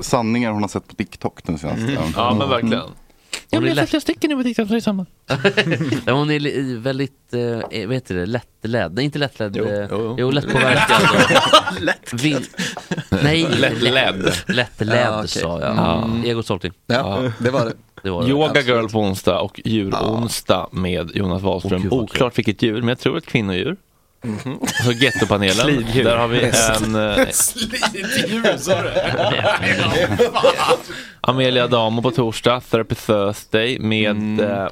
[SPEAKER 9] Sanningar hon har sett på TikTok den senaste.
[SPEAKER 1] Mm.
[SPEAKER 9] Mm.
[SPEAKER 1] Ja, men verkligen.
[SPEAKER 5] Hon är, lätt,
[SPEAKER 1] flera stycken nu på TikTok tillsammans.
[SPEAKER 5] Nej, hon är li- väldigt, eh, vad heter det, lättledd? Nej inte lättledd,
[SPEAKER 1] Jo,
[SPEAKER 5] eh,
[SPEAKER 1] jo.
[SPEAKER 5] jo lättpåverkad. Vin- Nej,
[SPEAKER 1] Lättledd.
[SPEAKER 5] Lättledd
[SPEAKER 1] Ja, okej.
[SPEAKER 5] sa jag.
[SPEAKER 1] Mm.
[SPEAKER 5] Ego Egosorting.
[SPEAKER 1] Ja, det var det.
[SPEAKER 5] det, var det.
[SPEAKER 1] Yoga girl på onsdag och djuronsdag med Jonas Wahlström. Oklart vilket djur, men jag tror ett kvinnodjur. Och så gettopanelen.
[SPEAKER 2] Slidjur.
[SPEAKER 1] Där har vi en eh,
[SPEAKER 2] Slidjur sa du?
[SPEAKER 1] Amelia Damo på torsdag, Therapy Thursday med eh,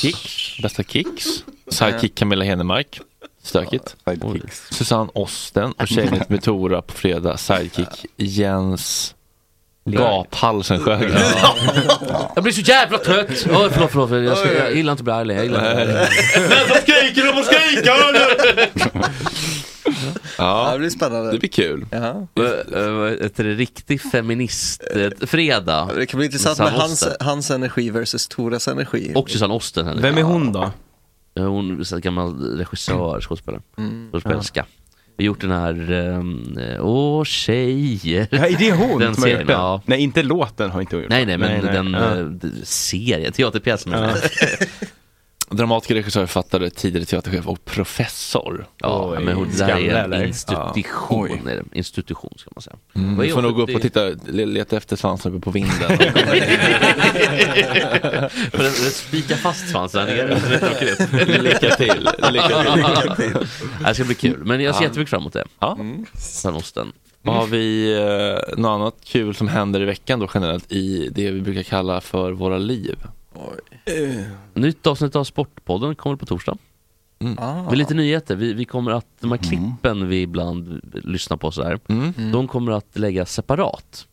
[SPEAKER 1] Kicks. bästa Kicks. Sidekick Camilla Henemark, stökigt. Oj. Susanne Osten och Tjejnytt med Tora på fredag, sidekick Jens Gaphalsen Sjögren.
[SPEAKER 5] Jag blir så jävla trött! Oj, förlåt, förlåt, förlåt. Jag, ska, jag gillar inte Briley, jag gillar inte Briley.
[SPEAKER 1] skriker de och skriker!
[SPEAKER 5] Ja,
[SPEAKER 4] det blir spännande.
[SPEAKER 5] det
[SPEAKER 1] blir kul.
[SPEAKER 4] Ja.
[SPEAKER 5] Ett riktig eh, feminist-fredag.
[SPEAKER 4] Det kan bli intressant med hans, hans energi versus Toras energi.
[SPEAKER 5] Och Susanne Osten. Henne.
[SPEAKER 4] Vem är
[SPEAKER 5] hon då? Hon är en gammal regissör, skådespelare.
[SPEAKER 4] Mm.
[SPEAKER 5] Skådespelerska. Vi har gjort den här, ehm, Åh tjejer.
[SPEAKER 3] Ja, är det hon
[SPEAKER 5] den
[SPEAKER 3] som har gjort
[SPEAKER 5] serien,
[SPEAKER 3] den?
[SPEAKER 5] Ja.
[SPEAKER 3] Nej, inte låten har inte hon gjort.
[SPEAKER 5] Nej, nej, men
[SPEAKER 3] nej.
[SPEAKER 5] den
[SPEAKER 3] Ja.
[SPEAKER 5] eh, d- serien, teaterpjäsen.
[SPEAKER 1] Ja. Dramatiker, regissör, författare, tidigare teaterchef och professor.
[SPEAKER 5] Ja, men hon där är en institution. Är det. Institution ska man säga.
[SPEAKER 1] Mm,
[SPEAKER 5] Vad är
[SPEAKER 1] du får nog gå upp och
[SPEAKER 5] 70?
[SPEAKER 1] titta, leta efter svansen uppe på vinden.
[SPEAKER 5] För den- den spikar fast svansen där nere. Det är tråkigt.
[SPEAKER 1] Lycka till, lycka till. Lycka till.
[SPEAKER 5] Det ska bli kul, men jag ser
[SPEAKER 1] Ja.
[SPEAKER 5] jättemycket fram emot det. Mm.
[SPEAKER 1] Ja.
[SPEAKER 5] Sen osten.
[SPEAKER 1] Vad har vi eh, något annat kul som händer i veckan då generellt i det vi brukar kalla för våra liv?
[SPEAKER 5] Nytt avsnitt av Sportpodden kommer på torsdag.
[SPEAKER 1] Mm.
[SPEAKER 5] Med lite nyheter. Vi, vi kommer att, de här klippen vi ibland lyssnar på så här,
[SPEAKER 1] Mm.
[SPEAKER 5] de kommer att läggas separat.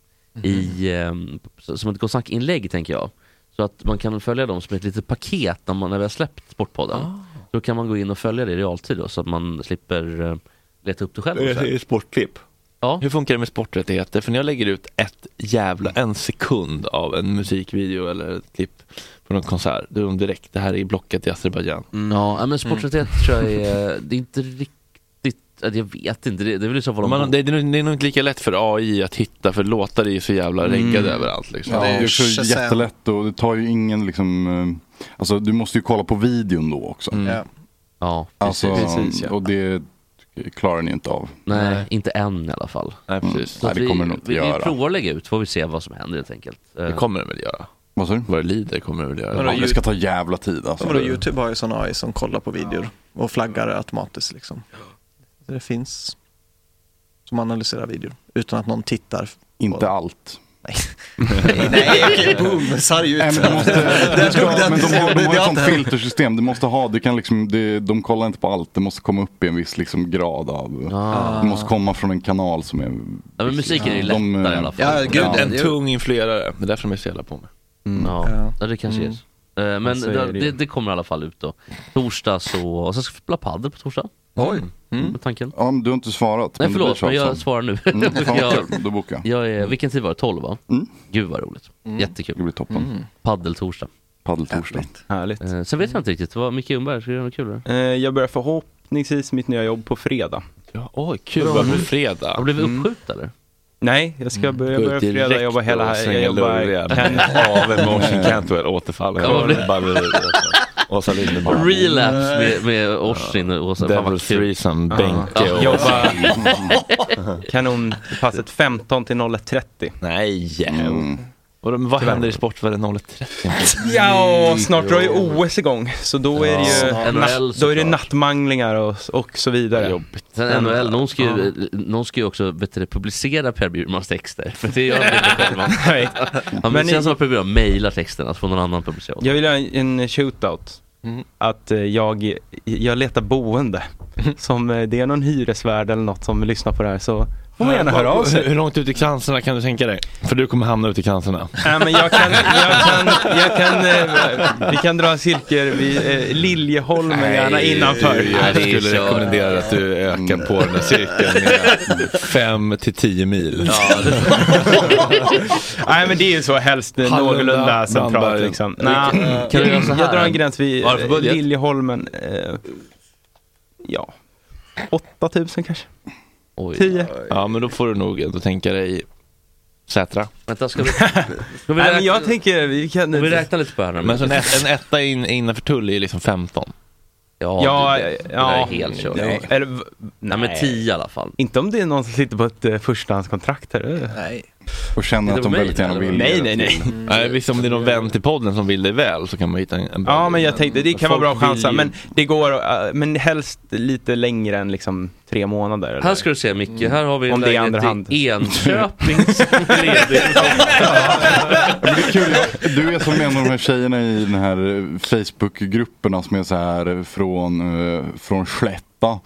[SPEAKER 5] I, ehm, så- som ett Gott Snack-inlägg tänker jag. Så att man kan följa dem som ett litet paket när, man, när vi har släppt Sportpodden.
[SPEAKER 1] Ah.
[SPEAKER 5] Då kan man gå in och följa det i realtid då, så att man slipper eh, leta upp det själv. och så här.
[SPEAKER 1] sportklipp.
[SPEAKER 5] Ja.
[SPEAKER 1] Hur funkar det med sporträttigheter? För när jag lägger ut ett jävla, en sekund av en musikvideo eller ett klipp på någon konsert, då är de direkt, det här är blockat i Azerbajdzjan.
[SPEAKER 5] Mm. Ja, men sporträttighet
[SPEAKER 1] Mm.
[SPEAKER 5] tror jag är, det är inte riktigt, ja, jag vet inte, det, det är väl i så fall om
[SPEAKER 1] Man, det, det är nog- det är nog inte lika lätt för AI att hitta för låtar är ju så jävla
[SPEAKER 5] Mm.
[SPEAKER 1] reggade överallt. Liksom.
[SPEAKER 9] Ja, Mm. det är så jättelätt och det tar ju ingen liksom, eh, alltså du måste ju kolla på videon då också.
[SPEAKER 5] Ja. Mm. Ja,
[SPEAKER 9] Alltså,
[SPEAKER 5] precis. Precis, ja.
[SPEAKER 9] Och det klarar ni inte av.
[SPEAKER 5] Nej, inte än i alla fall. Mm.
[SPEAKER 1] Nej, precis.
[SPEAKER 5] Så
[SPEAKER 9] Nej,
[SPEAKER 5] att
[SPEAKER 9] det kommer vi nog inte
[SPEAKER 5] vi, vi
[SPEAKER 9] göra.
[SPEAKER 5] provar att lägga ut, får vi se vad som händer helt enkelt. Eh,
[SPEAKER 1] Det kommer det väl göra?
[SPEAKER 9] Vad sa du?
[SPEAKER 1] Vad det lider kommer det väl göra?
[SPEAKER 4] Vadå,
[SPEAKER 9] Ja, det
[SPEAKER 4] ljud-
[SPEAKER 9] ska ta jävla tid alltså.
[SPEAKER 4] Vadå, Youtube har ju sån AI som kollar på videor och flaggar automatiskt liksom. Så Det finns som analyserar videor utan att någon tittar.
[SPEAKER 9] Inte allt.
[SPEAKER 4] Nej, nej, nej okej, boom, sarg ut.
[SPEAKER 9] Nej, men, de måste,
[SPEAKER 4] Där
[SPEAKER 9] du ska,
[SPEAKER 4] dog den.
[SPEAKER 9] men de har, de
[SPEAKER 4] Det
[SPEAKER 9] har
[SPEAKER 4] har
[SPEAKER 9] ett sånt
[SPEAKER 4] inte hänt.
[SPEAKER 9] filtersystem. Du måste ha, du kan liksom, det, de kollar inte på allt. Det måste komma upp i en viss liksom, grad av...
[SPEAKER 5] Ah.
[SPEAKER 9] Det måste komma från en kanal som är...
[SPEAKER 5] Ja, men musiken är ju
[SPEAKER 9] de,
[SPEAKER 5] lättare i
[SPEAKER 9] eh,
[SPEAKER 5] alla fall.
[SPEAKER 9] ja. Mm.
[SPEAKER 1] En tung influerare, det är därför de är så jävla på mig.
[SPEAKER 5] Ja. ja, det kanske är
[SPEAKER 1] Mm.
[SPEAKER 5] så. Eh, Men
[SPEAKER 1] Alltså, är
[SPEAKER 5] det,
[SPEAKER 1] det-
[SPEAKER 5] det, det kommer i alla fall ut då. Torsdag så, och sen ska vi spela padel på torsdag.
[SPEAKER 9] Oj.
[SPEAKER 5] Mm. Med tanken.
[SPEAKER 9] Ja, men du har inte svarat.
[SPEAKER 5] Nej
[SPEAKER 9] men det
[SPEAKER 5] förlåt,
[SPEAKER 9] blir
[SPEAKER 5] men jag
[SPEAKER 9] tjafs om.
[SPEAKER 5] svarar nu.
[SPEAKER 9] Mm, fan vad
[SPEAKER 5] Jag-
[SPEAKER 9] kul. Då bokar jag.
[SPEAKER 5] Jag är, vilken tid var det? 12 va?
[SPEAKER 9] Mm.
[SPEAKER 5] Gud vad roligt. Jättekul.
[SPEAKER 9] Det blir toppen.
[SPEAKER 5] Mm. Paddeltorsdag.
[SPEAKER 9] Paddeltorsdag.
[SPEAKER 3] Härligt.
[SPEAKER 5] Eh, Sen vet jag inte riktigt, vad Micke Ljungberg, ska du göra något kul? Eller?
[SPEAKER 3] Eh, jag börjar förhoppningsvis mitt nya jobb på fredag.
[SPEAKER 1] Ja, oj, kul. Börjar på fredag. Mm.
[SPEAKER 5] Har du blivit uppskjuten eller?
[SPEAKER 3] Mm. Nej, jag ska börja,
[SPEAKER 1] Gå
[SPEAKER 3] börja
[SPEAKER 1] ut direkt
[SPEAKER 3] fredag, jobba hela...
[SPEAKER 1] och
[SPEAKER 3] Jag,
[SPEAKER 1] svänga
[SPEAKER 3] jobbar...
[SPEAKER 1] lurven.
[SPEAKER 3] Ken-
[SPEAKER 1] Av Emotion Cantwell, återfall.
[SPEAKER 5] Ja, vad blir-
[SPEAKER 1] Barbie Rydberg. Åsa Linderborg.
[SPEAKER 5] Relapse med, med Orsin och Åsa. Fan, vad
[SPEAKER 1] Devil's
[SPEAKER 5] kul.
[SPEAKER 1] threesome,
[SPEAKER 5] Ja.
[SPEAKER 1] Benke och-
[SPEAKER 3] Jobba kanonpasset 15 till 01.30.
[SPEAKER 1] Nej! Mm. vad händer i sportvärlden 01.30?
[SPEAKER 3] Ja, och snart drar ju OS igång. Så då är det ju
[SPEAKER 1] Ja,
[SPEAKER 3] natt,
[SPEAKER 1] NHL
[SPEAKER 3] då är det nattmanglingar och, och så vidare.
[SPEAKER 5] Sen NHL, någon ska ju,
[SPEAKER 3] Ja.
[SPEAKER 5] någon ska ju också vet du, publicera Per Bjurmans texter. För det gör han inte själva.
[SPEAKER 3] Nej.
[SPEAKER 5] Han
[SPEAKER 3] Men
[SPEAKER 5] men känns
[SPEAKER 3] ni-
[SPEAKER 5] som att Per Bjurman mejlar texterna, så får någon annan publicera.
[SPEAKER 3] Jag vill ha en en shootout.
[SPEAKER 1] Mm.
[SPEAKER 3] Att eh, jag,
[SPEAKER 1] Mm.
[SPEAKER 3] jag letar boende. Som eh, det är någon hyresvärd eller något som lyssnar på det här så Får man gärna höra av sig.
[SPEAKER 1] Hur långt ut i cancerna kan du tänka dig? För du kommer hamna ute i cancerna.
[SPEAKER 3] Nej men jag kan, jag kan, jag kan, eh, vi kan dra cirkel vid eh, Liljeholmen gärna innanför.
[SPEAKER 1] Jag skulle rekommendera att du ökar på den här cirkeln med 5 till 10 mil.
[SPEAKER 3] Nej men det är ju så helst eh,
[SPEAKER 1] Hallunda,
[SPEAKER 3] någorlunda centralt
[SPEAKER 1] Brandberg.
[SPEAKER 3] liksom.
[SPEAKER 1] Vilken-
[SPEAKER 3] Nej,
[SPEAKER 1] kan du göra så här?
[SPEAKER 3] jag drar en gräns vid
[SPEAKER 1] Vad är det för
[SPEAKER 3] eh,
[SPEAKER 1] budget?
[SPEAKER 3] Liljeholmen. Eh, ja, 8000 kanske.
[SPEAKER 1] Oj.
[SPEAKER 3] 10.
[SPEAKER 1] Ja men då får du nog ändå tänka dig Sätra.
[SPEAKER 5] Vänta, ska vi...
[SPEAKER 1] vi
[SPEAKER 3] Nej, men
[SPEAKER 1] räkna-
[SPEAKER 3] jag tänker, vi kan...
[SPEAKER 1] vi räknar
[SPEAKER 5] lite på det här
[SPEAKER 1] Men så en, ett, en etta in, innanför tull är ju liksom 15.
[SPEAKER 3] Ja, ja.
[SPEAKER 1] Nej.
[SPEAKER 3] Nej. Eller, v- nej.
[SPEAKER 1] men tio
[SPEAKER 5] i alla fall.
[SPEAKER 3] Inte om det är någon som sitter på ett eh, förstahandskontrakt här. eh.
[SPEAKER 5] Nej.
[SPEAKER 9] Och känner att de väldigt gärna vill
[SPEAKER 3] Nej,
[SPEAKER 9] göra
[SPEAKER 3] nej, nej.
[SPEAKER 9] till.
[SPEAKER 1] Nej, visst om det är någon vän till podden som vill dig väl så kan man hitta en, en bra
[SPEAKER 3] Ja, men jag tänkte det kan vara
[SPEAKER 1] Folk
[SPEAKER 3] bra att chansa,
[SPEAKER 1] vill ju-
[SPEAKER 3] men det går, eh, men helst lite längre än liksom tre månader. Eller?
[SPEAKER 5] Här ska du se Micke, här har vi en
[SPEAKER 3] Mm. Om det är i andra
[SPEAKER 5] lägenhet E-
[SPEAKER 3] hand.
[SPEAKER 5] i Enköping som är ledig.
[SPEAKER 9] Du är som en av de här tjejerna i den här eh, Facebookgrupperna som är så här eh, från, eh, från Slätta.
[SPEAKER 3] Ja.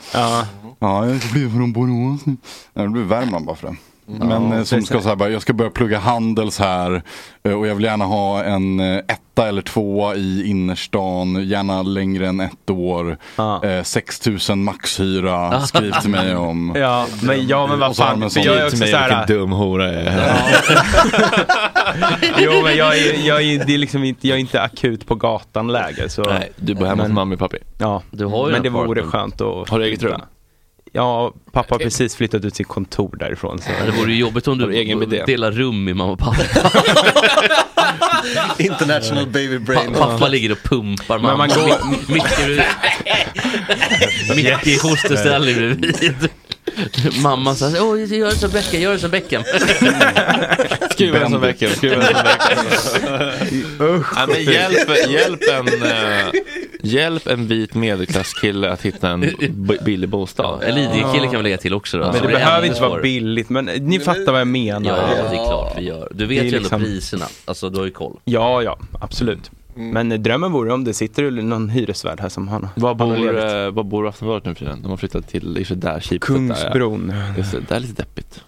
[SPEAKER 9] ja, jag ska bli från Borås nu. Nej, det blir Värmland bara för det. Men eh, som ska säga bara, jag ska börja plugga Handels här eh, och jag vill gärna ha en eh, etta eller tvåa i innerstan, gärna längre än ett år, eh, 6000 maxhyra, skriv till mig om.
[SPEAKER 3] Ja, men, ja, men vad
[SPEAKER 9] Och så har de
[SPEAKER 3] fan,
[SPEAKER 9] en
[SPEAKER 3] för
[SPEAKER 9] sån-
[SPEAKER 3] jag är också så här. eh.
[SPEAKER 1] Vilken dum hora jag är.
[SPEAKER 3] Jo, men jag är, jag är, det är liksom inte, jag är inte akut på gatan läge så.
[SPEAKER 1] Nej, du bor hemma hos
[SPEAKER 3] Men-
[SPEAKER 1] mamma och pappa.
[SPEAKER 3] Ja,
[SPEAKER 1] Du har ju
[SPEAKER 3] men
[SPEAKER 1] en
[SPEAKER 3] det vore
[SPEAKER 1] apartment.
[SPEAKER 3] skönt att
[SPEAKER 1] Har du eget rum?
[SPEAKER 3] Ja, pappa har precis flyttat ut sitt kontor därifrån. Så.
[SPEAKER 5] Det vore ju jobbigt om du
[SPEAKER 3] Egen bidé.
[SPEAKER 5] delar rum med mamma och pappa.
[SPEAKER 4] International baby brain.
[SPEAKER 5] Pa- pappa ligger och pumpar
[SPEAKER 4] Men
[SPEAKER 5] mamma.
[SPEAKER 4] man går-
[SPEAKER 5] Mitt- Mitt i- Mitt i hosteställning bredvid. Mamma sa åh gör det som Beckham, gör det som Beckham.
[SPEAKER 1] Skruva den som väcker, skruva den som väcker. Nej, men hjälp, hjälp, en, eh, hjälp en vit medelklasskille att hitta en b- billig bostad. Alltså,
[SPEAKER 5] Eller ID-kille kan vi lägga till också då. Alltså,
[SPEAKER 3] Men det behöver inte vara billigt, men ni fattar vad jag menar.
[SPEAKER 5] Ja, det är klart vi gör. Du vet
[SPEAKER 3] Det
[SPEAKER 5] ju
[SPEAKER 3] är
[SPEAKER 5] ändå
[SPEAKER 3] liksom-
[SPEAKER 5] priserna. Alltså du har ju koll.
[SPEAKER 3] Ja, ja, absolut. Men eh, drömmen vore om det sitter ju någon hyresvärd här som han
[SPEAKER 1] Var
[SPEAKER 3] han har
[SPEAKER 1] bor,
[SPEAKER 3] levt.
[SPEAKER 1] eh, var bor Aftonbladet nu för tiden? De har flyttat till, i och för sig där, Kipset
[SPEAKER 3] Kungsbron.
[SPEAKER 1] Där, ja. Just det, det är lite deppigt.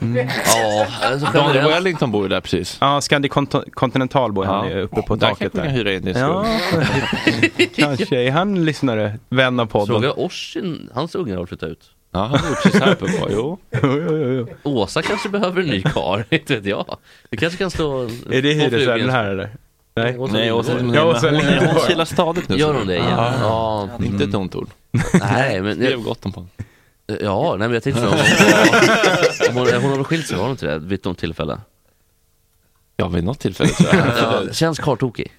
[SPEAKER 3] Mm.
[SPEAKER 5] Ja, alltså
[SPEAKER 1] Daniel
[SPEAKER 5] generellt.
[SPEAKER 1] Wellington bor ju där precis.
[SPEAKER 3] Ja, Scandic Cont- Continental bor han
[SPEAKER 1] Ja.
[SPEAKER 3] ju uppe på
[SPEAKER 1] Där
[SPEAKER 3] taket
[SPEAKER 1] kanske man kan hyra in det i
[SPEAKER 3] Ja, kanske. Är han lyssnare? Vän av podden?
[SPEAKER 5] Fråga Oshin, hans ungar har flyttat ut.
[SPEAKER 1] Ja, han har gjort precis här på bra, jo.
[SPEAKER 3] Jo, jo, jo, jo.
[SPEAKER 5] Åsa kanske behöver en ny kar, inte vet jag. Du kanske kan stå...
[SPEAKER 3] Är det hyresvärden här eller? Nej,
[SPEAKER 1] Nej, Åsa Linderborg.
[SPEAKER 3] Ja, Åsa
[SPEAKER 1] Hon- hon
[SPEAKER 3] Linderborg.
[SPEAKER 1] kilar stadigt nu.
[SPEAKER 5] Gör hon det igen?
[SPEAKER 1] Ja.
[SPEAKER 5] Ja. Mm.
[SPEAKER 1] Det är Inte ett ont ord.
[SPEAKER 5] Nej, men...
[SPEAKER 1] Skrev gott om på
[SPEAKER 5] Ja, nej men jag tänkte så. Om hon, om hon, hon har väl skilt sig, har hon inte det? Vid något tillfälle?
[SPEAKER 1] Ja, vid något tillfälle tror jag.
[SPEAKER 5] Ja, känns karltokig.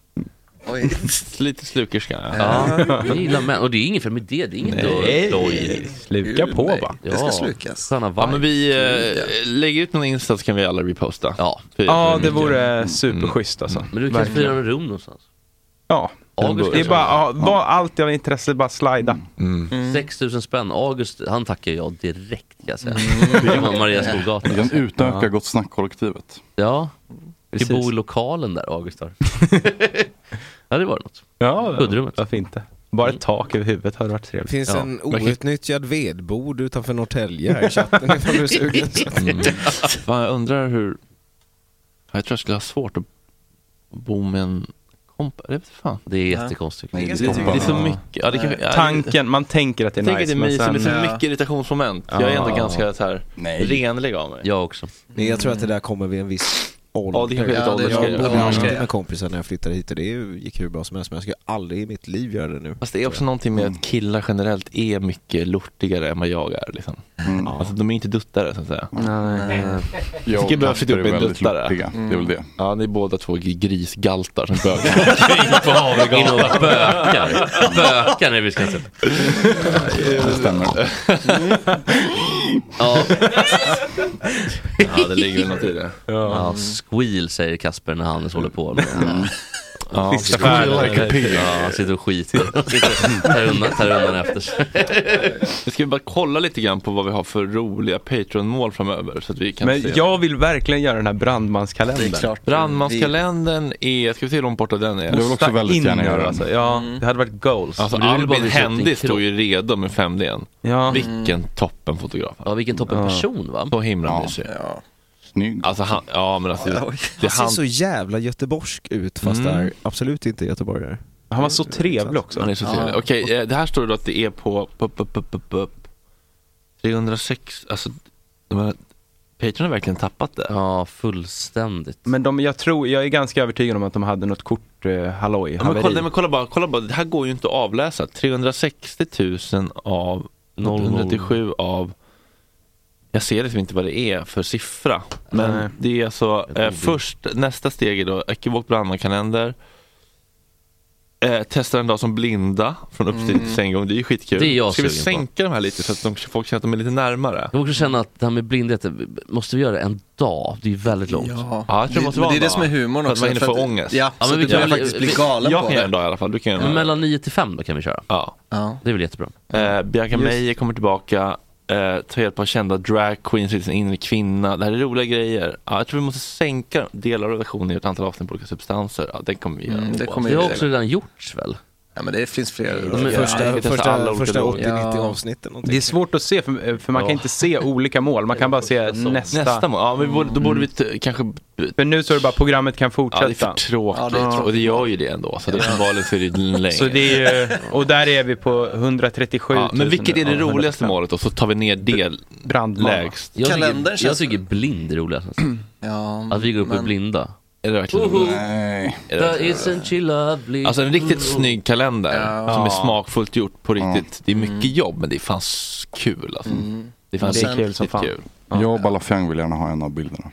[SPEAKER 1] Lite slukerska.
[SPEAKER 5] Ja, jag gillar män. Och det är inget fel med det, det är inget
[SPEAKER 1] Nej,
[SPEAKER 5] doj.
[SPEAKER 3] Sluka på va?
[SPEAKER 5] Ja, Sköna
[SPEAKER 1] Ja,
[SPEAKER 5] vibes.
[SPEAKER 1] men vi eh, lägger ut någon insta så kan vi alla reposta.
[SPEAKER 5] Ja,
[SPEAKER 3] Ja, det
[SPEAKER 1] Mm.
[SPEAKER 3] vore superschysst alltså.
[SPEAKER 5] Men du kanske får
[SPEAKER 3] Verkligen.
[SPEAKER 5] hyra en rum någonstans?
[SPEAKER 3] Ja.
[SPEAKER 5] August
[SPEAKER 3] Det är
[SPEAKER 5] kanske?
[SPEAKER 3] bara, ja, bara allt jag har intresse, bara slida.
[SPEAKER 9] Mm.
[SPEAKER 1] Mm.
[SPEAKER 5] 6000 spänn, August, han tackar jag direkt kan jag säga. Mm. Maria Storgatan.
[SPEAKER 9] Vi kan utöka Gott Snack-kollektivet.
[SPEAKER 5] Ja, vi
[SPEAKER 9] Precis.
[SPEAKER 5] bor i lokalen där August har. ja, det var något.
[SPEAKER 3] Ja,
[SPEAKER 5] Hudrummet.
[SPEAKER 3] varför inte? Bara ett tak över huvudet hade varit trevligt.
[SPEAKER 7] finns
[SPEAKER 3] ja.
[SPEAKER 7] en outnyttjad vedbod utanför Norrtälje här i chatten ifall du är sugen.
[SPEAKER 1] Mm. Fan, jag undrar hur... Ja, Jag tror jag skulle ha svårt att bo med en kompis. Det vet fan.
[SPEAKER 5] Det är jättekonstigt.
[SPEAKER 1] Det är, det, är, så mycket. Ja, det kanske, ja,
[SPEAKER 3] Tanken, man tänker att det är
[SPEAKER 1] Jag tänker att det
[SPEAKER 3] nice,
[SPEAKER 1] är mysigt, men
[SPEAKER 3] men
[SPEAKER 1] det är så
[SPEAKER 3] sen-
[SPEAKER 1] mycket irritationsmoment. Jag är ändå
[SPEAKER 3] Ja.
[SPEAKER 1] ganska så här
[SPEAKER 9] Nej.
[SPEAKER 1] renlig av mig.
[SPEAKER 5] Jag också.
[SPEAKER 7] Nej, jag tror att det där kommer vid en viss ålder.
[SPEAKER 1] Ja, det kanske är lite
[SPEAKER 7] jag
[SPEAKER 1] åldersgrej.
[SPEAKER 7] bodde i
[SPEAKER 1] Ja.
[SPEAKER 7] Norrtälje med kompisar när jag flyttade hit och det gick hur bra som helst men jag skulle aldrig i mitt liv göra det nu.
[SPEAKER 1] Fast det är också någonting med att killar generellt är mycket lortigare än vad jag är. Liksom.
[SPEAKER 5] Mm.
[SPEAKER 1] Alltså, de är inte duttare så att säga.
[SPEAKER 3] Nej.
[SPEAKER 1] Jag tycker jag behöver flytta upp en duttare.
[SPEAKER 9] Det är väl det.
[SPEAKER 1] Ja, ni är båda två grisgaltar som bögar omkring på
[SPEAKER 5] In och
[SPEAKER 1] Havregatan.
[SPEAKER 5] bökar. Bökar när vi ska se.
[SPEAKER 9] Det stämmer.
[SPEAKER 5] Ja.
[SPEAKER 1] Ja, det ligger väl något i det.
[SPEAKER 5] ja, squeal säger Kasper när Hannes håller på med Ja,
[SPEAKER 9] Sista
[SPEAKER 5] sitter-
[SPEAKER 9] skärmen. Like a pig.
[SPEAKER 5] Ja, sitter och skiter. Sitter- Tar undan, tar undan efter sig.
[SPEAKER 1] Nu ska vi bara kolla lite grann på vad vi har för roliga Patreon-mål framöver. Så att vi kan
[SPEAKER 3] Men
[SPEAKER 1] se.
[SPEAKER 3] jag vill verkligen göra den här brandmanskalendern.
[SPEAKER 1] Det är klart. Brandmanskalendern är, ska vi se hur långt borta den är?
[SPEAKER 3] Jag vill också väldigt gärna göra den.
[SPEAKER 1] Alltså. Ja, det hade varit goals. Alltså,
[SPEAKER 3] Men du vill bara
[SPEAKER 1] Albin
[SPEAKER 3] visa upp din
[SPEAKER 1] Hendi
[SPEAKER 3] kropp.
[SPEAKER 1] står ju redo med 5D'n.
[SPEAKER 3] Ja.
[SPEAKER 1] Vilken toppen fotograf.
[SPEAKER 5] Ja, vilken toppen person va?
[SPEAKER 1] Så himla mysig.
[SPEAKER 9] Snygg.
[SPEAKER 1] Alltså han, ja men alltså.
[SPEAKER 7] Han ser så jävla göteborgsk ut fast
[SPEAKER 1] Mm.
[SPEAKER 7] är absolut inte göteborgare.
[SPEAKER 1] Han var så trevlig också. Han är så
[SPEAKER 7] Ja.
[SPEAKER 1] trevlig. Okej, eh, det här står det att det är på upp, upp, upp, upp, upp. 306, alltså de här, Patreon har verkligen tappat det.
[SPEAKER 5] Ja, fullständigt.
[SPEAKER 3] Men de, jag tror, jag är ganska övertygad om att de hade något kort eh, halloj,
[SPEAKER 1] Ja, men kolla,
[SPEAKER 3] haveri.
[SPEAKER 1] nej, men kolla bara, kolla bara, det här går ju inte att avläsa. 360 000 av 037 av jag ser liksom inte vad det är för siffra. Men
[SPEAKER 3] Nej.
[SPEAKER 1] det är alltså
[SPEAKER 3] det.
[SPEAKER 1] eh, först, nästa steg är då Ekivokt brandmankalender. Eh, testa en dag som blinda från uppstigning till
[SPEAKER 5] Mm.
[SPEAKER 1] sänggång. Det är ju skitkul.
[SPEAKER 5] Det är jag
[SPEAKER 1] Ska vi
[SPEAKER 5] sugen på.
[SPEAKER 1] sänka de här lite så att de, folk känner att de är lite närmare?
[SPEAKER 5] Jag vill också känna att det här med blindhet, eh, måste vi göra det en dag? Det är ju väldigt långt.
[SPEAKER 1] Ja, jag tror det, måste
[SPEAKER 5] Men
[SPEAKER 1] vara
[SPEAKER 5] det är
[SPEAKER 1] en
[SPEAKER 5] det
[SPEAKER 1] dag.
[SPEAKER 5] som är humorn
[SPEAKER 1] för
[SPEAKER 5] också,
[SPEAKER 1] För att man
[SPEAKER 5] för
[SPEAKER 1] hinner få
[SPEAKER 5] att-
[SPEAKER 1] ångest.
[SPEAKER 5] Ja, men vi
[SPEAKER 1] Så
[SPEAKER 5] kan
[SPEAKER 1] jag
[SPEAKER 5] väl-
[SPEAKER 1] faktiskt
[SPEAKER 5] vi- jag
[SPEAKER 1] Jag
[SPEAKER 5] kan
[SPEAKER 1] kan
[SPEAKER 5] göra
[SPEAKER 1] en dag i alla fall. Du kan göra en
[SPEAKER 5] Men
[SPEAKER 1] dag.
[SPEAKER 5] mellan 9 till 5 då kan vi köra.
[SPEAKER 1] Ja.
[SPEAKER 5] Det är väl jättebra.
[SPEAKER 1] Eh, Bianca
[SPEAKER 5] Just.
[SPEAKER 1] Meijer kommer tillbaka, eh, tar hjälp av kända drag queens till sin inre kvinna. Det här är roliga grejer. Ja, jag tror vi måste sänka delar av relationen i ett antal avsnitt på olika substanser. Ja, det kommer vi göra.
[SPEAKER 4] Mm, det kommer
[SPEAKER 5] Det
[SPEAKER 4] vi
[SPEAKER 5] har
[SPEAKER 4] göra.
[SPEAKER 5] också redan gjorts väl?
[SPEAKER 4] Ja men det finns fler.
[SPEAKER 1] men första-
[SPEAKER 4] ja,
[SPEAKER 1] första- första
[SPEAKER 4] 80-90
[SPEAKER 7] avsnitten.
[SPEAKER 3] Det är svårt att se, för, för man kan
[SPEAKER 1] Ja. Alltså,
[SPEAKER 3] inte se olika mål, man kan bara se nästa. Mm.
[SPEAKER 1] Nästa mål, ja men vi borde, då borde vi t- kanske...
[SPEAKER 3] Men nu så är det bara programmet kan fortsätta.
[SPEAKER 1] Ja, det är för tråkigt.
[SPEAKER 3] Ja, det är tråkigt.
[SPEAKER 1] Och det gör ju det ändå. Så det är uppenbarligen så är det länge.
[SPEAKER 3] Så det är ju, och där är vi på 137
[SPEAKER 1] ja,
[SPEAKER 3] 000.
[SPEAKER 1] men vilket är det
[SPEAKER 3] Ja,
[SPEAKER 1] roligaste
[SPEAKER 3] 135.
[SPEAKER 1] målet då? Så tar vi ner det
[SPEAKER 3] Brandman.
[SPEAKER 1] lägst.
[SPEAKER 5] Jag
[SPEAKER 4] Kalendern
[SPEAKER 5] tycker, jag
[SPEAKER 4] känns-
[SPEAKER 5] tycker blind är roligast nästan.
[SPEAKER 4] Ja,
[SPEAKER 5] Att vi går upp i
[SPEAKER 4] men-
[SPEAKER 5] blinda.
[SPEAKER 1] Är det verkligen
[SPEAKER 5] Woho!
[SPEAKER 9] Nej.
[SPEAKER 1] Är det
[SPEAKER 5] That isn't she lovely?
[SPEAKER 1] Alltså en riktigt
[SPEAKER 4] Mm.
[SPEAKER 5] Woho!
[SPEAKER 1] snygg kalender
[SPEAKER 5] Ja.
[SPEAKER 1] som är
[SPEAKER 5] Ja.
[SPEAKER 1] smakfullt gjort på riktigt. Det är
[SPEAKER 9] Mm.
[SPEAKER 1] mycket jobb men det är fan s- kul alltså.
[SPEAKER 4] Mm.
[SPEAKER 1] Det är fan
[SPEAKER 9] Det är
[SPEAKER 1] riktigt
[SPEAKER 9] kul som fan.
[SPEAKER 1] kul.
[SPEAKER 9] Jag och Balafang vill gärna ha en av bilderna.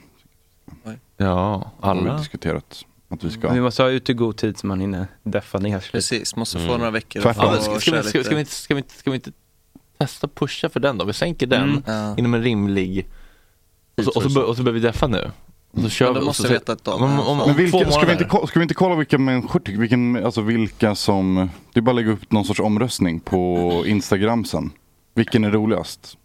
[SPEAKER 1] Ja,
[SPEAKER 9] Det har vi
[SPEAKER 1] alla.
[SPEAKER 9] diskuterat att vi ska.
[SPEAKER 3] Vi måste ha ut i god tid så man hinner deffa ner sig.
[SPEAKER 4] Precis, måste få några veckor
[SPEAKER 1] Ja, men Mm. ska, ska, vi, ska, ska, vi inte, ska, vi inte, ska vi inte testa pusha för den då? Vi sänker den
[SPEAKER 4] Mm. Ja.
[SPEAKER 1] inom en rimlig... Och så, och så, bör- och så börjar vi deffa nu. Och så kör
[SPEAKER 4] Men då
[SPEAKER 1] vi. och
[SPEAKER 4] måste
[SPEAKER 1] så,
[SPEAKER 4] vi veta ett datum.
[SPEAKER 1] om, om, om
[SPEAKER 9] Men
[SPEAKER 1] två
[SPEAKER 9] vilka, ska, vi
[SPEAKER 1] månader.
[SPEAKER 9] inte, ko- ska vi inte kolla vilka människor, vilken, alltså vilka som, det är bara att lägga upp någon sorts omröstning på Instagram sen. Vilken är roligast?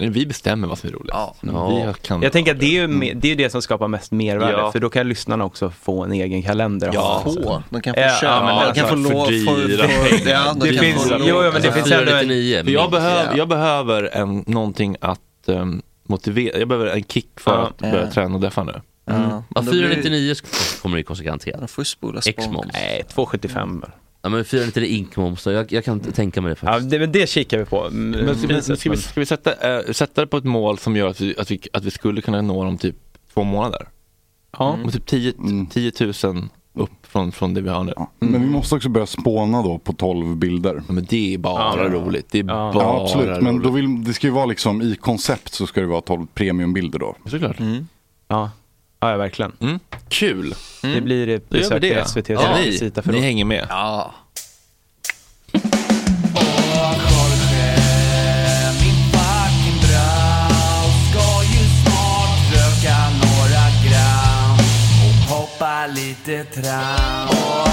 [SPEAKER 1] Vi bestämmer vad som är roligast. Vi kan- Mm.
[SPEAKER 3] Jag tänker att det är, ju me- det är ju det som skapar mest mervärde,
[SPEAKER 1] Ja.
[SPEAKER 3] för då kan lyssnarna också få en egen kalender. att
[SPEAKER 1] Ja.
[SPEAKER 3] ha.
[SPEAKER 1] Få?
[SPEAKER 4] De kan få köpa,
[SPEAKER 3] ja, men
[SPEAKER 4] de
[SPEAKER 3] alltså,
[SPEAKER 4] kan få lov för-
[SPEAKER 1] dyra
[SPEAKER 4] för-
[SPEAKER 1] pengar.
[SPEAKER 4] ja, de
[SPEAKER 3] Det
[SPEAKER 4] kan
[SPEAKER 3] finns-
[SPEAKER 4] få lov. Alltså,
[SPEAKER 3] jo, jo, men det finns ändå en- 499
[SPEAKER 1] För jag,
[SPEAKER 3] minst.
[SPEAKER 1] behöver,
[SPEAKER 3] Ja.
[SPEAKER 1] jag behöver en, någonting att ehm, motivera, jag behöver en kick för
[SPEAKER 5] Ja.
[SPEAKER 1] att börja
[SPEAKER 5] Ja.
[SPEAKER 1] träna och deffa nu.
[SPEAKER 5] Mm. Ja,
[SPEAKER 1] Men då blir-
[SPEAKER 5] 499 sk- kommer det kostar garanterat.
[SPEAKER 4] De får ju spola
[SPEAKER 5] X-moms.
[SPEAKER 3] Nej, 275 väl.
[SPEAKER 5] Ja men 499 ink-moms då, jag, jag kan inte tänka mig det
[SPEAKER 3] Ja,
[SPEAKER 5] faktiskt.
[SPEAKER 3] det, men det kikar vi på. Mm,
[SPEAKER 1] Men ska, men,
[SPEAKER 3] priset,
[SPEAKER 1] ska, vi,
[SPEAKER 3] men-
[SPEAKER 1] ska vi sätta, eh, sätta det på ett mål som gör att vi, att vi, att vi skulle kunna nå dem typ två månader?
[SPEAKER 3] Ja.
[SPEAKER 1] Och typ 10,
[SPEAKER 4] Mm.
[SPEAKER 1] 10 000 upp från, från det vi har nu.
[SPEAKER 9] Men vi måste också börja spåna då på 12 bilder.
[SPEAKER 1] Men det är bara roligt. Det är
[SPEAKER 9] ja.
[SPEAKER 1] bara
[SPEAKER 9] ja, absolut. Men
[SPEAKER 1] roligt.
[SPEAKER 9] då vill, det ska ju vara liksom i koncept så ska det vara 12 premiumbilder då.
[SPEAKER 1] Såklart.
[SPEAKER 4] Mm.
[SPEAKER 3] Ja. ja, ja, verkligen.
[SPEAKER 1] Kul!
[SPEAKER 3] Det blir eh,
[SPEAKER 1] Mm. Då gör vi
[SPEAKER 3] besök
[SPEAKER 1] det.
[SPEAKER 3] till SVT.
[SPEAKER 1] Ja,
[SPEAKER 3] Ja,
[SPEAKER 1] ni, ni hänger med.
[SPEAKER 4] Ja.
[SPEAKER 2] Hoppa lite tram.